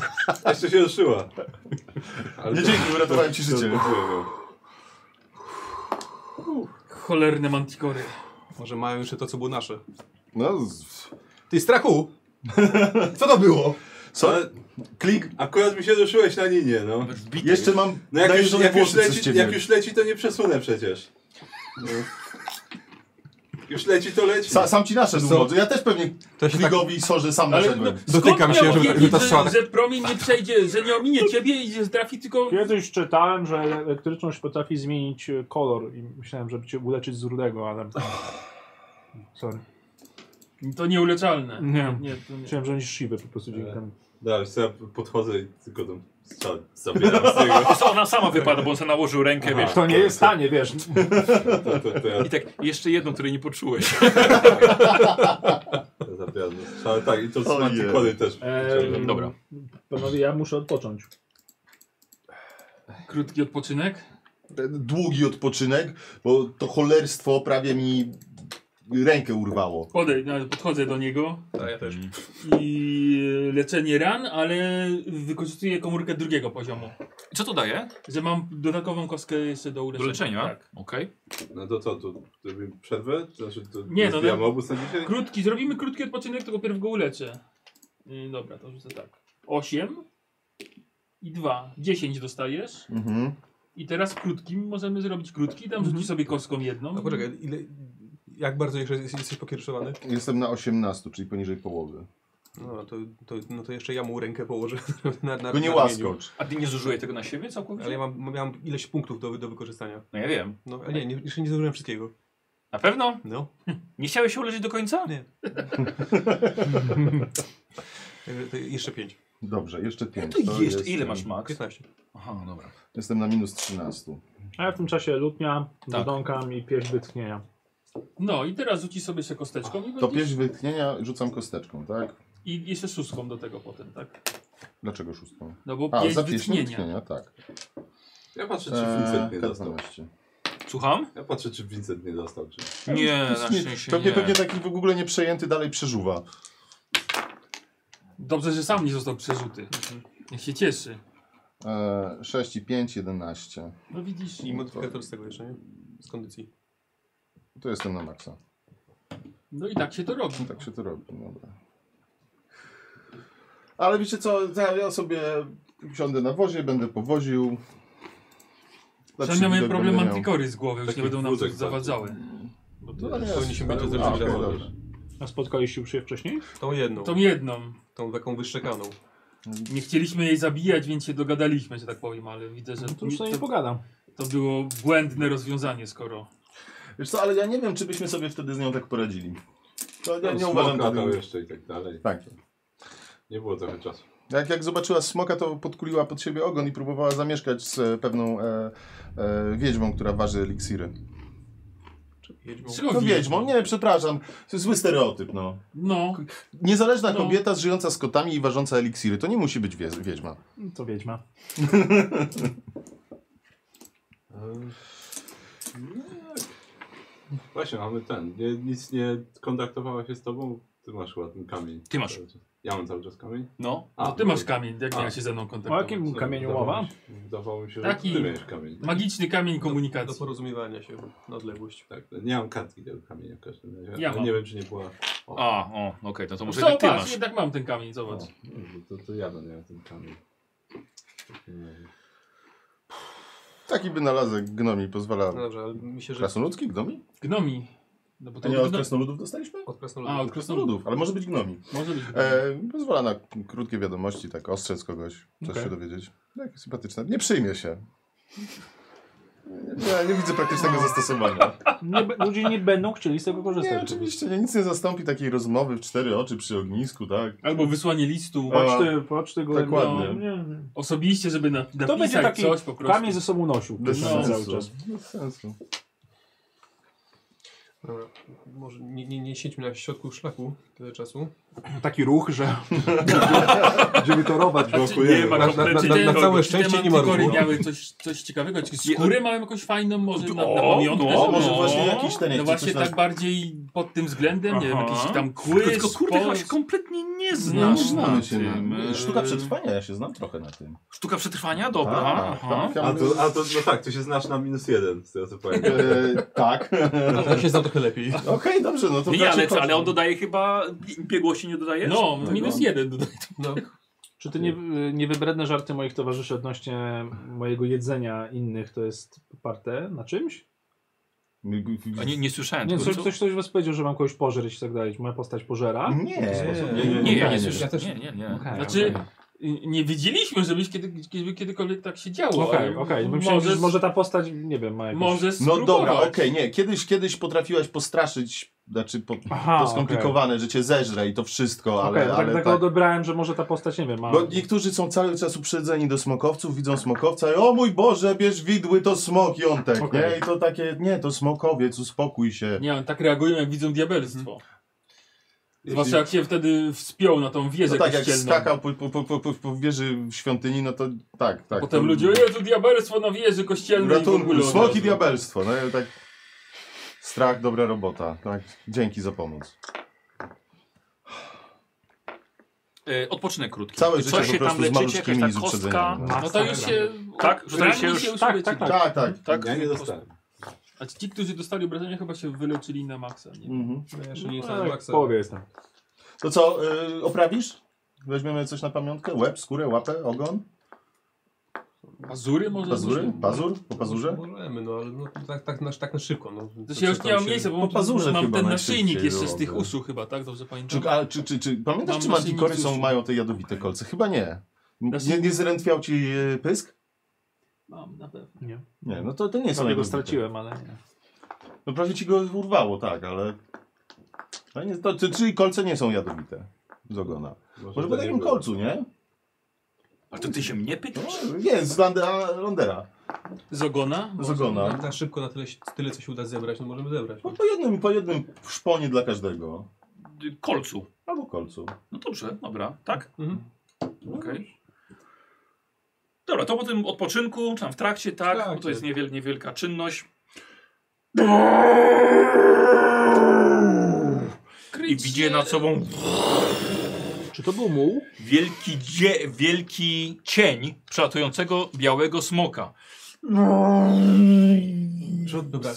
Speaker 4: Jeszcze się ruszyła. Ale
Speaker 3: Nie dzięki, uratowałem ci życie.
Speaker 7: Cholerne mantikory.
Speaker 8: Może mają jeszcze to, co było nasze.
Speaker 3: No, z-
Speaker 8: Ty strachu! Co to było?
Speaker 3: co? Klik.
Speaker 4: No, Akurat mi się ruszyłeś na linię, no.
Speaker 1: Wbite
Speaker 3: Jeszcze
Speaker 1: jest.
Speaker 3: mam
Speaker 4: No jak już,
Speaker 3: najeżone
Speaker 4: jak, już
Speaker 3: włosy przez
Speaker 4: leci,
Speaker 3: ciebie.
Speaker 4: jak już leci, to nie przesunę przecież. No. Już leci, to leci.
Speaker 3: Sa, sam ci nasze
Speaker 8: Co?
Speaker 3: długo. Ja też pewnie
Speaker 8: To się tak-
Speaker 3: Kligowi i Sorze sam naszedłem.
Speaker 8: no, Dotykam
Speaker 7: no, Skąd
Speaker 8: się,
Speaker 7: miał
Speaker 8: żeby- żeby
Speaker 7: wiedzieć,
Speaker 8: ta strzała
Speaker 7: że,
Speaker 8: tak-
Speaker 7: że promień nie przejdzie, że nie ominie ciebie i że trafi tylko...
Speaker 2: Kiedyś czytałem, że elektryczność potrafi zmienić e, kolor i myślałem, żeby cię uleczyć z rudego, ale... Sorry.
Speaker 7: To nieuleczalne.
Speaker 2: Nie.
Speaker 7: nie, to nie.
Speaker 2: Myślałem, że oni siwe po prostu dzięki temu.
Speaker 4: Dalej, ja podchodzę i tylko tam strzelę, zabieram z niego.
Speaker 1: A co, ona sama wypada, bo on sobie nałożył rękę,
Speaker 4: Aha.
Speaker 1: wiesz.
Speaker 2: To nie jest tanie, wiesz.
Speaker 4: To, to, to ja
Speaker 1: I tak, jeszcze jedną, której nie poczułeś.
Speaker 4: to zabieram ze strzału. Tak, i to z
Speaker 3: Ojej.
Speaker 4: antykody też.
Speaker 2: Em,
Speaker 1: Dobra.
Speaker 2: Panowie, ja muszę odpocząć.
Speaker 7: Krótki odpoczynek.
Speaker 3: E, Długi odpoczynek, bo to cholerstwo prawie mi rękę urwało.
Speaker 7: Podejdź, no, podchodzę do niego
Speaker 6: A ja też.
Speaker 7: i e, leczenie ran, ale wykorzystuję komórkę drugiego poziomu.
Speaker 1: Co to daje?
Speaker 7: Że mam dodatkową kostkę jeszcze do
Speaker 1: Do
Speaker 7: uleczenia.
Speaker 1: leczenia?
Speaker 7: Tak.
Speaker 1: Okej.
Speaker 4: No to co, to, to robimy przerwę? Znaczy, to
Speaker 7: Nie, no,
Speaker 4: zbijamy
Speaker 7: no.
Speaker 4: obóz na dzisiaj?
Speaker 7: Krótki, zrobimy krótki odpoczynek, tylko pierw go uleczę. Yy, dobra, to rzucę tak. 8 i 2. 10 dostajesz.
Speaker 3: Mhm.
Speaker 7: I teraz krótkim możemy zrobić krótki. Tam rzuci sobie kostką jedną.
Speaker 6: A No, poczekaj, ile, jak bardzo jeszcze jest- jesteś pokiereszowany?
Speaker 3: Jestem na 18, czyli poniżej połowy.
Speaker 6: No to, to, no to jeszcze ja mu rękę położę na, na,
Speaker 3: Tylko nie
Speaker 6: na ramieniu.
Speaker 3: łaskocz.
Speaker 1: A ty nie zużyję tego na siebie całkowicie?
Speaker 6: Ale ja mam, miałem ileś punktów do, do wykorzystania.
Speaker 1: No ja wiem.
Speaker 6: No ale nie, nie, jeszcze nie zdążyłem wszystkiego.
Speaker 1: Na pewno?
Speaker 6: No.
Speaker 1: Nie chciałeś się uleczyć do końca?
Speaker 6: Nie. Także to jeszcze 5.
Speaker 3: Dobrze, jeszcze 5.
Speaker 1: No To jeszcze,
Speaker 8: no.
Speaker 1: ile masz max?
Speaker 6: 15.
Speaker 1: Aha, dobra.
Speaker 3: Jestem na minus 13.
Speaker 2: A ja w tym czasie lutnia,
Speaker 1: Tak.
Speaker 2: tak. i pieśń wytchnienia.
Speaker 7: No i teraz rzuci sobie się kosteczką i,
Speaker 3: To
Speaker 7: będziesz-
Speaker 3: pierś wytchnienia rzucam kosteczką, tak?
Speaker 7: i jeszcze szóstką do tego potem, tak?
Speaker 3: Dlaczego szóstką?
Speaker 7: No bo
Speaker 3: A,
Speaker 7: pięć
Speaker 3: za pieśń
Speaker 7: wytchnienia.
Speaker 3: wytchnienia, tak.
Speaker 4: Ja patrzę, czy
Speaker 3: Eee,
Speaker 4: Vincent nie dostał.
Speaker 3: K12.
Speaker 1: Słucham?
Speaker 4: Ja patrzę, czy Vincent nie dostał. Czy...
Speaker 1: Nie, E, na
Speaker 3: Nie,
Speaker 1: szczęście
Speaker 3: pewnie,
Speaker 1: nie.
Speaker 3: pewnie taki w ogóle nieprzejęty dalej przeżuwa.
Speaker 7: Dobrze, że sam nie został przerzuty. Niech się cieszy.
Speaker 3: Eee, 6 i 5, 11.
Speaker 7: No widzisz.
Speaker 6: I modyfikator z tego jeszcze, nie? Z kondycji.
Speaker 3: To jestem na maksa.
Speaker 7: No i tak się to robi.
Speaker 3: No Tak się to robi, dobra. Ale wiecie co, ja ja sobie siądę na wozie, będę powoził. Lepszy
Speaker 7: Przynajmniej mamy
Speaker 3: widok
Speaker 7: problem
Speaker 3: będę miał.
Speaker 7: mantykory z głowy, już
Speaker 4: Taki
Speaker 7: nie będą nam
Speaker 4: wózek
Speaker 7: coś zawadzały.
Speaker 6: Bo
Speaker 3: No,
Speaker 6: to
Speaker 3: ale
Speaker 6: powinni się
Speaker 3: jasne.
Speaker 6: być to
Speaker 3: A,
Speaker 6: zrobić
Speaker 3: okej,
Speaker 6: razem.
Speaker 3: dobra.
Speaker 2: A spotkaliście już się wcześniej?
Speaker 6: Tą jedną.
Speaker 7: Tą jedną.
Speaker 6: Tą taką wyszczekaną.
Speaker 7: Nie chcieliśmy jej zabijać, więc się dogadaliśmy, że tak powiem, ale widzę, że
Speaker 2: No to już
Speaker 7: to,
Speaker 2: sobie nie pogadam.
Speaker 7: to było błędne rozwiązanie, skoro.
Speaker 3: Wiesz co, ale ja nie wiem, czy byśmy sobie wtedy z nią tak poradzili. No, To ja nie uważam
Speaker 4: Smoka tam
Speaker 3: tego.
Speaker 4: jeszcze i tak dalej.
Speaker 3: Tak.
Speaker 4: Nie było trochę czasu.
Speaker 3: Jak, jak zobaczyła smoka, to podkuliła pod siebie ogon i próbowała zamieszkać z e, pewną e, e, wiedźmą, która waży eliksiry.
Speaker 6: Jedźmą.
Speaker 7: Czego
Speaker 3: No
Speaker 7: wie-
Speaker 3: wiedźmą, nie, przepraszam. To jest zły stereotyp, no.
Speaker 7: No,
Speaker 3: Niezależna
Speaker 7: No.
Speaker 3: kobieta żyjąca z kotami i ważąca eliksiry, to nie musi być wie- wiedźma.
Speaker 2: No To wiedźma.
Speaker 4: No, Właśnie, mamy ten. Nie, nic nie kontaktowała się z tobą? Ty masz chyba ten kamień.
Speaker 1: Ty masz.
Speaker 4: Cały czas. Ja mam cały czas kamień?
Speaker 1: No.
Speaker 7: no ty masz kamień, jak
Speaker 4: A.
Speaker 7: miałeś się ze mną
Speaker 2: O
Speaker 7: kontaktować.
Speaker 2: jakim
Speaker 4: No,
Speaker 2: kamieniu
Speaker 4: wydawało
Speaker 2: mowa?
Speaker 4: mi się- Wydawało mi się, że
Speaker 7: Taki-
Speaker 4: ty miałeś kamień.
Speaker 7: Magiczny kamień
Speaker 6: Do
Speaker 7: komunikacji.
Speaker 6: porozumiewania się na odległość.
Speaker 4: Tak, nie mam kartki tego kamienia w każdym razie.
Speaker 7: Ja
Speaker 4: ale
Speaker 7: mam.
Speaker 4: Nie wiem, czy nie była... O,
Speaker 1: A, o, okej, no to może
Speaker 7: Zobacz,
Speaker 1: jednak ty masz.
Speaker 7: jednak mam ten kamień, zobacz.
Speaker 4: o, to, to ja będę miał ten kamień. W takim razie.
Speaker 3: Taki wynalazek gnomi pozwala...
Speaker 6: No dobrze, ale mi się, że
Speaker 3: Krasnoludzki? Gnomi?
Speaker 7: Gnomi. No bo
Speaker 3: A
Speaker 7: to
Speaker 3: nie od
Speaker 7: gno...
Speaker 3: krasnoludów dostaliśmy?
Speaker 6: od
Speaker 7: A,
Speaker 6: krasnoludów.
Speaker 7: od krasnoludów.
Speaker 3: Krasnoludów, ale może być gnomi.
Speaker 7: Może być.
Speaker 3: E, pozwala na k- krótkie wiadomości, tak ostrzec kogoś, coś się dowiedzieć. Tak, sympatyczne. Nie przyjmie się. Ja nie widzę praktycznego zastosowania.
Speaker 2: Nie, b- ludzie nie będą chcieli z tego korzystać.
Speaker 3: Nie, oczywiście, nie, nic nie zastąpi takiej rozmowy w cztery oczy przy ognisku, tak?
Speaker 7: Albo wysłanie listu
Speaker 3: A,
Speaker 2: Poczty, poczty go
Speaker 3: dokładnie.
Speaker 2: No, nie, nie.
Speaker 7: osobiście, żeby na, napisać
Speaker 2: To będzie taki
Speaker 7: coś po prostu.
Speaker 2: kamień ze sobą nosił.
Speaker 3: Bez
Speaker 2: No, cały
Speaker 3: sensu.
Speaker 2: czas.
Speaker 3: Bez sensu.
Speaker 6: Dobra, może nie, nie, nie siedźmy na środku szlaku tyle czasu.
Speaker 2: Taki ruch, że będziemy torować.
Speaker 7: A czy nie ma
Speaker 6: Na- na-
Speaker 7: kompletnie
Speaker 6: na- na- na
Speaker 7: tego.
Speaker 6: całe
Speaker 7: Czy te
Speaker 6: szczęście nie ma
Speaker 7: mantykory
Speaker 6: ruchu.
Speaker 7: miały coś, coś ciekawego, czy skórę mają jakąś fajną, może na, na
Speaker 1: O,
Speaker 7: pamiątkę.
Speaker 1: no,
Speaker 7: żeby-
Speaker 1: może właśnie
Speaker 3: jakiś ten, jak
Speaker 7: No
Speaker 3: ci
Speaker 7: właśnie
Speaker 3: coś na-
Speaker 7: tak bardziej pod tym względem, nie wiem,
Speaker 1: Aha.
Speaker 7: jakieś tam kły,
Speaker 1: Tylko kurde, chyba
Speaker 7: spos-
Speaker 1: się kompletnie nie
Speaker 3: No,
Speaker 1: znasz
Speaker 3: znamy
Speaker 1: na
Speaker 3: się
Speaker 1: tym.
Speaker 3: na...
Speaker 1: e,
Speaker 3: Sztuka przetrwania, ja się znam trochę na tym.
Speaker 1: Sztuka przetrwania? Dobra.
Speaker 3: Tak,
Speaker 1: aha.
Speaker 3: tak.
Speaker 4: A to, a to, no tak, tu się znasz na minus jeden, z tego co pamiętam.
Speaker 3: E, tak.
Speaker 6: Ja się znam trochę lepiej.
Speaker 3: Okej, dobrze, no to
Speaker 1: Nie,
Speaker 3: bracie,
Speaker 1: ale,
Speaker 3: chodźmy.
Speaker 1: ale on dodaje chyba... Biegłości nie dodajesz?
Speaker 7: No, minus jeden tutaj.
Speaker 6: No,
Speaker 2: Czy te nie, niewybredne żarty moich towarzyszy odnośnie mojego jedzenia innych to jest poparte na czymś?
Speaker 1: A nie, nie słyszałem.
Speaker 2: Nie,
Speaker 1: tego,
Speaker 2: coś,
Speaker 1: co-
Speaker 2: coś, coś was powiedział, że mam kogoś pożreć i tak dalej. Moja postać pożera?
Speaker 3: Mm. Nie,
Speaker 4: nie,
Speaker 1: Nie, ja nie
Speaker 6: Ja
Speaker 1: słyszałem.
Speaker 6: też-
Speaker 1: Nie, nie, nie.
Speaker 2: Okej,
Speaker 7: Znaczy,
Speaker 2: okej.
Speaker 7: y, nie wiedzieliśmy, żebyś kiedy, kiedy, kiedykolwiek tak się działo.
Speaker 2: Okej,
Speaker 7: ale
Speaker 2: okej. No myślałem,
Speaker 7: Możesz,
Speaker 2: że może ta postać, nie wiem, ma jakieś...
Speaker 7: możesz
Speaker 3: No dobra,
Speaker 7: spróbować.
Speaker 3: okej, nie. Kiedyś, kiedyś potrafiłaś postraszyć znaczy po,
Speaker 2: Aha,
Speaker 3: to skomplikowane, że cię zeżre i to wszystko, ale,
Speaker 2: Okej, no tak,
Speaker 3: ale
Speaker 2: tak,
Speaker 3: tak.
Speaker 2: odebrałem, że może ta postać, nie wiem, ma...
Speaker 3: Bo niektórzy są cały czas uprzedzeni do smokowców, widzą smokowca i o mój Boże, bierz widły, to smok, jątek,
Speaker 2: Okej.
Speaker 3: nie? I to takie, nie, to smokowiec, uspokój się.
Speaker 5: Nie, on tak reagują jak widzą diabelstwo. Zwłaszcza
Speaker 4: Jeśli-
Speaker 5: jak się wtedy wspiął na tą
Speaker 3: No
Speaker 5: wieżę
Speaker 3: tak, jak
Speaker 5: kościelną.
Speaker 3: skakał po, po, po, po, po, po wieży w świątyni, no to tak, tak.
Speaker 5: Potem
Speaker 3: to...
Speaker 5: ludzie, Jezu, diabelstwo na wieży kościelnej i w ogóle
Speaker 3: Ratunku,
Speaker 5: od
Speaker 3: smok
Speaker 5: razu.
Speaker 3: i diabelstwo, no i tak. Strach, dobra robota, tak. Dzięki za pomoc.
Speaker 1: E, odpoczynek krótki.
Speaker 3: Całe
Speaker 1: Coś
Speaker 3: życie po
Speaker 1: się tam
Speaker 3: prostu z
Speaker 1: leczycie, jakaś
Speaker 3: malutkimi
Speaker 1: ta
Speaker 3: z
Speaker 1: kostka.
Speaker 3: uprzedzeniami.
Speaker 5: No to już się...
Speaker 1: Tak? Rani
Speaker 5: Rani
Speaker 1: się już-
Speaker 2: tak, tak, tak.
Speaker 3: Tak, tak.
Speaker 1: Tak?
Speaker 4: Ja nie dostałem.
Speaker 5: A ci, którzy dostali obrażenia chyba się wyleczyli na maksa, nie?
Speaker 3: Mhm.
Speaker 6: Ja jeszcze nie
Speaker 5: Tak,
Speaker 2: No,
Speaker 6: tak dostałem
Speaker 2: jak
Speaker 6: maksa.
Speaker 2: połowie jestem.
Speaker 3: To co, y, oprawisz? Weźmiemy coś na pamiątkę? Łeb, skórę, łapę, ogon?
Speaker 5: Pazury może?
Speaker 3: Pazury?
Speaker 5: Może-
Speaker 3: Pazur? Po pazurze?
Speaker 6: Możemy, no ale no, tak, tak, na, tak na szybko. No.
Speaker 5: To się już nie mam miejsca, bo
Speaker 3: Po pazurze
Speaker 5: mam
Speaker 3: chyba
Speaker 5: ten
Speaker 3: najszybciej
Speaker 5: naszyjnik jeszcze z
Speaker 3: byłoby.
Speaker 5: tych uszu chyba, tak? Dobrze pamiętam?
Speaker 3: Czy, a, czy, czy, czy pamiętasz,
Speaker 5: Mam
Speaker 3: czy
Speaker 5: na szyi
Speaker 3: mantikory są,
Speaker 5: nicuszki.
Speaker 3: mają te jadowite kolce? Chyba nie.
Speaker 5: Na szyi-
Speaker 3: Nie, nie zrętwiał ci y, pysk?
Speaker 5: Mam, na pewno.
Speaker 3: Nie, no to, to nie są
Speaker 2: Prawie go
Speaker 3: jadowite.
Speaker 2: straciłem, ale nie.
Speaker 3: No prawie ci go urwało, tak, ale... No nie, to, czy, czyli kolce nie są jadowite z ogona. Może po
Speaker 4: to nie
Speaker 3: takim
Speaker 4: było.
Speaker 3: kolcu, nie?
Speaker 1: A to ty się mnie pytasz?
Speaker 3: No, nie, z Landera, Landera.
Speaker 5: Z ogona?
Speaker 3: Z
Speaker 6: Na,
Speaker 3: ogona.
Speaker 6: na Tak, szybko, na tyle, tyle co się uda zebrać, no możemy zebrać.
Speaker 3: No, po jednym, po jednym szponie dla każdego.
Speaker 1: Y, Kolcu.
Speaker 3: Albo kolcu.
Speaker 1: No dobrze, dobra. Tak?
Speaker 6: Mhm.
Speaker 1: Okej. Dobra, to po tym odpoczynku, czy tam w trakcie, tak?
Speaker 6: Tak,
Speaker 1: bo to jest
Speaker 6: tak.
Speaker 1: niewiel, niewielka czynność. I widzie nad sobą
Speaker 2: Czy to był muł?
Speaker 1: wielki, dzie, wielki cień przelatującego białego smoka.
Speaker 6: Przod, dobra,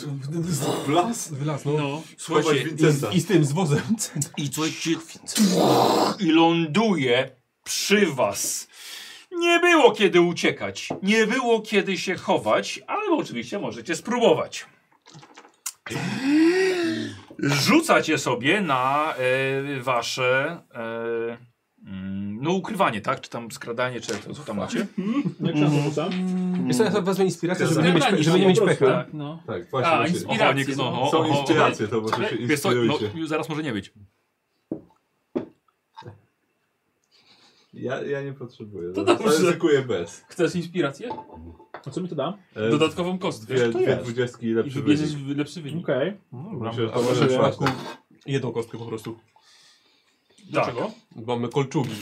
Speaker 6: wlas, wlas, no.
Speaker 5: No.
Speaker 1: Słuchajcie,
Speaker 6: I, z, I z tym, z wozem.
Speaker 1: I słuchajcie, i ląduje przy was. Nie było kiedy uciekać, nie było kiedy się chować, ale oczywiście możecie spróbować. Rzucacie sobie na e, wasze e, mm, no ukrywanie, tak? Czy tam skradanie, czy jak to tam macie?
Speaker 2: Jak się
Speaker 5: Mhm.
Speaker 2: nazywa?
Speaker 6: Jest ja sobie wezmę inspirację, żeby nie mieć,
Speaker 5: Zabrani
Speaker 6: pe- żeby nie mieć
Speaker 2: są po
Speaker 6: pecha.
Speaker 5: Tak, no.
Speaker 4: Tak,
Speaker 5: A,
Speaker 4: właśnie. właśnie.
Speaker 5: inspira- Inspiracje,
Speaker 1: no.
Speaker 5: no.
Speaker 4: Są
Speaker 1: o, o,
Speaker 4: inspiracje, to może się
Speaker 1: Wiesz co, no,
Speaker 4: inspirujcie.
Speaker 1: już zaraz może nie być.
Speaker 4: Ja, ja nie potrzebuję.
Speaker 5: To
Speaker 4: To
Speaker 5: dobrze.
Speaker 4: Zaryzykuję bez.
Speaker 5: Chcesz inspirację?
Speaker 2: A co mi to da?
Speaker 4: E,
Speaker 5: Dodatkową kostkę.
Speaker 4: Dwie,
Speaker 3: to
Speaker 4: dwie
Speaker 3: jest.
Speaker 4: dwudziestki i
Speaker 5: I
Speaker 4: lepszy
Speaker 5: wybierzesz
Speaker 4: wynik.
Speaker 5: w- lepszy wynik.
Speaker 2: Okej.
Speaker 5: No
Speaker 4: Myślę, że to
Speaker 6: A może
Speaker 4: może
Speaker 6: w
Speaker 4: być
Speaker 6: przypadku jedną kostkę po prostu.
Speaker 1: Dlaczego?
Speaker 6: Bo Mamy kolczugi.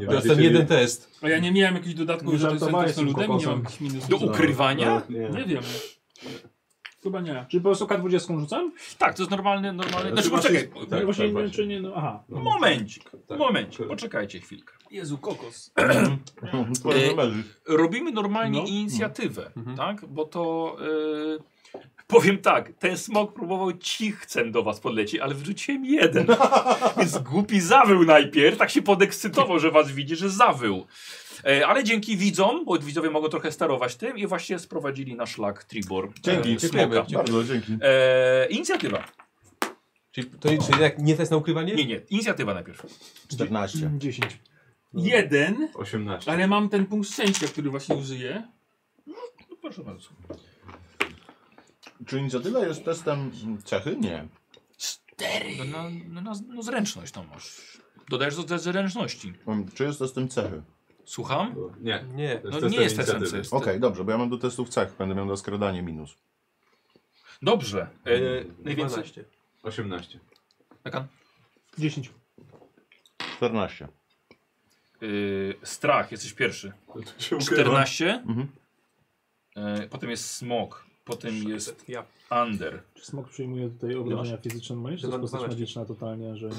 Speaker 4: Nie
Speaker 6: Teraz
Speaker 4: będziecie
Speaker 6: ten jeden
Speaker 4: mieli-
Speaker 6: test.
Speaker 5: A ja nie miałem jakichś dodatków,
Speaker 2: Nie
Speaker 5: że to jestem
Speaker 2: żartowałeś z tym
Speaker 5: ludem, nie mam
Speaker 2: kokosem.
Speaker 5: jakichś minusów. Tak.
Speaker 1: Do ukrywania?
Speaker 4: Nie.
Speaker 5: Nie wiem. Chyba nie.
Speaker 2: Czyli po prostu K20 rzucam?
Speaker 1: Tak, to jest normalny, normalny.
Speaker 4: Znaczy,
Speaker 1: Znaczy,
Speaker 4: masz
Speaker 1: poczekaj,
Speaker 4: ins-
Speaker 2: Tak,
Speaker 4: Tak,
Speaker 2: właśnie
Speaker 4: tak,
Speaker 2: nie wiem,
Speaker 4: właśnie.
Speaker 2: czy nie, no aha.
Speaker 4: No.
Speaker 1: Momencik,
Speaker 4: Tak.
Speaker 1: momencik, poczekajcie chwilkę.
Speaker 5: Jezu, kokos.
Speaker 1: e,
Speaker 3: Twoje numerzy.
Speaker 1: Robimy normalnie
Speaker 5: No.
Speaker 1: inicjatywę,
Speaker 6: Mhm.
Speaker 1: tak? Bo to. y, powiem tak, ten smok próbował cichcem do was podlecieć, ale wrzuciłem jeden. Więc głupi zawył najpierw, tak się podekscytował, że was widzi, że zawył. E, ale dzięki widzom, bo widzowie mogą trochę sterować tym i właśnie sprowadzili na szlak Tribor.
Speaker 3: Dzięki.
Speaker 1: E,
Speaker 6: Dziękujemy.
Speaker 1: smoka.
Speaker 3: Bardzo, dzięki.
Speaker 1: E, inicjatywa.
Speaker 6: Czyli to nie- czyli jak nie test na ukrywanie?
Speaker 1: Nie, nie, inicjatywa najpierw.
Speaker 3: 14.
Speaker 2: 10.
Speaker 5: No. Jeden,
Speaker 4: 18.
Speaker 5: ale mam ten punkt szczęścia, który właśnie użyję.
Speaker 1: No, proszę bardzo.
Speaker 3: Czy inicjatywa jest testem mm, cechy? Nie.
Speaker 1: No, no, no, no, no zręczność tam masz. Dodajesz do do zręczności.
Speaker 3: Mm, Czy jest testem cechy?
Speaker 1: Słucham?
Speaker 4: Nie.
Speaker 6: Nie.
Speaker 4: To
Speaker 1: No
Speaker 4: testem
Speaker 1: nie jest
Speaker 4: inicjatywy.
Speaker 1: SMC. Jest
Speaker 3: Okej, dobrze, bo ja mam do testów cech. Będę miał na skradanie minus.
Speaker 1: Dobrze. E, najwięcej.
Speaker 6: 12.
Speaker 4: 18.
Speaker 1: Taka,
Speaker 2: 10.
Speaker 3: 14.
Speaker 1: y, strach, jesteś pierwszy.
Speaker 4: To tu się ukrywa.
Speaker 1: 14.
Speaker 3: Mhm.
Speaker 1: E, potem jest smok. Potem jest
Speaker 6: Ja.
Speaker 1: under.
Speaker 2: Czy smok przyjmuje tutaj obrażenia fizyczne moje? Czy to jest
Speaker 6: Dodam
Speaker 2: postać
Speaker 6: 12.
Speaker 2: magiczna totalnie, że nie...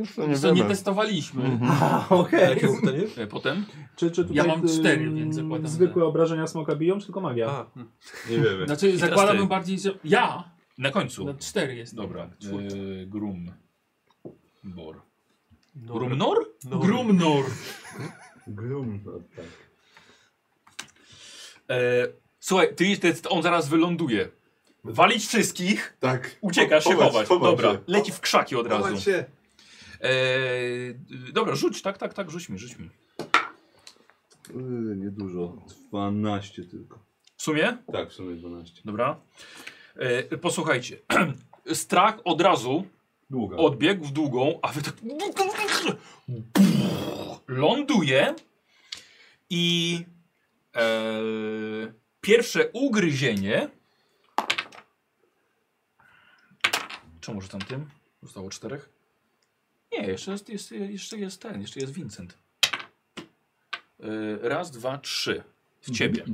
Speaker 3: Już to
Speaker 5: Nie,
Speaker 3: nie
Speaker 5: to nie
Speaker 3: wiemy.
Speaker 5: testowaliśmy.
Speaker 4: Mhm.
Speaker 6: A jakie było pytanie?
Speaker 1: E, potem.
Speaker 2: Czy, czy tutaj
Speaker 5: Ja mam
Speaker 2: y,
Speaker 5: cztery, więc zakładam, że-
Speaker 2: Zwykłe obrażenia smoka biją, czy tylko magia?
Speaker 6: A,
Speaker 4: Nie wiemy.
Speaker 5: Znaczy
Speaker 1: teraz ty.
Speaker 5: zakładałbym bardziej, że ja
Speaker 1: Na końcu.
Speaker 5: na cztery jest.
Speaker 1: Dobra. E, grum. Bor.
Speaker 6: no.
Speaker 1: Grumnor?
Speaker 6: No.
Speaker 5: Grumnor.
Speaker 4: Grum. no tak.
Speaker 1: E, słuchaj, ty, ty, on zaraz wyląduje. Walić wszystkich,
Speaker 4: Tak.
Speaker 1: uciekasz się
Speaker 4: Chować,
Speaker 1: chować.
Speaker 4: chować
Speaker 1: Dobra,
Speaker 4: się.
Speaker 1: leci w krzaki od razu.
Speaker 4: Chować się.
Speaker 1: Eee, dobra, rzuć, tak, tak, tak, rzuć mi, rzuć mi.
Speaker 4: Yy, Niedużo. 12 tylko.
Speaker 1: W sumie?
Speaker 4: Tak, w sumie 12.
Speaker 1: Dobra. E, posłuchajcie, strach od razu
Speaker 4: Długa.
Speaker 1: odbiegł w długą, a wy tak ląduje i e, pierwsze ugryzienie czemu rzucam tym? Zostało czterech? Nie, jeszcze jest, jest, jeszcze jest ten, jeszcze jest Vincent. E, raz, dwa, trzy. W ciebie.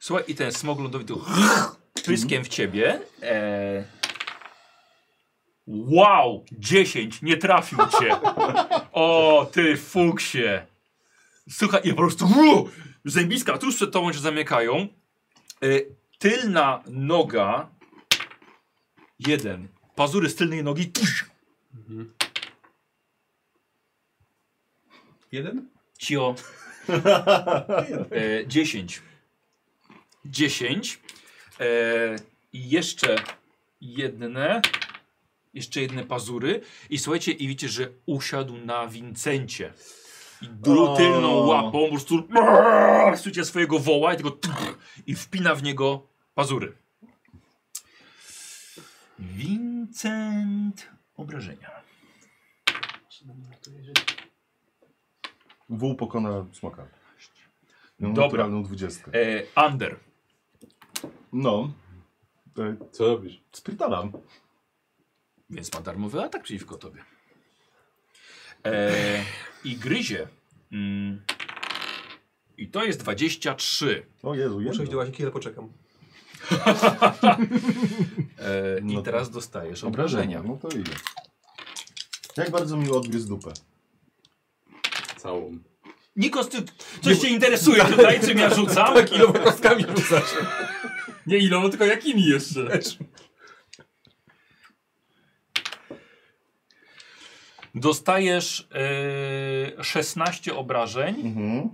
Speaker 1: Słuchaj, i ten smog lądowy tu pryskiem w ciebie. E, Wow, 10, nie trafił cię. O, ty fuksie. Słuchaj, i po prostu uu, zębiska tuż przed tobą się zamykają. Y, tylna noga, jeden. Pazury z tylnej nogi, tuż,
Speaker 6: Jeden?
Speaker 1: cio. E, 10. 10. E, I jeszcze jedne. Jeszcze jedne pazury. I słuchajcie, i widzicie, że usiadł na Wincencie. I dru,
Speaker 3: O.
Speaker 1: tylną łapą po prostu słuchajcie swojego woła i tylko i wpina w niego pazury. Vincent obrażenia.
Speaker 3: Wół pokona smoka. No,
Speaker 1: Dobra.
Speaker 3: Naturalną dwudziestkę.
Speaker 1: E, under.
Speaker 3: No. E,
Speaker 4: Co robisz?
Speaker 3: Spierdalam.
Speaker 1: Więc ma darmowy atak przeciwko tobie. E, I gryzie. Mm. I to jest 23.
Speaker 3: O Jezu,
Speaker 6: Muszę iść do
Speaker 3: jedno.
Speaker 6: łazienki, ale poczekam.
Speaker 1: E,
Speaker 3: No
Speaker 1: I teraz dostajesz obrażenia.
Speaker 3: Obrażenia. No to idę. Jak bardzo mi odgryzł dupę.
Speaker 4: Całą.
Speaker 1: Nikos, ty coś cię interesuje tutaj, czym ja rzucam?
Speaker 3: Tak.
Speaker 5: Tak,
Speaker 6: Kiloma kostkami rzucasz.
Speaker 5: Nie ilą, tylko jakimi jeszcze?
Speaker 1: Dostajesz e, 16 obrażeń.
Speaker 3: Mhm.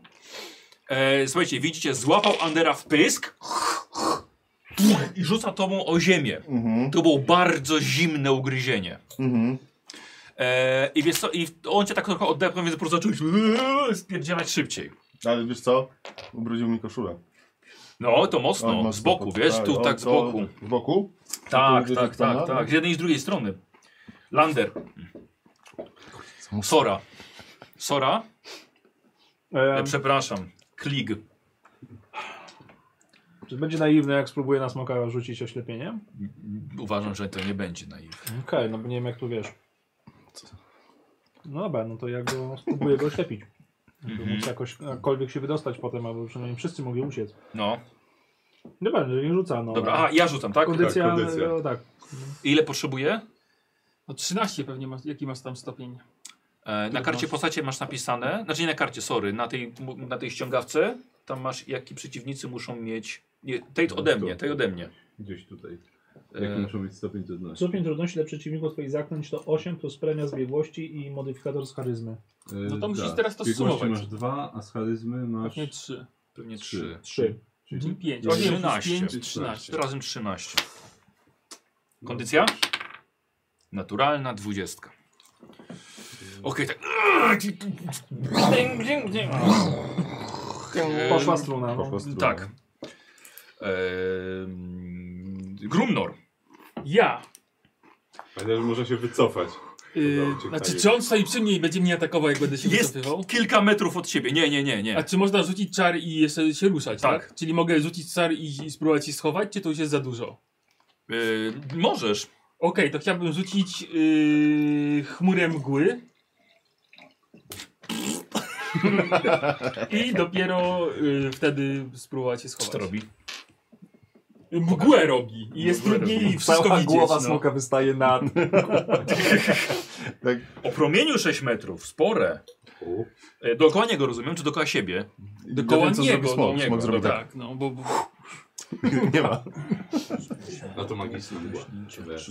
Speaker 1: E, słuchajcie, widzicie, złapał Andera w pysk i rzuca tobą o ziemię.
Speaker 3: Mhm.
Speaker 1: To było bardzo zimne ugryzienie.
Speaker 3: Mhm.
Speaker 1: E, I wiesz co, i on cię tak trochę odepchnął, więc po prostu zacząłeś eee, spierdzielać szybciej.
Speaker 3: Ale wiesz co? Ubrudził mi koszulę.
Speaker 1: No, to
Speaker 3: On ma
Speaker 1: mocno, z boku, wiesz, tu
Speaker 3: on
Speaker 1: tak z
Speaker 3: co?
Speaker 1: boku.
Speaker 3: Z boku?
Speaker 1: Tak,
Speaker 3: tu
Speaker 1: tak,
Speaker 3: gdzieś tam,
Speaker 1: tak,
Speaker 3: no?
Speaker 1: tak, z jednej i z drugiej strony. Lander. Sora. Sora? E,
Speaker 2: Em,
Speaker 1: przepraszam. Klig.
Speaker 2: czy będzie naiwny, jak spróbuje na smoka rzucić oślepieniem?
Speaker 1: Uważam, że to nie będzie naiwne.
Speaker 2: Okej, no bo nie wiem, jak tu wiesz. No dobra, no to ja go spróbuję go oślepić. Żeby móc jakoś, jakkolwiek się wydostać potem, albo przynajmniej wszyscy mogli uciec.
Speaker 1: No,
Speaker 2: Dobra, że nie rzuca, no.
Speaker 1: dobra. A, ja rzucam, tak?
Speaker 2: kondycja,
Speaker 4: tak, kondycja.
Speaker 2: No, tak.
Speaker 1: Ile potrzebuję?
Speaker 5: No 13 pewnie masz, jaki masz tam stopień.
Speaker 1: E, na karcie postacie masz napisane, znaczy nie na karcie, sorry, na tej, na tej ściągawce, tam masz, jaki przeciwnicy muszą mieć, nie, tej ode mnie, tej ode mnie.
Speaker 4: Gdzieś tutaj. Jaki
Speaker 1: E,
Speaker 4: muszą mieć stopień trudności?
Speaker 2: Stopień trudności dla przeciwników twoich zaklęć to 8 plus premia z biegłości i modyfikator z charyzmy.
Speaker 4: E,
Speaker 5: No to musisz
Speaker 4: tak.
Speaker 5: teraz to
Speaker 4: Biegłości
Speaker 5: zsumować.
Speaker 4: masz dwa, a z charyzmy masz... Mhm.
Speaker 5: Pewnie 3.
Speaker 1: pewnie
Speaker 4: Trzy.
Speaker 1: 3.
Speaker 2: 3. Mhm.
Speaker 5: Czyli 5.
Speaker 1: 13.
Speaker 5: 5,
Speaker 1: 3
Speaker 5: 13.
Speaker 1: Znaczy, razem 13. Kondycja? Naturalna 20. Okej, tak.
Speaker 2: Poszła struna. No.
Speaker 3: Poszła struna.
Speaker 1: Tak. Ehm, Grumnor.
Speaker 5: Ja.
Speaker 4: Pamiętaj, że może się wycofać.
Speaker 5: Yy,
Speaker 4: Dobra,
Speaker 5: znaczy,
Speaker 4: ciekawie.
Speaker 5: czy on stoi przy mnie i będzie mnie atakował, jak będę się
Speaker 1: Jest
Speaker 5: wycofywał?
Speaker 1: kilka metrów od ciebie. Nie, nie, nie,
Speaker 5: A
Speaker 1: nie.
Speaker 5: czy można rzucić czar i jeszcze się ruszać, tak?
Speaker 1: Tak.
Speaker 5: Czyli mogę rzucić czar i, i spróbować się schować, czy to już jest za dużo? Okej,
Speaker 1: Yy, możesz.
Speaker 5: to chciałbym rzucić yy, chmurę mgły. I dopiero yy, wtedy spróbować się schować.
Speaker 1: Co to robi?
Speaker 5: Mgłę robi. I jest
Speaker 1: Mgłę
Speaker 5: trudniej
Speaker 1: robi.
Speaker 5: wszystko
Speaker 2: Cała
Speaker 5: widzieć.
Speaker 2: głowa
Speaker 5: no.
Speaker 2: smoka wystaje na.
Speaker 3: Tak.
Speaker 1: O promieniu 6 metrów. Spore.
Speaker 4: U.
Speaker 1: E, Dookoła niego rozumiem, czy dookoła siebie?
Speaker 5: Dookoła
Speaker 3: co
Speaker 5: niego,
Speaker 3: zrobi
Speaker 5: do
Speaker 3: smok.
Speaker 1: niego,
Speaker 3: Smok zrobi tak.
Speaker 5: Tak, no bo, bo
Speaker 3: Nie ma.
Speaker 4: A
Speaker 1: E,
Speaker 4: to magiczna była.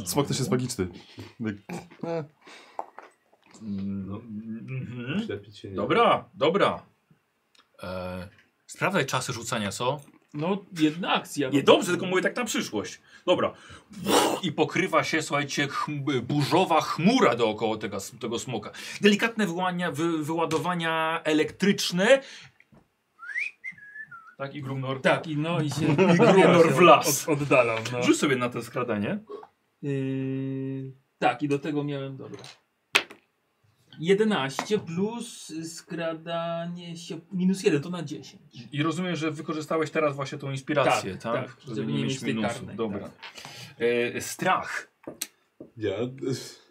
Speaker 3: Smok też jest magiczny. Tak. E,
Speaker 1: No, mhm.
Speaker 4: Ślepić się nie
Speaker 1: Dobra, dobra. E, sprawdzaj czasy rzucania, co?
Speaker 5: no, jedna akcja.
Speaker 1: Nie
Speaker 5: no.
Speaker 1: dobrze, tylko mówię tak na przyszłość. Dobra. I pokrywa się, słuchajcie, chm- burzowa chmura dookoła tego, tego smoka. Delikatne wyłania, wy, wyładowania elektryczne. Tak, i Grumnor.
Speaker 7: Tak, i no i się.
Speaker 1: I Grumnor w las.
Speaker 7: Od, oddalam. No.
Speaker 1: Rzuć sobie na to skradanie.
Speaker 7: Yy, tak, i do tego miałem dobra. 11 plus skradanie się. minus 1 to na 10.
Speaker 1: I rozumiem, że wykorzystałeś teraz właśnie tą inspirację, tak?
Speaker 7: Tak, tak,
Speaker 1: żeby,
Speaker 7: żeby
Speaker 1: nie
Speaker 7: nie
Speaker 1: mieć
Speaker 7: mieć tej
Speaker 1: minusu.
Speaker 7: karnej,
Speaker 1: Dobra. E, strach.
Speaker 4: Ja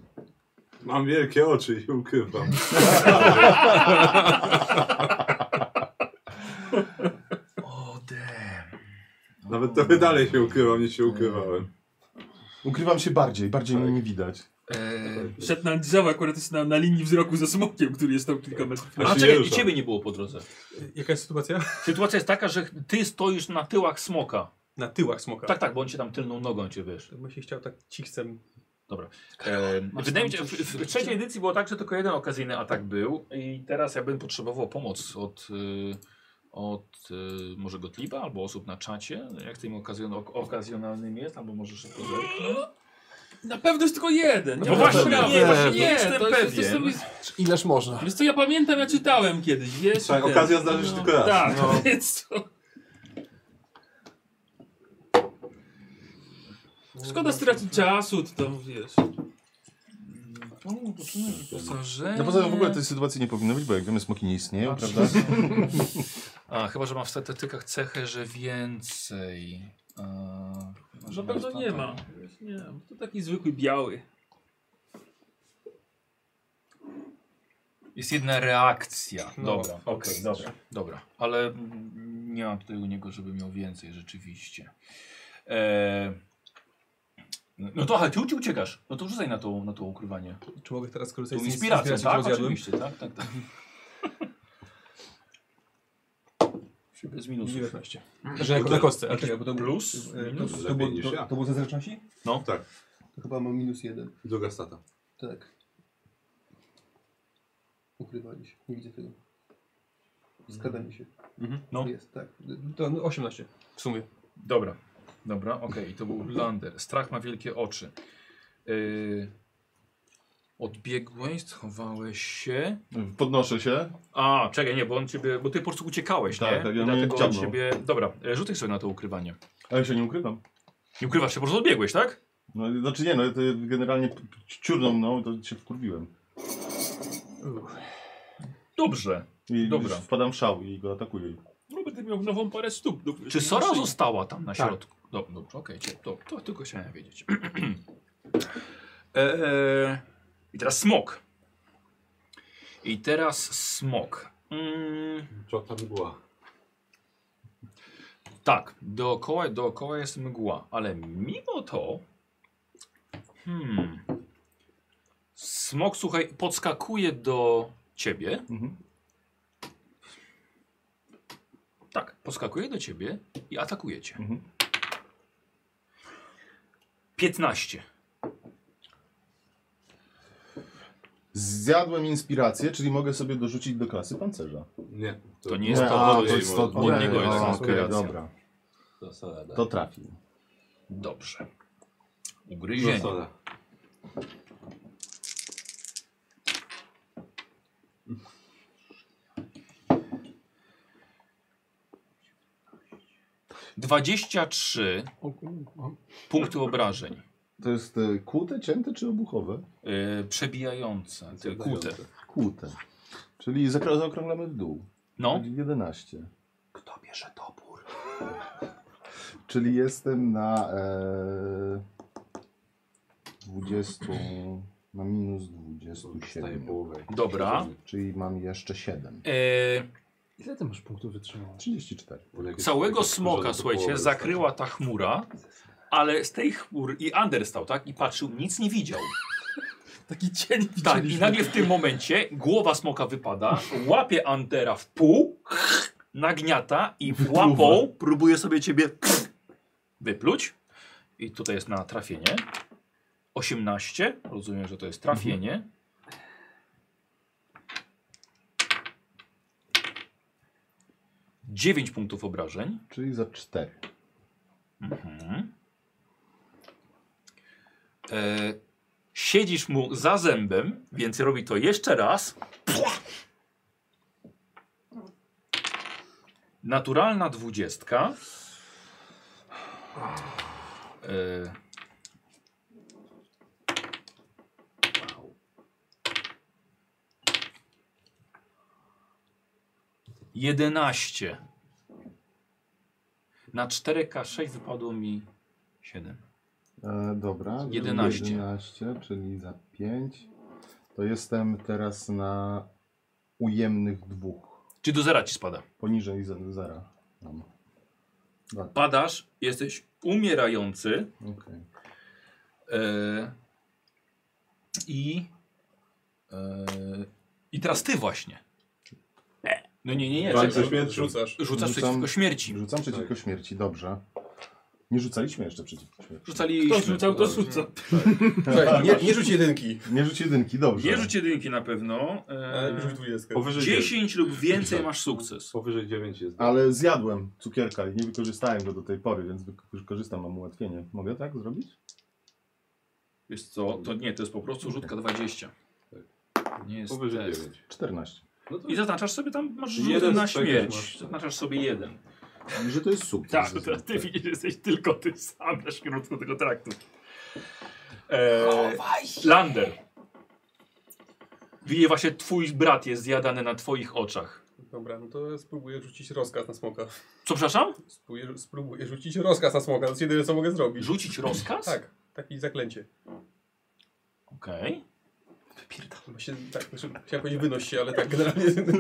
Speaker 4: mam wielkie oczy i ukrywam.
Speaker 1: O, damn.
Speaker 4: Nawet trochę dalej się ukrywam niż się ukrywałem.
Speaker 3: Ukrywam się bardziej, bardziej mnie nie widać.
Speaker 1: E,
Speaker 7: Szedł na drzewo, akurat jest na, na linii wzroku za smokiem, który jest tam kilka metrów.
Speaker 1: a
Speaker 4: się
Speaker 1: czekaj,
Speaker 4: rusza.
Speaker 1: ciebie nie było po drodze.
Speaker 6: Jaka jest sytuacja?
Speaker 1: Sytuacja jest taka, że ty stoisz na tyłach smoka.
Speaker 6: Na tyłach smoka.
Speaker 1: Tak, tak, bo on cię tam tylną nogą cię wiesz.
Speaker 6: To bym się chciał tak cichcem.
Speaker 7: Tak.
Speaker 1: E,
Speaker 7: Masz
Speaker 1: wydaje mi się,
Speaker 7: tam
Speaker 1: w,
Speaker 7: coś-
Speaker 1: w trzeciej edycji było tak, że tylko jeden okazyjny atak był i teraz ja bym potrzebował pomoc od, y, od y, może Gottlieba albo osób na czacie, jak tym okazjon, ok, okazjonalnym jest, albo może szybko zerknę.
Speaker 7: Na pewno jest tylko jeden.
Speaker 1: No
Speaker 7: ja
Speaker 1: właśnie,
Speaker 7: mam sprawę.
Speaker 1: nie, właśnie
Speaker 7: nie,
Speaker 1: nie jestem
Speaker 7: to jest- to jest
Speaker 1: pewien.
Speaker 7: sobie-
Speaker 9: Ileż można?
Speaker 7: Wiesz co, ja pamiętam, ja czytałem kiedyś, wiesz?
Speaker 1: Tak,
Speaker 4: Słuchaj,
Speaker 7: ten-
Speaker 4: okazja zdarzy się tylko raz.
Speaker 7: Tak,
Speaker 4: No.
Speaker 7: więc to...
Speaker 1: No,
Speaker 7: Szkoda stracić czasu, to tam, wiesz... Zażenie...
Speaker 3: No poza tym w ogóle tej sytuacji nie powinno być, bo jak wiemy smoki nie istnieją, prawda?
Speaker 1: A, chyba, że mam w statystykach cechę, że więcej. E, no, A,
Speaker 7: Na pewno nie ma. Wiesz, Nie, to taki zwykły biały.
Speaker 1: Jest jedna reakcja.
Speaker 6: No.
Speaker 1: Dobra, okej, dobra, dobra. Ale mm, nie mam tutaj u niego, żeby miał więcej rzeczywiście. E... No to, ale ty uci- uciekasz. No to rzucaj na to, na to ukrywanie.
Speaker 6: Czy mogę teraz
Speaker 1: To
Speaker 6: skorzystać z
Speaker 1: inspiracja,
Speaker 6: inspiracji, którą
Speaker 1: tak?
Speaker 6: zjadłem?
Speaker 1: Oczywiście, tak, tak, tak. Bez minusów.
Speaker 6: 19. Że jako na kostce. Ale czekaj, tak, bo to
Speaker 1: Plus,
Speaker 6: e,
Speaker 1: minus.
Speaker 6: To, to,
Speaker 4: lepiej
Speaker 6: było-
Speaker 4: niż
Speaker 6: to,
Speaker 4: ja.
Speaker 6: to było ze zręczności?
Speaker 1: No.
Speaker 4: Tak.
Speaker 8: To chyba mam minus
Speaker 1: E.
Speaker 8: jeden.
Speaker 4: Druga stata.
Speaker 8: Tak. Ukrywanie się. Nie widzę tego. Skradanie się.
Speaker 1: No.
Speaker 8: Jest, tak.
Speaker 6: To no, 18 w sumie.
Speaker 1: Dobra, dobra, okej, to był Lander. Strach ma wielkie oczy. Yy, odbiegłeś, schowałeś się.
Speaker 3: Podnoszę się.
Speaker 1: A, czekaj, nie, bo on ciebie, bo ty po prostu uciekałeś,
Speaker 3: Tak,
Speaker 1: nie?
Speaker 3: tak, ja
Speaker 1: I
Speaker 3: mnie
Speaker 1: Dlatego on
Speaker 3: ciągnął.
Speaker 1: ciebie... Dobra, e, rzucaj sobie na to ukrywanie.
Speaker 3: Ale się nie ukrywam.
Speaker 1: Nie ukrywasz się, po prostu odbiegłeś, tak?
Speaker 3: No, znaczy nie, no ja to generalnie p- p- ciurną mną, to się wkurwiłem.
Speaker 1: Dobrze.
Speaker 3: I
Speaker 1: Dobra.
Speaker 3: Dobra. wpadam w szał i go atakuję.
Speaker 5: No będę miał nową parę stóp. do-
Speaker 1: Czy
Speaker 5: do
Speaker 1: Sora
Speaker 5: szyi.
Speaker 1: została tam na
Speaker 9: Tak.
Speaker 1: środku? Dobrze, dobrze okej, cie- to, to tylko chciałem wiedzieć. Eee, I teraz smok. I teraz smok. Mm,
Speaker 4: Co tam była?
Speaker 1: Tak, dookoła, dookoła jest mgła, ale mimo to. Hmm. Smok, słuchaj, podskakuje do ciebie.
Speaker 3: Mhm.
Speaker 1: Tak, podskakuje do ciebie i atakuje cię.
Speaker 3: Mhm.
Speaker 1: 15.
Speaker 3: Zjadłem inspirację, czyli mogę sobie dorzucić do klasy pancerza.
Speaker 4: Nie.
Speaker 1: To nie jest
Speaker 3: Nie,
Speaker 1: to,
Speaker 3: a,
Speaker 1: to jest
Speaker 3: to-
Speaker 1: od niego
Speaker 3: okej,
Speaker 1: jest
Speaker 3: okej,
Speaker 1: inspiracja.
Speaker 3: dobra.
Speaker 4: To Sora.
Speaker 3: To trafi.
Speaker 1: Dobrze.
Speaker 4: To
Speaker 1: Ugryzienie.
Speaker 4: Sora.
Speaker 1: Dwadzieścia 23 punkty obrażeń.
Speaker 3: To jest y, kłute, cięte czy obuchowe?
Speaker 1: Yy, przebijające, te kłute.
Speaker 3: Kłute. Czyli zakra- zaokrąglamy w dół.
Speaker 1: No.
Speaker 3: Czyli 11.
Speaker 1: Kto bierze topór?
Speaker 3: Czyli jestem na e, 20, na minus 27.
Speaker 4: połowę.
Speaker 1: Dobra.
Speaker 3: Czyli mam jeszcze 7.
Speaker 1: Yy,
Speaker 2: Ile ty masz punktów wytrzymałeś?
Speaker 3: 34.
Speaker 4: tak,
Speaker 1: Całego smoka, słuchajcie, zakryła ta chmura, ale z tej chmury i Ander stał, tak? I patrzył, nic nie widział.
Speaker 7: Taki cień
Speaker 1: Tak, i
Speaker 7: widzieliśmy.
Speaker 1: nagle w tym momencie głowa smoka wypada, łapie Andera w pół, nagniata i łapą próbuje sobie ciebie wypluć. I tutaj jest na trafienie. 18, rozumiem, że to jest trafienie. Dziewięć punktów obrażeń.
Speaker 3: Czyli za 4.
Speaker 1: Mhm. E, siedzisz mu za zębem, więc robi to jeszcze raz. Naturalna dwudziestka. E, Jedenaście. Na 4K6 wypadło mi 7.
Speaker 3: E, dobra.
Speaker 1: 11.
Speaker 3: 11, czyli za 5. To jestem teraz na ujemnych dwóch.
Speaker 1: Czyli do zera ci spada.
Speaker 3: Poniżej ze- zera. Mam.
Speaker 1: Padasz, jesteś umierający.
Speaker 3: Okej.
Speaker 1: E, I. E, I teraz ty właśnie. E, No nie, nie, nie.
Speaker 4: Walka
Speaker 1: czekaj.
Speaker 4: śmierci.
Speaker 6: Rzucasz.
Speaker 1: Rzucasz
Speaker 3: Rzucam-
Speaker 1: przeciwko śmierci.
Speaker 3: Rzucam przeciwko śmierci, dobrze. Nie rzucaliśmy jeszcze przeciwko śmierci.
Speaker 1: Rzucaliśmy.
Speaker 5: Kto rzucał, to rzuca.
Speaker 6: Słuchaj, nie, nie rzuć jedynki.
Speaker 3: Nie rzuć jedynki, dobrze.
Speaker 1: Nie rzuć jedynki na pewno. E,
Speaker 6: Ale rzuć dwudziestkę.
Speaker 4: Powyżej 9.
Speaker 1: 10 lub więcej masz sukces.
Speaker 4: Powyżej 9 jest.
Speaker 3: Ale zjadłem cukierka i nie wykorzystałem go do tej pory, więc wykorzystam, mam ułatwienie. Mogę tak zrobić?
Speaker 1: Wiesz co, to nie, to jest po prostu rzutka 20. To Nie jest
Speaker 4: Powyżej
Speaker 1: test.
Speaker 4: 9.
Speaker 3: 14.
Speaker 4: No to
Speaker 1: I zaznaczasz sobie tam, masz
Speaker 4: Jeden
Speaker 1: jeden na
Speaker 4: z tego
Speaker 1: śmierć.
Speaker 4: masz.
Speaker 1: Zaznaczasz sobie jeden.
Speaker 3: Że to jest sukces.
Speaker 1: Tak, to teraz ty widzisz, że jesteś tylko ty sam na środku tego traktu. Eee, Lander. Widzę właśnie twój brat jest zjadany na twoich oczach.
Speaker 6: Dobra, no to spróbuję rzucić rozkaz na smoka.
Speaker 1: Co, przepraszam?
Speaker 6: Spróbuję, spróbuję rzucić rozkaz na smoka. To jest jedyne, co mogę zrobić.
Speaker 1: Rzucić rozkaz?
Speaker 6: Tak, takie zaklęcie.
Speaker 1: Okej.
Speaker 6: Chyba się, tak, znaczy, chciałem powiedzieć wynoś się, ale tak generalnie...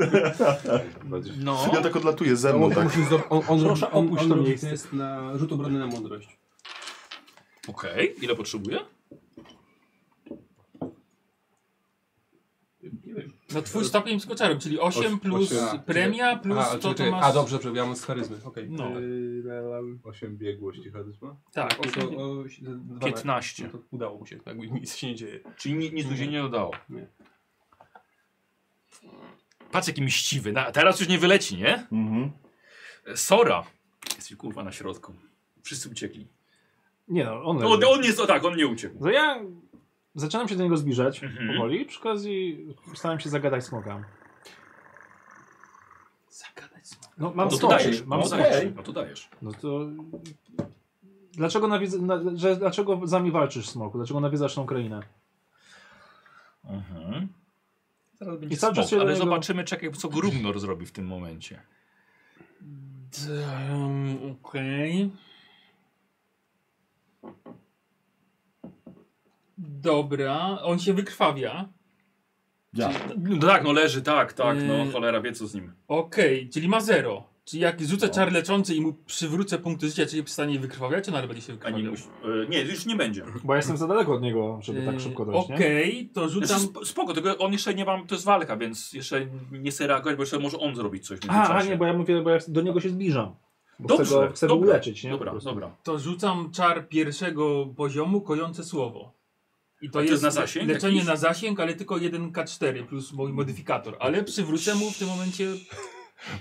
Speaker 1: No.
Speaker 3: Ja tak odlatuję ze mną, tak.
Speaker 8: Musisz zro- On, on,
Speaker 2: Proszę,
Speaker 8: robi- on,
Speaker 2: opuść
Speaker 8: on
Speaker 2: to
Speaker 8: robi
Speaker 2: miejsce.
Speaker 8: test na rzut obrony na mądrość.
Speaker 1: Okej, ile potrzebuję?
Speaker 7: No twój stopień skoczarem, czyli 8
Speaker 4: Oś-
Speaker 7: plus
Speaker 4: osiem.
Speaker 7: premia plus
Speaker 8: A,
Speaker 7: to,
Speaker 8: czyli
Speaker 7: to
Speaker 8: ty-
Speaker 7: masz...
Speaker 8: a dobrze, przepraszam, ja mam z charyzmy. Okej.
Speaker 7: No.
Speaker 4: 8 biegłości charyzma.
Speaker 7: Tak,
Speaker 8: No to, o, dwanaście.
Speaker 1: 15.
Speaker 8: No to udało mu się, tak, nic się nie dzieje.
Speaker 1: Czyli ni- nic tu się nie dodało.
Speaker 8: Nie.
Speaker 1: Patrz jaki mściwy. Na, teraz już nie wyleci, nie?
Speaker 3: Mhm.
Speaker 1: E, Sora. Jesteś kurwa na środku. Wszyscy uciekli.
Speaker 2: Nie no, on
Speaker 1: No, on,
Speaker 2: leży.
Speaker 1: on jest, o tak, on nie uciekł.
Speaker 2: To ja zaczynam się do niego zbliżać
Speaker 1: Mhm.
Speaker 2: powoli. Przy okazji staram się zagadać smoka.
Speaker 7: zagadać smoka.
Speaker 2: No, mam
Speaker 1: No to
Speaker 2: skoczy,
Speaker 1: dajesz,
Speaker 2: mam
Speaker 1: no,
Speaker 2: skoczy.
Speaker 1: dajesz. no to dajesz.
Speaker 2: No to... Dlaczego, nawiedz... na... że... Dlaczego za mnie walczysz, smoku? Dlaczego nawiedzasz tą krainę?
Speaker 1: Mhm. Zaraz będzie
Speaker 2: I cały czas
Speaker 1: smok,
Speaker 2: się do
Speaker 1: ale
Speaker 2: niego-
Speaker 1: zobaczymy, czekaj, co Grumnor zrobi w tym momencie.
Speaker 7: Um, Okej. Dobra, on się wykrwawia.
Speaker 3: Ja.
Speaker 1: No tak, no leży, tak, tak, no
Speaker 7: Yy.
Speaker 1: cholera, wie co z nim.
Speaker 7: Okej, czyli ma 0. Czyli jak rzucę
Speaker 1: No.
Speaker 7: czar leczący i mu przywrócę punkty życia, czyli przestanie wykrwawiać, on nadal będzie się
Speaker 1: Ani
Speaker 7: wykrwawiał.
Speaker 1: muś... e, nie, już nie będzie.
Speaker 2: Bo ja jestem za daleko od niego, żeby tak szybko dojść, nie?
Speaker 7: Yy, Okej, to
Speaker 1: Znaczy,
Speaker 7: rzucam...
Speaker 1: sp- spoko, tylko on jeszcze nie mam, to jest walka, więc jeszcze nie chcę reagować, bo jeszcze może on zrobić coś w
Speaker 2: A, a
Speaker 1: międzyczasie.
Speaker 2: nie, bo ja mówię, bo ja do niego się zbliżam. Bo chcę go, chcę go
Speaker 1: dobra,
Speaker 2: uleczyć, nie?
Speaker 1: Dobra,
Speaker 2: Po prostu.
Speaker 1: dobra.
Speaker 7: To rzucam czar pierwszego poziomu, kojące słowo. I
Speaker 1: A to jest na zasięg
Speaker 7: leczenie
Speaker 1: jakiś? Hmm.
Speaker 7: na zasięg, ale tylko 1K4 plus mój modyfikator. Ale przywrócę mu w tym momencie.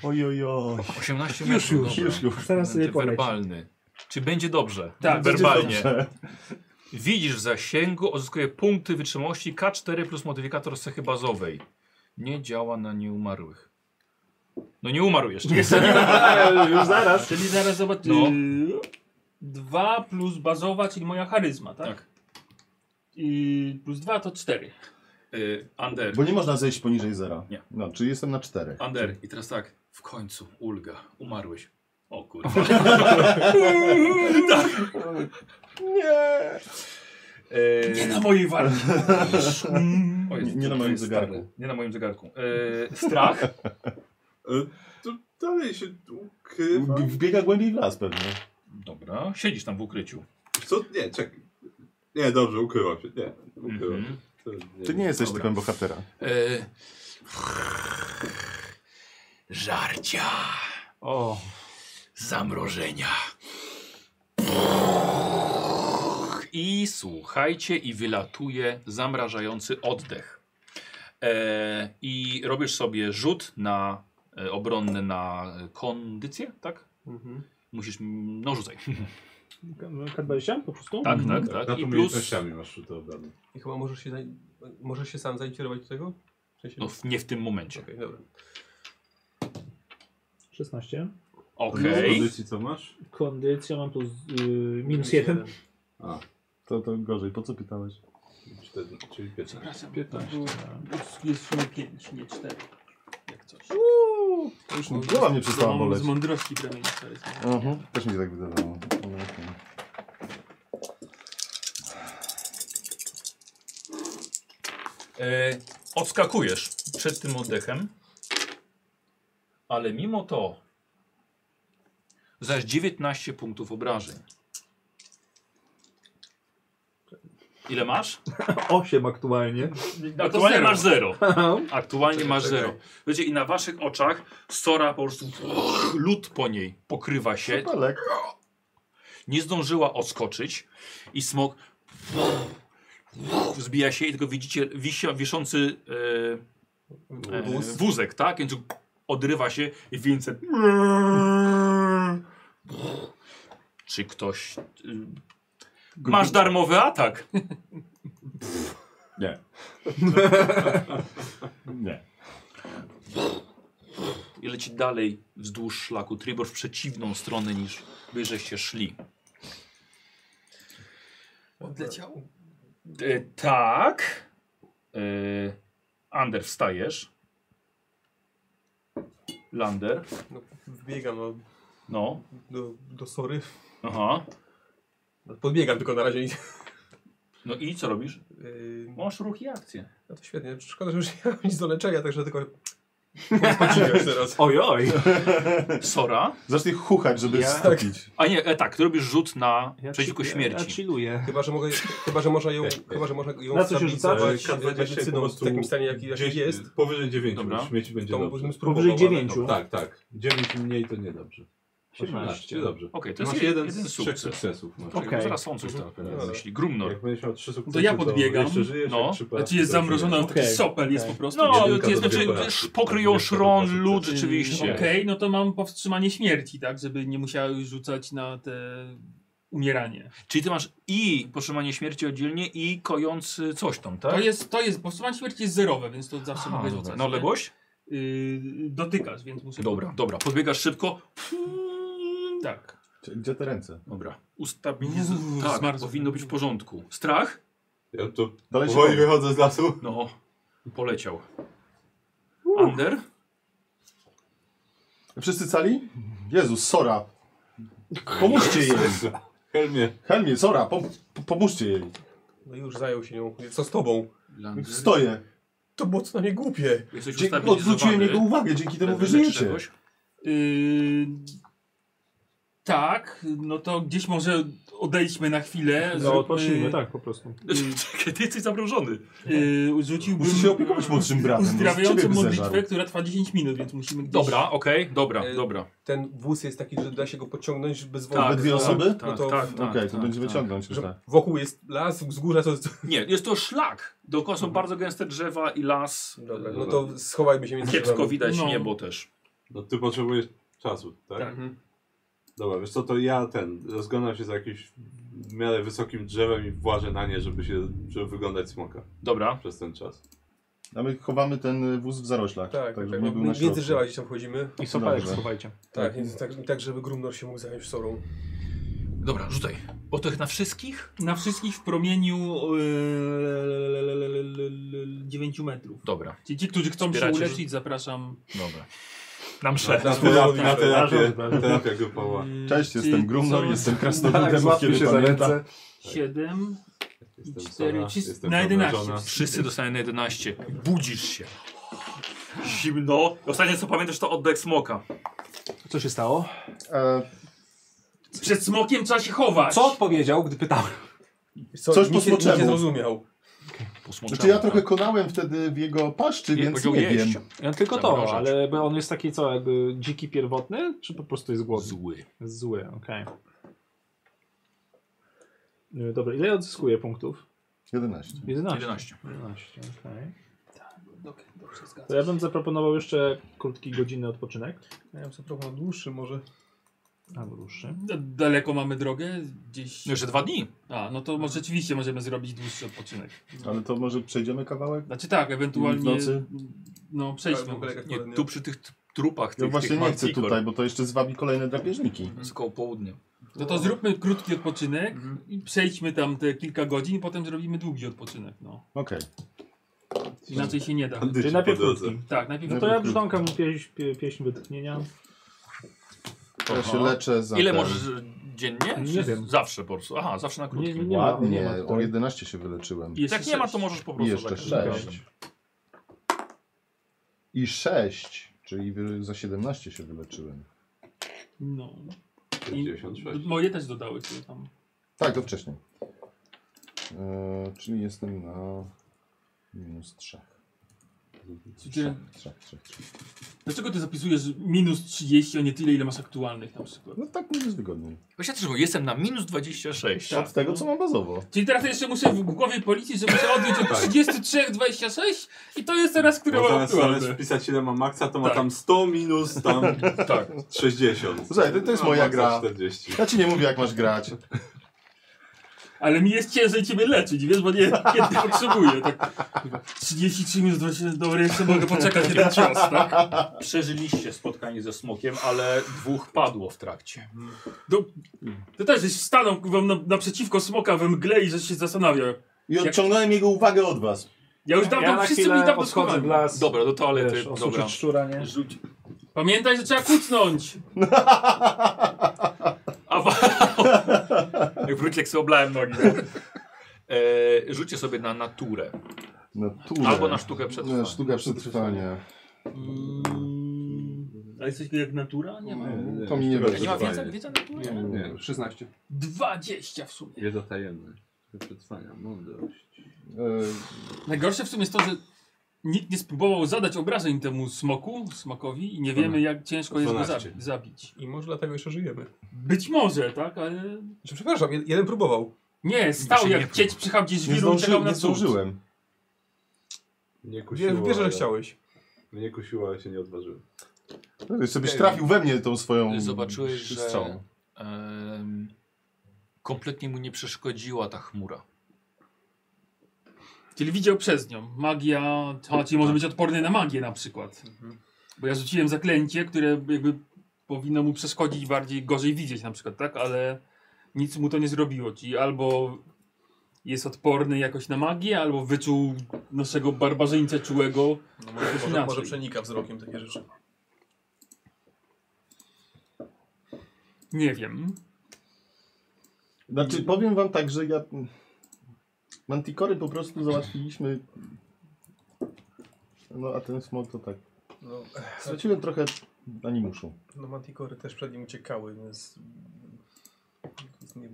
Speaker 3: Ojojoj.
Speaker 1: 18 metrów,
Speaker 2: już,
Speaker 1: dobra.
Speaker 3: Już, już.
Speaker 2: Teraz sobie
Speaker 1: Ty
Speaker 2: poleci.
Speaker 1: Werbalny. Czy będzie dobrze?
Speaker 7: Tak, będzie
Speaker 1: werbalnie. Widzisz w zasięgu, odzyskuje punkty wytrzymałości K4 plus modyfikator z cechy bazowej. Nie działa na nieumarłych. No nie umarł jeszcze.
Speaker 2: Już zaraz.
Speaker 7: Czyli zaraz zobaczę.
Speaker 1: No.
Speaker 7: 2 plus bazowa, czyli moja charyzma, tak?
Speaker 1: Tak.
Speaker 7: I plus 2 to 4.
Speaker 1: Y, Ander,
Speaker 3: Bo nie można zejść poniżej zera.
Speaker 1: Nie.
Speaker 3: No, czyli jestem na 4.
Speaker 1: Ander, i teraz tak, w końcu, ulga, umarłeś. O kurwa.
Speaker 7: Nie na mojej walce.
Speaker 1: O,
Speaker 3: Nie- nie na moim
Speaker 1: jest
Speaker 3: zegarku.
Speaker 1: stary. Nie na moim zegarku. Y, strach.
Speaker 4: E, to dalej się ukrywa.
Speaker 3: Wbiega głębiej w las pewnie.
Speaker 1: Dobra, siedzisz tam w ukryciu.
Speaker 4: Co? Nie, czekaj. Nie, dobrze, ukrywa się. Nie, ukrywa
Speaker 1: Mhm.
Speaker 4: się. To
Speaker 3: Ty nie jesteś
Speaker 1: Dobra.
Speaker 3: typem bohatera.
Speaker 1: E... Żarcia,
Speaker 2: O,
Speaker 1: zamrożenia. I słuchajcie, i wylatuje zamrażający oddech. E, I robisz sobie rzut na e, obronny na e, kondycję, tak? Musisz, mm, no rzucaj.
Speaker 2: K20 po prostu?
Speaker 1: Tak,
Speaker 3: Mhm.
Speaker 1: tak, tak.
Speaker 4: Nad
Speaker 1: I plus,
Speaker 4: umiejętnościami masz rzuty obrony.
Speaker 8: I chyba możesz się, zaj- możesz się sam zainicjować do tego? W sensie...
Speaker 1: no w- nie w tym momencie.
Speaker 8: Okej, dobra.
Speaker 2: 16.
Speaker 4: Okay.
Speaker 1: Okej.
Speaker 4: pozycji co masz?
Speaker 2: Kondycja mam tu z- y, minus jeden.
Speaker 4: A,
Speaker 3: To, to gorzej, po co pytałeś?
Speaker 4: cztery, czyli 15.
Speaker 7: Przepraszam,
Speaker 2: 15.
Speaker 7: Było, jest siła 5, nie 4. Jak coś.
Speaker 6: To już
Speaker 3: Głowa mnie przestała
Speaker 7: Mam
Speaker 3: boleć.
Speaker 7: Z mądrości promieni charyzmy.
Speaker 3: Mhm, też mi się tak wydawało. No, okej.
Speaker 1: E, odskakujesz przed tym oddechem, ale mimo to zaś 19 punktów obrażeń. Ile masz?
Speaker 2: Osiem aktualnie.
Speaker 1: Aktualnie
Speaker 7: zero.
Speaker 1: masz 0. Aktualnie masz 0. Wiecie, i na waszych oczach Sora po prostu och, lód po niej pokrywa się.
Speaker 3: Chyba lekko.
Speaker 1: Nie zdążyła odskoczyć i smok zbija się i tylko widzicie wisia, wiszący e, E, wózek, tak? Więc odrywa się i Vincent. Czy ktoś. y, Masz darmowy atak.
Speaker 3: Nie. nie.
Speaker 1: I leci dalej wzdłuż szlaku Tribor w przeciwną stronę niż wyżeście szli.
Speaker 7: Odleciał?
Speaker 1: E, tak. E, Ander, wstajesz. Lander.
Speaker 6: No, wbiegam no,
Speaker 1: No.
Speaker 6: do, do sory.
Speaker 1: Aha.
Speaker 6: No, Podbiegam tylko na razie. i-
Speaker 1: No i co robisz?
Speaker 6: Yy,
Speaker 1: Masz ruch i akcję.
Speaker 6: no to świetnie. Szkoda, że już nie mam nic do leczenia, także tylko... Skoczyłem już teraz.
Speaker 2: Ojoj.
Speaker 1: Sora.
Speaker 3: Zacznij chuchać, żeby
Speaker 2: Ja?
Speaker 3: stopić.
Speaker 1: A nie, e, tak, ty robisz rzut na
Speaker 2: Ja
Speaker 1: przeciwko
Speaker 2: chi- Ja, ja
Speaker 1: śmierci.
Speaker 2: chilluję.
Speaker 6: Chyba, że mogę, chyba, że można ją, chyba, że można ją
Speaker 2: Na co się
Speaker 6: stabilizować
Speaker 4: rzucasz?
Speaker 6: medycyną w takim stanie, jaki jaki jest.
Speaker 4: Powyżej 9
Speaker 1: Dobra.
Speaker 4: już śmieci będzie
Speaker 6: To
Speaker 4: dobrze.
Speaker 6: mógłbym spróbować.
Speaker 2: Powyżej dziewięciu.
Speaker 4: Tak, tak. 9 mniej to niedobrze. 18, dobrze.
Speaker 1: Okej, to jest
Speaker 4: masz
Speaker 1: jed-
Speaker 4: jeden
Speaker 1: jeden
Speaker 4: z trzech
Speaker 1: sukces.
Speaker 4: sukcesów. Masz.
Speaker 2: Okej.
Speaker 1: Okay. Zaraz on coś tam
Speaker 4: Dobra.
Speaker 1: myśli. Grumnor.
Speaker 4: Jak będziesz miał trzy sukcesy,
Speaker 5: To ja podbiegam.
Speaker 4: jeszcze żyjesz,
Speaker 1: No.
Speaker 4: jak trzy
Speaker 5: Znaczy
Speaker 4: porażki,
Speaker 5: jest
Speaker 4: to już
Speaker 5: zamrożona,
Speaker 4: nie.
Speaker 5: taki
Speaker 2: Okej.
Speaker 5: sopel jest
Speaker 2: Okej.
Speaker 5: po prostu.
Speaker 1: No,
Speaker 4: Jedynka
Speaker 1: jest,
Speaker 4: do
Speaker 1: znaczy,
Speaker 4: dwie porażki.
Speaker 1: pokryją
Speaker 4: Jedynka do dwa
Speaker 1: szron
Speaker 4: sukcesy.
Speaker 1: lud rzeczywiście.
Speaker 7: Okej, no to mam powstrzymanie śmierci, tak? Żeby nie musiała już rzucać na te umieranie.
Speaker 1: Czyli ty masz i powstrzymanie śmierci oddzielnie i kojący coś tam, tak?
Speaker 7: To jest, to jest, powstrzymanie śmierci jest zerowe, więc to zawsze
Speaker 1: Aha,
Speaker 7: mogę
Speaker 1: dobra.
Speaker 7: rzucać.
Speaker 1: Na
Speaker 7: nie?
Speaker 1: odległość?
Speaker 7: Yy, dotykasz, więc muszę...
Speaker 1: Dobra, dobra. Podbiegasz szybko.
Speaker 7: Tak.
Speaker 3: Gdzie te ręce?
Speaker 1: Dobra.
Speaker 7: Uuu,
Speaker 1: Ustabilizuj. Tak,
Speaker 7: zmarzł.
Speaker 1: powinno być w porządku. Strach?
Speaker 4: Ja tu
Speaker 3: Dalej się
Speaker 4: powoli wychodzę z lasu.
Speaker 1: No, poleciał. Ander?
Speaker 3: Wszyscy cali? Jezus, Sora. Pomóżcie jej.
Speaker 4: Helmie,
Speaker 3: Helmie, Sora, pom po- pomóżcie jej.
Speaker 6: No już zajął się nią. Co z tobą?
Speaker 3: Stoję.
Speaker 6: To było co najmniej głupie.
Speaker 1: Jesteś
Speaker 3: Dzięki,
Speaker 1: ustabilizowany.
Speaker 3: odwróciłem jego uwagę, dzięki temu
Speaker 1: Leczy
Speaker 3: wyżyjecie.
Speaker 1: czegoś?
Speaker 7: Yy, tak, no to gdzieś może odejdźmy na chwilę.
Speaker 2: No
Speaker 7: zróbmy-
Speaker 2: odpocznijmy, tak po prostu.
Speaker 1: Czekaj, ty jesteś zamrożony.
Speaker 7: Yy, rzuciłbym
Speaker 3: Musisz się opiekować młodszym bratem. bo z ciebie
Speaker 7: uzdrawiającą
Speaker 3: by
Speaker 7: modlitwę,
Speaker 3: zeżarł.
Speaker 7: która trwa 10 minut, więc musimy gdzieś...
Speaker 1: Dobra, okej, dobra,
Speaker 6: E,
Speaker 1: dobra.
Speaker 6: Ten wóz jest taki, że da się go pociągnąć bez wody.
Speaker 3: Tak, dwie osoby?
Speaker 1: Tak,
Speaker 6: No to-
Speaker 1: tak,
Speaker 3: Okej,
Speaker 1: tak,
Speaker 3: to
Speaker 1: tak,
Speaker 3: będzie
Speaker 1: tak.
Speaker 3: wyciągnąć. już
Speaker 6: Że
Speaker 3: tak.
Speaker 6: wokół jest las, wzgórza, co... co-
Speaker 1: Nie, jest to szlak. Dookoła
Speaker 3: Mhm.
Speaker 1: są bardzo gęste drzewa i las.
Speaker 6: Dobra, no to schowajmy się między
Speaker 1: Kiepsko
Speaker 6: drzewami.
Speaker 1: widać
Speaker 7: No.
Speaker 1: niebo też.
Speaker 4: no ty potrzebujesz czasu, tak?
Speaker 7: Tak.
Speaker 6: Mhm.
Speaker 4: Dobra, wiesz co, to ja ten, rozglądam się za jakimś w miarę wysokim drzewem i włażę na nie, żeby się, żeby wyglądać smoka
Speaker 1: Dobra.
Speaker 4: przez ten czas.
Speaker 3: A my chowamy ten wóz w zaroślach.
Speaker 6: Tak, tak,
Speaker 3: żeby
Speaker 6: tak.
Speaker 3: nie
Speaker 6: No,
Speaker 3: był na środku.
Speaker 6: między drzewa gdzieś tam wchodzimy.
Speaker 2: I sopalek
Speaker 3: Dobrze.
Speaker 2: schowajcie.
Speaker 6: Tak, więc tak, tak, żeby Grumnor się mógł zająć sorą.
Speaker 1: Dobra, rzucaj. Bo to na wszystkich?
Speaker 7: Na wszystkich w promieniu yy, 9 metrów.
Speaker 1: Dobra,
Speaker 7: Ci, ci którzy chcą
Speaker 1: Wspieracie,
Speaker 7: się uleczyć, zapraszam.
Speaker 1: dobra. Na
Speaker 4: Na
Speaker 1: mszę.
Speaker 4: terapię, na terapię,
Speaker 2: Dobra.
Speaker 4: terapia grupowa.
Speaker 7: Yy,
Speaker 3: Cześć, jestem Grumnor, jestem
Speaker 2: Tak,
Speaker 3: krasnoludem, od
Speaker 2: złapie
Speaker 3: kiedy
Speaker 2: się za
Speaker 3: pamiętam.
Speaker 7: 7 i
Speaker 4: Jestem
Speaker 7: 4,
Speaker 4: Sara, jestem
Speaker 7: na 11.
Speaker 4: zamrożona.
Speaker 1: Wszyscy dostają na 11. Budzisz się. Zimno. Ostatnie co pamiętasz to oddech smoka.
Speaker 2: Co się stało?
Speaker 3: E,
Speaker 7: Przed smokiem trzeba się chować.
Speaker 2: Co odpowiedział, gdy pytałem?
Speaker 6: Co,
Speaker 3: Coś
Speaker 6: nikt nie-
Speaker 3: po smoczemu.
Speaker 6: nikt nie zrozumiał.
Speaker 1: Posmoczamy,
Speaker 3: Znaczy ja
Speaker 1: tak.
Speaker 3: trochę konałem wtedy w jego paszczy,
Speaker 1: Nie,
Speaker 3: więc
Speaker 1: powiedział
Speaker 3: nie
Speaker 1: jeść.
Speaker 3: wiem.
Speaker 2: Ja tylko to,
Speaker 1: Zamrożać.
Speaker 2: ale bo on jest taki co, jakby dziki pierwotny, czy po prostu jest głodny?
Speaker 1: Zły.
Speaker 2: Zły, okej. No Dobra, ile odzyskuję punktów?
Speaker 3: 11.
Speaker 2: 11.
Speaker 1: 11.
Speaker 2: 11, okej.
Speaker 7: Okej, dobrze, zgadzam.
Speaker 2: To ja bym zaproponował jeszcze krótki godzinny odpoczynek.
Speaker 6: Ja bym sobie próbował dłuższy może.
Speaker 2: Albo dłuższy. No
Speaker 7: D- No, Daleko mamy drogę? Gdzieś.
Speaker 1: No Jeszcze dwa dni.
Speaker 7: A, no to może rzeczywiście możemy zrobić dłuższy odpoczynek.
Speaker 3: Ale to może przejdziemy kawałek?
Speaker 7: Znaczy tak, ewentualnie.
Speaker 3: W nocy?
Speaker 7: No, przejdźmy.
Speaker 6: Ale w ogóle jak
Speaker 1: Nie,
Speaker 6: kolędnia.
Speaker 1: tu przy tych t- trupach tych,
Speaker 3: Ja właśnie
Speaker 1: tych
Speaker 3: nie chcę
Speaker 1: mantikor.
Speaker 3: tutaj, bo to jeszcze zwabi kolejne drapieżniki.
Speaker 1: Z koło południa.
Speaker 7: No to zróbmy krótki odpoczynek
Speaker 1: Mhm.
Speaker 7: i przejdźmy tam te kilka godzin i potem zrobimy długi odpoczynek, no.
Speaker 3: Okej.
Speaker 7: Inaczej się nie da.
Speaker 4: Bandyci
Speaker 2: Czyli najpierw
Speaker 4: po drodze.
Speaker 2: krótki.
Speaker 7: Tak, najpierw...
Speaker 2: No to ja brzdąkam pieśń, pie, pieśń wytchnienia.
Speaker 3: Ja się leczę za
Speaker 1: Ile
Speaker 3: ten-
Speaker 1: możesz e, dziennie?
Speaker 2: Nie
Speaker 1: Czy
Speaker 2: wiem.
Speaker 1: Zawsze po prostu. Aha, zawsze na krótkim.
Speaker 2: Nie, nie ma, nie ma
Speaker 3: Ładnie, o
Speaker 2: tutaj.
Speaker 3: 11 się wyleczyłem.
Speaker 7: Jest
Speaker 1: Jak nie ma, to
Speaker 7: sześć.
Speaker 1: możesz po
Speaker 3: I
Speaker 1: prostu tak
Speaker 3: jeszcze
Speaker 1: za każdym
Speaker 3: 6.
Speaker 1: razem.
Speaker 3: I 6, czyli wy- za 17 się wyleczyłem.
Speaker 7: No. I
Speaker 4: 66.
Speaker 7: moje też dodały sobie tam.
Speaker 3: Tak, to wcześniej. E, czyli jestem na minus 3.
Speaker 7: Czy-
Speaker 3: 3, 3, 3.
Speaker 7: Dlaczego ty zapisujesz minus 30, a nie tyle, ile masz aktualnych na przykład?
Speaker 3: No tak mi jest wygodniej.
Speaker 1: Właśnie też, bo jestem na minus 26.
Speaker 2: Tak.
Speaker 3: Od tego, co mam bazowo.
Speaker 7: Czyli teraz jeszcze muszę w głowie policzyć, że muszę odjąć od 33, 26 i to jest teraz, które
Speaker 4: Bo
Speaker 7: mam
Speaker 4: No zamiast, zamiast
Speaker 7: aktualne.
Speaker 4: wpisać ile ma maksa, to ma
Speaker 7: Tak.
Speaker 4: tam 100 minus tam
Speaker 1: Tak.
Speaker 4: 60.
Speaker 3: Słuchaj, to- to jest
Speaker 4: A
Speaker 3: moja
Speaker 4: maksa
Speaker 3: gra.
Speaker 4: 40.
Speaker 3: Ja ci nie mówię, jak masz grać.
Speaker 7: Ale mi jest ciężej ciebie leczyć, wiesz, bo nie kiedy potrzebuję. Tak. Kurwa, 33 minus 20, dobra, jeszcze mogę poczekać jeden czas, tak?
Speaker 1: Przeżyliście spotkanie ze smokiem, ale dwóch padło w trakcie.
Speaker 7: To też jest stanął wam na, naprzeciwko smoka we mgle i że się zastanawia.
Speaker 3: I odciągnąłem jego uwagę od was.
Speaker 7: Ja już dawno,
Speaker 2: Ja na
Speaker 7: wszyscy
Speaker 2: chwilę
Speaker 7: byli dawno
Speaker 2: odchodzę
Speaker 7: schowani.
Speaker 2: w las.
Speaker 1: Dobra, do toalety.
Speaker 2: Wiesz,
Speaker 1: dobra.
Speaker 2: osuczyć szczura, nie?
Speaker 1: Rzuć.
Speaker 7: Pamiętaj, że trzeba kucnąć.
Speaker 1: A wa- Jak wrócił, jak sobie oblałem nogi. no. E, rzućcie sobie na naturę.
Speaker 3: Naturę.
Speaker 1: Albo na sztukę przetrwania.
Speaker 3: No, Na sztukę przetrwania.
Speaker 7: Mm, a jesteś jak natura? Nie ma.
Speaker 3: To mi nie
Speaker 4: Nie
Speaker 3: będzie.
Speaker 1: Nie ma
Speaker 4: Przetrwanie.
Speaker 1: wiedza, wiedza natury?
Speaker 3: Mm. Nie, nie.
Speaker 8: 16.
Speaker 7: 20 w sumie.
Speaker 4: Wiedza tajemna. Przetrwania, mądrość.
Speaker 3: E,
Speaker 7: Najgorsze w sumie jest to, że nikt nie spróbował zadać obrażeń temu smoku, smokowi i nie wiemy jak ciężko jest go
Speaker 4: 12.
Speaker 7: zabi zabić.
Speaker 6: I może dlatego jeszcze żyjemy.
Speaker 7: Być może, tak, ale
Speaker 6: Znaczy, przepraszam, jed- jeden próbował.
Speaker 7: nie, stał
Speaker 1: się nie
Speaker 7: jak cieć przychał gdzieś
Speaker 3: Nie,
Speaker 7: wiru i
Speaker 3: zdąży,
Speaker 7: czekał
Speaker 3: nie
Speaker 7: na cud.
Speaker 3: zdążyłem.
Speaker 4: Nie
Speaker 6: Wie-
Speaker 4: kusiło.
Speaker 6: Wiesz, że
Speaker 4: ale-
Speaker 6: chciałeś.
Speaker 4: Mnie kusiło, ale się nie odważyłem.
Speaker 3: Jeszcze byś trafił we mnie tą swoją
Speaker 1: Zobaczyłeś, że-
Speaker 3: strzałą.
Speaker 1: Em, kompletnie mu nie przeszkodziła ta chmura.
Speaker 7: Czyli widział przez nią. Magia, to, czyli może być odporny na magię na przykład.
Speaker 1: Mhm.
Speaker 7: Bo ja rzuciłem zaklęcie, które jakby powinno mu przeszkodzić bardziej, gorzej widzieć na przykład, tak? Ale nic mu to nie zrobiło. Czyli albo jest odporny jakoś na magię, albo wyczuł naszego barbarzyńcę czułego.
Speaker 6: No może, może,
Speaker 7: Inaczej.
Speaker 6: może przenika wzrokiem takie rzeczy.
Speaker 7: Nie wiem.
Speaker 3: Znaczy, powiem wam tak, że ja... Mantikory po prostu załatwiliśmy... No, a ten smok to tak...
Speaker 6: No,
Speaker 3: Straciłem trochę animuszu.
Speaker 6: no Manticory też przed nim uciekały, więc... Nie,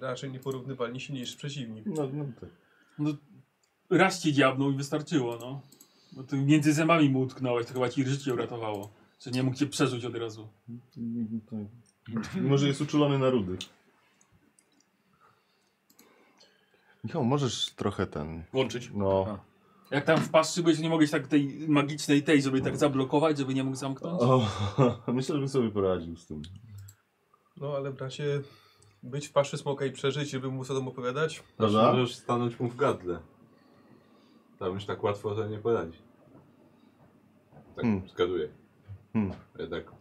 Speaker 6: raczej nieporównywalnie silniejszy przeciwnik.
Speaker 3: No, no tak.
Speaker 7: No, raz ci diabnął i wystarczyło, no. Bo ty między zębami mu utknąłeś, to chyba ci życie uratowało. Że nie mógł cię przeżyć od razu.
Speaker 3: Tak. Może jest uczulony na rudy. Michał, możesz trochę ten...
Speaker 1: Włączyć.
Speaker 3: No...
Speaker 7: Jak tam wpatrzysz, byłeś, nie mogłeś tak tej magicznej tej, żeby tak zablokować, żeby nie mógł zamknąć?
Speaker 3: O, myślę, że bym sobie poradził z tym.
Speaker 6: No ale bracie, być w paszy smoka i przeżyć, żeby mu co tam opowiadać?
Speaker 3: Prawda?
Speaker 4: Możesz stanąć mu w gadle. Tam już tak łatwo to nie poradzi. Tak
Speaker 3: Hmm.
Speaker 4: wskazuję.
Speaker 3: Hmm.
Speaker 4: Jednak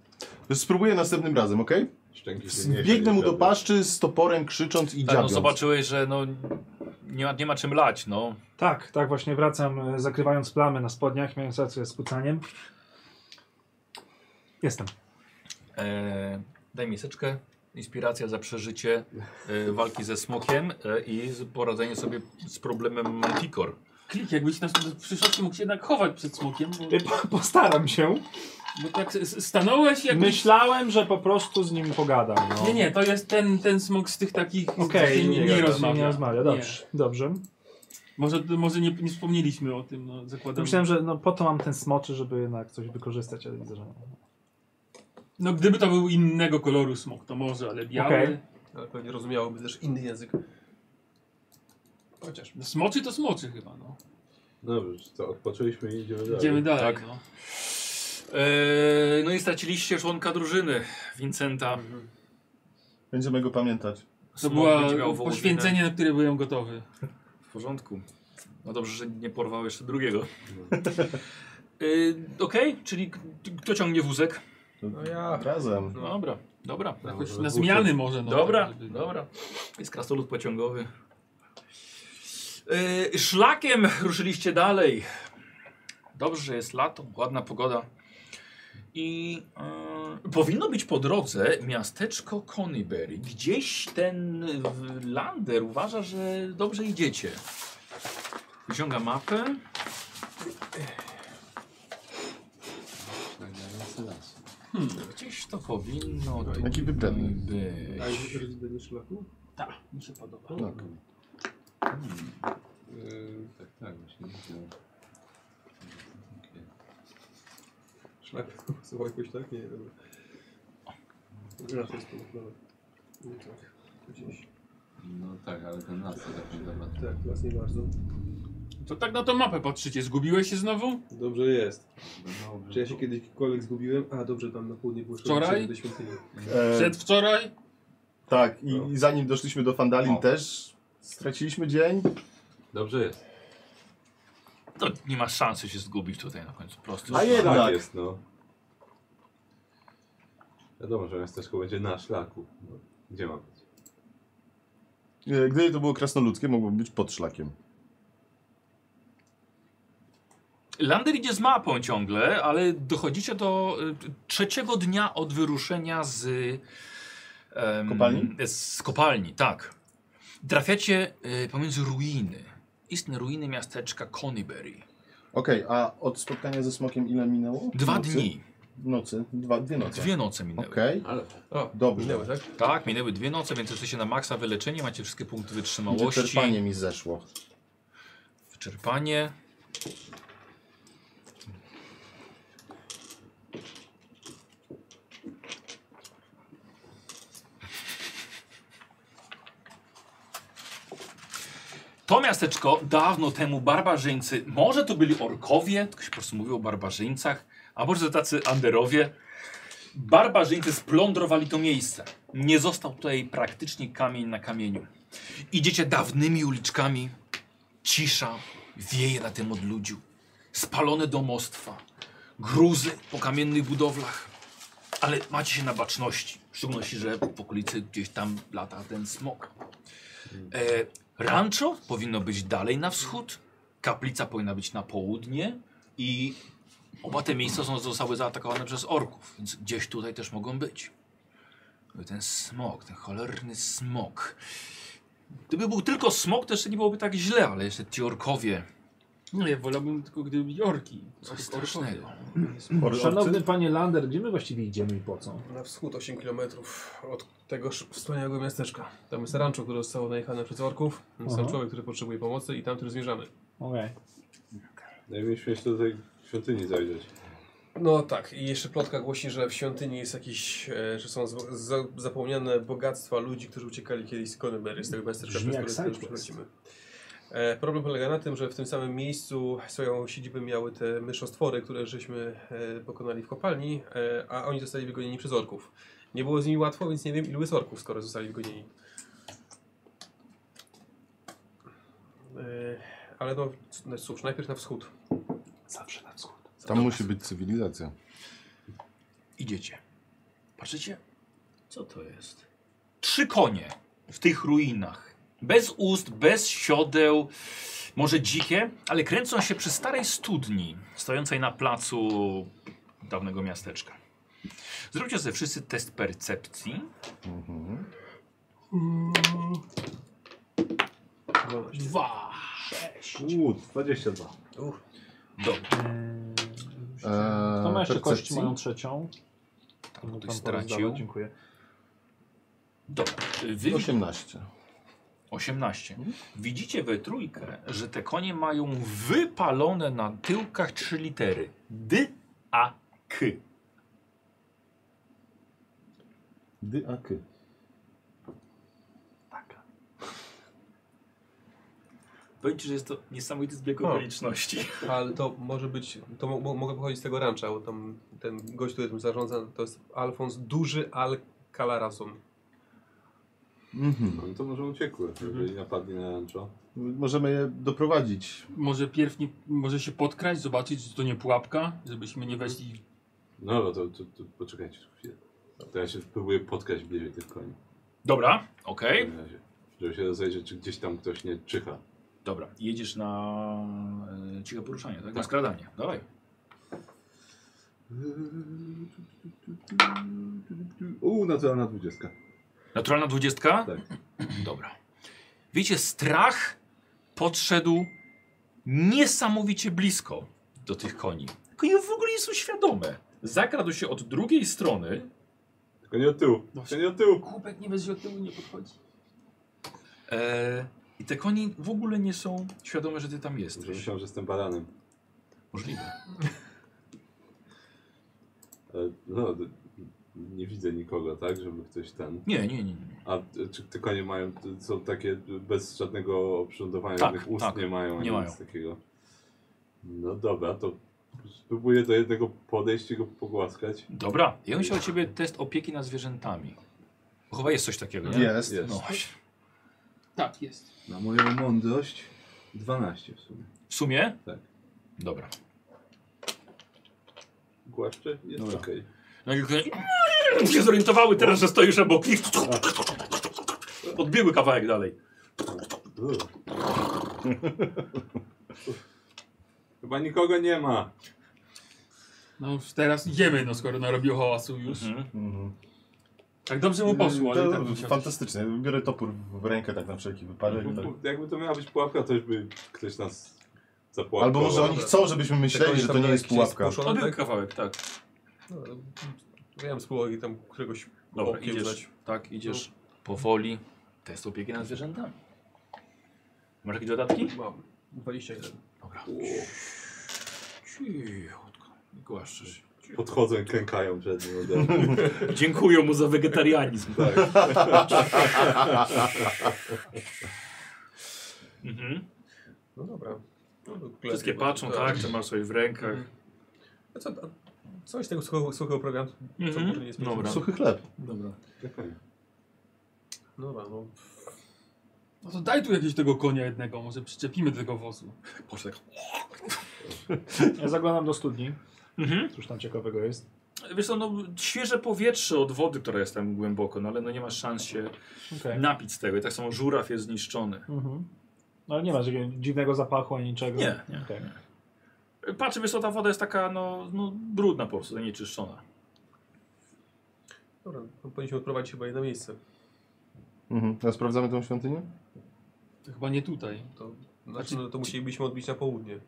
Speaker 3: Spróbuję następnym razem, okej?
Speaker 4: szczęki się nie
Speaker 3: Biegnę mu do paszczy z toporem krzycząc i
Speaker 1: Tak, no,
Speaker 3: dziabiąc.
Speaker 1: zobaczyłeś, że no, nie, ma, nie ma czym lać, no.
Speaker 2: Tak, tak, właśnie wracam, e, zakrywając plamy na spodniach, miałem rację z kucaniem. Jestem.
Speaker 1: E, daj miseczkę. Inspiracja za przeżycie e, walki ze smokiem e, i z- poradzenie sobie z problemem Mantikor.
Speaker 7: Klik, jakbyś nas w przyszłości mógł się jednak chować przed smokiem, bo,
Speaker 2: E, po- Postaram się.
Speaker 7: bo tak s- s- stanąłeś jak...
Speaker 2: Myślałem, że po prostu z nim pogadam. No.
Speaker 7: Nie, nie, to jest ten, ten smok z tych takich,
Speaker 2: Okej,
Speaker 7: okay, nie, nie,
Speaker 2: nie
Speaker 7: rozmawia.
Speaker 2: Nie rozmawia. Dobrze, dobrze.
Speaker 7: Może, może nie, nie wspomnieliśmy o tym, no, zakładam.
Speaker 2: Myślałem, że no, po to mam ten smoczy, żeby jednak coś wykorzystać, ale widzę, że nie.
Speaker 7: No gdyby to był innego koloru smok, to może, ale biały...
Speaker 2: Okej.
Speaker 6: Ale pewnie rozumiałoby też inny język. Chociaż.
Speaker 7: No, smoczy to smoczy chyba, no.
Speaker 4: Dobrze, co, odpoczęliśmy i idziemy dalej.
Speaker 7: Idziemy dalej,
Speaker 1: Tak.
Speaker 7: no.
Speaker 1: E, no i straciliście członka drużyny, Vincenta.
Speaker 3: Będziemy go pamiętać.
Speaker 7: Mhm. To
Speaker 1: Smok
Speaker 7: było
Speaker 1: będzie miał wołowinę.
Speaker 7: poświęcenie, na które byłem gotowy. No.
Speaker 1: W porządku. No dobrze, że nie porwał jeszcze drugiego. Y, Okej, czyli k- kto ciągnie wózek?
Speaker 6: No ja.
Speaker 3: Razem.
Speaker 6: No.
Speaker 1: Dobra, dobra.
Speaker 7: Jakoś na zmiany może. No,
Speaker 1: Dobra,
Speaker 7: tak, żeby-
Speaker 1: dobra. Jest krasnolud pociągowy. Yy, szlakiem ruszyliście dalej. Dobrze, że jest lato, ładna pogoda. I yy, powinno być po drodze miasteczko Conyberry. Gdzieś ten w- lander uważa, że dobrze idziecie. Wyciąga mapę. Hmm, gdzieś to powinno tu
Speaker 3: Jaki wybrany?
Speaker 1: być.
Speaker 6: A jest rozdanie szlaku?
Speaker 8: Tak, mi się podoba.
Speaker 3: Tak.
Speaker 4: Yy, tak, tak, właśnie. nie wiem.
Speaker 6: Szlak słuchaj jakoś tak? Nie wiem. Gra to jest pomyślane. Nie tak. Gdzieś.
Speaker 4: No tak, ale ten las to tak nie dobra.
Speaker 6: Tak, las nie bardzo.
Speaker 7: To tak na tą mapę patrzycie. Zgubiłeś się znowu?
Speaker 6: Dobrze jest.
Speaker 4: No,
Speaker 6: Czy ja się kiedykolwiek zgubiłem? A dobrze, tam na południe było
Speaker 7: Wczoraj?
Speaker 6: do świątyni.
Speaker 3: E,
Speaker 7: Przedwczoraj?
Speaker 3: tak, i, i zanim doszliśmy do Fandalin
Speaker 4: O.
Speaker 3: też straciliśmy dzień.
Speaker 4: Dobrze jest.
Speaker 1: To nie ma szansy się zgubić tutaj na końcu. Prosto.
Speaker 3: A jednak.
Speaker 4: Tak jest, no. Wiadomo, że miasteczko będzie na szlaku. No, Gdzie ma być?
Speaker 3: E, Gdyby to było krasnoludzkie, mogłoby być pod szlakiem.
Speaker 1: Lander idzie z mapą ciągle, ale dochodzicie do y, trzeciego dnia od wyruszenia z em,
Speaker 3: Kopalni?
Speaker 1: Z kopalni, tak. Trafiacie y, pomiędzy ruiny. Istne ruiny miasteczka Conyberry.
Speaker 3: Okej, a od spotkania ze smokiem ile minęło?
Speaker 1: Dwa
Speaker 3: Nocy?
Speaker 1: dni,
Speaker 3: Nocy, dwa, dwie noce.
Speaker 1: dwie noce minęły.
Speaker 3: Okej,
Speaker 4: Ale
Speaker 6: O,
Speaker 3: Dobrze.
Speaker 6: Minęły, tak?
Speaker 1: Tak, minęły dwie noce, więc jesteście na maksa wyleczeni, macie wszystkie punkty
Speaker 3: gdzie
Speaker 1: wytrzymałości.
Speaker 3: czerpanie mi zeszło.
Speaker 1: Wyczerpanie. To miasteczko dawno temu barbarzyńcy, może to byli orkowie, tylko się po prostu mówi o barbarzyńcach, a może to tacy anderowie. Barbarzyńcy splądrowali to miejsce. Nie został tutaj praktycznie kamień na kamieniu. Idziecie dawnymi uliczkami, Cisza wieje na tym odludziu. Spalone domostwa, gruzy po kamiennych budowlach. Ale macie się na baczności. W szczególności, że w okolicy gdzieś tam lata ten smok. E, rancho powinno być dalej na wschód. Kaplica powinna być na południe. I oba te miejsca są, zostały zaatakowane przez orków. Więc gdzieś tutaj też mogą być. No i Ten smok, ten cholerny smok. Gdyby był tylko smok, to jeszcze nie byłoby tak źle, ale jeszcze ci orkowie.
Speaker 7: Nie, wolałbym tylko gdyby byli orki.
Speaker 1: Coś
Speaker 7: Orkowie.
Speaker 1: strasznego.
Speaker 2: Szanowny panie Lander, gdzie my właściwie idziemy i po co?
Speaker 6: Na wschód 8 km od tego sz- wspaniałego miasteczka. Tam jest rancho, które zostało najechane przez orków. Jest tam
Speaker 2: Aha.
Speaker 6: człowiek, który potrzebuje pomocy i tam, który zmierzamy.
Speaker 2: Okej.
Speaker 4: Najmniejszy jeszcze do tej świątyni zajrzeć.
Speaker 6: No tak, i jeszcze plotka głosi, że w świątyni jest jakiś, e, że są zwo- za, zapomniane bogactwa ludzi, którzy uciekali kiedyś z Conyberry, z tego miasteczka,
Speaker 2: Brzmi
Speaker 6: przez
Speaker 2: jak
Speaker 6: które teraz
Speaker 2: side quest.
Speaker 6: przechodzimy. E, problem polega na tym, że w tym samym miejscu swoją siedzibę miały te myszostwory, które żeśmy e, pokonali w kopalni, e, a oni zostali wygonieni przez orków. Nie było z nimi łatwo, więc nie wiem ilu jest orków, skoro zostali wygonieni. E, ale no, c- no cóż, najpierw na wschód.
Speaker 2: Zawsze na wschód.
Speaker 3: Tam musi być cywilizacja.
Speaker 1: Idziecie. Patrzycie? Co to jest? Trzy konie w tych ruinach. Bez ust, bez siodeł, może dzikie, ale kręcą się przy starej studni stojącej na placu dawnego miasteczka. Zróbcie sobie wszyscy test percepcji.
Speaker 3: Mhm.
Speaker 7: Dwa.
Speaker 4: Uuu, 22.
Speaker 1: Dobrze.
Speaker 2: Kto ma jeszcze kość
Speaker 3: percepcji?
Speaker 2: moją trzecią?
Speaker 1: Tak,
Speaker 2: Komu
Speaker 1: ktoś
Speaker 2: tam
Speaker 1: stracił.
Speaker 2: porozdawać? Dziękuję.
Speaker 1: Dobra. Wy
Speaker 3: 18.
Speaker 1: 18. Widzicie we trójkę, że te konie mają wypalone na tyłkach trzy litery. D, A, K.
Speaker 3: Dy a ky.
Speaker 1: Powiedzcie, że jest to niesamowity zbieg
Speaker 6: O.
Speaker 1: okoliczności.
Speaker 6: Ale to może być, to mo, mo, mogę pochodzić z tego rancha, bo tam ten Tak gość, który tym zarządza, to jest Alfons Duży Al Calarasum.
Speaker 3: Mhm.
Speaker 4: No to może uciekły, jeżeli napadli na Rancho.
Speaker 3: Możemy je doprowadzić.
Speaker 7: Może pierw nie, może się podkraść, zobaczyć, czy to nie pułapka, żebyśmy nie weszli.
Speaker 4: No, no to, to, to poczekajcie chwilę. To ja się próbuję podkać bliżej tych koni.
Speaker 1: Dobra, okej.
Speaker 4: W takim razie, Żeby się rozejrzeć, czy gdzieś tam ktoś nie czyha.
Speaker 1: Dobra, jedziesz na e, ciche poruszanie, tak? Na skradanie. Dawaj.
Speaker 4: Uuu, naturalna dwudziestka.
Speaker 1: Naturalna dwudziestka?
Speaker 4: Tak.
Speaker 1: Dobra. Wiecie, strach podszedł niesamowicie blisko do tych koni. Tylko je w ogóle nie są świadome. Zakradł się od drugiej strony.
Speaker 4: Tylko nie od tyłu,
Speaker 7: No
Speaker 4: tylko nie od tyłu.
Speaker 7: Kubek nie weźmie od tyłu, nie podchodzi.
Speaker 1: E, I te koni w ogóle nie są świadome, że ty tam
Speaker 4: Może
Speaker 1: jesteś.
Speaker 4: myślałem, że jestem baranem.
Speaker 1: Możliwe.
Speaker 4: Ale, No, d- nie widzę nikogo, tak? Żeby ktoś ten...
Speaker 1: Nie, nie, nie. nie. nie.
Speaker 4: A y, czy te konie mają, y, są takie y, bez żadnego oprzyrządowania,
Speaker 1: Tak,
Speaker 4: żadnych ust
Speaker 1: tak.
Speaker 4: nie mają, ani
Speaker 1: Nie
Speaker 4: nic takiego. No dobra, to spróbuję do jednego podejść i go pogłaskać.
Speaker 1: Dobra. Ja bym chciał od ciebie test opieki nad zwierzętami. Bo Chyba jest coś takiego, nie?
Speaker 3: Jest.
Speaker 4: Jest.
Speaker 1: No.
Speaker 5: Tak, jest.
Speaker 4: Na moją mądrość 12 w sumie.
Speaker 1: W sumie?
Speaker 4: Tak.
Speaker 1: Dobra.
Speaker 4: Głaszczę? Jest
Speaker 1: Dobra.
Speaker 4: okej.
Speaker 1: Nagle konie- się zorientowały teraz, że stoisz obok nich. Odbiegły kawałek dalej.
Speaker 4: Chyba nikogo nie ma.
Speaker 7: No już teraz idziemy, no skoro narobił hałasu już.
Speaker 3: Mhm.
Speaker 7: Tak dobrze mu poszło, ale i tak
Speaker 3: Y, To
Speaker 7: bym chciał-
Speaker 3: Fantastycznie. Biorę topór w rękę tak na wszelki wypadek.
Speaker 4: Bo-
Speaker 3: Tak.
Speaker 4: bo- Jakby to miała być pułapka, to już by ktoś nas zapłakał.
Speaker 3: Albo może oni chcą, żebyśmy myśleli, że to nie jest pułapka.
Speaker 6: Spuszone,
Speaker 1: Odbiegł
Speaker 6: tak?
Speaker 1: kawałek, tak.
Speaker 6: No, Miałem spróbować tam któregoś
Speaker 1: Dobra,
Speaker 6: bokiem
Speaker 1: idziesz.
Speaker 6: zdać.
Speaker 1: Tak, idziesz powoli. Test opieki nad zwierzętami. Masz jakieś dodatki?
Speaker 6: Mam 21.
Speaker 1: Dobra.
Speaker 4: O,
Speaker 1: Cichutko. nie Głaszczysz. się.
Speaker 4: Podchodzą i klękają przed nim. od razu.
Speaker 1: Dziękuję mu za wegetarianizm.
Speaker 4: Tak.
Speaker 1: Mhm.
Speaker 6: No dobra. No, to
Speaker 1: Wszystkie
Speaker 6: lepiej, bo to-
Speaker 1: patrzą, tak, czy masz sobie w rękach.
Speaker 6: A co, a coś z tego suchego, suchego programu, co
Speaker 1: Mhm.
Speaker 6: może nie jest
Speaker 1: Dobra.
Speaker 6: mięso?
Speaker 3: Suchy chleb.
Speaker 1: Dobra.
Speaker 6: No dobra, no.
Speaker 7: No to daj tu jakiegoś tego konia jednego, może przyczepimy do tego wozu.
Speaker 1: Boże, tak.
Speaker 2: Ja zaglądam do studni,
Speaker 1: Mhm.
Speaker 2: cóż tam ciekawego jest.
Speaker 1: Wiesz co, no, świeże powietrze od wody, która jest tam głęboko, no ale no, nie masz szans się
Speaker 2: Okej.
Speaker 1: napić z tego. I tak samo żuraw jest zniszczony.
Speaker 2: Mhm. No ale nie ma żadnego dziwnego zapachu ani niczego.
Speaker 1: Nie, nie.
Speaker 2: Okej.
Speaker 1: Patrzę, wiesz co, ta woda jest taka, no, no brudna po prostu, nieczyszczona.
Speaker 6: Dobra, no powinniśmy odprowadzić chyba je na miejsce.
Speaker 3: Mhm. A sprawdzamy tą świątynię?
Speaker 7: To chyba nie tutaj.
Speaker 6: To, znaczy, no, to musielibyśmy odbić na południe.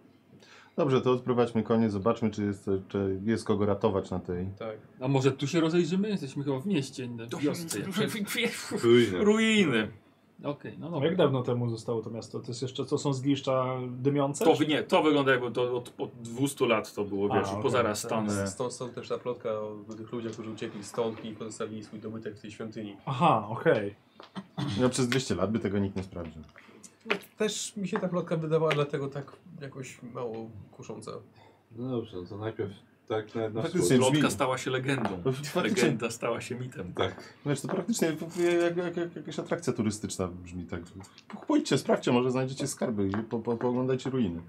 Speaker 3: Dobrze, to odprowadźmy konie, zobaczmy, czy jest, czy jest kogo ratować na tej.
Speaker 6: Tak.
Speaker 7: A może tu się rozejrzymy? Jesteśmy chyba w mieście, nie w wiosce. jakiejś.
Speaker 4: Ruiny.
Speaker 1: Ruiny.
Speaker 7: Okej, no
Speaker 2: No
Speaker 7: dobra.
Speaker 2: jak dawno temu zostało to miasto? To jest jeszcze, co są zgliszcza dymiące?
Speaker 1: To, wy- nie, to wygląda jakby to od, od 200 lat to było,
Speaker 2: A,
Speaker 1: wiesz,
Speaker 2: okej.
Speaker 1: poza
Speaker 6: Tam,
Speaker 1: Rastanę.
Speaker 6: stąd, stąd też ta plotka o tych ludziach, którzy uciekli stąd i pozostawili swój dobytek w tej świątyni.
Speaker 2: Aha, okej.
Speaker 3: No przez 200 lat by tego nikt nie sprawdził.
Speaker 6: No, też mi się ta plotka wydawała, dlatego tak jakoś mało kusząca.
Speaker 4: No dobrze, no to najpierw tak na, na
Speaker 3: Faktycznie.
Speaker 4: wschód.
Speaker 1: Plotka
Speaker 3: brzmi.
Speaker 1: stała się legendą.
Speaker 3: Faktycznie,
Speaker 1: Legenda stała się mitem.
Speaker 4: Tak.
Speaker 3: wiesz, to praktycznie jak, jak, jak, jakaś atrakcja turystyczna brzmi tak. Pójdźcie, sprawdźcie, może znajdziecie skarby i po, po, pooglądajcie ruiny.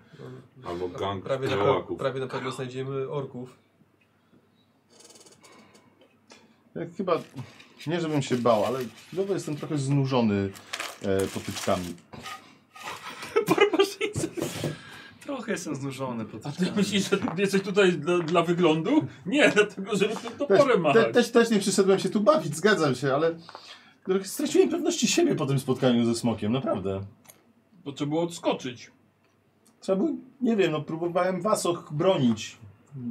Speaker 6: No,
Speaker 4: Albo
Speaker 6: pra-
Speaker 4: gang
Speaker 6: prawie na,
Speaker 4: kałaków.
Speaker 6: prawie na pewno znajdziemy orków.
Speaker 3: Ja chyba, nie żebym się bał, ale chwilowo jestem trochę znużony e, potyczkami.
Speaker 1: Barbarzyńcy. Trochę jestem znużony. po
Speaker 7: A
Speaker 1: tym
Speaker 7: ty
Speaker 1: czasie.
Speaker 7: myślisz, że jesteś tutaj dla, dla wyglądu? Nie, dlatego, żeby tym toporem
Speaker 3: Te,
Speaker 7: machać.
Speaker 3: też, też nie przyszedłem się tu bawić, zgadzam się, ale trochę straciłem pewności siebie po tym spotkaniu ze smokiem, naprawdę.
Speaker 7: Bo trzeba było odskoczyć.
Speaker 3: Trzeba było, nie wiem, no próbowałem was och- bronić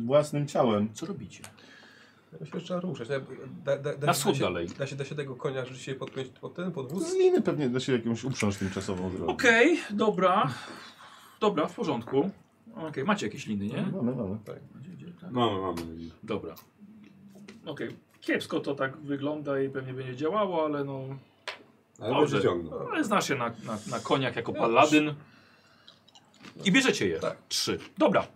Speaker 3: własnym ciałem.
Speaker 1: Co robicie?
Speaker 6: Ja się trzeba ruszać. Da, da, da, da,
Speaker 1: Na wschód
Speaker 6: da się,
Speaker 1: dalej.
Speaker 6: Da się, da się tego konia rzeczywiście podpiąć pod ten, pod wóz?
Speaker 3: Z liny pewnie da się jakąś uprząż tymczasową zrobić.
Speaker 1: Okej, dobra. Dobra, w porządku. Okej, macie jakieś liny, nie?
Speaker 3: Mamy, mamy.
Speaker 4: Mamy, mamy.
Speaker 1: Dobra. Okej, kiepsko to tak wygląda i pewnie będzie działało, ale no...
Speaker 4: Ale
Speaker 1: Dobrze.
Speaker 4: będzie ciągnął.
Speaker 1: No, Ale znasz się na, na, na koniach
Speaker 9: No,
Speaker 1: jako paladyn. I bierzecie je.
Speaker 6: Tak.
Speaker 1: Trzy. Dobra.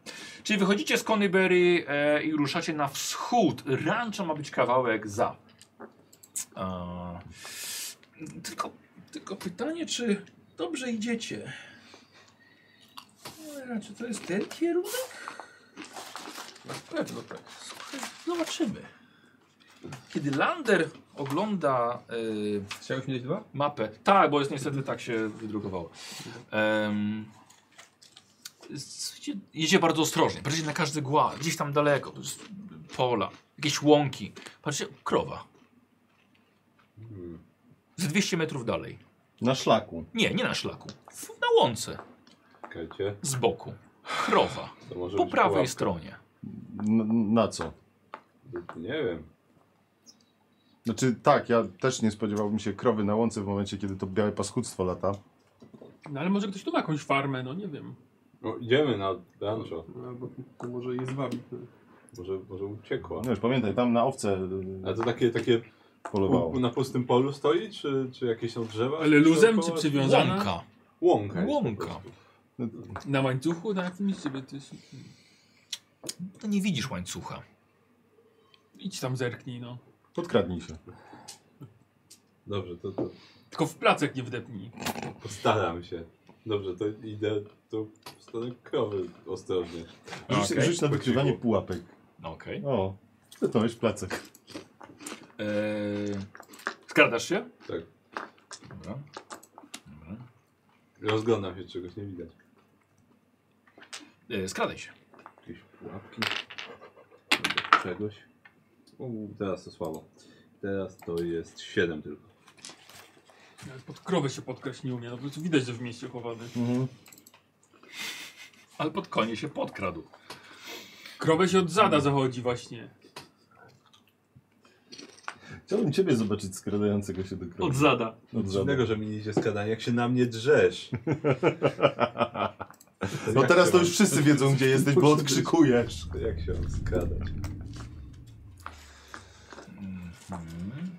Speaker 1: Czyli wychodzicie z Conyberry e, i ruszacie na wschód. Rancho ma być kawałek za. E,
Speaker 9: Tylko, tylko pytanie, czy dobrze idziecie? E, Czy to jest ten kierunek? No,
Speaker 6: Na pewno tak.
Speaker 9: Zobaczymy. Kiedy Lander ogląda y,
Speaker 6: Chciałeś mi dać dwa?
Speaker 1: Mapę. Tak, bo jest niestety tak się wydrukowało. Um, jedzie bardzo ostrożnie. Patrzcie na każdy głaz, gdzieś tam daleko. z- Pola, jakieś łąki. Patrzcie, krowa. Z 200 metrów dalej.
Speaker 3: Na szlaku.
Speaker 1: Nie, nie na szlaku. W- Na łące.
Speaker 4: Czekajcie,
Speaker 1: Z boku. Krowa.
Speaker 4: to może
Speaker 1: Po
Speaker 4: być
Speaker 1: prawej
Speaker 4: pułapka.
Speaker 1: stronie.
Speaker 3: N na co?
Speaker 4: Nie wiem.
Speaker 3: Znaczy tak, ja też nie spodziewałbym się krowy na łące w momencie, kiedy to białe paskudztwo lata.
Speaker 7: No ale może ktoś tu ma jakąś farmę, no nie wiem.
Speaker 4: No, idziemy na Dancho.
Speaker 8: Albo to może je zwabi.
Speaker 4: Może, może uciekła.
Speaker 3: No już pamiętaj, tam na owce e,
Speaker 4: A to takie, takie
Speaker 3: y, polowało.
Speaker 4: na pustym polu stoi, czy, czy jakieś są drzewa?
Speaker 7: Ale luzem czy
Speaker 4: dookoła?
Speaker 7: przywiązana?
Speaker 1: Łąka.
Speaker 4: Łąka. jest po
Speaker 1: Łąka.
Speaker 4: prostu.
Speaker 3: no,
Speaker 7: Na łańcuchu, na jakimś, żeby ty...
Speaker 1: No nie widzisz łańcucha.
Speaker 7: Idź tam zerknij, no.
Speaker 3: Podkradnij się.
Speaker 4: Dobrze, to, to
Speaker 7: Tylko w placek nie wdepnij.
Speaker 4: postaram się. Dobrze, to idę tu w stronę krowy ostrożnie.
Speaker 3: Rzuć,
Speaker 1: Okej,
Speaker 3: rzuć na wykrywanie pułapek.
Speaker 1: No Okej.
Speaker 3: O, to to jest placek.
Speaker 1: Eee, skradasz się?
Speaker 4: Tak.
Speaker 1: Dobra. Dobra.
Speaker 4: Rozglądam się, czegoś nie widać.
Speaker 1: Eee, skradaj się.
Speaker 4: Jakieś pułapki. albo Czegoś. U, teraz to słabo. Teraz to jest 7 tylko.
Speaker 7: Nawet Pod krowę się podkraść nie umie, no po prostu widać, że w mieście chowany.
Speaker 3: Mhm.
Speaker 1: Ale pod konie się podkradł.
Speaker 7: Krowę się od zada zachodzi właśnie.
Speaker 3: Chciałbym ciebie zobaczyć skradającego się do krowy.
Speaker 1: Od zada.
Speaker 3: Od zada.
Speaker 4: Dziwnego, że mi nie idzie skadanie, jak się na mnie drzesz.
Speaker 3: No
Speaker 4: Jak
Speaker 3: teraz
Speaker 4: się
Speaker 3: to
Speaker 4: mam-
Speaker 3: już wszyscy wiedzą, gdzie jesteś, bo odkrzykujesz.
Speaker 4: Jak się mam skradać?
Speaker 1: Mhm.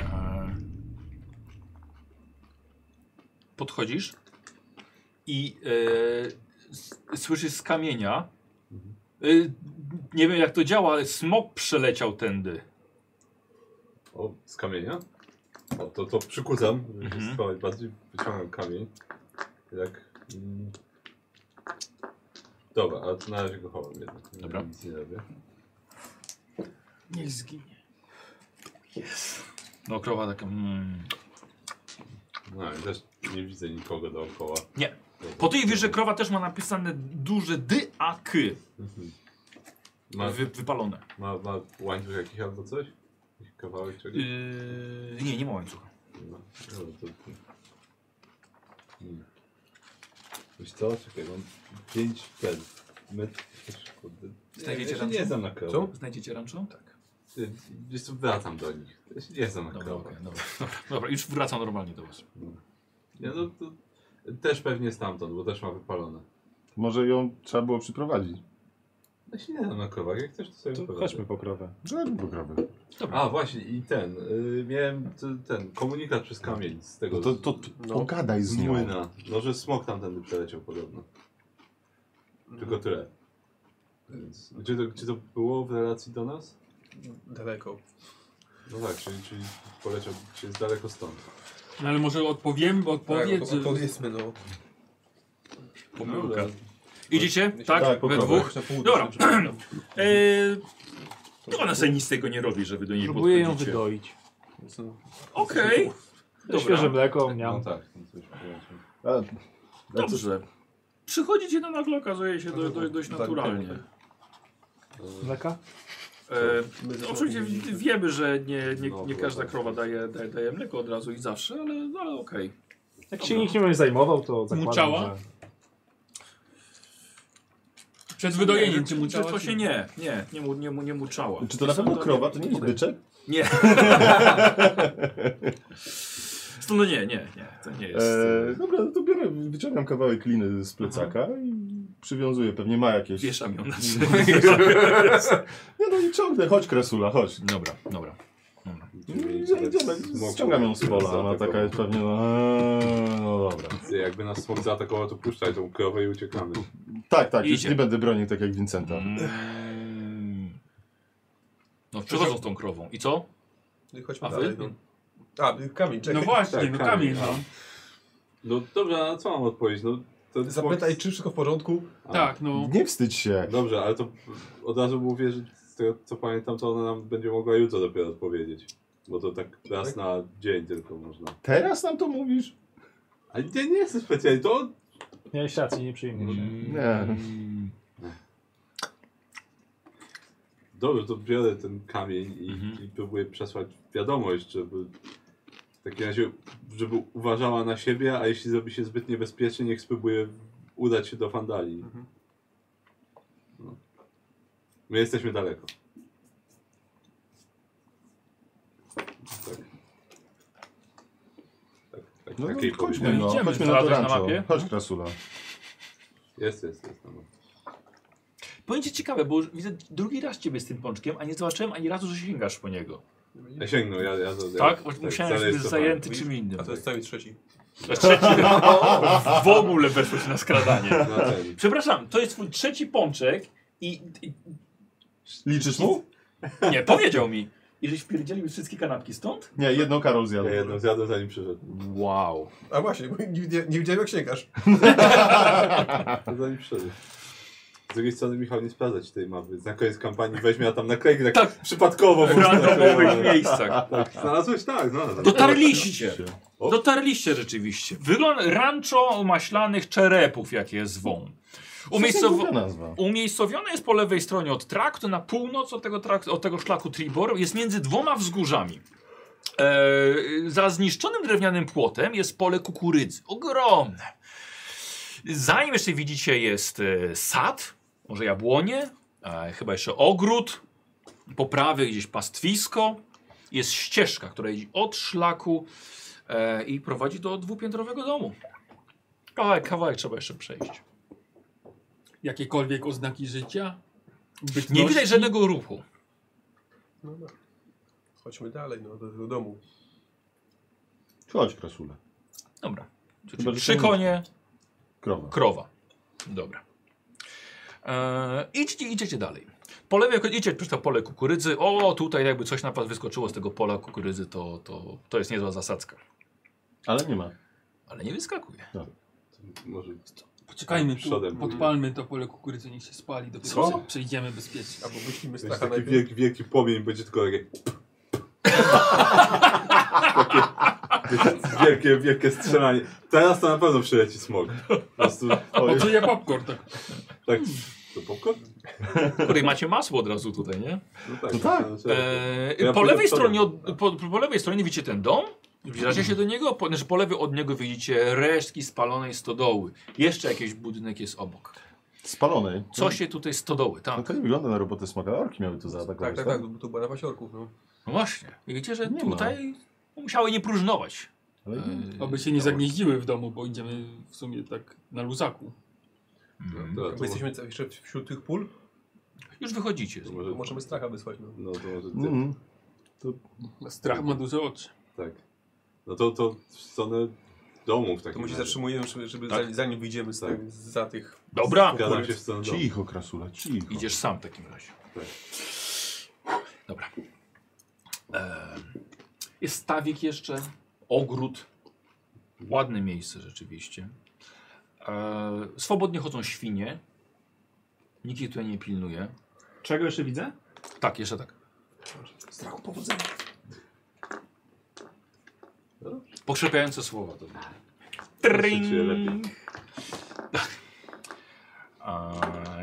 Speaker 1: Eee, Podchodzisz i eee, s- słyszysz z kamienia. Eee, nie wiem jak to działa, ale smok przeleciał tędy.
Speaker 4: O, z kamienia? O, to, to przykucam, żeby się
Speaker 1: Mhm.
Speaker 4: schować bardziej. Wyciągam kamień. I Tak. Mm. Dobra, ale to na razie go chowam jednak. Nie-
Speaker 1: Dobra.
Speaker 4: Nic nie robię.
Speaker 7: Niech zginie.
Speaker 1: No krowa taka. Mm.
Speaker 4: No i też nie widzę nikogo dookoła.
Speaker 1: Nie. Po tej wieży krowa też ma napisane duże dy a k
Speaker 4: Mhm. Ma,
Speaker 1: wy, wypalone.
Speaker 4: ma, ma łańcuch jakiś albo coś? Jakiś kawałek czegoś?
Speaker 1: Yy, nie, nie ma łańcucha.
Speaker 4: No, dobra, to... Hmm. Wiesz co? Czekaj, mam 5 ten. Metr. Kurde.
Speaker 1: Znajdziecie
Speaker 4: ja się nie
Speaker 1: rancho?
Speaker 4: znam na krowach.
Speaker 1: Co? Znajdziecie rancho? Tak.
Speaker 4: Y, Wiesz co, wracam do nich. Ja się nie znam na
Speaker 1: Dobra,
Speaker 4: krowach.
Speaker 1: okej, dobra, dobra, dobra, już wracam normalnie do was.
Speaker 4: Ja no, to też pewnie stamtąd, bo też ma wypalone.
Speaker 3: Może ją trzeba było przyprowadzić.
Speaker 4: Ja No się nie znam na krowach, jak chcesz to sobie
Speaker 2: To
Speaker 4: wyprowadzę.
Speaker 2: chodźmy po krowę.
Speaker 3: Żeby po krowy.
Speaker 4: A właśnie i ten, y, miałem t- ten komunikat przez kamień z tego
Speaker 3: No to, to, to
Speaker 6: No.
Speaker 3: pogadaj
Speaker 4: z
Speaker 3: z nią.
Speaker 4: młyna. No, że smok tamtędy przeleciał podobno.
Speaker 3: Mhm.
Speaker 4: Tylko tyle. Więc, gdzie, to, gdzie to było w relacji do nas?
Speaker 6: Daleko.
Speaker 4: No tak, czyli, czyli poleciał, czy jest daleko stąd.
Speaker 7: No ale może odpowiem, bo odpowiedz,
Speaker 6: tak,
Speaker 7: że...
Speaker 6: powiedzmy no.
Speaker 1: Pomyłka. Idziecie? Tak?
Speaker 3: tak, po
Speaker 1: We
Speaker 3: krowie.
Speaker 1: dwóch?
Speaker 6: Na północ,
Speaker 1: Dobra.
Speaker 6: czy tam.
Speaker 7: E,
Speaker 1: Yy, to ona sobie nic z tego nie robi, żeby do niej
Speaker 2: Próbuję ją
Speaker 1: podchodzicie.
Speaker 2: wydoić.
Speaker 1: Okej. Dobra.
Speaker 2: Świeże mleko, miam.
Speaker 4: No tak, no coś poleciał.
Speaker 3: A, a cóż,
Speaker 1: Dobrze. Przychodzicie na nagle okazuje się do, do, dość
Speaker 6: Tak,
Speaker 1: naturalnie.
Speaker 6: tak,
Speaker 2: Mleka?
Speaker 1: E,
Speaker 6: My ze
Speaker 1: no
Speaker 6: sobą
Speaker 1: oczywiście
Speaker 6: mówiliśmy.
Speaker 1: wiemy, że nie, nie,
Speaker 4: No,
Speaker 1: nie
Speaker 4: bo-
Speaker 1: każda krowa daje, daje, daje mleko od razu i zawsze, ale, ale okej.
Speaker 2: Jak się nikt nie zajmował, to zakładam,
Speaker 7: Muczała?
Speaker 2: że...
Speaker 7: Przed wydojeniem cię
Speaker 1: Czy-
Speaker 7: mu
Speaker 1: czy To się nie, nie, nie, mu, nie, mu, nie muczała.
Speaker 3: Czy to na pewno krowa? To nie jest byczek?
Speaker 1: Nie. Stąd no nie, nie, nie, to nie jest.
Speaker 3: E, dobra, no to biorę, wyciągam kawałek liny z plecaka i przywiązuję. Pewnie ma jakieś.
Speaker 1: Wieszam ją na
Speaker 3: Nie no i ciągnę, chodź Kresula, chodź.
Speaker 1: Dobra, dobra.
Speaker 3: Idziemy, idziemy. Ściągam ją z pola, ona taka jest pewnie, no, eee, no dobra.
Speaker 4: Jakby nas smok zaatakował, to puszczaj tą krowę i uciekamy.
Speaker 3: Tak, tak, już
Speaker 1: Idzie.
Speaker 3: nie będę bronił tak jak Vincenta.
Speaker 1: Mm, No przychodzą z tą krową. I co?
Speaker 6: Chodźmy
Speaker 1: A
Speaker 6: dalej.
Speaker 1: wy?
Speaker 6: No. A, y, kamień, czekaj.
Speaker 7: No właśnie,
Speaker 4: tak,
Speaker 7: no
Speaker 4: kamień,
Speaker 7: kamień, no.
Speaker 4: No dobrze, a co mam odpowiedzieć? No, to
Speaker 6: Zapytaj, czy wszystko w porządku?
Speaker 4: A,
Speaker 7: Tak, no.
Speaker 3: Nie wstydź się.
Speaker 4: Dobrze, ale to od razu mówię, że z tego co pamiętam, to ona nam będzie mogła jutro dopiero odpowiedzieć. Bo to tak raz na dzień tylko można.
Speaker 3: Teraz nam to mówisz?
Speaker 4: Ale nie, nie jestem specjalnie, to
Speaker 2: Miałeś rację, nie przyjmie
Speaker 4: Mm.
Speaker 2: się.
Speaker 3: Nie.
Speaker 4: Dobrze, to biorę ten kamień i,
Speaker 1: Mhm.
Speaker 4: i próbuję przesłać wiadomość, żeby w takim razie, żeby uważała na siebie, a jeśli zrobi się zbyt niebezpiecznie, niech spróbuje udać się do Fandalii.
Speaker 1: Mhm.
Speaker 4: No. My jesteśmy daleko. Tak. Tak, tak,
Speaker 3: No, no
Speaker 4: takiej
Speaker 3: chodźmy,
Speaker 4: powinien-
Speaker 3: no,
Speaker 1: Idziemy.
Speaker 3: chodźmy na
Speaker 1: Znalazłeś na
Speaker 3: trancho.
Speaker 1: mapie?
Speaker 3: Chodź, Krasula.
Speaker 4: Jest, jest, jest. No.
Speaker 1: Powiem ci ciekawe, bo już widzę drugi raz ciebie z tym pączkiem, a nie zobaczyłem ani razu, że sięgasz po niego.
Speaker 4: Ja sięgnął, ja, ja, ja
Speaker 1: Tak? Musiałem
Speaker 4: zaraz
Speaker 1: być
Speaker 4: jest to
Speaker 1: zajęty
Speaker 4: tak.
Speaker 1: czym innym.
Speaker 6: A to jest cały trzeci.
Speaker 1: Trzeci, w ogóle weszło się na skradanie.
Speaker 4: Na ten.
Speaker 1: Przepraszam, to jest twój trzeci pączek i, i
Speaker 3: Liczysz mu?
Speaker 1: nie, powiedział mi. Jeżeli wpierdzielił wszystkie kanapki stąd?
Speaker 3: Nie, jedną Karol zjadł.
Speaker 4: Ja jedną zjadłem zanim przyszedł.
Speaker 3: Wow.
Speaker 6: A właśnie, bo nie, nie, nie widziałem jak sięgasz.
Speaker 4: To No, zanim przyszedł. Z drugiej strony Michał nie sprawdza ci tej mapy. Na koniec kampanii weźmie a tam naklejki tak,
Speaker 1: Tak.
Speaker 4: przypadkowo.
Speaker 1: W
Speaker 4: po prostu
Speaker 1: randomowych
Speaker 4: naklejone.
Speaker 1: miejscach.
Speaker 4: Tak, znalazłeś? Tak, znalazłem.
Speaker 1: Dotarliście.
Speaker 4: O.
Speaker 1: Dotarliście rzeczywiście. Wygląda rancho maślanych czerepów, jakie zwą. Umiejscowo...
Speaker 3: Umiejscowo... nazwa.
Speaker 1: Umiejscowione jest po lewej stronie od traktu, na północ od tego, trak- od tego szlaku Tribor, jest między dwoma wzgórzami. E, za zniszczonym drewnianym płotem jest pole kukurydzy. Ogromne. Za nim jeszcze widzicie jest e, sad, może jabłonie, e, chyba jeszcze ogród, po prawej gdzieś pastwisko. Jest ścieżka, która idzie od szlaku e, i prowadzi do dwupiętrowego domu. Kawałek, kawałek trzeba jeszcze przejść.
Speaker 7: Jakiekolwiek oznaki życia? Bytności?
Speaker 1: Nie widać żadnego ruchu.
Speaker 6: No, no. Chodźmy dalej, no, do tego domu.
Speaker 3: Chodź, Krasula.
Speaker 1: Dobra. Czyli
Speaker 3: Chyba, że
Speaker 1: trzy
Speaker 3: to-
Speaker 1: konie,
Speaker 3: Krowa.
Speaker 1: krowa. Dobra. Eee, idźcie, idziecie dalej. Po lewej, idziecie przez to pole kukurydzy. O, tutaj jakby coś na was wyskoczyło z tego pola kukurydzy, to, to, to jest niezła zasadzka.
Speaker 3: Ale nie ma.
Speaker 1: Ale nie wyskakuje.
Speaker 4: Może
Speaker 7: Poczekajmy tu,
Speaker 4: Przodem.
Speaker 7: podpalmy to pole kukurydzy, niech się spali, dopiero
Speaker 1: Co?
Speaker 7: prze- przejdziemy bezpiecznie.
Speaker 6: Albo myślimy
Speaker 4: jakiś
Speaker 6: stracha
Speaker 4: taki
Speaker 6: najpierw.
Speaker 4: wielki, wielki płomień będzie tylko takie... takie wielkie, wielkie strzelanie. Teraz to na pewno przyleci smog. Po prostu...
Speaker 3: Oj,
Speaker 7: Poczuję popcorn, tak.
Speaker 4: Tak. To popcorn?
Speaker 1: Której macie masło od razu tutaj, nie?
Speaker 4: No tak.
Speaker 3: To tak.
Speaker 4: Znaczy,
Speaker 1: Eee,
Speaker 4: To ja
Speaker 1: po,
Speaker 4: pójdę
Speaker 1: lewej
Speaker 4: przodem.
Speaker 1: stronie od, po, po lewej stronie widzicie ten dom, zbliżacie się do niego, po, znaczy po lewej od niego widzicie resztki spalonej stodoły. Jeszcze jakiś budynek jest obok.
Speaker 3: Spalonej.
Speaker 1: Co się tutaj stodoły,
Speaker 3: No
Speaker 1: tak?
Speaker 3: to nie wygląda na robotę smoka. Orki miały to zaatakować,
Speaker 6: Tak, tak, tak, bo to była na pasiorków, no.
Speaker 1: No właśnie. Widzicie, że
Speaker 3: Nie ma.
Speaker 1: tutaj musiały nie próżnować.
Speaker 3: Ale...
Speaker 1: Yy,
Speaker 7: Oby się nie zagnieździły w domu, bo idziemy w sumie tak na luzaku.
Speaker 1: Mhm.
Speaker 4: No, To,
Speaker 6: Bo
Speaker 4: to,
Speaker 6: jesteśmy co- jeszcze wśród tych pól,
Speaker 1: Już wychodzicie.
Speaker 4: to
Speaker 6: to
Speaker 4: może...
Speaker 6: możemy stracha wysłać, no.
Speaker 4: No to może...
Speaker 3: Mhm.
Speaker 7: Strach ma duże oczy.
Speaker 4: Tak. No to, to w stronę domu w takim
Speaker 6: To my się
Speaker 4: razie.
Speaker 6: zatrzymujemy, żeby, żeby
Speaker 1: Tak.
Speaker 6: zanim, zanim wyjdziemy z,
Speaker 4: Tak.
Speaker 6: z, za tych...
Speaker 1: Dobra,
Speaker 4: Zgadzam się w stronę domu.
Speaker 3: Cicho, Krasula, cicho.
Speaker 1: idziesz sam w takim razie.
Speaker 4: Tak.
Speaker 1: Dobra. Em, Jest stawik jeszcze, ogród. Ładne miejsce rzeczywiście. E, Swobodnie chodzą świnie. Nikt ich tutaj nie pilnuje.
Speaker 2: Czego jeszcze widzę?
Speaker 1: Tak, jeszcze tak.
Speaker 6: Strachu powodzenia.
Speaker 1: Pokrzepiające słowa to były.
Speaker 4: Tring! Czuję lepiej.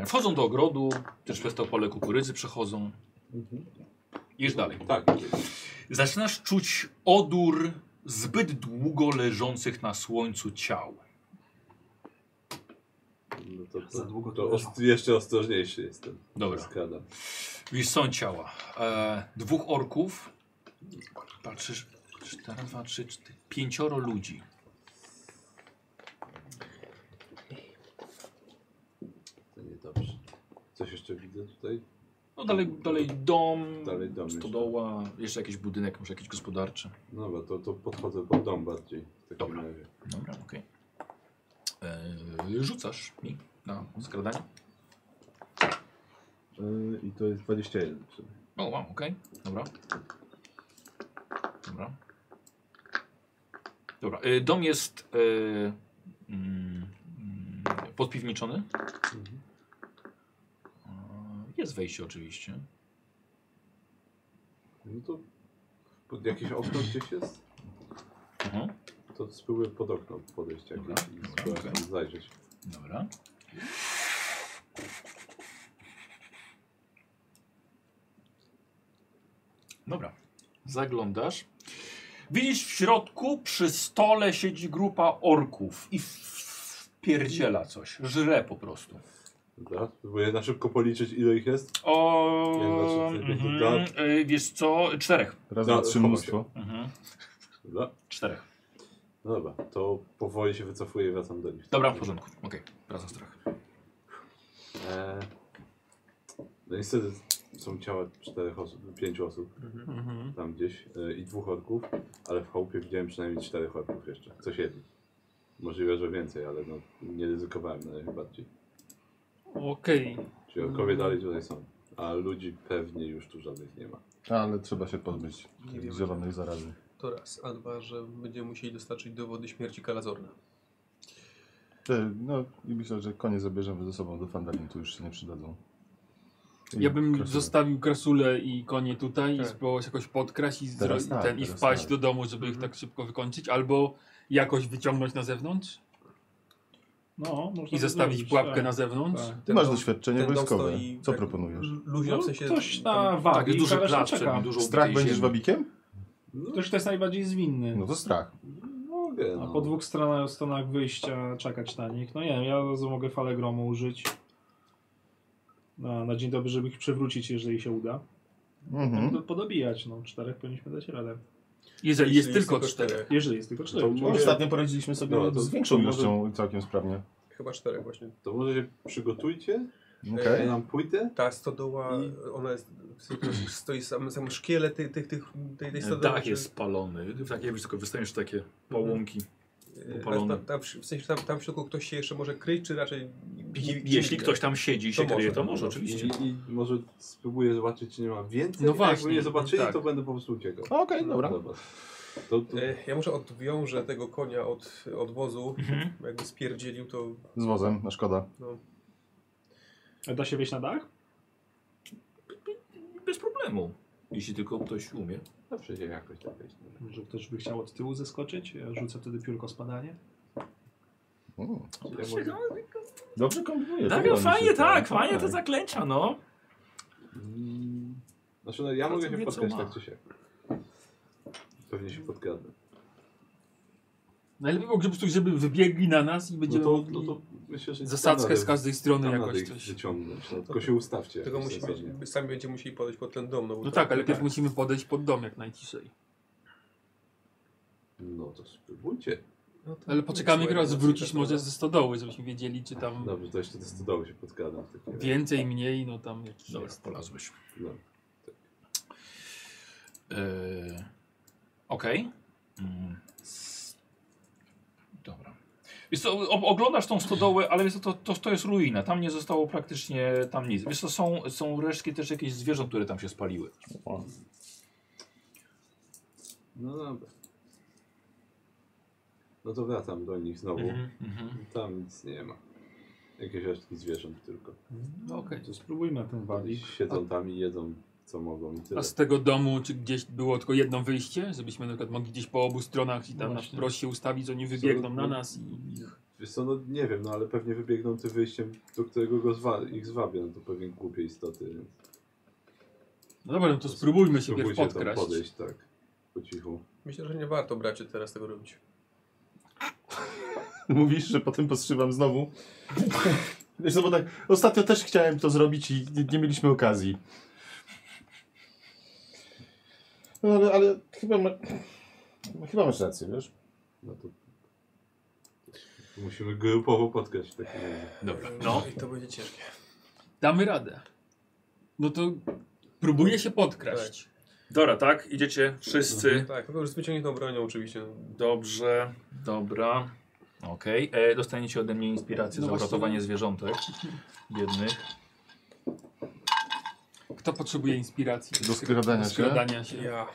Speaker 1: E, Wchodzą do ogrodu, też przez to pole kukurydzy przechodzą. Idziesz dalej.
Speaker 4: Tak.
Speaker 1: Zaczynasz czuć odór zbyt długo leżących na słońcu ciał.
Speaker 4: No to, to,
Speaker 8: Za długo
Speaker 4: to
Speaker 8: to leżało.
Speaker 4: ost- jeszcze ostrożniejszy jestem.
Speaker 1: Dobra.
Speaker 4: Skradam.
Speaker 1: Widzisz, są ciała. E, dwóch orków. Patrzysz. 4, 2, 3, 4, pięcioro ludzi.
Speaker 4: To niedobrze. Coś jeszcze widzę tutaj?
Speaker 1: No dalej, dalej dom,
Speaker 4: Dalej dom jeszcze.
Speaker 1: stodoła, jeszcze jakiś budynek, może jakiś gospodarczy.
Speaker 4: No dobra, to, to podchodzę pod dom bardziej. W takim
Speaker 1: Dobra.
Speaker 4: razie.
Speaker 1: Dobra, okej. E, Rzucasz mi na skradanie.
Speaker 3: E,
Speaker 4: I to jest 21.
Speaker 1: O, wow, okej. Dobra. Dobra. Dobra. Y, dom jest y, mm, mm, podpiwniczony.
Speaker 4: Mhm.
Speaker 1: Y, Jest wejście oczywiście.
Speaker 4: No to pod jakieś okno gdzieś jest?
Speaker 1: Mhm.
Speaker 4: To spróbuję pod okno podejść jakieś
Speaker 1: Dobra,
Speaker 4: i
Speaker 1: dobra,
Speaker 4: spróbuję
Speaker 1: okej.
Speaker 4: tam zajrzeć.
Speaker 1: Dobra. Dobra. Zaglądasz. Widzisz w środku przy stole siedzi grupa orków i pierdziela coś. Żre po prostu.
Speaker 4: Dobra, spróbuję na szybko policzyć ile ich jest.
Speaker 1: O,
Speaker 4: Jedna, trzy, pięć,
Speaker 1: mhm, y, wiesz co? Czterech.
Speaker 3: Raz,
Speaker 4: No,
Speaker 3: dwa, trzy
Speaker 4: chowam
Speaker 3: mnóstwo.
Speaker 1: Mhm.
Speaker 4: Dobra,
Speaker 1: Czterech.
Speaker 4: no dobra, to powoli się wycofuję i wracam do nich.
Speaker 1: Dobra, w porządku. Okej, wracam z strach.
Speaker 4: E, no niestety są ciała czterech osób, pięciu osób
Speaker 7: Mhm.
Speaker 4: tam gdzieś e, i dwóch orków, ale w chałupie widziałem przynajmniej czterech orków jeszcze. Coś jedni. Możliwe, że więcej, ale no, nie ryzykowałem na razie bardziej.
Speaker 7: Okej.
Speaker 4: Czyli orkowie dalej tutaj są, a ludzi pewnie już tu żadnych nie ma.
Speaker 3: No, Ale trzeba się pozbyć
Speaker 6: Nie wiem.
Speaker 3: zielonej zarazy.
Speaker 6: To raz. A dwa, że będziemy musieli dostarczyć dowody śmierci Kalazorna.
Speaker 3: Te- No i myślę, że konie zabierzemy ze sobą do Fandalin, tu już się nie przydadzą. I
Speaker 7: Ja bym
Speaker 3: krasnolud.
Speaker 7: zostawił krasulę i konie tutaj i
Speaker 6: Tak.
Speaker 7: spróbował się jakoś podkraść i, zro-
Speaker 3: Teraz
Speaker 7: i,
Speaker 3: tak,
Speaker 7: ten, i
Speaker 3: teraz
Speaker 7: wpaść
Speaker 3: tak.
Speaker 7: do domu, żeby ich tak szybko wykończyć, albo jakoś wyciągnąć na zewnątrz
Speaker 2: No, można
Speaker 7: i zostawić pułapkę na zewnątrz.
Speaker 2: Tak.
Speaker 3: Ty
Speaker 6: Ten
Speaker 3: masz
Speaker 6: dom-
Speaker 3: doświadczenie
Speaker 6: ten dom
Speaker 3: wojskowe.
Speaker 6: stoi
Speaker 3: Co
Speaker 6: tak
Speaker 3: proponujesz?
Speaker 6: lu- Luźno,
Speaker 2: No,
Speaker 6: w sensie...
Speaker 2: ktoś na
Speaker 6: tam-
Speaker 2: wagi,
Speaker 1: Tak, jest duży
Speaker 2: reszta
Speaker 1: plac,
Speaker 2: czeka.
Speaker 1: czyli dużo
Speaker 3: Strach
Speaker 1: ubitej
Speaker 3: będziesz
Speaker 1: ziemi.
Speaker 3: wabikiem?
Speaker 6: no,
Speaker 2: Ktoś to jest najbardziej zwinny.
Speaker 3: No to strach.
Speaker 4: Mogę,
Speaker 2: A
Speaker 4: no.
Speaker 2: po dwóch stronach, stronach wyjścia czekać na nich. No nie wiem, ja od razu mogę falę gromu użyć. Na, na dzień dobry, żeby ich przewrócić, jeżeli się uda.
Speaker 3: Mhm.
Speaker 2: Do, podobijać, no. Czterech powinniśmy dać radę.
Speaker 7: Jeżeli jest tylko czterech.
Speaker 2: Jeżeli jest tylko czterech.
Speaker 4: To
Speaker 3: No,
Speaker 2: oczywiście.
Speaker 3: Ostatnio poradziliśmy sobie
Speaker 4: No, to-
Speaker 3: z większą
Speaker 4: to może-
Speaker 3: ilością całkiem sprawnie.
Speaker 6: Chyba czterech właśnie.
Speaker 4: To może się przygotujcie,
Speaker 3: Okej.
Speaker 4: ja nam pójdę.
Speaker 6: Ta stodoła,
Speaker 4: I-
Speaker 6: ona jest, stoi sam, sam szkielet tych, tych, tych, tej, tej stodoły.
Speaker 1: E, Dach Tak, jest spalony. Tak, W takie wysoko wystajesz takie pałąki.
Speaker 6: E,
Speaker 1: Upalony.
Speaker 6: Tam, tam, w sensie tam, tam w środku ktoś się jeszcze może kryć, czy raczej...
Speaker 1: Jeśli ktoś tam siedzi i się
Speaker 6: To
Speaker 1: kryje,
Speaker 6: może,
Speaker 1: No, to
Speaker 6: to
Speaker 1: może
Speaker 6: może.
Speaker 1: oczywiście.
Speaker 4: I, I może spróbuję zobaczyć, czy nie ma więcej.
Speaker 7: No
Speaker 4: No właśnie.
Speaker 7: właśnie,
Speaker 4: Jakby nie zobaczyli,
Speaker 7: tak.
Speaker 4: to będę po prostu uciekał. No,
Speaker 3: Okej, dobra.
Speaker 4: Dobra. To, to,
Speaker 6: E, Ja może odwiążę tego konia od, od wozu,
Speaker 7: Mhm.
Speaker 6: bo jakby spierdzielił to...
Speaker 3: Z wozem, no szkoda.
Speaker 2: A Da się wejść na dach?
Speaker 1: Bez problemu. Jeśli tylko ktoś umie.
Speaker 4: zawsze się jakoś tak wejść.
Speaker 2: Może ktoś by chciał od tyłu zeskoczyć? Ja rzucę wtedy piórko spadanie.
Speaker 3: Mm.
Speaker 4: Ja może,
Speaker 3: Dobrze kombinuję.
Speaker 1: Tak,
Speaker 3: podoba mi
Speaker 1: Znaczy,
Speaker 3: się
Speaker 1: no, fajnie,
Speaker 3: to.
Speaker 1: tak, fajnie to zaklęcia, no.
Speaker 4: Mm, znaczy, no, ja
Speaker 1: Każdy
Speaker 4: mogę się
Speaker 1: wie, co
Speaker 4: spotkać
Speaker 1: ma.
Speaker 4: tak czy siak. Pewnie się podkradnę.
Speaker 7: Najlepiej byłoby, żeby- żeby wybiegli na nas i
Speaker 4: No
Speaker 7: będziemy
Speaker 4: to, no
Speaker 7: mogli
Speaker 4: to myślę, że
Speaker 7: zasadzkę
Speaker 4: tam
Speaker 7: z każdej strony
Speaker 4: radę- tam
Speaker 7: jakoś
Speaker 4: radę ich
Speaker 7: coś.
Speaker 4: wyciągnąć. No, tylko się ustawcie.
Speaker 6: Tego
Speaker 4: jakoś
Speaker 6: musi
Speaker 4: sensownie.
Speaker 6: być, sami będziemy musieli podejść pod ten dom. No, bo
Speaker 7: No
Speaker 6: to-
Speaker 7: tak, ale najpierw musimy podejść pod dom jak najciszej.
Speaker 4: No to spróbujcie.
Speaker 6: No to-
Speaker 7: Ale poczekamy, jak raz
Speaker 6: Słuchaj,
Speaker 7: wrócisz
Speaker 6: no,
Speaker 7: może ze stodoły, żebyśmy wiedzieli, czy tam
Speaker 4: Dobrze, to jeszcze do stodoły się podkradam. w takim razie.
Speaker 7: więcej, mniej, no tam jakiś
Speaker 1: Dobra,
Speaker 7: jest.
Speaker 1: polazłeś.
Speaker 4: No.
Speaker 1: Yy, Okej. Mm. Dobra. Wiesz co, o- oglądasz tą stodołę, ale wiesz co, to, to, to jest ruina. Tam nie zostało praktycznie tam nic. Wiesz co, są, są resztki też jakichś zwierząt, które tam się spaliły.
Speaker 4: No dobra. No to wracam do nich znowu.
Speaker 1: Mhm.
Speaker 4: Tam nic nie ma. Jakieś resztki zwierząt tylko.
Speaker 7: No okej.
Speaker 2: To spróbujmy ten
Speaker 4: Oni
Speaker 2: walik.
Speaker 4: siedzą tam i jedzą co mogą i tyle.
Speaker 7: A z tego domu, czy gdzieś było tylko jedno wyjście? Żebyśmy na przykład mogli gdzieś po obu stronach i
Speaker 4: No
Speaker 7: tam na
Speaker 2: Właśnie.
Speaker 7: wprost się ustawić, oni wybiegną na nas i...
Speaker 4: Wiesz co, no nie wiem, no ale pewnie wybiegną tym wyjściem, do którego go zwa ich zwabię. No to pewnie głupie istoty. Więc
Speaker 7: No dobra, no to spróbujmy się pierw
Speaker 4: spróbujcie tam
Speaker 7: podkraść.
Speaker 4: podejść tak. Po cichu.
Speaker 6: Myślę, że nie warto bracie teraz tego robić.
Speaker 3: Mówisz, że potem powstrzymam znowu. Wiesz, no bo tak, ostatnio też chciałem to zrobić i nie, nie mieliśmy okazji. No ale, ale chyba, ma, chyba masz rację, wiesz?
Speaker 4: No to... to musimy grupowo podkraść w takim razie.
Speaker 1: Dobra,
Speaker 6: E,
Speaker 1: no.
Speaker 6: I to będzie ciężkie.
Speaker 7: Damy radę. No to próbuję się podkraść. Mhm.
Speaker 1: Dobra, tak? Idziecie wszyscy.
Speaker 6: Tak, no już z wyciągniętą bronią oczywiście. no.
Speaker 1: Dobrze, dobra. Okej, e, dostaniecie ode mnie inspirację
Speaker 7: No
Speaker 1: za
Speaker 7: właśnie.
Speaker 1: uratowanie zwierzątek. Jednych.
Speaker 7: Kto potrzebuje inspiracji?
Speaker 3: Do skradania się?
Speaker 7: skradania się.
Speaker 6: Ja.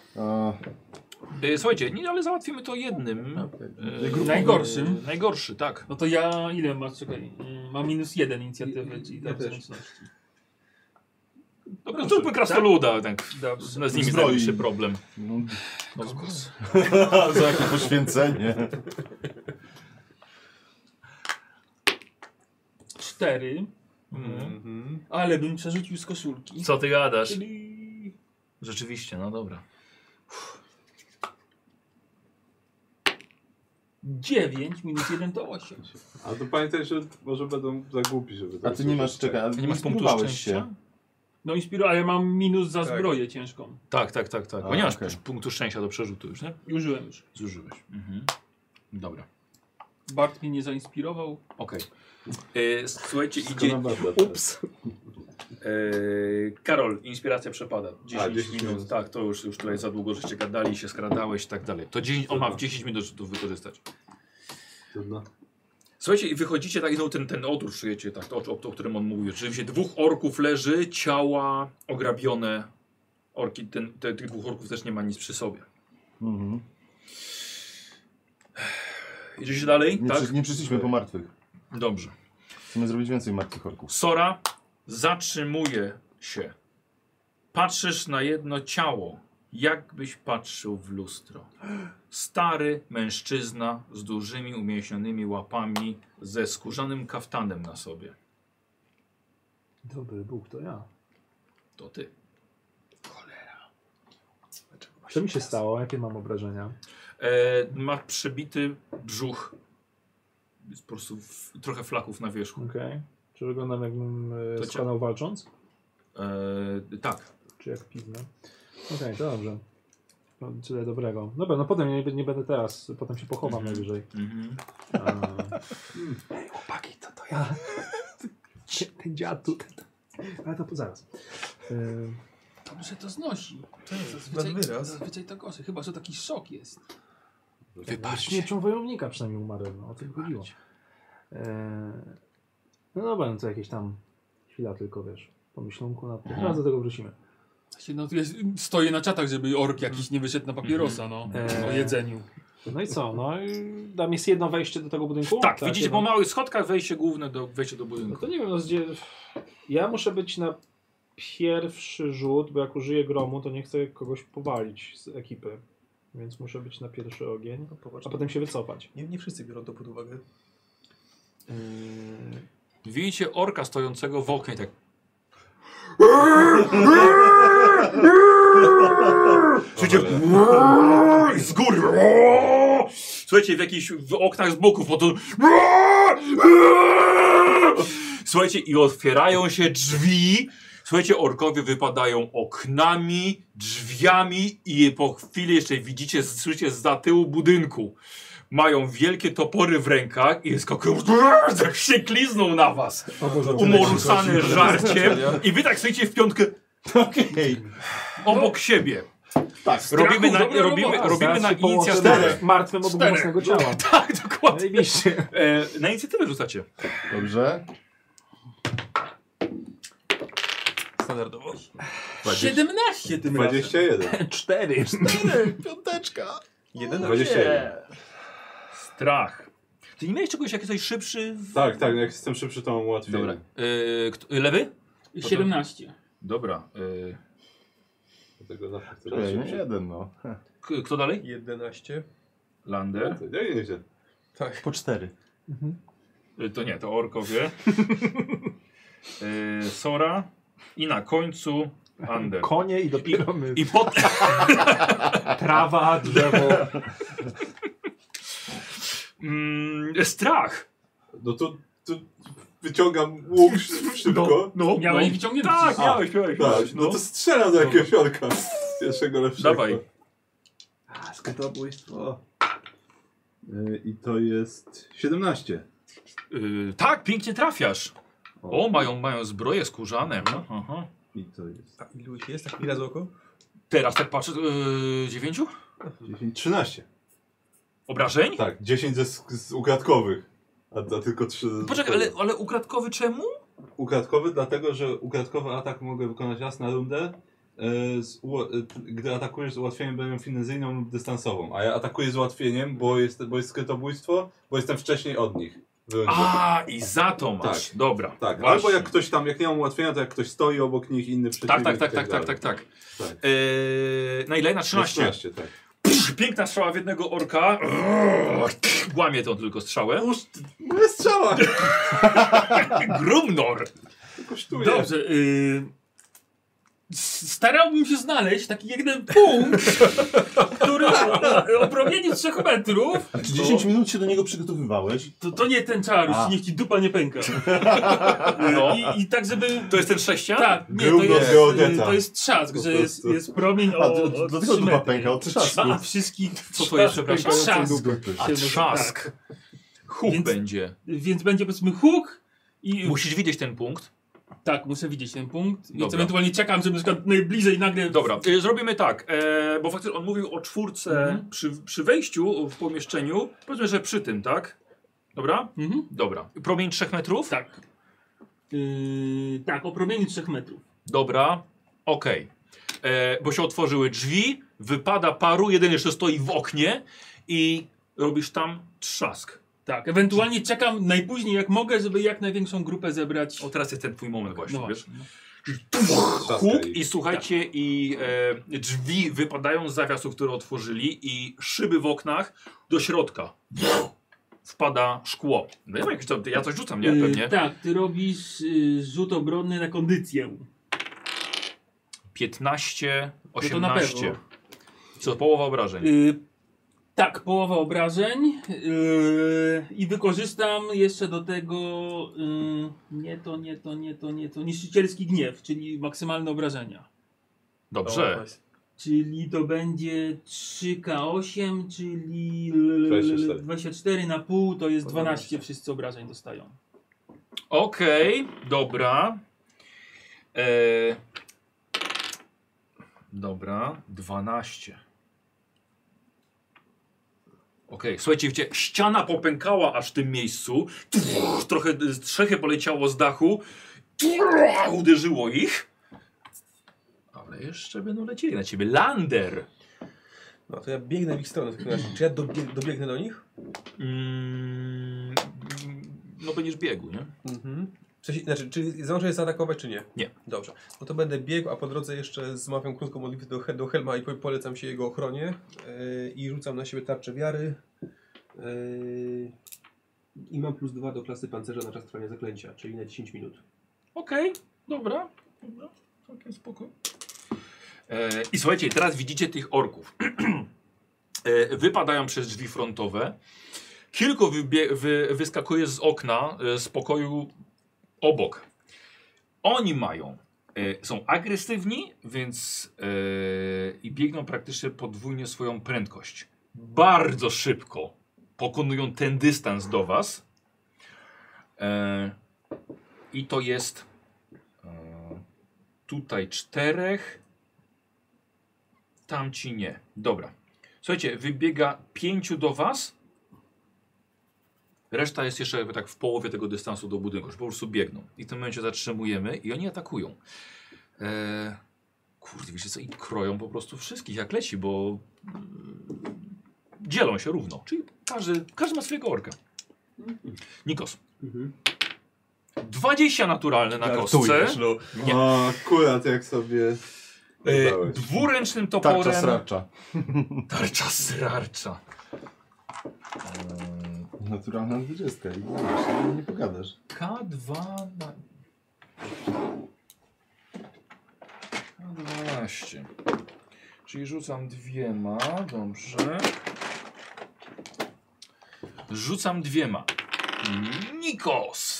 Speaker 3: E,
Speaker 1: E, słuchajcie, nie, ale załatwimy to jednym. E,
Speaker 7: Najgorszym.
Speaker 1: Najgorszy, tak.
Speaker 7: No to ja ile masz? Czekaj. mm, Mam minus jeden inicjatywy, czyli tam
Speaker 8: też.
Speaker 7: zręczności.
Speaker 1: Dobra, zróbmy krasnoluda. Tak.
Speaker 7: Dobrze.
Speaker 1: Z z nimi
Speaker 3: Zbroi.
Speaker 1: zrobi się problem.
Speaker 3: no, za jakie poświęcenie.
Speaker 7: Cztery.
Speaker 1: Mm.
Speaker 7: Ale bym przerzucił z koszulki.
Speaker 1: Co ty gadasz? Rzeczywiście, no dobra.
Speaker 7: Dziewięć minus jeden to osiem.
Speaker 4: A to pamiętaj, że może będą za głupi, żeby Tak.
Speaker 3: A ty nie masz, czekaj, a
Speaker 1: Ty nie masz punktu
Speaker 3: spróbowałeś
Speaker 1: szczęścia?
Speaker 3: się.
Speaker 7: No inspiru, ale mam minus za
Speaker 6: Tak.
Speaker 7: zbroję ciężką.
Speaker 1: Tak, tak, tak, tak.
Speaker 3: A,
Speaker 1: Bo nie masz
Speaker 3: okej.
Speaker 1: punktu szczęścia do przerzutu już, nie?
Speaker 7: Użyłem już.
Speaker 1: Zużyłeś. Mhm. Dobra.
Speaker 7: Bart mnie nie zainspirował.
Speaker 1: Okej. E, Słuchajcie,
Speaker 4: Idzie...
Speaker 1: idzie. Ups. E, Karol, inspiracja przepada. 10,
Speaker 4: 10
Speaker 1: minut.
Speaker 4: minut.
Speaker 1: Tak, to już, już tutaj za długo żeście gadali, się skradałeś i tak dalej. To 10, on ma w 10 minut, żeby to wykorzystać.
Speaker 4: Trudno.
Speaker 1: Słuchajcie, i wychodzicie tak, i no, ten, ten odór czujecie, tak, to, o, o którym on mówił. Rzeczywiście dwóch orków leży, ciała ograbione. Orki, ten, te, tych dwóch orków też nie ma nic przy sobie.
Speaker 3: Mhm.
Speaker 1: Idziecie dalej?
Speaker 3: Nie,
Speaker 1: tak?
Speaker 3: przy, nie przyszliśmy po martwych.
Speaker 1: Dobrze.
Speaker 3: Chcemy zrobić więcej martwych orków.
Speaker 1: Sora zatrzymuje się. Patrzysz na jedno ciało, jakbyś patrzył w lustro. Stary mężczyzna z dużymi umięśnionymi łapami, ze skórzanym kaftanem na sobie.
Speaker 2: Dobry Bóg, to ja.
Speaker 1: To ty.
Speaker 2: Co mi się stało? Jakie mam obrażenia?
Speaker 1: E, ma przebity brzuch. Jest po prostu w, trochę flaków na wierzchu.
Speaker 2: Okej. Czy wyglądam jakbym
Speaker 1: To
Speaker 2: e,
Speaker 1: cię-
Speaker 2: skanał walcząc?
Speaker 1: E, tak.
Speaker 2: Czy jak piwne? Okej, to dobrze. No, tyle dobrego. Dobra, no potem nie, nie będę teraz, potem się pochowam
Speaker 1: Mhm.
Speaker 2: najwyżej. Hmm.
Speaker 1: Mhm.
Speaker 2: Chłopaki, to to ja. Ten dziad tu. Ale to zaraz. Ehm,
Speaker 7: Dobrze to znosi.
Speaker 6: Zazwyczaj- Nad wyraz.
Speaker 7: zazwyczaj to gorzej. Chyba, że taki szok jest.
Speaker 2: Śmiercią wojownika przynajmniej umarłem, no o tym chodziło. Eee, no dobra, no to jakieś tam chwila tylko, wiesz, pomyślunku na tym. Zaraz do tego wrócimy.
Speaker 7: Właśnie, no, tu jest, stoję na czatach, żeby ork jakiś
Speaker 1: Mhm.
Speaker 7: nie wyszedł na papierosa, no.
Speaker 1: E,
Speaker 2: Eee.
Speaker 7: O jedzeniu.
Speaker 2: No i co, no i tam jest jedno wejście do tego budynku?
Speaker 1: Tak, widzicie
Speaker 2: jedno-
Speaker 1: po małych schodkach wejście główne do, wejście do
Speaker 2: No
Speaker 1: budynku.
Speaker 2: to nie wiem, no gdzie... Ja muszę być na pierwszy rzut, bo jak użyję gromu, to nie chcę kogoś powalić z ekipy. Więc muszę być na pierwszy ogień,
Speaker 6: No, popatrz,
Speaker 2: a potem się wycofać.
Speaker 6: nie, nie wszyscy biorą to pod uwagę.
Speaker 1: Widzicie orka stojącego w oknie, tak Słuchajcie, i z góry. Słuchajcie, w jakichś w oknach z boków, bo to. Słuchajcie, i otwierają się drzwi. Słuchajcie, orkowie wypadają oknami, drzwiami i po chwili jeszcze widzicie, słyszycie za tyłu budynku. Mają wielkie topory w rękach i skakują, tak się klizną na was. Umorusane żarciem. I wy tak stoicie w piątkę
Speaker 3: Okej.
Speaker 1: obok siebie.
Speaker 3: Tak.
Speaker 1: Robimy na,
Speaker 7: dobra
Speaker 1: robimy,
Speaker 7: robota.
Speaker 1: robimy
Speaker 2: Zaraz
Speaker 1: na
Speaker 2: się połączę
Speaker 1: inicjatywę.
Speaker 2: z Martwym od
Speaker 7: Czterech.
Speaker 2: własnego ciała.
Speaker 1: Tak, dokładnie.
Speaker 2: Zajebiście.
Speaker 1: E, na inicjatywę rzucacie.
Speaker 3: Dobrze.
Speaker 6: Standardowo.
Speaker 7: 17 tym razem.
Speaker 4: 21.
Speaker 2: Cztery.
Speaker 3: Piąteczka.
Speaker 1: No
Speaker 6: Jeden?
Speaker 4: 27.
Speaker 1: Strach. Ty nie miałeś czegoś, jak jesteś szybszy? W...
Speaker 4: Tak, tak, jak jestem szybszy, to mam łatwiej.
Speaker 1: Dobra. E, kto- lewy?
Speaker 7: 17.
Speaker 1: Dobra. E,
Speaker 4: Dlatego zawsze chcę być
Speaker 3: Ej, nie
Speaker 4: szybszy.
Speaker 3: jeden, no.
Speaker 1: k- kto dalej?
Speaker 6: 11.
Speaker 1: Lander.
Speaker 4: Ja nie wiem.
Speaker 6: Tak.
Speaker 3: Po cztery.
Speaker 1: E, to nie, to orkowie. e, Sora. I na końcu Ander.
Speaker 2: Konie i dopiero my.
Speaker 1: I potem...
Speaker 2: Trawa, drzewo.
Speaker 1: Mm, strach.
Speaker 4: No to, to wyciągam łuk sz- szybko.
Speaker 1: no,
Speaker 7: Miałeś
Speaker 1: no.
Speaker 7: wyciągnięty.
Speaker 1: Tak, miałeś, miałeś.
Speaker 4: Tak,
Speaker 1: miałeś
Speaker 4: no to strzelam do jakiegoś orka. Z Pierwszego lepszego.
Speaker 1: Dawaj.
Speaker 8: A, skutobójstwo.
Speaker 4: Y, I to jest 17.
Speaker 1: Y, tak, pięknie trafiasz. O, mają, mają zbroje skórzane. Aha.
Speaker 4: I to jest
Speaker 6: A ilu ich jest? Tak, ile z oko?
Speaker 1: Teraz tak patrzę. Yy, dziewięciu?
Speaker 4: 10, 13.
Speaker 1: Obrażeń?
Speaker 4: Tak, 10 ze, sk- z ukradkowych. A, a tylko 3 E.
Speaker 1: Poczekaj, ale, ale ukradkowy czemu?
Speaker 4: ukradkowy, dlatego że ukradkowy atak mogę wykonać raz na rundę. e, Z, uła- e, t- gdy atakujesz z ułatwieniem bronią finezyjną lub dystansową, a ja atakuję z ułatwieniem, bo jest, bo jest skrytobójstwo, bo jestem wcześniej od nich. w rundzie.
Speaker 1: A, i za to masz. Dobra.
Speaker 4: tak,
Speaker 1: właśnie.
Speaker 4: albo jak ktoś tam, jak nie mam ułatwienia, to jak ktoś stoi obok nich, inny
Speaker 1: Tak,
Speaker 4: przeciwnik.
Speaker 1: tak, tak,
Speaker 4: i
Speaker 1: tak, tak,
Speaker 4: dalej.
Speaker 1: tak, tak.
Speaker 4: Tak.
Speaker 1: Eee, na ile? Na 13.
Speaker 4: 13, tak.
Speaker 1: Psz, Piękna strzała w jednego orka. Yy, Łamie tą tylko strzałę.
Speaker 4: Moja strzała!
Speaker 1: Grumnor.
Speaker 4: Kosztuje.
Speaker 7: Dobrze. y, s- starałbym się znaleźć taki jeden punkt, który o- o promieniu 3 metrów.
Speaker 3: A czy 10 minut się do niego przygotowywałeś?
Speaker 7: To, to nie ten czar, już
Speaker 3: A.
Speaker 7: niech ci dupa nie pęka.
Speaker 1: No.
Speaker 7: I, i tak, żeby.
Speaker 1: To jest ten sześcian?
Speaker 7: Tak, nie, to
Speaker 4: Grubno
Speaker 7: jest, y,
Speaker 4: geodeta.
Speaker 7: to jest trzask,
Speaker 4: Po
Speaker 7: że jest,
Speaker 4: prostu.
Speaker 7: jest promień
Speaker 3: A,
Speaker 7: o,
Speaker 3: d-
Speaker 7: o
Speaker 3: dlatego
Speaker 7: 3
Speaker 3: dupa
Speaker 7: metry.
Speaker 3: pęka od trzasku.
Speaker 7: A wszystkich
Speaker 1: Co to jest, przepraszam?
Speaker 7: trzask.
Speaker 1: A
Speaker 7: Się-
Speaker 1: trzask. Huk
Speaker 7: Więc-
Speaker 1: tak. będzie.
Speaker 7: Więc będzie powiedzmy huk i
Speaker 1: Musisz widzieć ten punkt.
Speaker 7: tak, muszę widzieć ten punkt. Więc
Speaker 1: Dobra.
Speaker 7: ewentualnie czekam, żeby na przykład najbliżej nagle.
Speaker 1: Dobra, y, zrobimy tak, e, bo faktycznie on mówił o czwórce
Speaker 7: Mhm.
Speaker 1: przy, przy wejściu w pomieszczeniu. Powiedzmy, że przy tym, tak? Dobra?
Speaker 7: Mhm.
Speaker 1: Dobra. Promień 3 metrów?
Speaker 7: Tak. Yy, tak, o promieniu 3 metrów.
Speaker 1: Dobra, okej. E, Bo się otworzyły drzwi, wypada paru, jeden jeszcze stoi w oknie i robisz tam trzask.
Speaker 7: Tak, ewentualnie czekam najpóźniej jak mogę, żeby jak największą grupę zebrać.
Speaker 1: O, teraz jest ten twój moment właśnie,
Speaker 7: No
Speaker 1: wiesz?
Speaker 7: właśnie. Tak.
Speaker 1: Huk i słuchajcie, i e, drzwi wypadają z zawiasów, które otworzyli i szyby w oknach do środka. Wpada szkło. No ja, mam jakieś tam, ja coś rzucam, nie?
Speaker 7: Yy,
Speaker 1: Pewnie.
Speaker 7: tak, ty robisz yy, rzut obronny na kondycję.
Speaker 1: 15,
Speaker 7: No to na
Speaker 1: 18.
Speaker 7: pewno.
Speaker 1: Co, połowa obrażeń.
Speaker 7: Yy, tak, połowa obrażeń. Yy, I wykorzystam jeszcze do tego. Yy, nie to, nie to, nie to, nie to. Niszczycielski gniew, czyli maksymalne obrażenia.
Speaker 1: Dobrze.
Speaker 7: Czyli to będzie 3K8, czyli
Speaker 4: 24.
Speaker 7: 24 na pół, to jest 12 wszyscy obrażeń dostają.
Speaker 1: Okej, dobra. E, dobra, 12. Okej, słuchajcie, widzicie, ściana popękała aż w tym miejscu. Tuch, trochę y, strzechy poleciało z dachu. Tuch, uderzyło ich. Ale jeszcze będą lecieli na ciebie. Lander!
Speaker 6: No to ja biegnę w ich stronę w takim razie. Czy ja dobieg, dobiegnę do nich?
Speaker 1: Mm, no będziesz biegł, nie?
Speaker 6: Mhm. W sensie, znaczy, czy zdążę je zaatakować, czy nie?
Speaker 1: Nie.
Speaker 6: Dobrze. No to będę biegł, a po drodze jeszcze zmawiam krótką modlitwę do, He- do Helma i po- polecam się jego ochronie yy, i rzucam na siebie tarczę wiary. Yy, I mam plus dwa do klasy pancerza na czas trwania zaklęcia, czyli na 10 minut.
Speaker 1: Okej, dobra. Dobra, całkiem spoko. E, I słuchajcie, teraz widzicie tych orków. e, wypadają przez drzwi frontowe. Kilku wybie- wy- wyskakuje z okna e, z pokoju obok. Oni mają, e, są agresywni, więc e, i biegną praktycznie podwójnie swoją prędkość. Bardzo szybko pokonują ten dystans do was. E, i to jest e, tutaj czterech, tamci nie. Dobra. Słuchajcie, wybiega pięciu do was. Reszta jest jeszcze jakby tak w połowie tego dystansu do budynku, już po prostu biegną. I w tym momencie zatrzymujemy i oni atakują. E, kurde, wiecie co? I kroją po prostu wszystkich jak leci, bo mm, dzielą się równo. Czyli każdy, każdy ma swojego orka. Nikos. 20 naturalne na kostce.
Speaker 3: Żartujesz, no.
Speaker 1: Nie.
Speaker 4: O, akurat jak sobie...
Speaker 1: E,
Speaker 4: Dodałeś.
Speaker 1: dwuręcznym toporem.
Speaker 3: Tarcza sracza.
Speaker 1: Tarcza srarcza.
Speaker 3: Naturalna dwudziestka. i wiesz, Nie pogadasz.
Speaker 1: K2 na... K12. Czyli rzucam dwiema, dobrze. Rzucam dwiema. Nikos!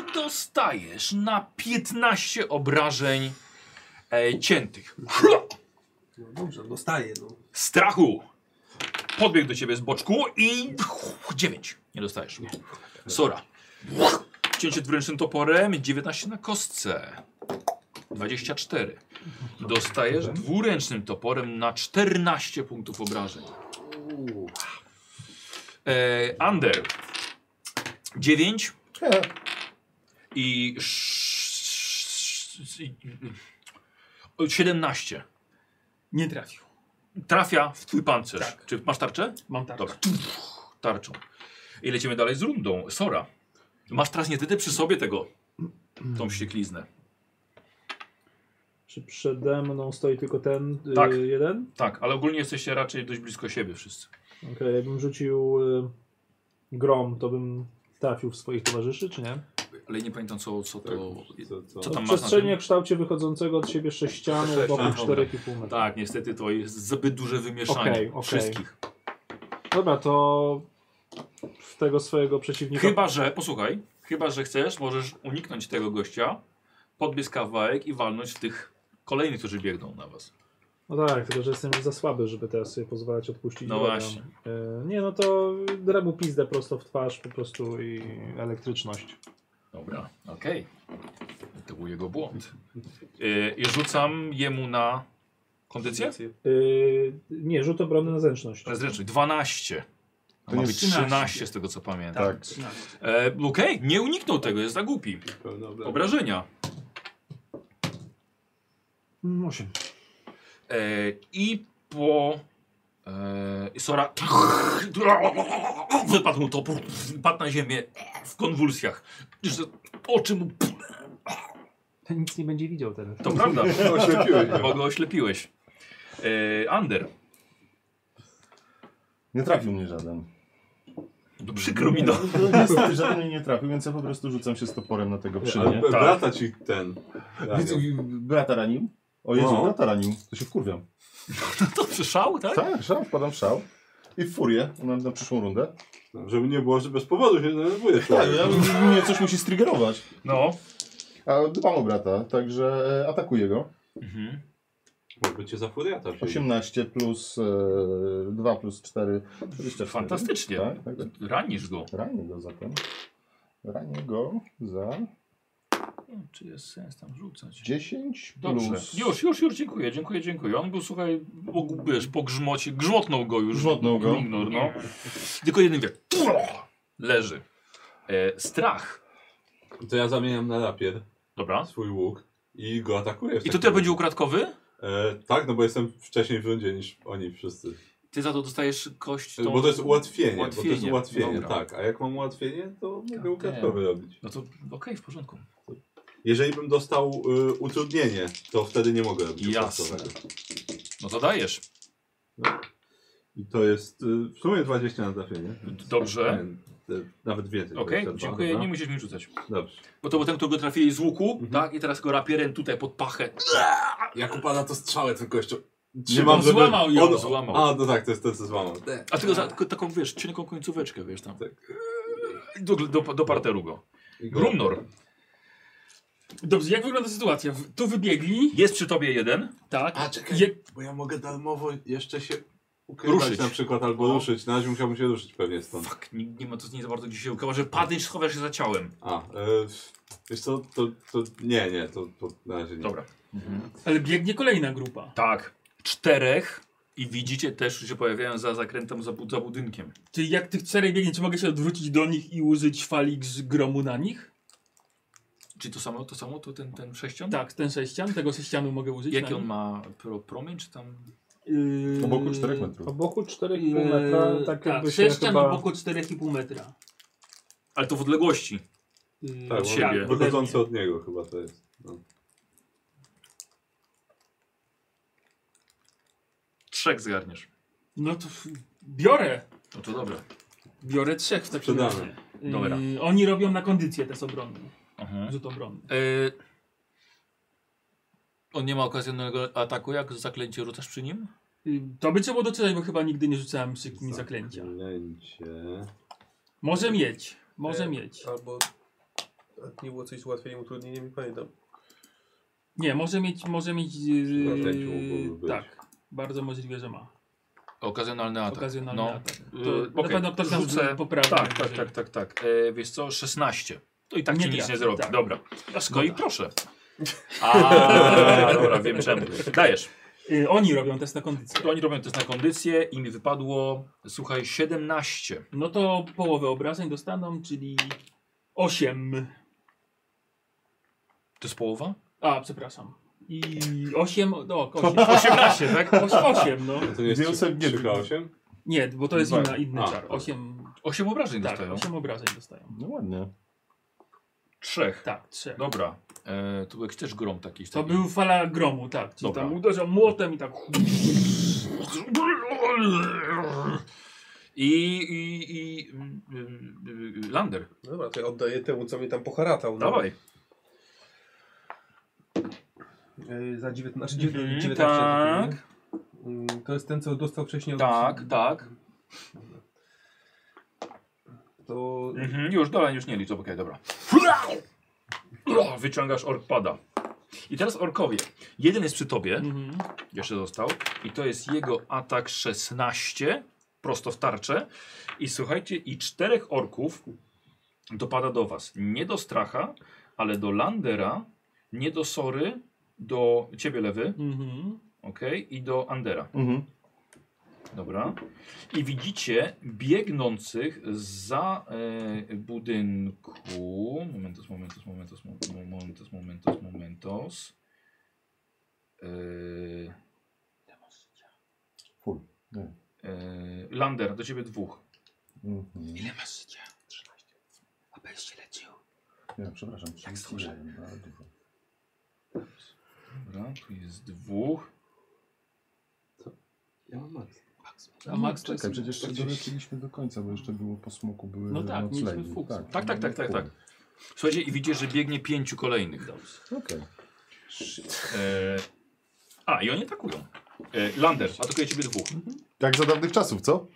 Speaker 1: I dostajesz na 15 obrażeń e, ciętych.
Speaker 6: No dobrze, dostaję. No.
Speaker 1: Strachu! Podbiegł do ciebie z boczku i. 9. Nie dostajesz. Sora. Cięcie dwuręcznym toporem, 19 na kostce. 24. Dostajesz dwuręcznym toporem na 14 punktów obrażeń. E, under. 9. i sz- sz- i- i- 17.
Speaker 7: Nie trafił.
Speaker 1: Trafia w twój pancerz. Czy masz tarczę?
Speaker 7: Mam tarczę.
Speaker 1: Dobra. Tarczą. I lecimy dalej z rundą. Sora. Masz teraz niestety przy sobie tego, tą wściekliznę.
Speaker 2: Czy przede mną stoi tylko ten y,
Speaker 1: Tak.
Speaker 2: jeden?
Speaker 1: Tak, ale ogólnie jesteście raczej dość blisko siebie wszyscy.
Speaker 2: Okej, jakbym rzucił y, grom, to bym trafił w swoich towarzyszy, czy nie?
Speaker 1: Ale nie pamiętam co, co to...
Speaker 4: Co, co?
Speaker 1: Co
Speaker 2: To
Speaker 1: tam
Speaker 2: w
Speaker 1: masz na
Speaker 2: przestrzeni
Speaker 1: tym?
Speaker 2: o kształcie wychodzącego od siebie sześcianu
Speaker 1: Sześć,
Speaker 2: wokół
Speaker 1: aha,
Speaker 2: 4,5 metra.
Speaker 1: Tak, niestety to jest zbyt duże wymieszanie
Speaker 2: Okej, okej.
Speaker 1: wszystkich. Tak.
Speaker 2: Dobra, to w tego swojego przeciwnika
Speaker 1: Chyba, że, posłuchaj, chyba, że chcesz, możesz uniknąć tego gościa, podbiec kawałek i walnąć w tych kolejnych, którzy biegną na was.
Speaker 2: No tak, tylko że jestem już za słaby, żeby teraz sobie pozwalać odpuścić.
Speaker 1: No
Speaker 2: drogę.
Speaker 1: właśnie.
Speaker 2: E, nie, no to dremu pizdę prosto w twarz po prostu i elektryczność.
Speaker 1: Dobra, okej. To był jego błąd. Yy, I rzucam jemu na kondycję?
Speaker 2: E, nie, rzut obrony na zęczność.
Speaker 1: Na zręczność. 12. To
Speaker 3: To
Speaker 1: ma
Speaker 3: nie
Speaker 1: być
Speaker 7: 13.
Speaker 1: 13 z tego co pamiętam.
Speaker 3: Tak.
Speaker 7: 13.
Speaker 1: E, Okej, nie uniknął tego, jest za głupi.
Speaker 4: Pełne obrażenia.
Speaker 1: Obrażenia.
Speaker 8: Mm, Osiem.
Speaker 1: E, I po... E, i Sora... Wypadł mu topór, padł na ziemię w konwulsjach. Że Oczy mu...
Speaker 2: Ten nic nie będzie widział teraz.
Speaker 1: To prawda.
Speaker 4: Oślepiłeś go.
Speaker 1: Bo go oślepiłeś. E, Ander.
Speaker 3: Nie trafił mnie żaden.
Speaker 1: To przykro mi no.
Speaker 3: No, Niestety żaden mnie nie trafił, więc ja po prostu rzucam się z toporem na tego
Speaker 4: Ale
Speaker 3: przynie.
Speaker 4: b-
Speaker 1: Tak.
Speaker 4: brata ci ten.
Speaker 3: Więc
Speaker 4: ranił.
Speaker 3: brata ranił? O Jezu,
Speaker 4: No.
Speaker 3: brata ranił. To się wkurwiam.
Speaker 1: To przyszał, tak?
Speaker 3: Tak, szał, wpadam w szał. I w furię na, na przyszłą rundę.
Speaker 4: No, żeby nie było, że bez powodu się denerwujesz.
Speaker 3: Tak, ja, mnie coś musi striggerować.
Speaker 1: No.
Speaker 3: A dbam o brata, także e, atakuję go.
Speaker 1: Mhm.
Speaker 4: Mógłby cię za furiata wziąć.
Speaker 3: 18 plus e, 2 plus 4, 24.
Speaker 1: Fantastycznie.
Speaker 3: Tak, tak, tak.
Speaker 1: Ranisz go.
Speaker 3: Ranię go zatem. Ranię go za
Speaker 1: Czy jest sens tam rzucać?
Speaker 3: 10
Speaker 1: Dobrze.
Speaker 3: plus...
Speaker 1: Już, już, już, dziękuję, dziękuję, dziękuję. On był, słuchaj, mógł, wiesz, po grzmocie, grzmotnął go już.
Speaker 3: Grzmotnął go.
Speaker 1: Ignor, no. Tylko jeden wie, tro, leży. E, strach.
Speaker 4: To ja zamieniam na rapier
Speaker 1: Dobra.
Speaker 4: swój łuk i go atakuję. w
Speaker 1: I to
Speaker 4: takim
Speaker 1: też
Speaker 4: razie.
Speaker 1: będzie ukradkowy?
Speaker 4: E, tak, no bo jestem wcześniej w rundzie niż oni wszyscy.
Speaker 1: Ty za to dostajesz kość tą...
Speaker 4: Bo to jest ułatwienie. Bo to jest
Speaker 1: Ułatwienie,
Speaker 4: ułatwienie,
Speaker 1: dobra. Tak,
Speaker 4: tak. A jak mam ułatwienie, to mogę
Speaker 1: damn.
Speaker 4: ukradkowy robić.
Speaker 1: No to okej, w porządku.
Speaker 4: Jeżeli bym dostał y, utrudnienie, to wtedy nie mogę robić
Speaker 1: Jasne.
Speaker 4: ukradkowego.
Speaker 1: No to dajesz.
Speaker 4: I to jest y, w sumie 20 na trafienie.
Speaker 1: Dobrze.
Speaker 4: Nie, y, Nawet więcej.
Speaker 1: Okej,
Speaker 4: 22,
Speaker 1: dziękuję,
Speaker 4: dobra. Mhm.
Speaker 1: nie musisz mi rzucać.
Speaker 4: Dobrze.
Speaker 1: Bo to był ten, którego trafili z łuku, tak? I teraz go rapierem tutaj pod pachę.
Speaker 4: Jak upada to strzałę tylko jeszcze.
Speaker 1: on złamał ją, złamał.
Speaker 4: A, no tak, to jest ten, co złamał.
Speaker 1: A tylko za tylko taką, wiesz, cienką końcóweczkę, wiesz tam.
Speaker 4: Tak.
Speaker 1: Do, do, do parteru go.
Speaker 4: I go-
Speaker 1: Grumnor,
Speaker 7: Dobrze, jak wygląda sytuacja? W- Tu wybiegli,
Speaker 1: jest przy tobie jeden.
Speaker 7: tak.
Speaker 4: A, czekaj.
Speaker 7: Je-
Speaker 4: Bo ja mogę darmowo jeszcze się ukrywać
Speaker 1: Ruszyć. No.
Speaker 4: na przykład, albo ruszyć. Na razie musiałbym się ruszyć pewnie stąd.
Speaker 1: Fuck, nie, nie ma to nie za bardzo gdzie się ukrywa, że padniesz, schowasz się za ciałem.
Speaker 4: A, y, wiesz co, to, to nie, nie, to, to na razie nie.
Speaker 1: Dobra.
Speaker 7: Ale biegnie kolejna grupa.
Speaker 1: Tak. Czterech i widzicie też, że się pojawiają za zakrętem, za, bu- za budynkiem.
Speaker 7: Czyli jak tych czterech biegnie, czy mogę się odwrócić do nich i użyć fali grz- gromu na nich?
Speaker 1: Czy to samo, to samo, to ten, ten sześcian?
Speaker 7: Tak, ten sześcian, tego sześcianu mogę użyć.
Speaker 1: Jaki
Speaker 7: na
Speaker 1: on
Speaker 7: nim.
Speaker 1: ma pro, promień, czy tam...
Speaker 7: Yy,
Speaker 3: Obok 4 metrów.
Speaker 2: Oboku 4,5
Speaker 7: yy,
Speaker 2: metra, tak
Speaker 7: tak,
Speaker 2: jakby się
Speaker 7: sześcian
Speaker 2: chyba...
Speaker 7: około 4,5 metra.
Speaker 1: Ale to w odległości.
Speaker 7: Yy,
Speaker 4: Tak,
Speaker 1: Od
Speaker 4: bo
Speaker 1: siebie.
Speaker 7: ode
Speaker 4: Wychodzący
Speaker 7: mnie.
Speaker 4: od niego chyba to jest. No.
Speaker 1: Trzech zgarniesz.
Speaker 7: No to f- biorę.
Speaker 1: No to dobra.
Speaker 7: Biorę trzech w takim
Speaker 4: Sprzedamy.
Speaker 7: razie. Yy,
Speaker 1: Dobra.
Speaker 7: oni robią na kondycję test obronny.
Speaker 1: Mhm.
Speaker 7: Rzut obronny.
Speaker 1: Y... On nie ma okazjonalnego ataku, jak zaklęcie rzucasz przy nim?
Speaker 7: Yy, to by trzeba było doczytać, bo chyba nigdy nie rzucałem przy
Speaker 4: Tak,
Speaker 7: kimś zaklęcia.
Speaker 4: Zaklęcie.
Speaker 7: Może mieć. Może
Speaker 6: E,
Speaker 7: mieć.
Speaker 6: Albo a nie było coś z ułatwieniem, utrudnieniem, nie pamiętam.
Speaker 7: Nie, może mieć, może mieć.
Speaker 4: Zaklęciu
Speaker 7: Yy,
Speaker 4: mogłoby być.
Speaker 7: tak. Bardzo możliwe, że ma.
Speaker 1: Okazjonalny atak.
Speaker 7: Okazjonalny
Speaker 1: no.
Speaker 7: atak.
Speaker 1: Y,
Speaker 7: To na
Speaker 1: okej,
Speaker 7: pewno ktoś tam
Speaker 1: rzucę-
Speaker 7: poprawi.
Speaker 1: Tak, tak, tak, tak, tak. E, wiesz co, 16. To i tak
Speaker 7: Nie
Speaker 1: ci nic
Speaker 7: trafi,
Speaker 1: nie zrobi.
Speaker 7: tak.
Speaker 1: Dobra. No
Speaker 7: szkoda.
Speaker 1: i proszę. A, dobra, wiem czemu. Dajesz.
Speaker 7: Yy, oni robią test na kondycję.
Speaker 1: To oni robią test na kondycję i mi wypadło, słuchaj, 17.
Speaker 7: No to połowę obrażeń dostaną, czyli 8.
Speaker 1: To jest połowa?
Speaker 7: A, przepraszam. I 8, no, 8.
Speaker 1: 18, tak?
Speaker 7: 8, no.
Speaker 4: To jest
Speaker 3: Więc nie-
Speaker 4: 3K8?
Speaker 7: Nie, bo to jest
Speaker 4: Dwa.
Speaker 7: inna, inny
Speaker 4: A,
Speaker 7: czar.
Speaker 4: dobra.
Speaker 7: 8,
Speaker 1: 8 obrażeń
Speaker 7: tak,
Speaker 1: dostają.
Speaker 7: 8 obrażeń dostają.
Speaker 3: No ładnie.
Speaker 1: Trzech.
Speaker 7: Tak, 3.
Speaker 1: Dobra. E, tu jak też grom taki.
Speaker 7: To
Speaker 1: taki-
Speaker 7: był fala gromu, tak. Czyli
Speaker 1: Dobra.
Speaker 7: tam uderzał młotem i tak...
Speaker 1: I, i, i y, y, y, Lander.
Speaker 6: No dobra, to ja oddaję temu, co mnie tam poharatał. No.
Speaker 1: Dawaj.
Speaker 6: E,
Speaker 8: Yy, za
Speaker 6: znaczy
Speaker 8: 19.
Speaker 7: Mhm,
Speaker 8: 19
Speaker 1: tak.
Speaker 6: Mm,
Speaker 8: Yy, To jest ten, co dostał wcześniej od...
Speaker 1: Tak, tak.
Speaker 8: To
Speaker 1: Mhm, już dalej już nie liczę, okej, dobra. Wyciągasz orkpada. I teraz orkowie. Jeden jest przy tobie,
Speaker 7: Mhm.
Speaker 1: jeszcze został. I to jest jego atak 16, prosto w tarczę. I słuchajcie, i czterech orków dopada do was. Nie do stracha, ale do Landera, nie do Sory, do ciebie lewy,
Speaker 7: Mhm.
Speaker 1: okej, i do Andera.
Speaker 3: Mhm.
Speaker 1: Dobra. I widzicie biegnących za e, budynku. Momentos, momentos, momentos, mo- mo- momentos, momentos, momentos. E,
Speaker 3: Full. Nie.
Speaker 1: e, Lander, do ciebie dwóch.
Speaker 3: Mhm.
Speaker 7: Ile masz życia? 13. A będziesz się leczył.
Speaker 3: Nie, przepraszam. no,
Speaker 1: Jak
Speaker 3: trzydzieści
Speaker 1: zdążę.
Speaker 3: jeden, a, dużo.
Speaker 1: Dobra, tu jest dwóch.
Speaker 4: Ja mam max.
Speaker 7: A Max Mhm, to
Speaker 3: Czekaj,
Speaker 7: jest...
Speaker 3: przecież jeszcze doleciliśmy do końca, bo jeszcze było po smoku, były
Speaker 7: No tak, mieliśmy
Speaker 3: noclegi. no,
Speaker 7: fuks.
Speaker 1: Tak, tak, tak, tak,
Speaker 3: full.
Speaker 1: tak. Słuchajcie, i widzicie, że biegnie pięciu kolejnych.
Speaker 7: Dobrze.
Speaker 3: Okej.
Speaker 1: E, a, i oni atakują. E, Lander, atakuje ciebie dwóch.
Speaker 3: Jak Tak za dawnych czasów, co?